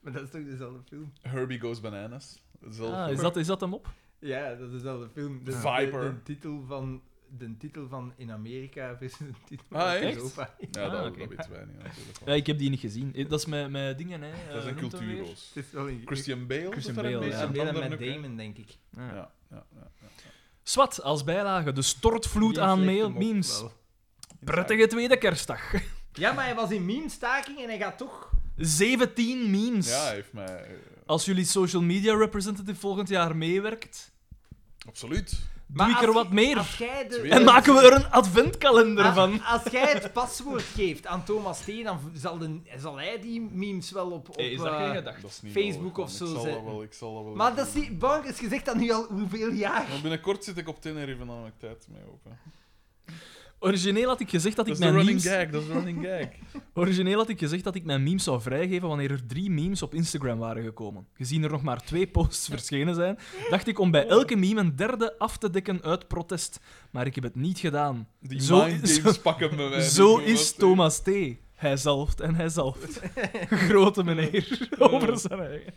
Maar dat is toch dezelfde film? Herbie Goes Bananas. Zelf- Ah, is, dat, is dat hem op? Ja, dat is dezelfde film. Dat is Viper. De, de titel van... De titel van in Amerika versus de titel Ah, van echt? Europa. Ja, Ah, dat, oké. dat weten wij niet natuurlijk. Ja, ik heb die niet gezien. Eh, Dat is met, met dingen, hè. eh, dat zijn noemt dat weer? cultuurroos. Het is wel een... Christian Bale. Christian doet daar een Bale, beetje ja. een Bale ander en met ook, hè? Damon, denk ik. Ja. Ja, ja, ja. Swat, als bijlage, de stortvloed Die aan sleepte mail, hem op memes. wel. Prettige tweede kerstdag. Ja, maar hij was in meme-staking en hij gaat toch... 17 memes. Ja, hij heeft mij... eh, Als jullie social media representative volgend jaar meewerkt, absoluut. doe ik als er je- wat meer. Als jij de... Twee. En maken we er een adventkalender Als- van. Als, jij het paswoord geeft aan Thomas T, dan v- zal, de, zal hij die memes wel op... op eh, Dat is niet Facebook of nodig, zo man. Ik zal dat zetten. wel, ik zal dat wel Maar doen. dat is niet... Bank is gezegd dat nu al hoeveel jaar? Maar binnenkort zit ik op Tenerife en dan heb ik tijd mee ook. hè. Origineel had ik gezegd Dat dat ik is de mijn running memes... gag, dat is de running gag. Origineel had ik gezegd dat ik mijn memes zou vrijgeven wanneer er drie memes op Instagram waren gekomen. Gezien er nog maar twee posts verschenen zijn, dacht ik om bij elke meme een derde af te dekken uit protest. Maar ik heb het niet gedaan. Die Zo- mind games pakken me wij. Zo niet, is hè. Thomas T. Hij zalft en hij zalft. Grote meneer. Over zijn eigen.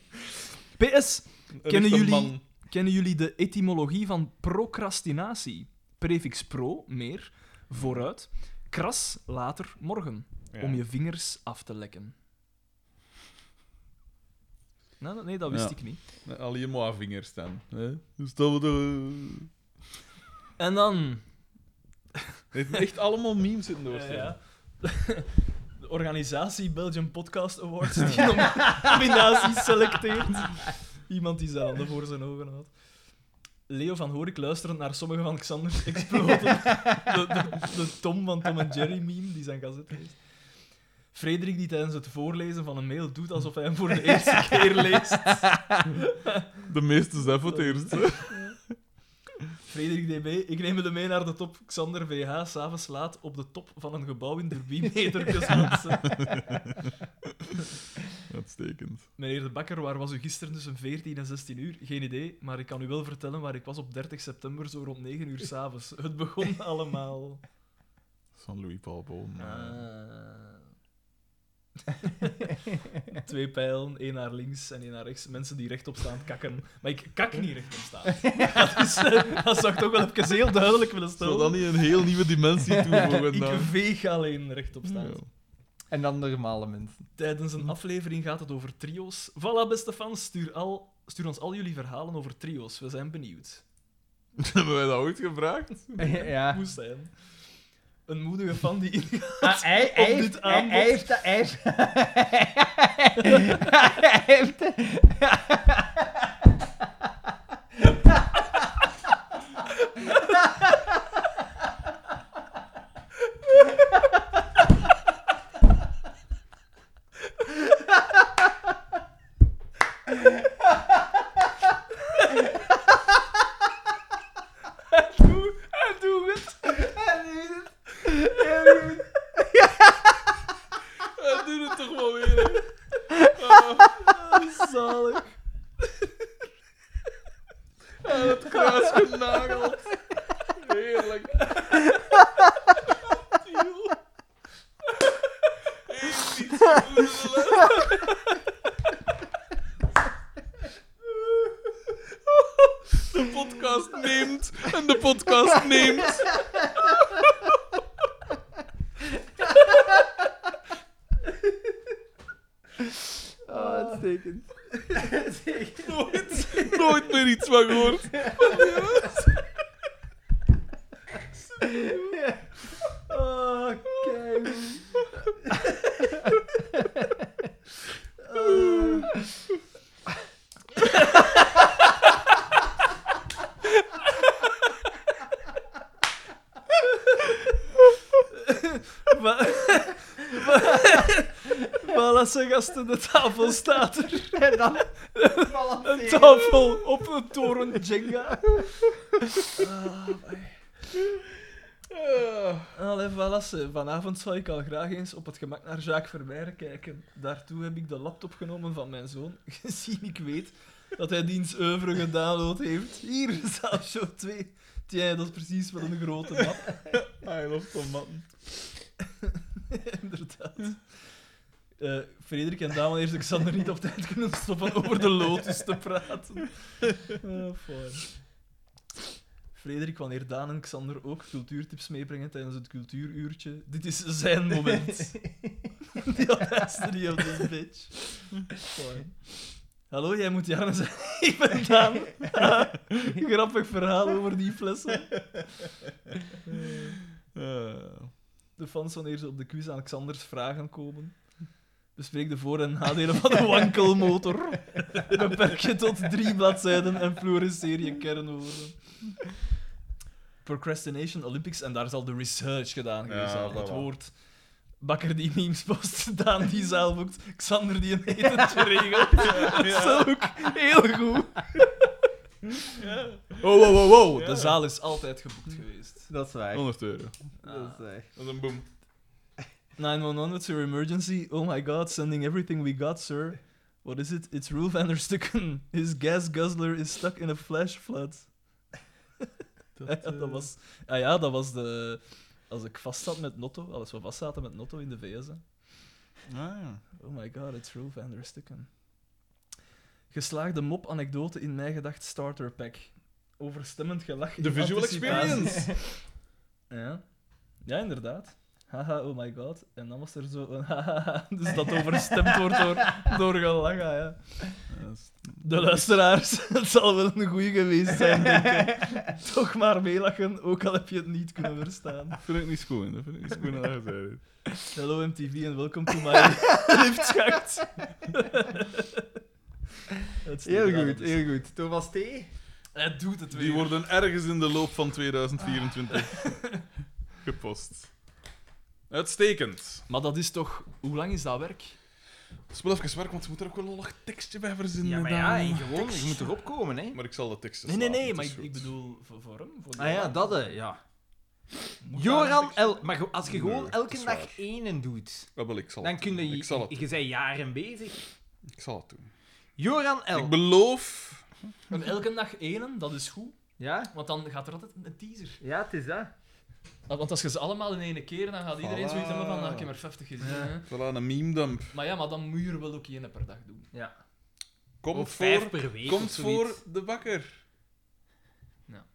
PS, Een Kennen echte jullie- man. kennen jullie de etymologie van procrastinatie? Prefix pro, meer, vooruit. Kras, later, morgen. Ja. Om je vingers af te lekken. Nou, nee, dat wist Ja. ik niet. Al je mooie vingers staan. Hè? Dus dat we de... En dan... Het heeft echt allemaal memes in de worst. Ja. De organisatie Belgium Podcast Awards die nom- nominaties selecteert. Iemand die zijn handen voor zijn ogen had. Leo van Horik luisterend naar sommige van Xander's exploten. De, de, de Tom van Tom en Jerry meme, die zijn gazet heeft. Frederik die tijdens het voorlezen van een mail doet alsof hij hem voor de eerste keer leest. De meeste zijn voor het eerst. hè. Frederik DB, ik neem jullie mee naar de top. Xander VH, s'avonds laat op de top van een gebouw in Derby, metertjes mensen. Uitstekend. Meneer De Bakker, waar was u gisteren tussen 14 en 16 uur? Geen idee, maar ik kan u wel vertellen waar ik was op 30 september, zo rond 9 uur s'avonds. Het begon allemaal. Van Louis Paul Boon. Eh. Ah. eh. Twee pijlen, één naar links en één naar rechts. Mensen die rechtop staan kakken. Maar ik kak niet rechtop staan. Dat, is, eh, dat zou ik toch wel even heel duidelijk willen Zou stellen. dat niet een heel nieuwe dimensie toevoegen? ik dan? veeg alleen rechtop staan. Ja. En dan normale mensen. Tijdens een aflevering gaat het over trio's. Voilà, beste fans, stuur, al, stuur ons al jullie verhalen over trio's. We zijn benieuwd. Hebben wij dat ooit gevraagd? ja. moest zijn. een moedige fan die ingaat. Ah, hij, hij, dit heeft, hij, aanbod. hij heeft dat. Hij heeft, hij heeft dat. Hij doet het. Hij doet het toch wel weer. hè. Zalig. Aan het kruis genageld. Heerlijk. Tiel. Heeft iets goederen. De podcast neemt en de podcast neemt. Oh, uitstekend. Nooit, nooit meer iets van gehoord. Van die jongens. Oh, Ah. kijk. Maar, maar als een gast aan de tafel staat er En dan. een tafel op een toren Jenga. Ah. Allee, voilà, vanavond zou ik al graag eens op het gemak naar Jacques Vermeijren kijken. Daartoe heb ik de laptop genomen van mijn zoon, gezien ik weet dat hij diens oeuvre gedownload heeft. Hier, Salshow 2. Tja, dat is precies wat een grote map. I love tomaten. Inderdaad. Eh, Frederik en Daan heeft Xander niet op tijd kunnen stoppen over de Lotus te praten. Ah, fijn. Frederik, wanneer Daan en Xander ook cultuurtips meebrengen tijdens het cultuuruurtje, dit is zijn moment. Die had hij niet op dit bitch. Fijn. Hallo, jij moet Jarne zijn. Ik ben Daan. Ah, grappig verhaal over die flessen. Eh. de fans wanneer ze op de quiz aan Xanders vragen komen. Bespreek de voor- en nadelen van de wankelmotor. Beperk je tot drie bladzijden en fluoresceer je kernwoorden. Procrastination Olympics, en daar zal de research gedaan geweest Ja, zijn. het voilà. woord. Bakker die memes post, Daan die zaal boekt, Xander die een etentje regelt. Dat is ook heel goed. Oh, wow, wow, wow. De zaal is altijd geboekt geweest. Ah. Dat is waar. 100 euro. Dat is eh, waar. Dat is een boom. 911, what's your emergency? Oh my god, sending everything we got, sir. What is it? It's Roel van der Stukken. His gas guzzler is stuck in a flash flood. Dat, eh, eh, dat was, ah ja, dat was de... Als ik vast zat met Notto, alles we vast zaten met Notto in de VS. Hè. Ah, ja. Oh my god, it's Roel van der Stukken. Geslaagde mop-anekdote in mijn gedacht starter pack. Overstemmend gelach. De in visual anticipatie. experience. Ja. Ja, inderdaad. Haha, oh my god. En dan was er zo een haha, dus dat overstemd wordt door, door gelach, ah, ja. De luisteraars, het zal wel een goeie geweest zijn, denk ik. Toch maar meelachen, ook al heb je het niet kunnen verstaan. Dat vind ik niet schoon. Dat vind ik niet schoon dat je zei dit. Hello MTV en welkom to my liftschacht. Heel dus. goed, heel goed. Thomas T. Ah, Hij doet het weer. Die worden ergens in de loop van 2024 gepost. Uitstekend. Maar dat is toch... Hoe lang is dat werk? Spel even werk, want ze moeten er ook wel een lollig tekstje bij verzinnen. Ja, maar ja, Daan. en gewoon, je moet erop komen, hè. Maar ik zal de teksten Nee, nee, slaan, nee, het maar is ik, goed. ik bedoel voor, voor hem. Voor Ah ja, Joran. dat, eh, ja. Moet daar een Joran tekst- L. Maar go- als je gewoon Nee, dat elke is waar. dag één doet, Ja, Ah, wel, ik zal dan het kun doen. je... Ik zal het Je bent jaren bezig. doen. Ik zal het doen. Joran Ik L. beloof... En elke dag één, dat is goed. Ja? Want dan gaat er altijd een teaser. Ja, het is dat. Ah, Want als je ze allemaal in één keer, dan gaat iedereen Voilà. zoiets hebben van, ah, ik heb er 50 gezien. hè. Voilà, een meme-dump. Maar ja, maar dan moet je er wel ook één per dag doen. Ja. Komt Of voor, vijf per week of komt zoiets. voor de bakker. Ja.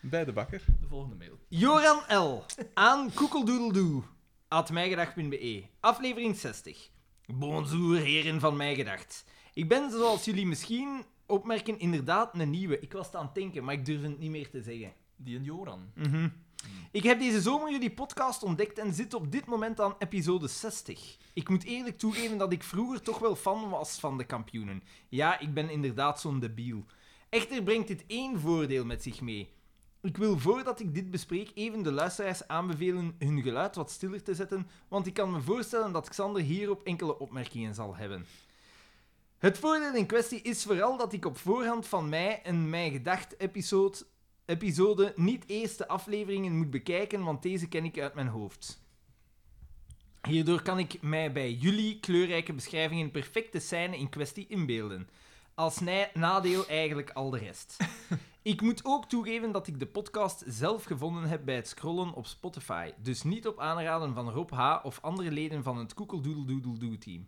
Bij de bakker. De volgende mail. Joran L. Aan koekeldoedeldoe. At mijgedacht.be. Aflevering 60. Bonjour, heren van Mijgedacht. Ik ben, zoals jullie misschien opmerken, inderdaad een nieuwe. Ik was het aan het denken, maar ik durf het niet meer te zeggen. Die en Joran. Mhm. Ik heb deze zomer jullie podcast ontdekt en zit op dit moment aan episode 60. Ik moet eerlijk toegeven dat ik vroeger toch wel fan was van de kampioenen. Ja, ik ben inderdaad zo'n debiel. Echter brengt dit één voordeel met zich mee. Ik wil voordat ik dit bespreek even de luisteraars aanbevelen hun geluid wat stiller te zetten, want ik kan me voorstellen dat Xander hierop enkele opmerkingen zal hebben. Het voordeel in kwestie is vooral dat ik op voorhand van mij een Mijn Gedacht episode, episode niet eerst de afleveringen moet bekijken, want deze ken ik uit mijn hoofd. Hierdoor kan ik mij bij jullie kleurrijke beschrijvingen perfecte scène in kwestie inbeelden. Als nij- nadeel eigenlijk al de rest. Ik moet ook toegeven dat ik de podcast zelf gevonden heb bij het scrollen op Spotify. Dus niet op aanraden van Rob H. of andere leden van het Koekeldoedeldoedeldoe-team.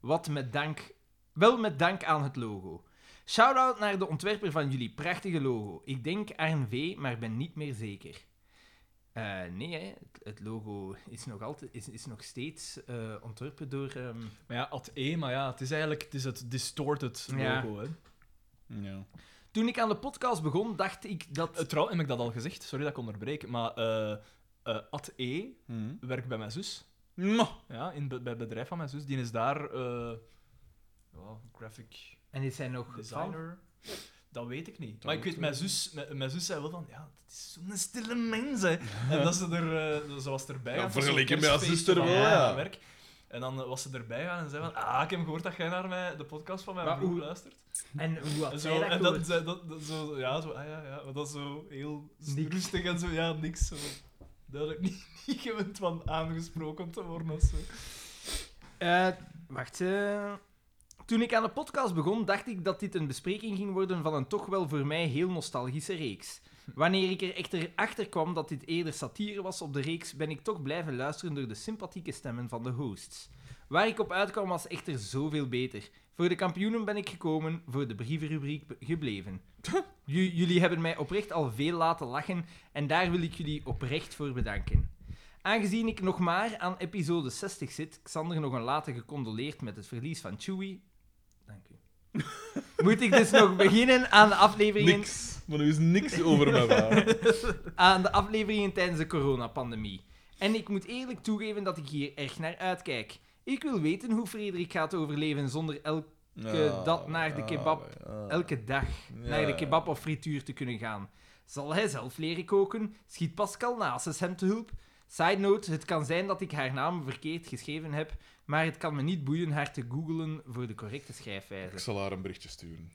Wat met dank... Wel met dank aan het logo. Shout-out naar de ontwerper van jullie prachtige logo. Ik denk RNV, maar ben niet meer zeker. Eh, nee, hè. Het, het logo is nog, altijd, is, is nog steeds eh, ontworpen door... ehm, Maar ja, at E, maar ja, het is eigenlijk het, is het distorted Ja. logo. Hè. Ja. Toen ik aan de podcast begon, dacht ik dat... Eh, Trouw, heb ik dat al gezegd? Sorry dat ik onderbreek. Maar eh eh, at E Hm. werkt bij mijn zus. Mwah. Ja, in, be- bij het bedrijf van mijn zus. Die is daar eh, ja, graphic En is hij nog van? designer. Dat weet ik niet. Maar ik weet, mijn zus, mijn, mijn zus zei wel van, ja, het is zo'n stille mens, hè. En dat ze, er, eh, dat ze was erbij Ja, gaan voor zo'n vergeleken met haar kerstfeestje zuster van wel, haar ja. werk. En dan eh, was ze erbij gaan en zei van, ah, ik heb gehoord dat jij naar mij, de podcast van mijn Maar broer hoe- luistert. En hoe had hij En zo, dat en dat, gehoord? dat, dat, dat zo, ja, zo, ah ja, ja, maar dat is zo heel Niks. rustig en zo, ja, niks. Zo. Duidelijk niet, niet gewend van aangesproken te worden of zo. Eh, wacht. eh. Toen ik aan de podcast begon, dacht ik dat dit een bespreking ging worden van een toch wel voor mij heel nostalgische reeks. Wanneer ik er echter achter kwam dat dit eerder satire was op de reeks, ben ik toch blijven luisteren door de sympathieke stemmen van de hosts. Waar ik op uitkwam was echter zoveel beter. Voor de kampioenen ben ik gekomen, voor de brievenrubriek be- gebleven. J- jullie hebben mij oprecht al veel laten lachen en daar wil ik jullie oprecht voor bedanken. Aangezien ik nog maar aan episode 60 zit, Xander nog een later gecondoleerd met het verlies van Chewie. Dank u. Moet ik dus nog beginnen aan de afleveringen, Niks. Maar nu is niks over mijn verhaal. aan de afleveringen tijdens de coronapandemie. En ik moet eerlijk toegeven dat ik hier echt naar uitkijk. Ik wil weten hoe Frederik gaat overleven zonder elke, Ja, eh, dat naar de ja, kebab. ja. elke dag Ja. naar de kebab of frituur te kunnen gaan. Zal hij zelf leren koken? Schiet Pascal naast hem te hulp? Side note, het kan zijn dat ik haar naam verkeerd geschreven heb, maar het kan me niet boeien haar te googlen voor de correcte Ik schrijfwijze. zal haar een berichtje sturen.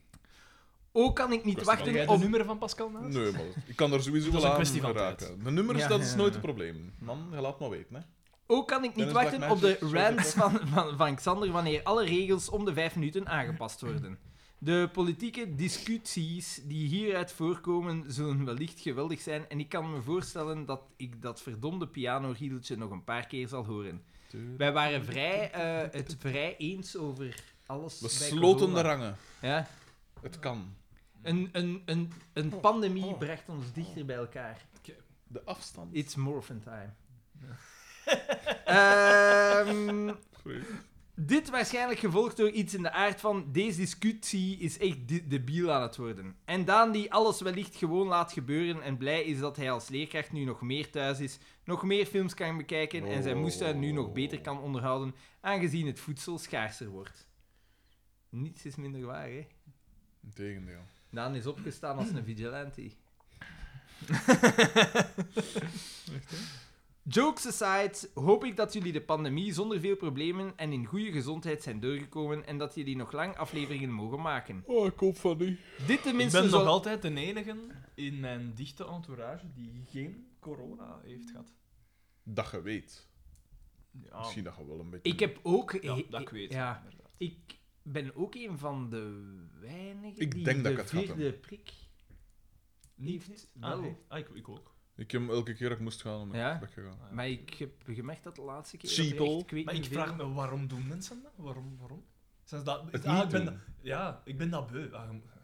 Ook kan ik niet Kost Heb wachten jij op... de nummer van Pascal Ah. naast? Nee, maar ik kan er sowieso Dat wel is een aan kwestie van tijd. geraken. De nummers, Ja, dat is ja, nooit ja. het probleem. Man, je laat maar weten, hè. Ook kan ik niet Dennis wachten op Black de Magic, zo rants van, van, van Xander wanneer alle regels om de vijf minuten aangepast worden. De politieke discussies die hieruit voorkomen zullen wellicht geweldig zijn en ik kan me voorstellen dat ik dat verdomde pianorieltje nog een paar keer zal horen. Wij waren vrij, eh, het vrij eens over alles. We bij sloten de corona. rangen. Ja. Het kan. Een, een, een, een pandemie bracht ons dichter bij elkaar. De afstand. It's morphin time. Ehm, Sorry. dit waarschijnlijk gevolgd door iets in de aard van deze discussie is echt de debiel aan het worden. En Daan die alles wellicht gewoon laat gebeuren en blij is dat hij als leerkracht nu nog meer thuis is, nog meer films kan bekijken en zijn moestuin nu nog beter kan onderhouden, aangezien het voedsel schaarser wordt. Niets is minder waar, hè? Integendeel. Daan is opgestaan als een vigilante. Jokes aside, hoop ik dat jullie de pandemie zonder veel problemen en in goede gezondheid zijn doorgekomen en dat jullie nog lang afleveringen mogen maken. Oh, ik hoop van niet. Dit Ik tenminste ben zal- nog altijd de enige in mijn dichte entourage die geen corona heeft gehad. Dat je weet. Ja, Misschien dat je wel een beetje... Ah. Ik heb ook... ja, he- dat ik weet. Ja, inderdaad. ik ben ook een van de weinigen Ik die denk de dat ik het had, vierde prik heeft. Ah, Wel. nee. ah, ik, ik ook. Ik heb hem elke keer dat ik moest gaan, om Ja? ja? weggegaan. Ah, ja. Maar ik heb gemerkt dat de laatste keer... Cheapo. Dat er echt, weet Maar niet ik vraag veel- me, waarom doen mensen dat? Waarom? waarom? Zijn ze dat... Het ah, niet ik ben doen. dat- Ja, ik ben dat beu. Ah, je moet- je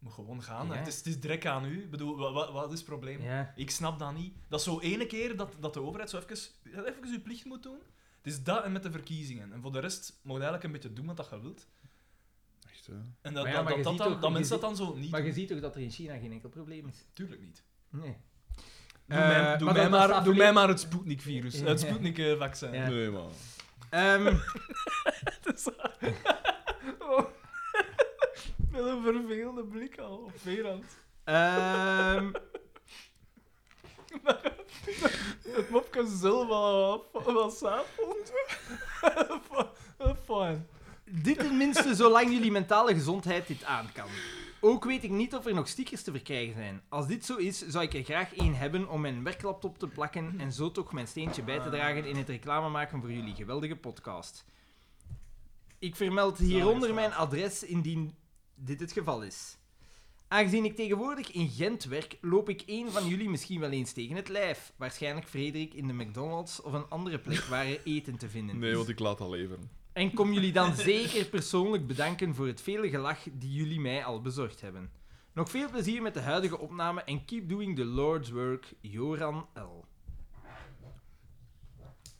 moet gewoon gaan. hè. Ja. Het, is, het is direct aan u. Ik bedoel, wa- wa- wat, is het probleem? Ja. Ik snap dat niet. Dat is zo ene keer dat, dat de overheid zo even, even uw plicht moet doen. Het is dat en met de verkiezingen. En voor de rest mag je eigenlijk een beetje doen wat dat je wilt. Echt, hè. En dat, Maar ja, dat, maar je dat, dat, ziet dan- ook- dat je mensen dat ziet- dan zo niet Maar je doen. ziet toch dat er in China geen enkel probleem is? Tuurlijk niet. Nee. Doe, Eh, mij, doe, maar mij, dat- maar, dat is doe mij aflevering- maar het Sputnik-virus. Ja. Het Sputnik-vaccin. Ja. Nee, man. Ehm, Met een vervelende blik al op Verand. ehm, Het mopje zelf al wat sapond. Fijn. dit tenminste zolang jullie mentale gezondheid dit aan kan. Ook weet ik niet of er nog stickers te verkrijgen zijn. Als dit zo is, zou ik er graag één hebben om mijn werklaptop te plakken en zo toch mijn steentje bij te dragen in het reclame maken voor jullie geweldige podcast. Ik vermeld hieronder mijn adres indien dit het geval is. Aangezien ik tegenwoordig in Gent werk, loop ik één van jullie misschien wel eens tegen het lijf. Waarschijnlijk Frederik in de McDonald's of een andere plek waar er eten te vinden Nee, is. want ik laat al leveren. En kom jullie dan zeker persoonlijk bedanken voor het vele gelach die jullie mij al bezorgd hebben. Nog veel plezier met de huidige opname en keep doing the Lord's work, Joran L.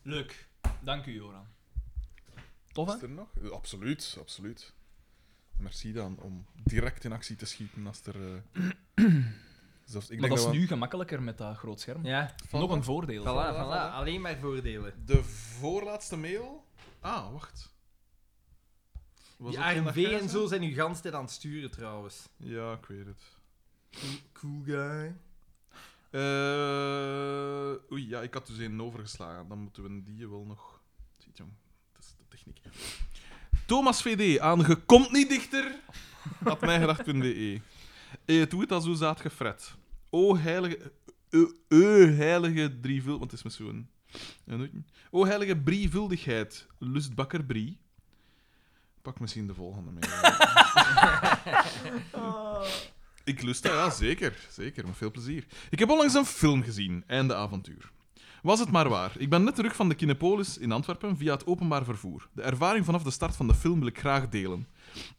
Leuk. Dank u, Joran. Tof, Is er nog? Eh, Absoluut, absoluut. Merci dan om direct in actie te schieten als er. eh, Zelfs, ik Maar denk dat is we- nu gemakkelijker met dat groot scherm. Ja, Nog een voordeel. voilà, voilà. voilà. Alleen maar voordelen. De voorlaatste mail. Ah, wacht. Was Die dat geen dat ARV jij en zei? zo zijn u gans tijd aan het sturen trouwens. Ja, ik weet het. Cool guy. Eh, oei, ja, ik had dus één overgeslagen. Dan moeten we die wel nog. Ziet jong, dat is de techniek. Thomas VD aan Je komt niet dichter. Had mijgedacht.be. Eh, doe het als hoe zaad gefret. O heilige. Eu, eu, heilige drievul. Want het is met zo'n. een hoekje. O heilige brievuldigheid. Lustbakker Brie. Pak misschien de volgende mee. Ik lust dat, ja, zeker. Zeker, met veel plezier. Ik heb onlangs een film gezien, Einde Avontuur. Was het maar waar. Ik ben net terug van de Kinepolis in Antwerpen via het openbaar vervoer. De ervaring vanaf de start van de film wil ik graag delen.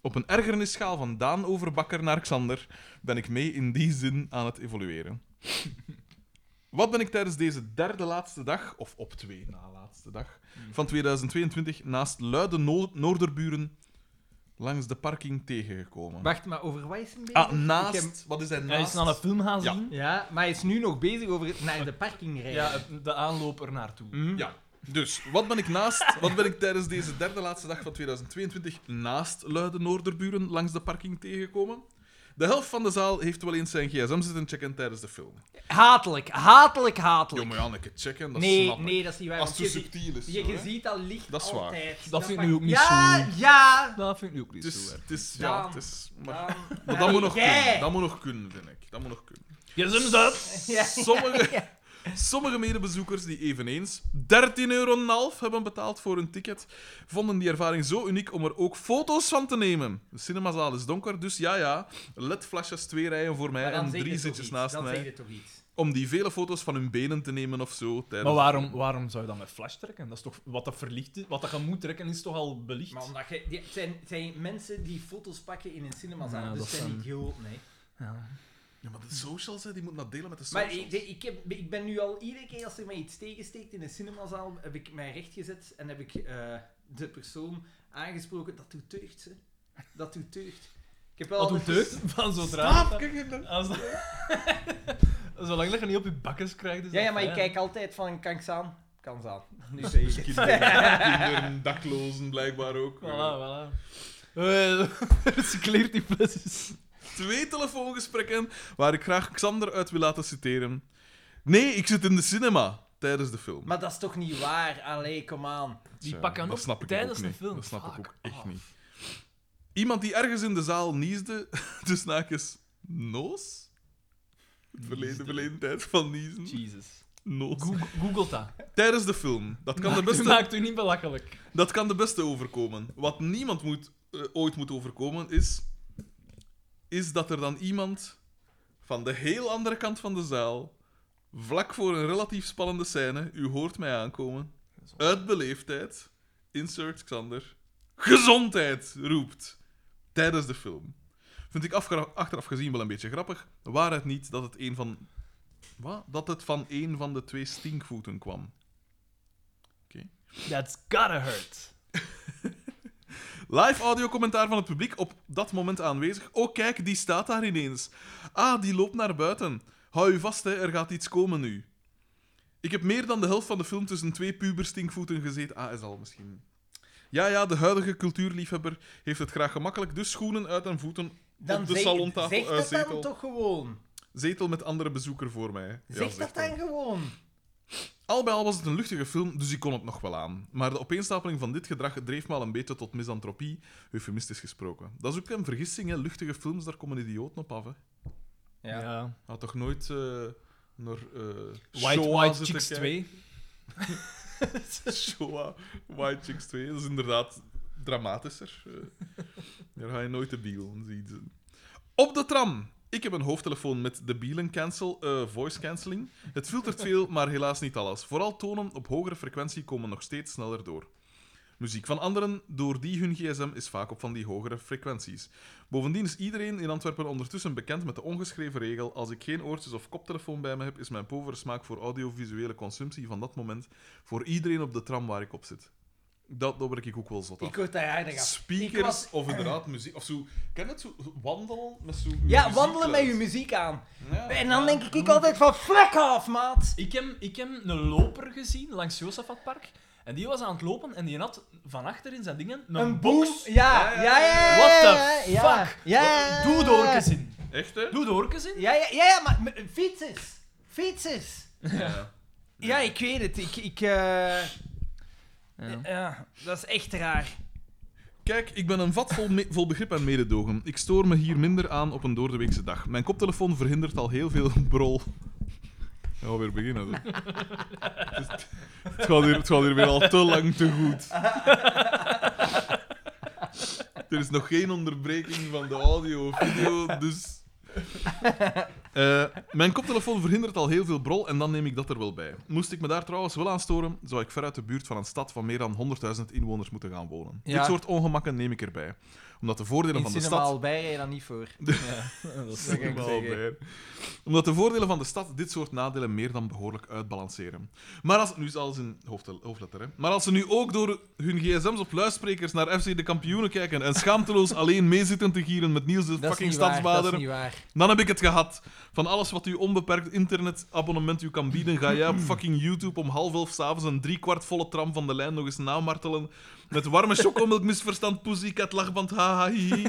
Op een ergernisschaal van Daan Overbakker naar Xander ben ik mee in die zin aan het evolueren. Wat ben ik tijdens deze derde laatste dag, of op twee na laatste dag, van 2022 naast luide no- noorderburen langs de parking tegengekomen? Wacht, maar over wat is hem bezig? Ah, Ik naast. heb- Wat is hij Hij is naast? naar een film gaan Ja. zien. Ja, maar hij is nu nog bezig over het naar de parking rijden. Ja, de aanloop ernaartoe. Hm? Ja. Dus, wat ben ik naast? Wat ben ik tijdens deze derde laatste dag van 2022 naast luide Noorderburen langs de parking tegengekomen? De helft van de zaal heeft wel eens zijn gsm zitten checken tijdens de film. Hatelijk, hatelijk, Jo, hatelijk. maar ja, een keer checken, dat nee, snap ik. nee, dat is niet waar. Als want het je zo ziet- subtiel is. je, zo, je hè. ziet dat licht Dat is waar. altijd. Dat vind ik nu ook niet ja, zo- Ja, Dat vind ik nu ook niet Het Dus is, zo erg. het is, ja, Daan. het is... Maar, ja. maar dat moet nog kunnen. Dat moet nog kunnen, vind ik. Dat moet nog kunnen. Je zit hem Sommige, sommige medebezoekers die eveneens 13,5 euro hebben betaald voor hun ticket, vonden die ervaring zo uniek om er ook foto's van te nemen. De cinemazaal is donker, dus ja, ja. LED-flasjes, twee rijen voor mij en drie zitjes naast dan mij. het toch iets. Om die vele foto's van hun benen te nemen of zo. Tijdens... Maar waarom, waarom zou je dan met flash trekken? Dat is toch, wat, dat verlicht is, wat dat je moet trekken is toch al belicht? Maar omdat je, die, het zijn, het zijn mensen die foto's pakken in een cinemazaal, Ja, dus dat het zijn zijn- idioten. Nee. Ja. Ja, maar de socials, hè, die moeten dat delen met de Maar socials. ik, ik, heb, ik ben nu al iedere keer als er mij iets tegensteekt in een cinemazaal, heb ik mij rechtgezet en heb ik eh, de persoon aangesproken. Dat doet deugd, hè. Dat doet deugd. Ik heb wel Wat doet altijd deugd gez- van zodra... Staaf, kijk je dat? Als dat... Zolang dat je niet op je bakkes krijgt. Is Ja, dat ja, maar ik fijn. kijk altijd van, kan ik staan? Kan staan. Nu zeg ik het. Kinderen, kinderen, daklozen blijkbaar ook. Voilà, voilà. Eh, Recycleer die flesjes. twee telefoongesprekken waar ik graag Xander uit wil laten citeren. Nee, ik zit in de cinema tijdens de film. Maar dat is toch niet waar? Allee, kom aan. Die Tja, pakken dat op snap ik tijdens ook de niet. film. Dat snap ik Fuck ook echt off. niet. Iemand die ergens in de zaal niesde, dus naakjes noos. Het verleden, verleden tijd van niezen. Jesus. Noos. Google, Google dat. Tijdens de film. Dat kan, de Maakt- beste, Maakt u niet belachelijk. dat kan de beste overkomen. Wat niemand moet, eh, ooit moet overkomen is, is dat er dan iemand van de heel andere kant van de zaal, vlak voor een relatief spannende scène, u hoort mij aankomen, uit beleefdheid, insert Xander, gezondheid roept tijdens de film. Vind ik afgra- achteraf gezien wel een beetje grappig. Waar het niet dat het een van. Wat? Dat het van een van de twee stinkvoeten kwam. That's gotta hurt. Live audiocommentaar van het publiek op dat moment aanwezig. Oh, kijk, die staat daar ineens. Ah, die loopt naar buiten. Hou u vast, hè, er gaat iets komen nu. Ik heb meer dan de helft van de film tussen twee puberstinkvoeten gezeten. Ah, is al misschien. Ja, ja, de huidige cultuurliefhebber heeft het graag gemakkelijk, dus schoenen uit en voeten Dan op de zeg- salontafel. Zeg eh, dat zetel, dan toch gewoon. zetel met andere bezoeker voor mij. Ja, Zeg dat zegt hij. dan gewoon. Al bij al was het een luchtige film, dus ik kon het nog wel aan. Maar de opeenstapeling van dit gedrag dreef me al een beetje tot misantropie, eufemistisch gesproken. Dat is ook een vergissing, hè. Luchtige films, daar komen idioten op af, hè. Ja. Had toch nooit eh naar eh White, Shoah White zitten Chicks kijken? 2. Shoah, White Chicks 2. Dat is inderdaad dramatischer. Eh, daar ga je nooit de bielen zien. Op de tram. Ik heb een hoofdtelefoon met de bielen cancel, eh, voice cancelling. Het filtert veel, maar helaas niet alles. Vooral tonen op hogere frequentie komen nog steeds sneller door. Muziek van anderen, door die hun gsm, is vaak op van die hogere frequenties. Bovendien is iedereen in Antwerpen ondertussen bekend met de ongeschreven regel: als ik geen oortjes of koptelefoon bij me heb, is mijn povere smaak voor audiovisuele consumptie van dat moment voor iedereen op de tram waar ik op zit. Dat, dat word ik ook wel zot af. Ik word daar aardig af. Speakers ik was- of inderdaad muziek. Of zo, ken je het zo? Wandelen met zo. Ja, muziek wandelen met luid. je muziek aan. Ja. En dan denk ik, ik altijd van frak af, maat. Ik heb, ik heb een loper gezien langs Josafatpark. En die was aan het lopen en die had van achter in zijn dingen een, Een boom. box. Ja, ja, ja. ja, What ja, the ja, fuck? Ja, ja, ja. Doe de oortjes in. Echt, hè? Doe de oortjes in. Ja, ja, ja, ja, maar m- fietsers. Fietsers. Ja. Ja, ik weet het. Ik, ik, eh, Ja. ja, dat is echt raar. Kijk, ik ben een vat vol, me- vol begrip en mededogen. Ik stoor me hier minder aan op een doordeweekse dag. Mijn koptelefoon verhindert al heel veel brol. We gaan weer beginnen. Zo. Het, is- het gaat hier, het gaat hier weer al te lang te goed. Er is nog geen onderbreking van de audio of video, dus... Eh, mijn koptelefoon verhindert al heel veel brol en dan neem ik dat er wel bij. Moest ik me daar trouwens wel aan storen, zou ik veruit de buurt van een stad van meer dan 100.000 inwoners moeten gaan wonen. Ja. Dit soort ongemakken neem ik erbij. Omdat de voordelen In van de cinema stad... al bij rij je dan niet voor. Dat is Dat kan ik wel zeggen. waar. Omdat de voordelen van de stad dit soort nadelen meer dan behoorlijk uitbalanceren. Maar als, nu is alles in hoofdle- hoofdletter, hè. Maar als ze nu ook door hun gsm's op luidsprekers naar FC de kampioenen kijken en schaamteloos alleen meezitten te gieren met Niels de Dat is fucking niet waar, dat is stadsbader, niet waar. dan heb ik het gehad. Van alles wat uw onbeperkt internetabonnement u kan bieden, ga jij op fucking YouTube om half elf s'avonds een driekwart volle tram van de lijn nog eens namartelen. Met warme chocomelk, misverstand, pussycat, lachband, haha, hihi.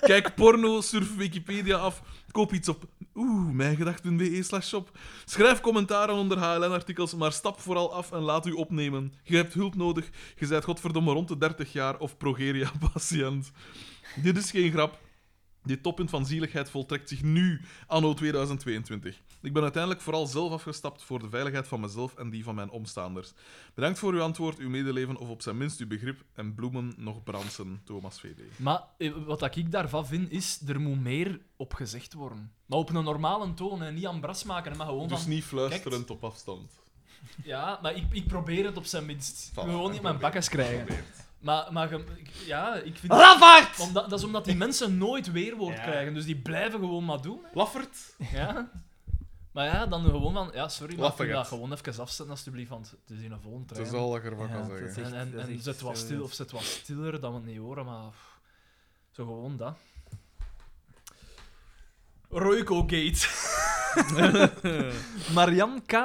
Kijk porno, surf Wikipedia af, koop iets op oeh, mijngedachten.be E slash shop. Schrijf commentaren onder HLN-artikels, maar stap vooral af en laat u opnemen. Je hebt hulp nodig, je bent godverdomme rond de 30 jaar of progeria-patiënt. Dit is geen grap. Dit toppunt van zieligheid voltrekt zich nu, anno 2022. Ik ben uiteindelijk vooral zelf afgestapt voor de veiligheid van mezelf en die van mijn omstaanders. Bedankt voor uw antwoord, uw medeleven of op zijn minst uw begrip en bloemen nog bransen, Thomas VD. Maar eh, wat dat ik daarvan vind, is er moet meer op gezegd worden. Maar op een normale toon en niet aan bras maken, maar gewoon Dus van... niet fluisterend op afstand. Ja, maar ik, ik probeer het op zijn minst. Voilà, gewoon niet mijn bakkes krijgen. Maar, maar ge- ik- ja, ik vind... Lafaard! Omdat, dat is omdat die mensen nooit weerwoord Ja. krijgen, dus die blijven gewoon maar doen. hè. Laffert. Ja. Maar ja, dan gewoon van... Ja, sorry, maar Laffig kun je dat het. gewoon even afzetten alsjeblieft, want het is in een volle trein. Dat is al dat ik ervan Ja, kan het is zeggen. echt- En, en, dat is en echt zet wat zo, stil, ja. of zet wat stiller, dan we het niet horen, maar... pff, Zo gewoon dat. Royco Gate. Marian K.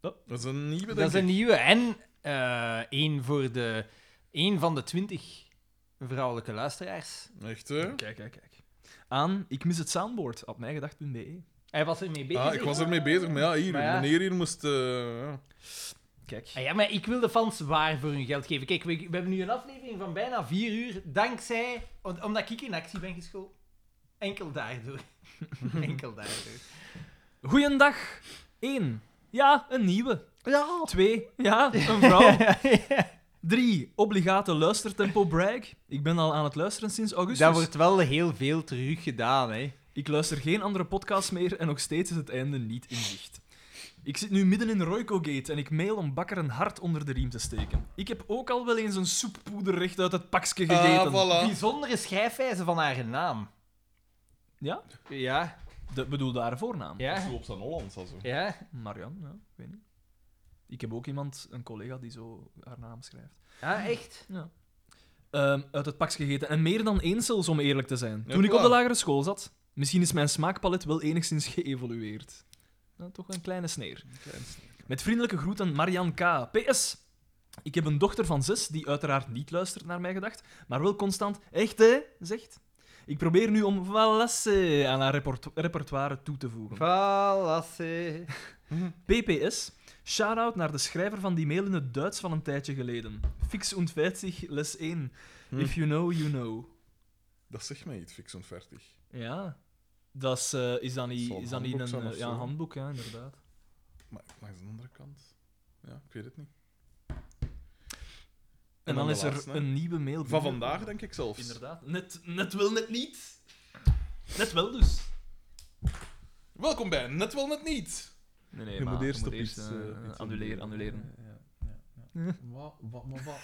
Dat is een nieuwe, Dat denk is een ik. nieuwe. En eh één voor de... één van de twintig vrouwelijke luisteraars. Echt, hè? Kijk, kijk, kijk. Aan ik mis het soundboard, op mijngedacht.be. Hij was ermee bezig. Ah, ik was ermee bezig, maar ja, hier, Maar ja. meneer hier moest... eh, ja. Kijk. Ah ja, maar ik wil de fans waar voor hun geld geven. Kijk, we, we hebben nu een aflevering van bijna vier uur, dankzij... om- Omdat ik in actie ben geschoten. Enkel daardoor. Enkel daardoor. Goeiedag. 1. Ja, een nieuwe. Ja. 2. Ja, een vrouw. 3. Obligate luistertempo brag. Ik ben al aan het luisteren sinds augustus. Dat wordt wel heel veel terug gedaan, hè. Ik luister geen andere podcast meer en nog steeds is het einde niet in zicht. Ik zit nu midden in Royco-gate en ik mail om Bakker een hart onder de riem te steken. Ik heb ook al wel eens een soeppoeder recht uit het pakje Ah, gegeten. voilà. Bijzondere schrijfwijze van haar naam. Ja? Ja, De, bedoel haar voornaam. ja, Zo op zijn Hollands, al zo. ja. Marian, ja, ik weet niet. Ik heb ook iemand, een collega, die zo haar naam schrijft. Ja, echt. Ehm, uit het pakje gegeten. En meer dan één zelfs, om eerlijk te zijn. Ja, Toen ik op de voilà. lagere school zat, Misschien is mijn smaakpalet wel enigszins geëvolueerd. Nou, toch een kleine sneer. Met vriendelijke groeten, Marian K. PS. Ik heb een dochter van zes die uiteraard niet luistert naar mij gedacht, maar wel constant echt hè, zegt. Ik probeer nu om valasse aan haar report- repertoire toe te voegen. Valasse. PPS. Shout-out naar de schrijver van die mail in het Duits van een tijdje geleden. Fix und fertig, les 1. If you know, you know. Dat zegt mij iets, fix en fertig. Ja. Dat is, eh, is dan niet, Zal een is dan niet handboek een, zijn of eh, ja, een zo. handboek, ja, inderdaad. Maar langs de andere kant... Ja, ik weet het niet. En, dan, de is er laatste, hè. een nieuwe mail. Van vandaag, denk ik zelfs. Inderdaad. Net, net wel, net niet. Net wel dus. Welkom bij Net Wel Net Niet. Nee, nee, Je moet eerst op eerst, iets... eh, eh, iets annuleren, doen. annuleren. Ja, ja, ja. Wat, wat, maar wat?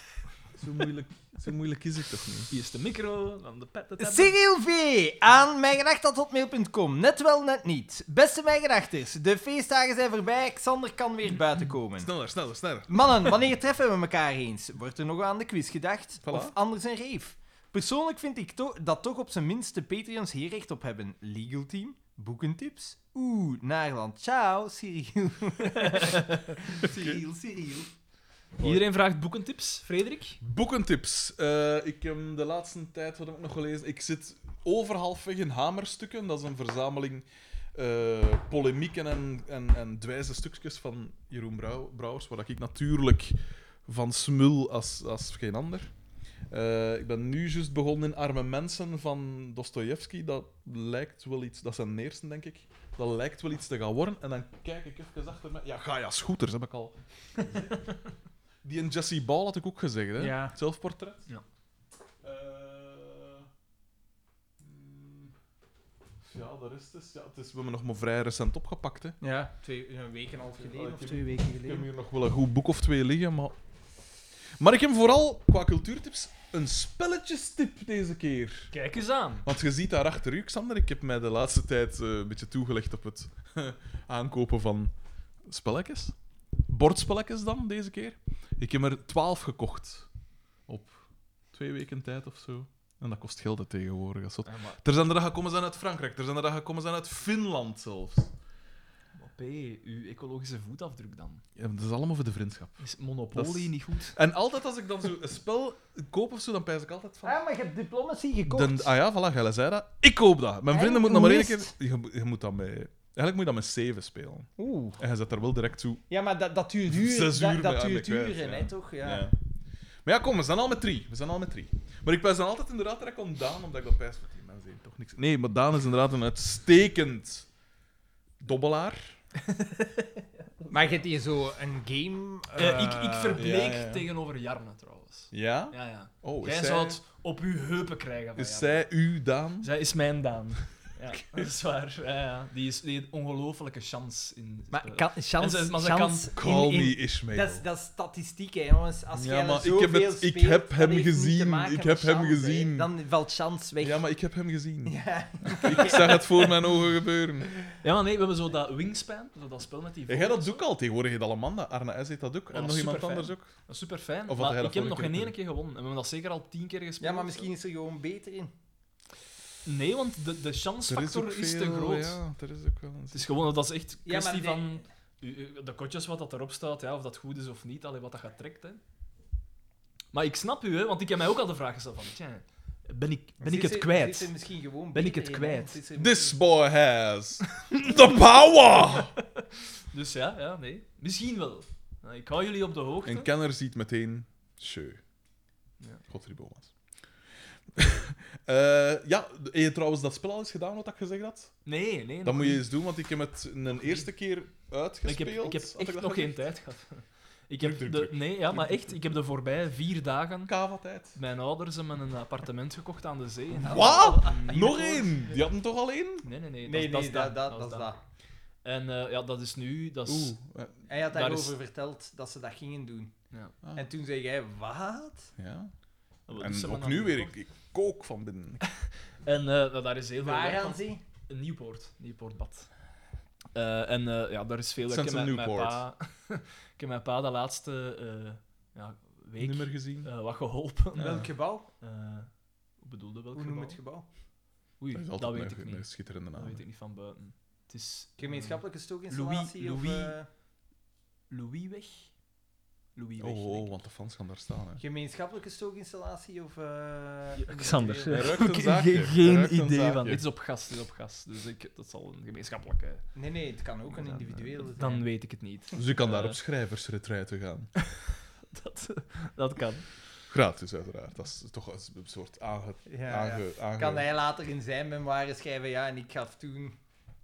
Zo moeilijk, zo moeilijk is het toch niet? Hier is de micro, dan de pet. Eh, de tablet. Cyril Eh, V. aan mijngedacht.hotmail.com. Net wel, net niet. Beste mijngedachters, de feestdagen zijn voorbij. Xander kan weer buiten komen. Sneller, sneller, sneller. Mannen, wanneer treffen we elkaar eens? Wordt er nog aan de quiz gedacht? Voilà. Of anders een reef? Persoonlijk vind ik to- dat toch op zijn minst de Patreons hier recht op hebben. Legal team? Boekentips? Oeh, Naarland. Ciao, Cyril. Cyril, Cyril. Iedereen vraagt boekentips, Frederik. Boekentips. Eh, ik heb de laatste tijd, wat heb ik nog gelezen? Ik zit over halfweg in Hamerstukken. Dat is een verzameling eh, polemieken en, en, en dwijze stukjes van Jeroen Brouw- Brouwers, waar ik natuurlijk van smul als, als geen ander. Eh, ik ben nu juist begonnen in Arme Mensen van Dostoevsky. Dat lijkt wel iets... Dat is zijn eerste, denk ik. Dat lijkt wel iets te gaan worden. En dan kijk ik even achter me... Ja, Gaia Scooters heb ik al... Die en Jesse Ball had ik ook gezegd, hè? Ja. Het Zelfportret. Ja. Eh, mm, ja, de rest is... Ja, het is we hebben nog maar vrij recent opgepakt, hè. Ja, twee, een week en een half geleden of Ik heb- twee weken Ik heb geleden. hier nog wel een goed boek of twee liggen, maar... Maar ik heb vooral, qua cultuurtips, een spelletjestip deze keer. Kijk eens aan. Want je ziet daar achter u, Xander, ik heb mij de laatste tijd eh, een beetje toegelegd op het aankopen van spelletjes. Bordspelletjes dan, deze keer. Ik heb er twaalf gekocht. Op twee weken tijd of zo. En dat kost geld hè, tegenwoordig. Dat is zot. Er zijn er dat gekomen zijn uit Frankrijk. Er zijn er dat gekomen zijn uit Finland zelfs. P, uw ecologische voetafdruk dan. Ja, dat is allemaal voor de vriendschap. Is monopolie Dat is- niet goed? En altijd als ik dan zo een spel koop of zo, dan pijs ik altijd van... Ah, maar je hebt diplomatie gekocht. Den, ah ja, voilà, jij zei dat. Ik koop dat. Mijn En vrienden moeten nog maar één hoe keer... is Je, moet- je moet dat met... Eigenlijk moet je dat met 7 spelen. Oeh. En je zet daar wel direct toe. Ja, maar dat, dat duurt uren. Zes dat uur dat ben je duurt kwijt, uren, ja. hè, toch? Ja. Ja. Maar ja, kom, we zijn al met drie. We zijn al met drie. Maar ik pijs dan altijd inderdaad direct om Daan, omdat ik dat pijs van die mensen hebben toch niks... Nee, maar Daan is inderdaad een uitstekend dobbelaar. Maar je hebt hier zo een game... Eh, eh, ik, ik verbleek ja, ja. tegenover Jarne trouwens. Ja? Ja, ja. Oh, is Jij zij, zou het op uw heupen krijgen. Van is Jarne. zij u, Daan? Zij is mijn Daan. Ja, dat is waar. Ja, ja. Die is die heeft een ongelofelijke chance in. Maar eh, kan, chance, En ze- maar ze chance Call in- in- me Ishmael. Dat is, dat is statistiek, hè, jongens. Als Ja, jij er maar ik heb zoveel het- ik speelt, heb dat hem heeft niet te gezien. maken Ik met heb hem chance, hè. gezien. Dan valt chance weg. Ja, maar ik heb hem gezien. Ja. Ik zag het voor mijn ogen gebeuren. Ja, maar nee, we hebben zo dat Wingspan, zo dat spel met die En jij dat ook al tegenwoordig, het Alamanda. Arne S. heeft dat ook. Oh, en dat nog is iemand superfijn. anders ook. Dat is super fijn. Of had Maar hij dat ik heb nog vorige geen keer ene keer gewonnen. En we hebben dat zeker al tien keer gespeeld. ja, maar misschien is er gewoon beter in. Nee, want de, de chancefactor is, veel, te groot. Ja, er is ook wel een... Het is gewoon, dat is echt Ja, maar kwestie die- van u- u- de kotjes wat dat erop staat, ja, of dat goed is of niet, allee, wat dat gaat trekt. Hè. Maar ik snap u, hè, want ik heb mij ook al de vraag gesteld van, tja, ben ik, ben ik Zit het ze- kwijt? zit er misschien gewoon Ben ik beter in, het hè? kwijt? Zit er This boy has the power! Dus ja, ja, nee. Misschien wel. Nou, Ik hou jullie op de hoogte. En Kenner ziet meteen... Sjeu. Ja. Godfried Boma's. Eh, ja, heb je trouwens dat spel al eens gedaan, wat ik gezegd had? Nee, nee. nog Dat moet je niet. eens doen, want ik heb het een eerste keer Ik heb, uitgespeeld. ik heb Had echt dat nog geen gezegd? tijd gehad. Ik heb druk, de, druk. nee, ja, maar echt, ik heb de voorbije vier dagen Kava-tijd. mijn ouders hebben een appartement gekocht aan de zee. Wat? Niet Nog voor- één! Die hadden toch al één? Nee, nee, nee. in? Nee, dat, nee, is dat, dat, dat dat is dat. En eh, ja, dat is nu... Dat is, Oeh. eh, Hij had Daar daarover verteld dat ze dat gingen doen. Ja. Ah. En toen zei jij, wat? Ja. dat is En ze ook maar nu aan weer, gekocht. ik, ik kook van binnen. En eh, nou, daar is heel veel werk Waaraan van. ze? Een Nieuwpoort. Nieuwpoortbad. Eh, en eh, ja, daar is veel... Sinds Ik heb een mijn- mijn Nieuwpoort. pa- ik heb mijn pa de laatste eh, ja, week Nummer gezien. eh, wat geholpen. Ja. Welk gebouw? Eh, hoe bedoelde welk Hoe noem gebouw? het gebouw? Oei, Dat is dat, altijd weet een- ik een, niet. schitterende Dat naam. weet ik niet van buiten. Het is... eh, Gemeenschappelijke stookinstallatie? Louis- Of, Louis- eh, Louisweg? Louisweg. Oh, denk oh, ik. want de fans gaan daar staan. Hè. gemeenschappelijke stookinstallatie? Of, eh, Xander, individueel? Hij zeg. ruikt een Ge- zaakje. Hij geen ruikt een idee zaakje. Dit is op gas, dit is op gas. Dus ik, dat zal een gemeenschappelijke... Nee, nee, het kan ook een Dan, eh, individueel zijn. Dan weet ik het niet. Dus u kan daar Eh, op schrijversretreiten gaan. Dat, dat kan. Gratis, uiteraard. Dat is toch een soort aange... Ah, Ja, ja. aange, aange- Kan hij later in zijn memoires schrijven, ja, en ik gaf toen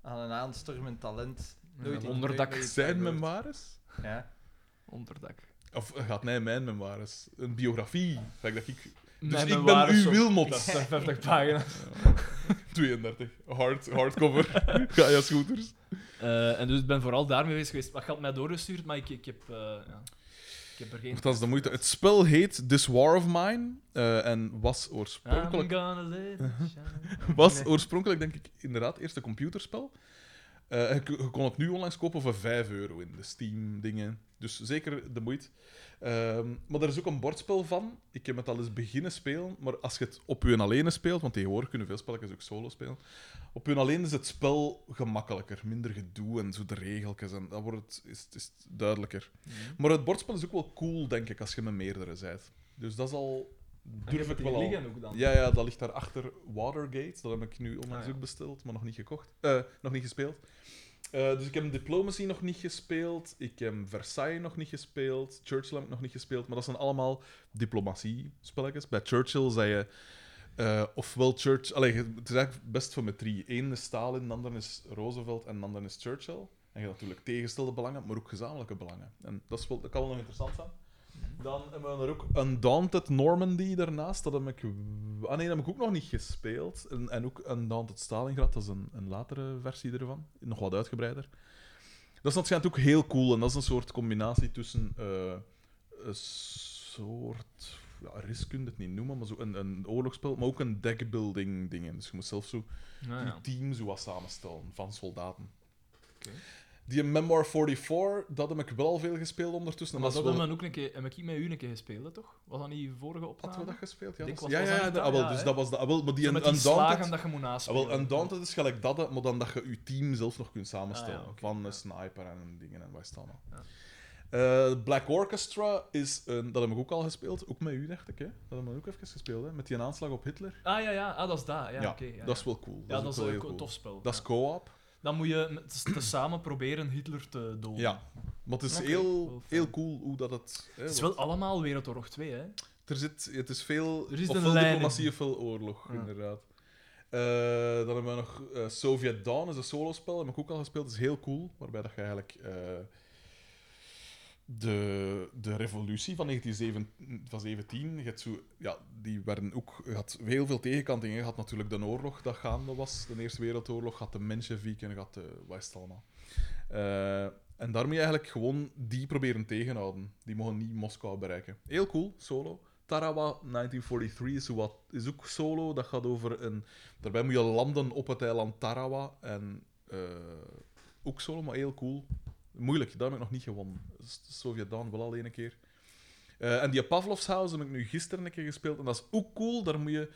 aan een aanstormend talent... Nooit Een in- onderdak nooit meer iets Zijn gehoord. memoires? Ja. Onderdak. Of gaat hij mijn memoires? Een biografie? Ga ik dat ik... Dus Mijn ik ben memoires uw op- Wilmot. Dat zijn 50 pagina's. 32. Hard, hardcover. Gaia Scooters. Eh, en dus ik ben vooral daarmee bezig geweest. Maar ik had mij doorgestuurd, maar ik, ik, heb, eh, ja. ik heb er geen... Althans, de moeite. Het spel heet This War of Mine. eh, en was oorspronkelijk, I'm gonna live and Uh-huh. shine. was oorspronkelijk, denk ik, inderdaad eerst een computerspel. Eh, je, je kon het nu onlangs kopen voor 5 euro in de Steam-dingen. Dus zeker de moeite. Ehm, maar er is ook een bordspel van. Ik heb het al eens beginnen spelen. Maar als je het op je alleen speelt, want tegenwoordig kunnen veel spelletjes ook solo spelen. Op hun alleen is het spel gemakkelijker. Minder gedoe en zo de regeltjes. En dan wordt het, is, is het duidelijker. Maar het bordspel is ook wel cool, denk ik, als je met meerdere bent. Dus dat is al... Durf ik wel al. liggen ook dan. Ja, ja, dat ligt daarachter Watergate. Dat heb ik nu onlangs Ah, ja. ook besteld, maar nog niet gekocht. Eh, nog niet gespeeld. Eh, dus ik heb Diplomacy nog niet gespeeld. Ik heb Versailles nog niet gespeeld. Churchill heb ik nog niet gespeeld. Maar dat zijn allemaal diplomatie-spelletjes. Bij Churchill zei je... eh, ofwel Churchill... Allee, het is eigenlijk best voor met drie. Eén is Stalin, de ander is Roosevelt en de ander is Churchill. En je hebt natuurlijk tegenstelde belangen, maar ook gezamenlijke belangen. En dat, is wel, dat kan wel nog interessant zijn. Dan hebben we er ook Undaunted Normandy daarnaast. Dat heb ik... w- Ah nee, dat heb ik ook nog niet gespeeld. En, en ook Undaunted Stalingrad, dat is een, een latere versie ervan. Nog wat uitgebreider. Dat is dat schijnt ook heel cool. En dat is een soort combinatie tussen... eh, een soort... Ja, risk kun je het niet noemen, maar zo een, een oorlogsspel. Maar ook een deckbuilding dingen. Dus je moet zelf zo Nou een ja. team zo wat samenstellen van soldaten. Oké. Die Memoir 44, dat heb ik wel al veel gespeeld ondertussen. en Maar is dat wel- hebben we ook een keer, heb ik met u een keer gespeeld, hè, toch? Was dat niet vorige Hadden opname? we dat gespeeld? Ja, Ik dat was- ja, was ja, dat ja, niet dat- ah, wel, ja, dus hè? dat was dat. ah, wel, maar die Zo met die slagen Undaunted... dat je moet Ah, naspelen. wel, Undaunted is gelijk dat, hè, maar dan dat je je team zelf nog kunt samenstellen. Ah, ja, oké, van ja. een sniper en dingen en wat is het allemaal. Ja. Eh, Black Orchestra is een... Dat heb ik ook al gespeeld. Ook met u, dacht ik. Hè. Dat hebben we ook even gespeeld, hè. Met die aanslag op Hitler. Ah ja, ja, ah, dat is daar. Ja, oké, ja, dat ja. is wel cool. Ja, dat is ook wel heel een tof cool. spel. Dat is ja. co-op. Dan moet je met- te- tezamen proberen Hitler te doden. Ja. Maar het is Oké, heel, wel fijn. heel cool hoe dat het... Hè, Het is want wel allemaal Wereldoorlog 2, hè? er zit, het is veel... Er is ofwel een lijn in. diplomatie ofwel oorlog, Ja. inderdaad. Eh, dan hebben we nog eh, Soviet Dawn, is een solospel. Heb ik ook al gespeeld. Dat is heel cool. Waarbij dat je eigenlijk... eh, de, de revolutie van 1917, van 17, je hebt zo, ja, die werden ook, je had heel veel tegenkantingen. Je had natuurlijk de oorlog dat gaande was, de Eerste Wereldoorlog, had de Mensjevieken, had de, wat is het allemaal. Eh, en daarmee eigenlijk gewoon die proberen tegenhouden. Die mogen niet Moskou bereiken. Heel cool, solo. Tarawa 1943 is, zo wat, is ook solo. Dat gaat over een... Daarbij moet je landen op het eiland Tarawa. En eh, ook solo, maar heel cool. Moeilijk, daar heb ik nog niet gewonnen. S- Sovjet Dawn wel al één keer. Eh, en die Pavlov's House heb ik nu gisteren een keer gespeeld. En dat is ook cool. Daar moet je...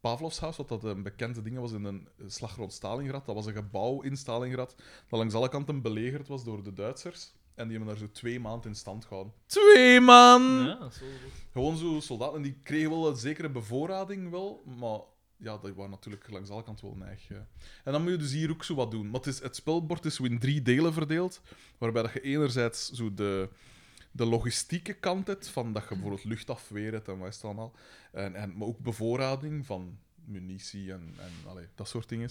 Pavlov's House, wat dat een bekende ding was in een eh, slag rond Stalingrad. Dat was een gebouw in Stalingrad dat langs alle kanten belegerd was door de Duitsers. En die hebben daar zo twee maanden in stand gehouden. Twee maanden! Ja, zo. Gewoon zo soldaten. En die kregen wel een zekere bevoorrading, wel, maar ja, dat waren natuurlijk langs alle kanten wel neig. ja. En dan moet je dus hier ook zo wat doen. Maar het, is, het spelbord is zo in drie delen verdeeld, waarbij dat je enerzijds zo de, de logistieke kant hebt, van dat je bijvoorbeeld luchtafweer hebt en wat is het allemaal. En, en, maar ook bevoorrading van munitie en, en allee, dat soort dingen.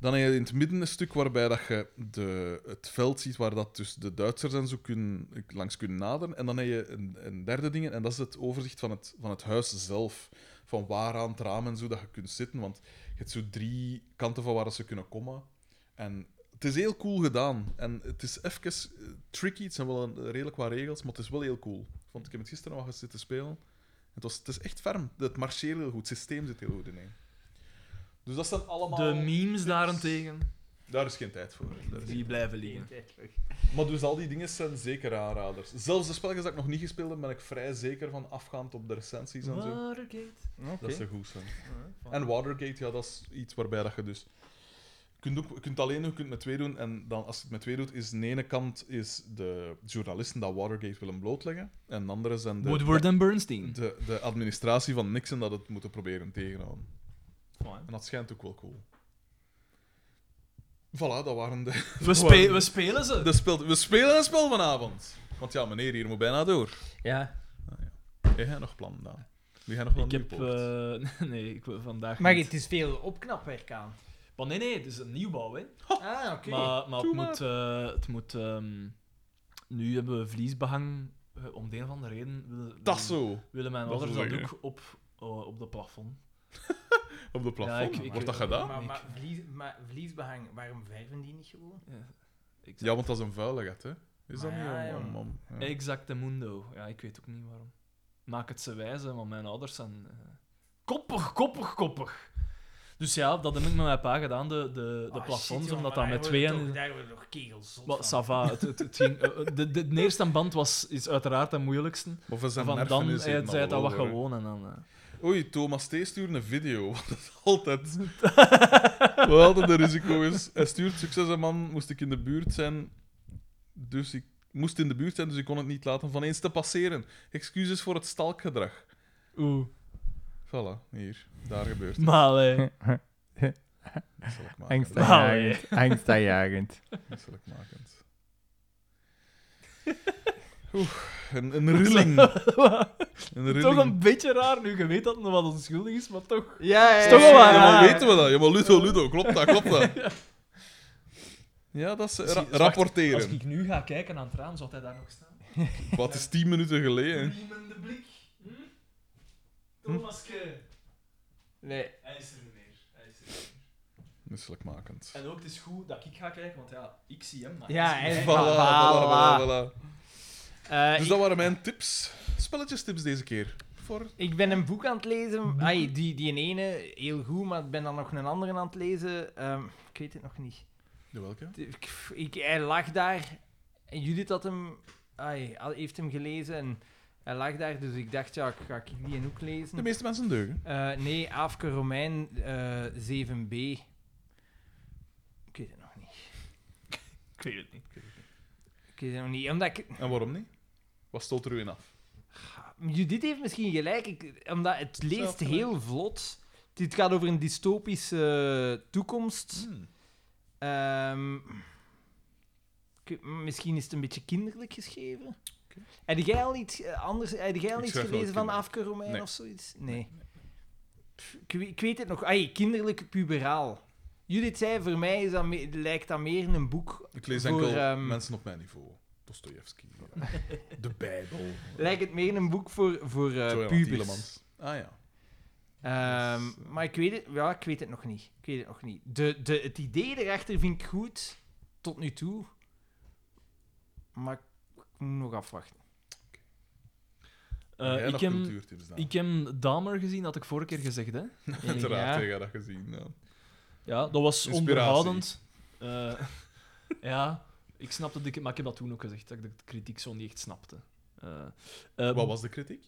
Dan heb je in het midden een stuk waarbij dat je de, het veld ziet waar dat dus de Duitsers en zo kunnen, langs kunnen naderen. En dan heb je een, een derde ding, en dat is het overzicht van het, van het huis zelf. Van waaraan het raam en zo dat je kunt zitten. Want je hebt zo drie kanten van waar dat ze kunnen komen. En het is heel cool gedaan. En het is even eh, tricky. Het zijn wel een, redelijk wat regels, maar het is wel heel cool. Want ik heb het gisteren nog eens zitten spelen. Het, was, het is echt ferm. Het marcheert heel goed. Het systeem zit heel goed in. hè. Dus dat zijn allemaal... De memes daarentegen. Daar is geen tijd voor. Daar is- Die blijven liggen. Maar dus al die dingen zijn zeker aanraders. Zelfs de spelletjes dat ik nog niet gespeeld heb, ben ik vrij zeker van afgaand op de recensies en zo. Watergate. Dat ze goed zijn. En Watergate, ja, dat is iets waarbij dat je dus... Je kunt, ook, je kunt alleen doen, je kunt met twee doen. En dan, als je het met twee doet, is aan de ene kant is de journalisten dat Watergate willen blootleggen. En de andere zijn de, Woodward en Bernstein. de, de administratie van Nixon dat het moeten proberen tegenhouden. En dat schijnt ook wel cool. Voilà, dat waren de... We, spe- we spelen ze. de speel, we spelen een spel vanavond. Want ja, meneer, hier moet bijna door. Ja. Heb jij nog plannen, Daan? Wil jij nog wel Ik heb... Newport? eh, nee, ik wil vandaag Maar niet. het is veel opknapwerk aan. Maar nee, nee, het is een nieuwbouw, hè. Ah, oké. Maar, maar het Doe maar. moet... eh, het moet ehm, nu hebben we vliesbehang. eh, om de een of andere reden willen, Tasso! willen mijn Dat is ouders dat leuk, ook op, eh, op de plafond. Op de Ja, plafond. ik- ik- Wordt dat gedaan? Maar, Ik- maar, vlies, maar vliesbehang, waarom verven die niet gewoon? Ja, exact. Ja, want dat is een vuile gat, hè? Is dat Maar niet? Ah, ja, om- om- ja. om- ja. Exacte mundo. Ja, ik weet ook niet waarom. Maak het ze wijs, hè, want mijn ouders zijn... eh, koppig, koppig, koppig. Dus ja, dat heb ik met mijn pa gedaan, de, de, de Ah, plafonds, shit, jongen, omdat maar dat met daar twee... worden toch- en- Daar worden toch kegels zot Wat, van. ça va, Het, het, het ging, eh, eh, de, de, de eerste band was, is uiteraard de moeilijkste. Maar van zijn Van nerven dan is het zei nog het dat wel wat hoor, hè. gewoon en dan... eh. Oei, Thomas T. stuurde een video. Want dat is altijd... Wat altijd een risico is. Hij stuurt, succes hè, man, moest ik in de buurt zijn. Dus ik moest in de buurt zijn, dus ik kon het niet laten van eens te passeren. Excuses voor het stalkgedrag. Oeh. Voilà, hier. Daar gebeurt het. Maar, eh, Dat zal ik maken. Angstaanjagend. Angstaanjagend. Misselijkmakend. Oeh, een, een rilling. Een rilling. toch een beetje raar, nu je weet dat het nog wat onschuldig is, maar toch... Ja, ja, Is toch ja, wel ja, Ja, waar, Ah. ja. maar weten we dat? Ja, maar Ludo, Ludo, klopt dat, klopt dat. Ja, dat is eh, ra- Wacht, Als rapporteren. ik nu ga kijken aan het raam, zou hij daar nog staan? Wat is 10 minuten geleden? Riemende blik. Hm? Thomaske. Nee. Hij is er niet meer. Hij is er niet meer. Misselijkmakend. En ook, het is goed dat ik ga kijken, want ja, ik zie hem. Maar Ja, hij is hè. er Voilà, niet meer. voilà, voilà, voilà. Eh, Dus ik- dat waren mijn tips. Spelletjestips deze keer. Voor... Ik ben een boek aan het lezen. Ai, die, die ene, heel goed, maar ik ben dan nog een andere aan het lezen. Ehm, ik weet het nog niet. De welke? Het- Ik, ik, hij lag daar. En Judith had hem, ai, al- heeft hem gelezen. En hij lag daar, dus ik dacht, ja, ga ik die een ook De lezen? meeste mensen deugen. Eh, nee, Afke Romein eh, 7b. Ik weet het nog niet. Ik weet het niet. Ik weet het nog niet, omdat ik... En waarom niet? Wat stolt er u in af? Judith heeft misschien gelijk, ik, omdat het leest gelijk. heel vlot. Dit gaat over een dystopische eh, toekomst. Hmm. Ehm, ik- misschien is het een beetje kinderlijk geschreven. Heb jij al iets eh, anders? Heb jij al Ik iets schrijf nooit gelezen van kinderlijk. Afke Romein Nee. of zoiets? Nee. Pff, ik, we- ik weet het nog. Ai, kinderlijk puberaal. Judith zei, voor mij is dat me- lijkt dat meer een boek. Ik lees Voor, enkel ehm, mensen op mijn niveau. Dostoevsky. De Bijbel. Eh, Lijkt het meer een boek voor, voor eh, Joël pubers. Tielemans. Ah ja. Ehm, Dus, eh. maar ik weet, het, ja, ik weet het nog niet. Ik weet het nog niet. De, de, het idee erachter vind ik goed, tot nu toe. Maar ik moet nog afwachten. Eh, Jij ik, nog heb, cultuurtips dan. ik eh, heb Dahmer gezien, had ik vorige keer gezegd, hè. Uiteraard, Ja. jij hebt dat gezien. ja. Ja, dat was Inspiratie. onderhoudend. Eh, ja, ik snapte de... Maar ik heb dat toen ook gezegd, dat ik de kritiek zo niet echt snapte. Eh, eh, Wat was de kritiek?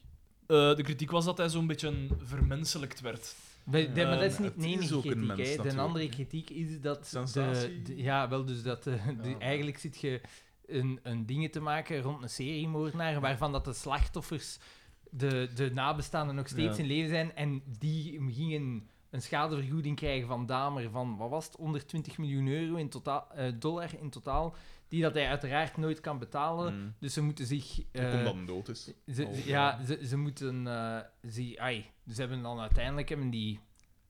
eh, de kritiek was dat hij zo'n beetje vermenselijkt werd. Bij- de- maar dat is Ehm, niet het de enige is ook een kritiek. mens, hè. de natuurlijk. andere kritiek is dat... Sensatie. de- de- ja, wel, dus dat... eh, de- maar- eigenlijk zit je een, een dingen te maken rond een seriemoordenaar, waarvan dat de slachtoffers, de, de nabestaanden, nog steeds Ja. in leven zijn. En die gingen een schadevergoeding krijgen van Damer van, wat was het, 120 miljoen euro in totaal, eh, dollar in totaal, die dat hij uiteraard nooit kan betalen. Mm. Dus ze moeten zich... eh, Omdat hij dood is. ze- ze- Oh, ja, ze, ze moeten. eh, ze, ai, ze hebben dan uiteindelijk hebben die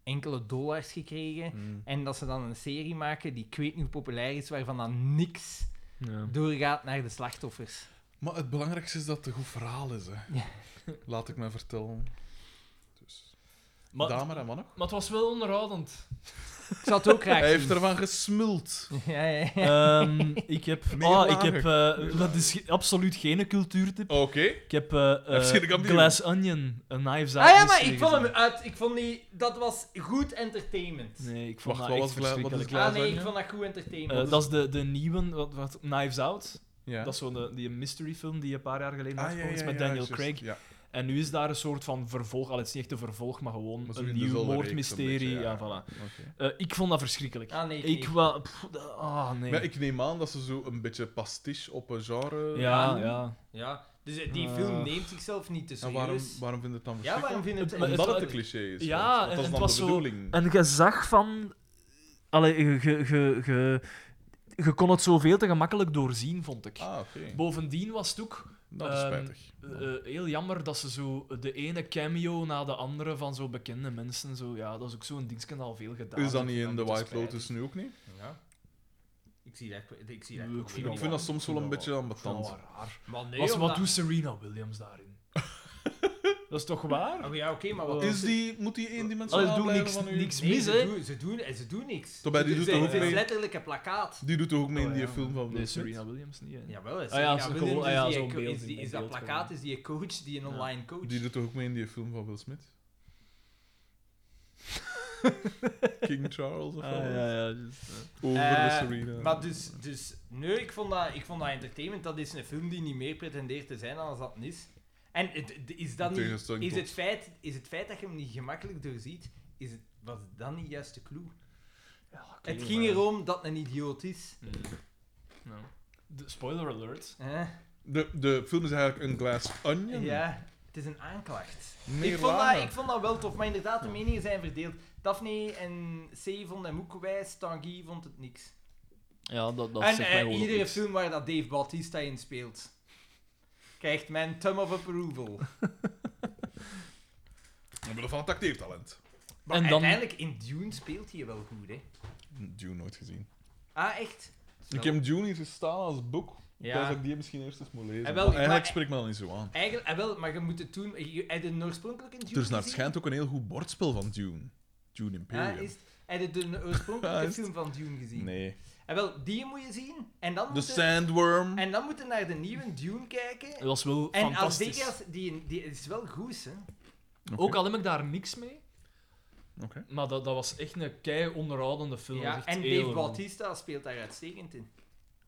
enkele dollars gekregen. mm. En dat ze dan een serie maken die ik weet niet hoe populair is, waarvan dan niks doorgaat naar de slachtoffers. Maar het belangrijkste is dat het een goed verhaal is. Hè. Ja. Laat ik mij vertellen. Dus. Maar, Damer en wat nog? maar het was wel onderhoudend. Ik zou het ook graag Hij zien. heeft ervan gesmuld. Ja, ja, ja. Ehm, ik heb... Meer Ah, ik lager. heb... eh, dat is ge- absoluut geen cultuurtip. Oké. Ik heb eh, eh, FC de kampioen. Glass Onion, een Knives Out Ah ja, maar mystery ik vond hem gezien. uit. Ik vond die... Dat was goed entertainment. Nee, ik vond Wacht, dat wat echt was Gla- wat is verschrikkelijk. Glass ah nee, ik Onion? vond dat goed Eh, entertainment. dat is de, de nieuwe, wat, wat, Knives Out. Ja. Dat is zo'n eh, die mystery film die een paar jaar geleden Ah, ja, uitgekomen is ja, met ja, Daniel juist, Craig. Ja. En nu is daar een soort van vervolg. Al het is niet echt een vervolg, maar gewoon Maar zo een in de nieuw zolle reeks moordmysterie. een beetje, ja. ja. voilà. Oké. Eh, ik vond dat verschrikkelijk. Ah nee, ik ik wel. pff, dat- ah, nee. Maar ik neem aan dat ze zo een beetje pastiche op een genre. ja, Ja. ja. Ja, dus eh, die Eh. film neemt zichzelf niet te En serieus. waarom, waarom vind je het dan Ja, verschrikkelijk? waarom vind je het... Het- maar Omdat wa- het een cliché is. Ja, want en dat is het dan was de zo- bedoeling. Een gezag van. Allee, je, je, je, je, je kon het zoveel te gemakkelijk doorzien, vond ik. Ah, oké. Bovendien was het ook Dat is Ehm, spijtig. eh, eh, heel jammer dat ze zo de ene cameo na de andere van zo bekende mensen. Zo, ja, dat is ook zo'n dingetje dat al veel gedaan. Is dat heeft, niet in de en dat is White spijtig. Lotus nu ook niet? Ja. Ik zie dat... Ik zie dat Nee, ik probleem vind niet. Ik vind dat soms wel een wel- beetje Ik vond ambetant. dat wel raar. Maar nee, Wat, omdat- wat doet Serena Williams daarin? dat is toch waar? Oh ja, oké, maar wat... Is die, moet die Allee, eendimensionaal doe blijven niks, van u? niks Nee, mis, ze, hè? doen, ze, doen, ze doen niks. Toch, bij die Ze- doet ze- toch ook Het is mee? letterlijk een plakkaat. Die doet toch ook mee in Oh, die ja. film van Will Nee, Smith? Serena Williams niet. hè. Jawel, is, Ah ja, ja, ze- Williams gewoon- ah is, ja, die zo'n co- beeld is, die- in is dat beeld plakkaat, gewoon. is die een coach, die een Ja. online coach. Die doet toch ook mee in die film van Will Smith? King Charles of Ah, wel? ja, ja, dus, eh. Over de Eh, Serena. Maar dus, dus nee, ik vond, dat, ik vond dat entertainment. Dat is een film die niet meer pretendeert te zijn dan dat het is. En het- het- is dat In niet... tegenstelling Is tot- het, feit, is het feit dat je hem niet gemakkelijk doorziet, is het, was dat niet juist de clue? Ja, oké, Het ging maar- erom dat een idioot is. Mm. Nou. De- Spoiler alert. hè? De, de film is eigenlijk een glass onion. Ja, het is een aanklacht. Meer Ik vond, dat, lager. ik vond dat wel tof, maar inderdaad, de meningen zijn verdeeld. Daphne en C vonden hem ook wijs, Tanguy vond het niks. Ja, dat, dat en eh, iedere film waar dat Dave Bautista in speelt, krijgt mijn thumb of approval. We hebben van het acteertalent. Maar En dan- uiteindelijk, in Dune speelt hij wel goed, hè. Dune nooit gezien. Ah, echt? Ik heb Dune hier gestaan als boek. Ja. Ja. Dat ik die misschien eerst eens moet lezen. En wel, Maar eigenlijk maar- spreekt me dat niet zo aan. Eigenlijk, eh, wel, maar je moet het doen... Je, heb je de oorspronkelijke Dune Er is naar het gezien? schijnt ook een heel goed bordspel van Dune. Dune Imperium. Ah, is, Oh, heb je de Ah, oorspronkelijke is- film van Dune gezien? Nee. En wel, die moet je zien. En dan The moet je- Sandworm. En dan moeten we naar de nieuwe Dune kijken. Het was wel En als fantastisch. Vegas, die, die is wel goed, hè? Oké. Ook al heb ik daar niks mee, Oké. maar dat, dat was echt een kei onderhoudende film. Dat Ja, is echt en heel Dave erg Bautista speelt daar uitstekend in.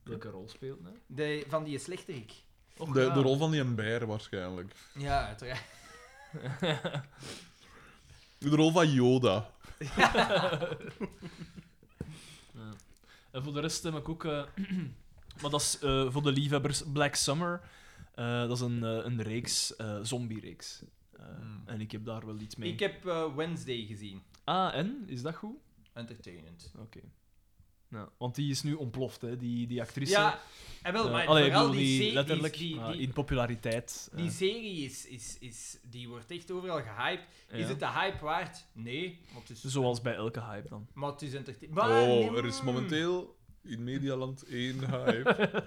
Leuke rol speelt, hè? De, van die slechterik. Och, De, ja. de rol van die Ember waarschijnlijk. Ja, uiteraard. De rol van Yoda. Ja. En voor de rest heb ik ook... eh, maar dat is eh, voor de liefhebbers Black Summer. Eh, dat is een, eh, een reeks, eh zombie-reeks. Eh, Hmm. En ik heb daar wel iets mee. Ik heb eh, Wednesday gezien. Ah, en? Is dat goed? Entertainend. Nou, want die is nu ontploft, hè, die, die actrice. Ja, en wel, Eh, maar allee, ik vooral bedoel, die, serie- letterlijk die, die, maar die, in populariteit. die eh, serie is, is, is, die wordt echt overal gehyped. ja. Dus- Is het de hype waard? Nee, maar het is, Zoals bij elke hype dan. maar het is entertainend. Oh, er is momenteel in Medialand één hype.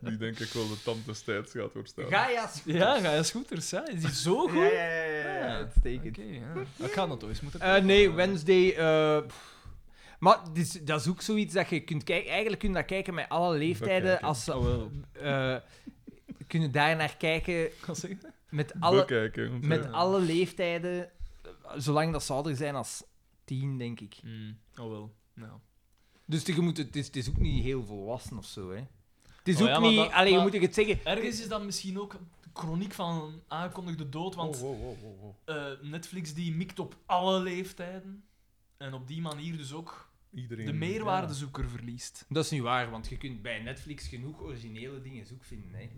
Die denk ik wel de tand destijds gaat doorstaan. Gaia Scooters. Ja, ga je scooters, hè? Is die zo goed? Ja, ja, ja, ja, ja, Ja. uitstekend. Oké, ja. Ik ga dat toch eens moeten Eh, nee, Wednesday. eh, pff. maar dit is- dat is ook zoiets dat je kunt kijken. Eigenlijk kun je dat kijken met alle leeftijden. Bekijken. Als ze Oh, eh, kunnen daar naar kijken Kan zeggen. met alle, Bekijken. eh, met Ja. alle leeftijden. eh, Zolang dat ze ouder zijn als tien, denk ik. Oh wel. Nou. Dus je moet het, het, is, het is ook niet heel volwassen of zo. Hè. Het is Oh ook ja, maar niet. dat- alleen, maar- Oh, hoe moet ik het zeggen? Ergens is dat misschien ook de chroniek van een aangekondigde dood, want Oh, oh, oh, oh, oh. eh, Netflix die mikt op alle leeftijden. En op die manier dus ook Iedereen. Mm, de meerwaardezoeker verliest. Dat is niet waar, want je kunt bij Netflix genoeg originele dingen zoeken vinden. Hè.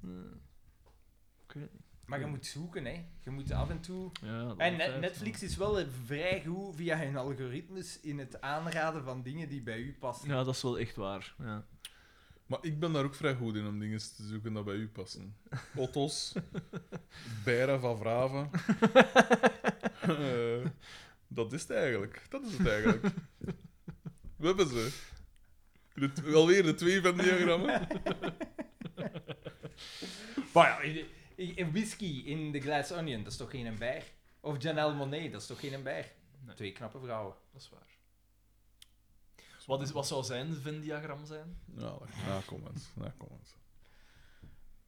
Hmm. Ik weet het niet. Maar je moet zoeken, hè. Je moet af en toe... Ja, dat En is Net- feit, Netflix is wel eh, vrij goed via hun algoritmes in het aanraden van dingen die bij u passen. Ja, dat is wel echt waar. Ja. Maar ik ben daar ook vrij goed in om dingen te zoeken dat bij u passen. Otto's, Bera van Vraven. Eh, dat is het eigenlijk. Dat is het eigenlijk. We hebben ze. De tw- alweer de twee van diagrammen. Maar ja, i- i- i- whisky in de glass onion, dat is toch geen bier? Of Janelle Monet, dat is toch geen bijer? Nee. Twee knappe vrouwen. Dat is waar. Wat, is, wat zou zijn Venn-diagram zijn? Ja, na comments. Na comments.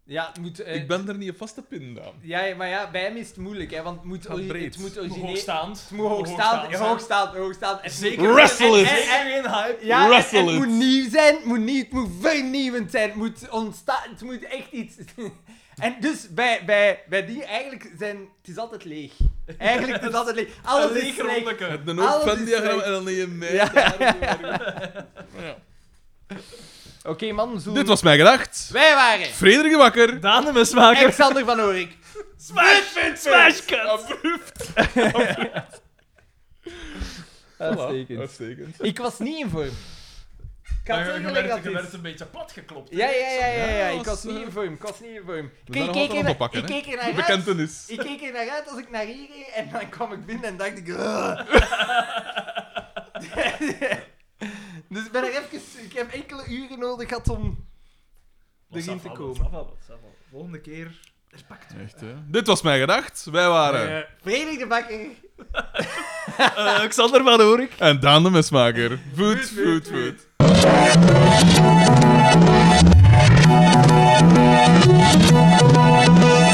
Ja, het moet... eh, Ik ben er niet op vast te pinnen, Daan. Ja, maar ja, bij hem is het moeilijk, hè, want het moet, Gaat ori- breed. het moet origineel... Hoogstaand. Het moet hoogstaand, zijn. hoogstaand, hoogstaand. En Zeker. Wrestle it. En- en- en- geen hype. Ja, het, Wrestle het it. moet nieuw zijn, het moet, niet, het moet vernieuwend zijn, het moet ontstaan, het moet echt iets... En dus bij, bij, bij die eigenlijk zijn... Het is altijd leeg. Eigenlijk het is altijd leeg. Alles Een is leeg leeg. rondeke. Het een Alles is hoop Venn-diagram leuk. en dan neem je mij. Ja. Ja. Oké man, zo. Dit was mijn gedacht. Wij waren Frederik de Bakker. Daan de mesmaker. Alexander van Oorik. Smash, smash, cut. Voilà, Uitstekend. Ik was niet in vorm. Ik had Je zeggen werd- dat je is. werd een beetje platgeklopt. hè? Ja, ja, ja, ja, ja, Ja, ik was, was niet eh, in vorm, ik was niet in vorm. Ik zijn keek- nog keek altijd er aan het naar- oppakken, ik hè? keek er De naar uit, bekentenis. ik keek er naar uit als ik naar hier ging en dan kwam ik binnen en dacht ik... "Ugh." dus ik ben er even... Ik heb enkele uren nodig gehad om... Maar erin te ça va, komen. ça va wel, ça va. Volgende keer. Echt, hè. Dit was mijn gedacht. Wij waren... Frederik de Bakker, Alexander van Oorik. En Daan de Mesmaker. Voet, voet, voet.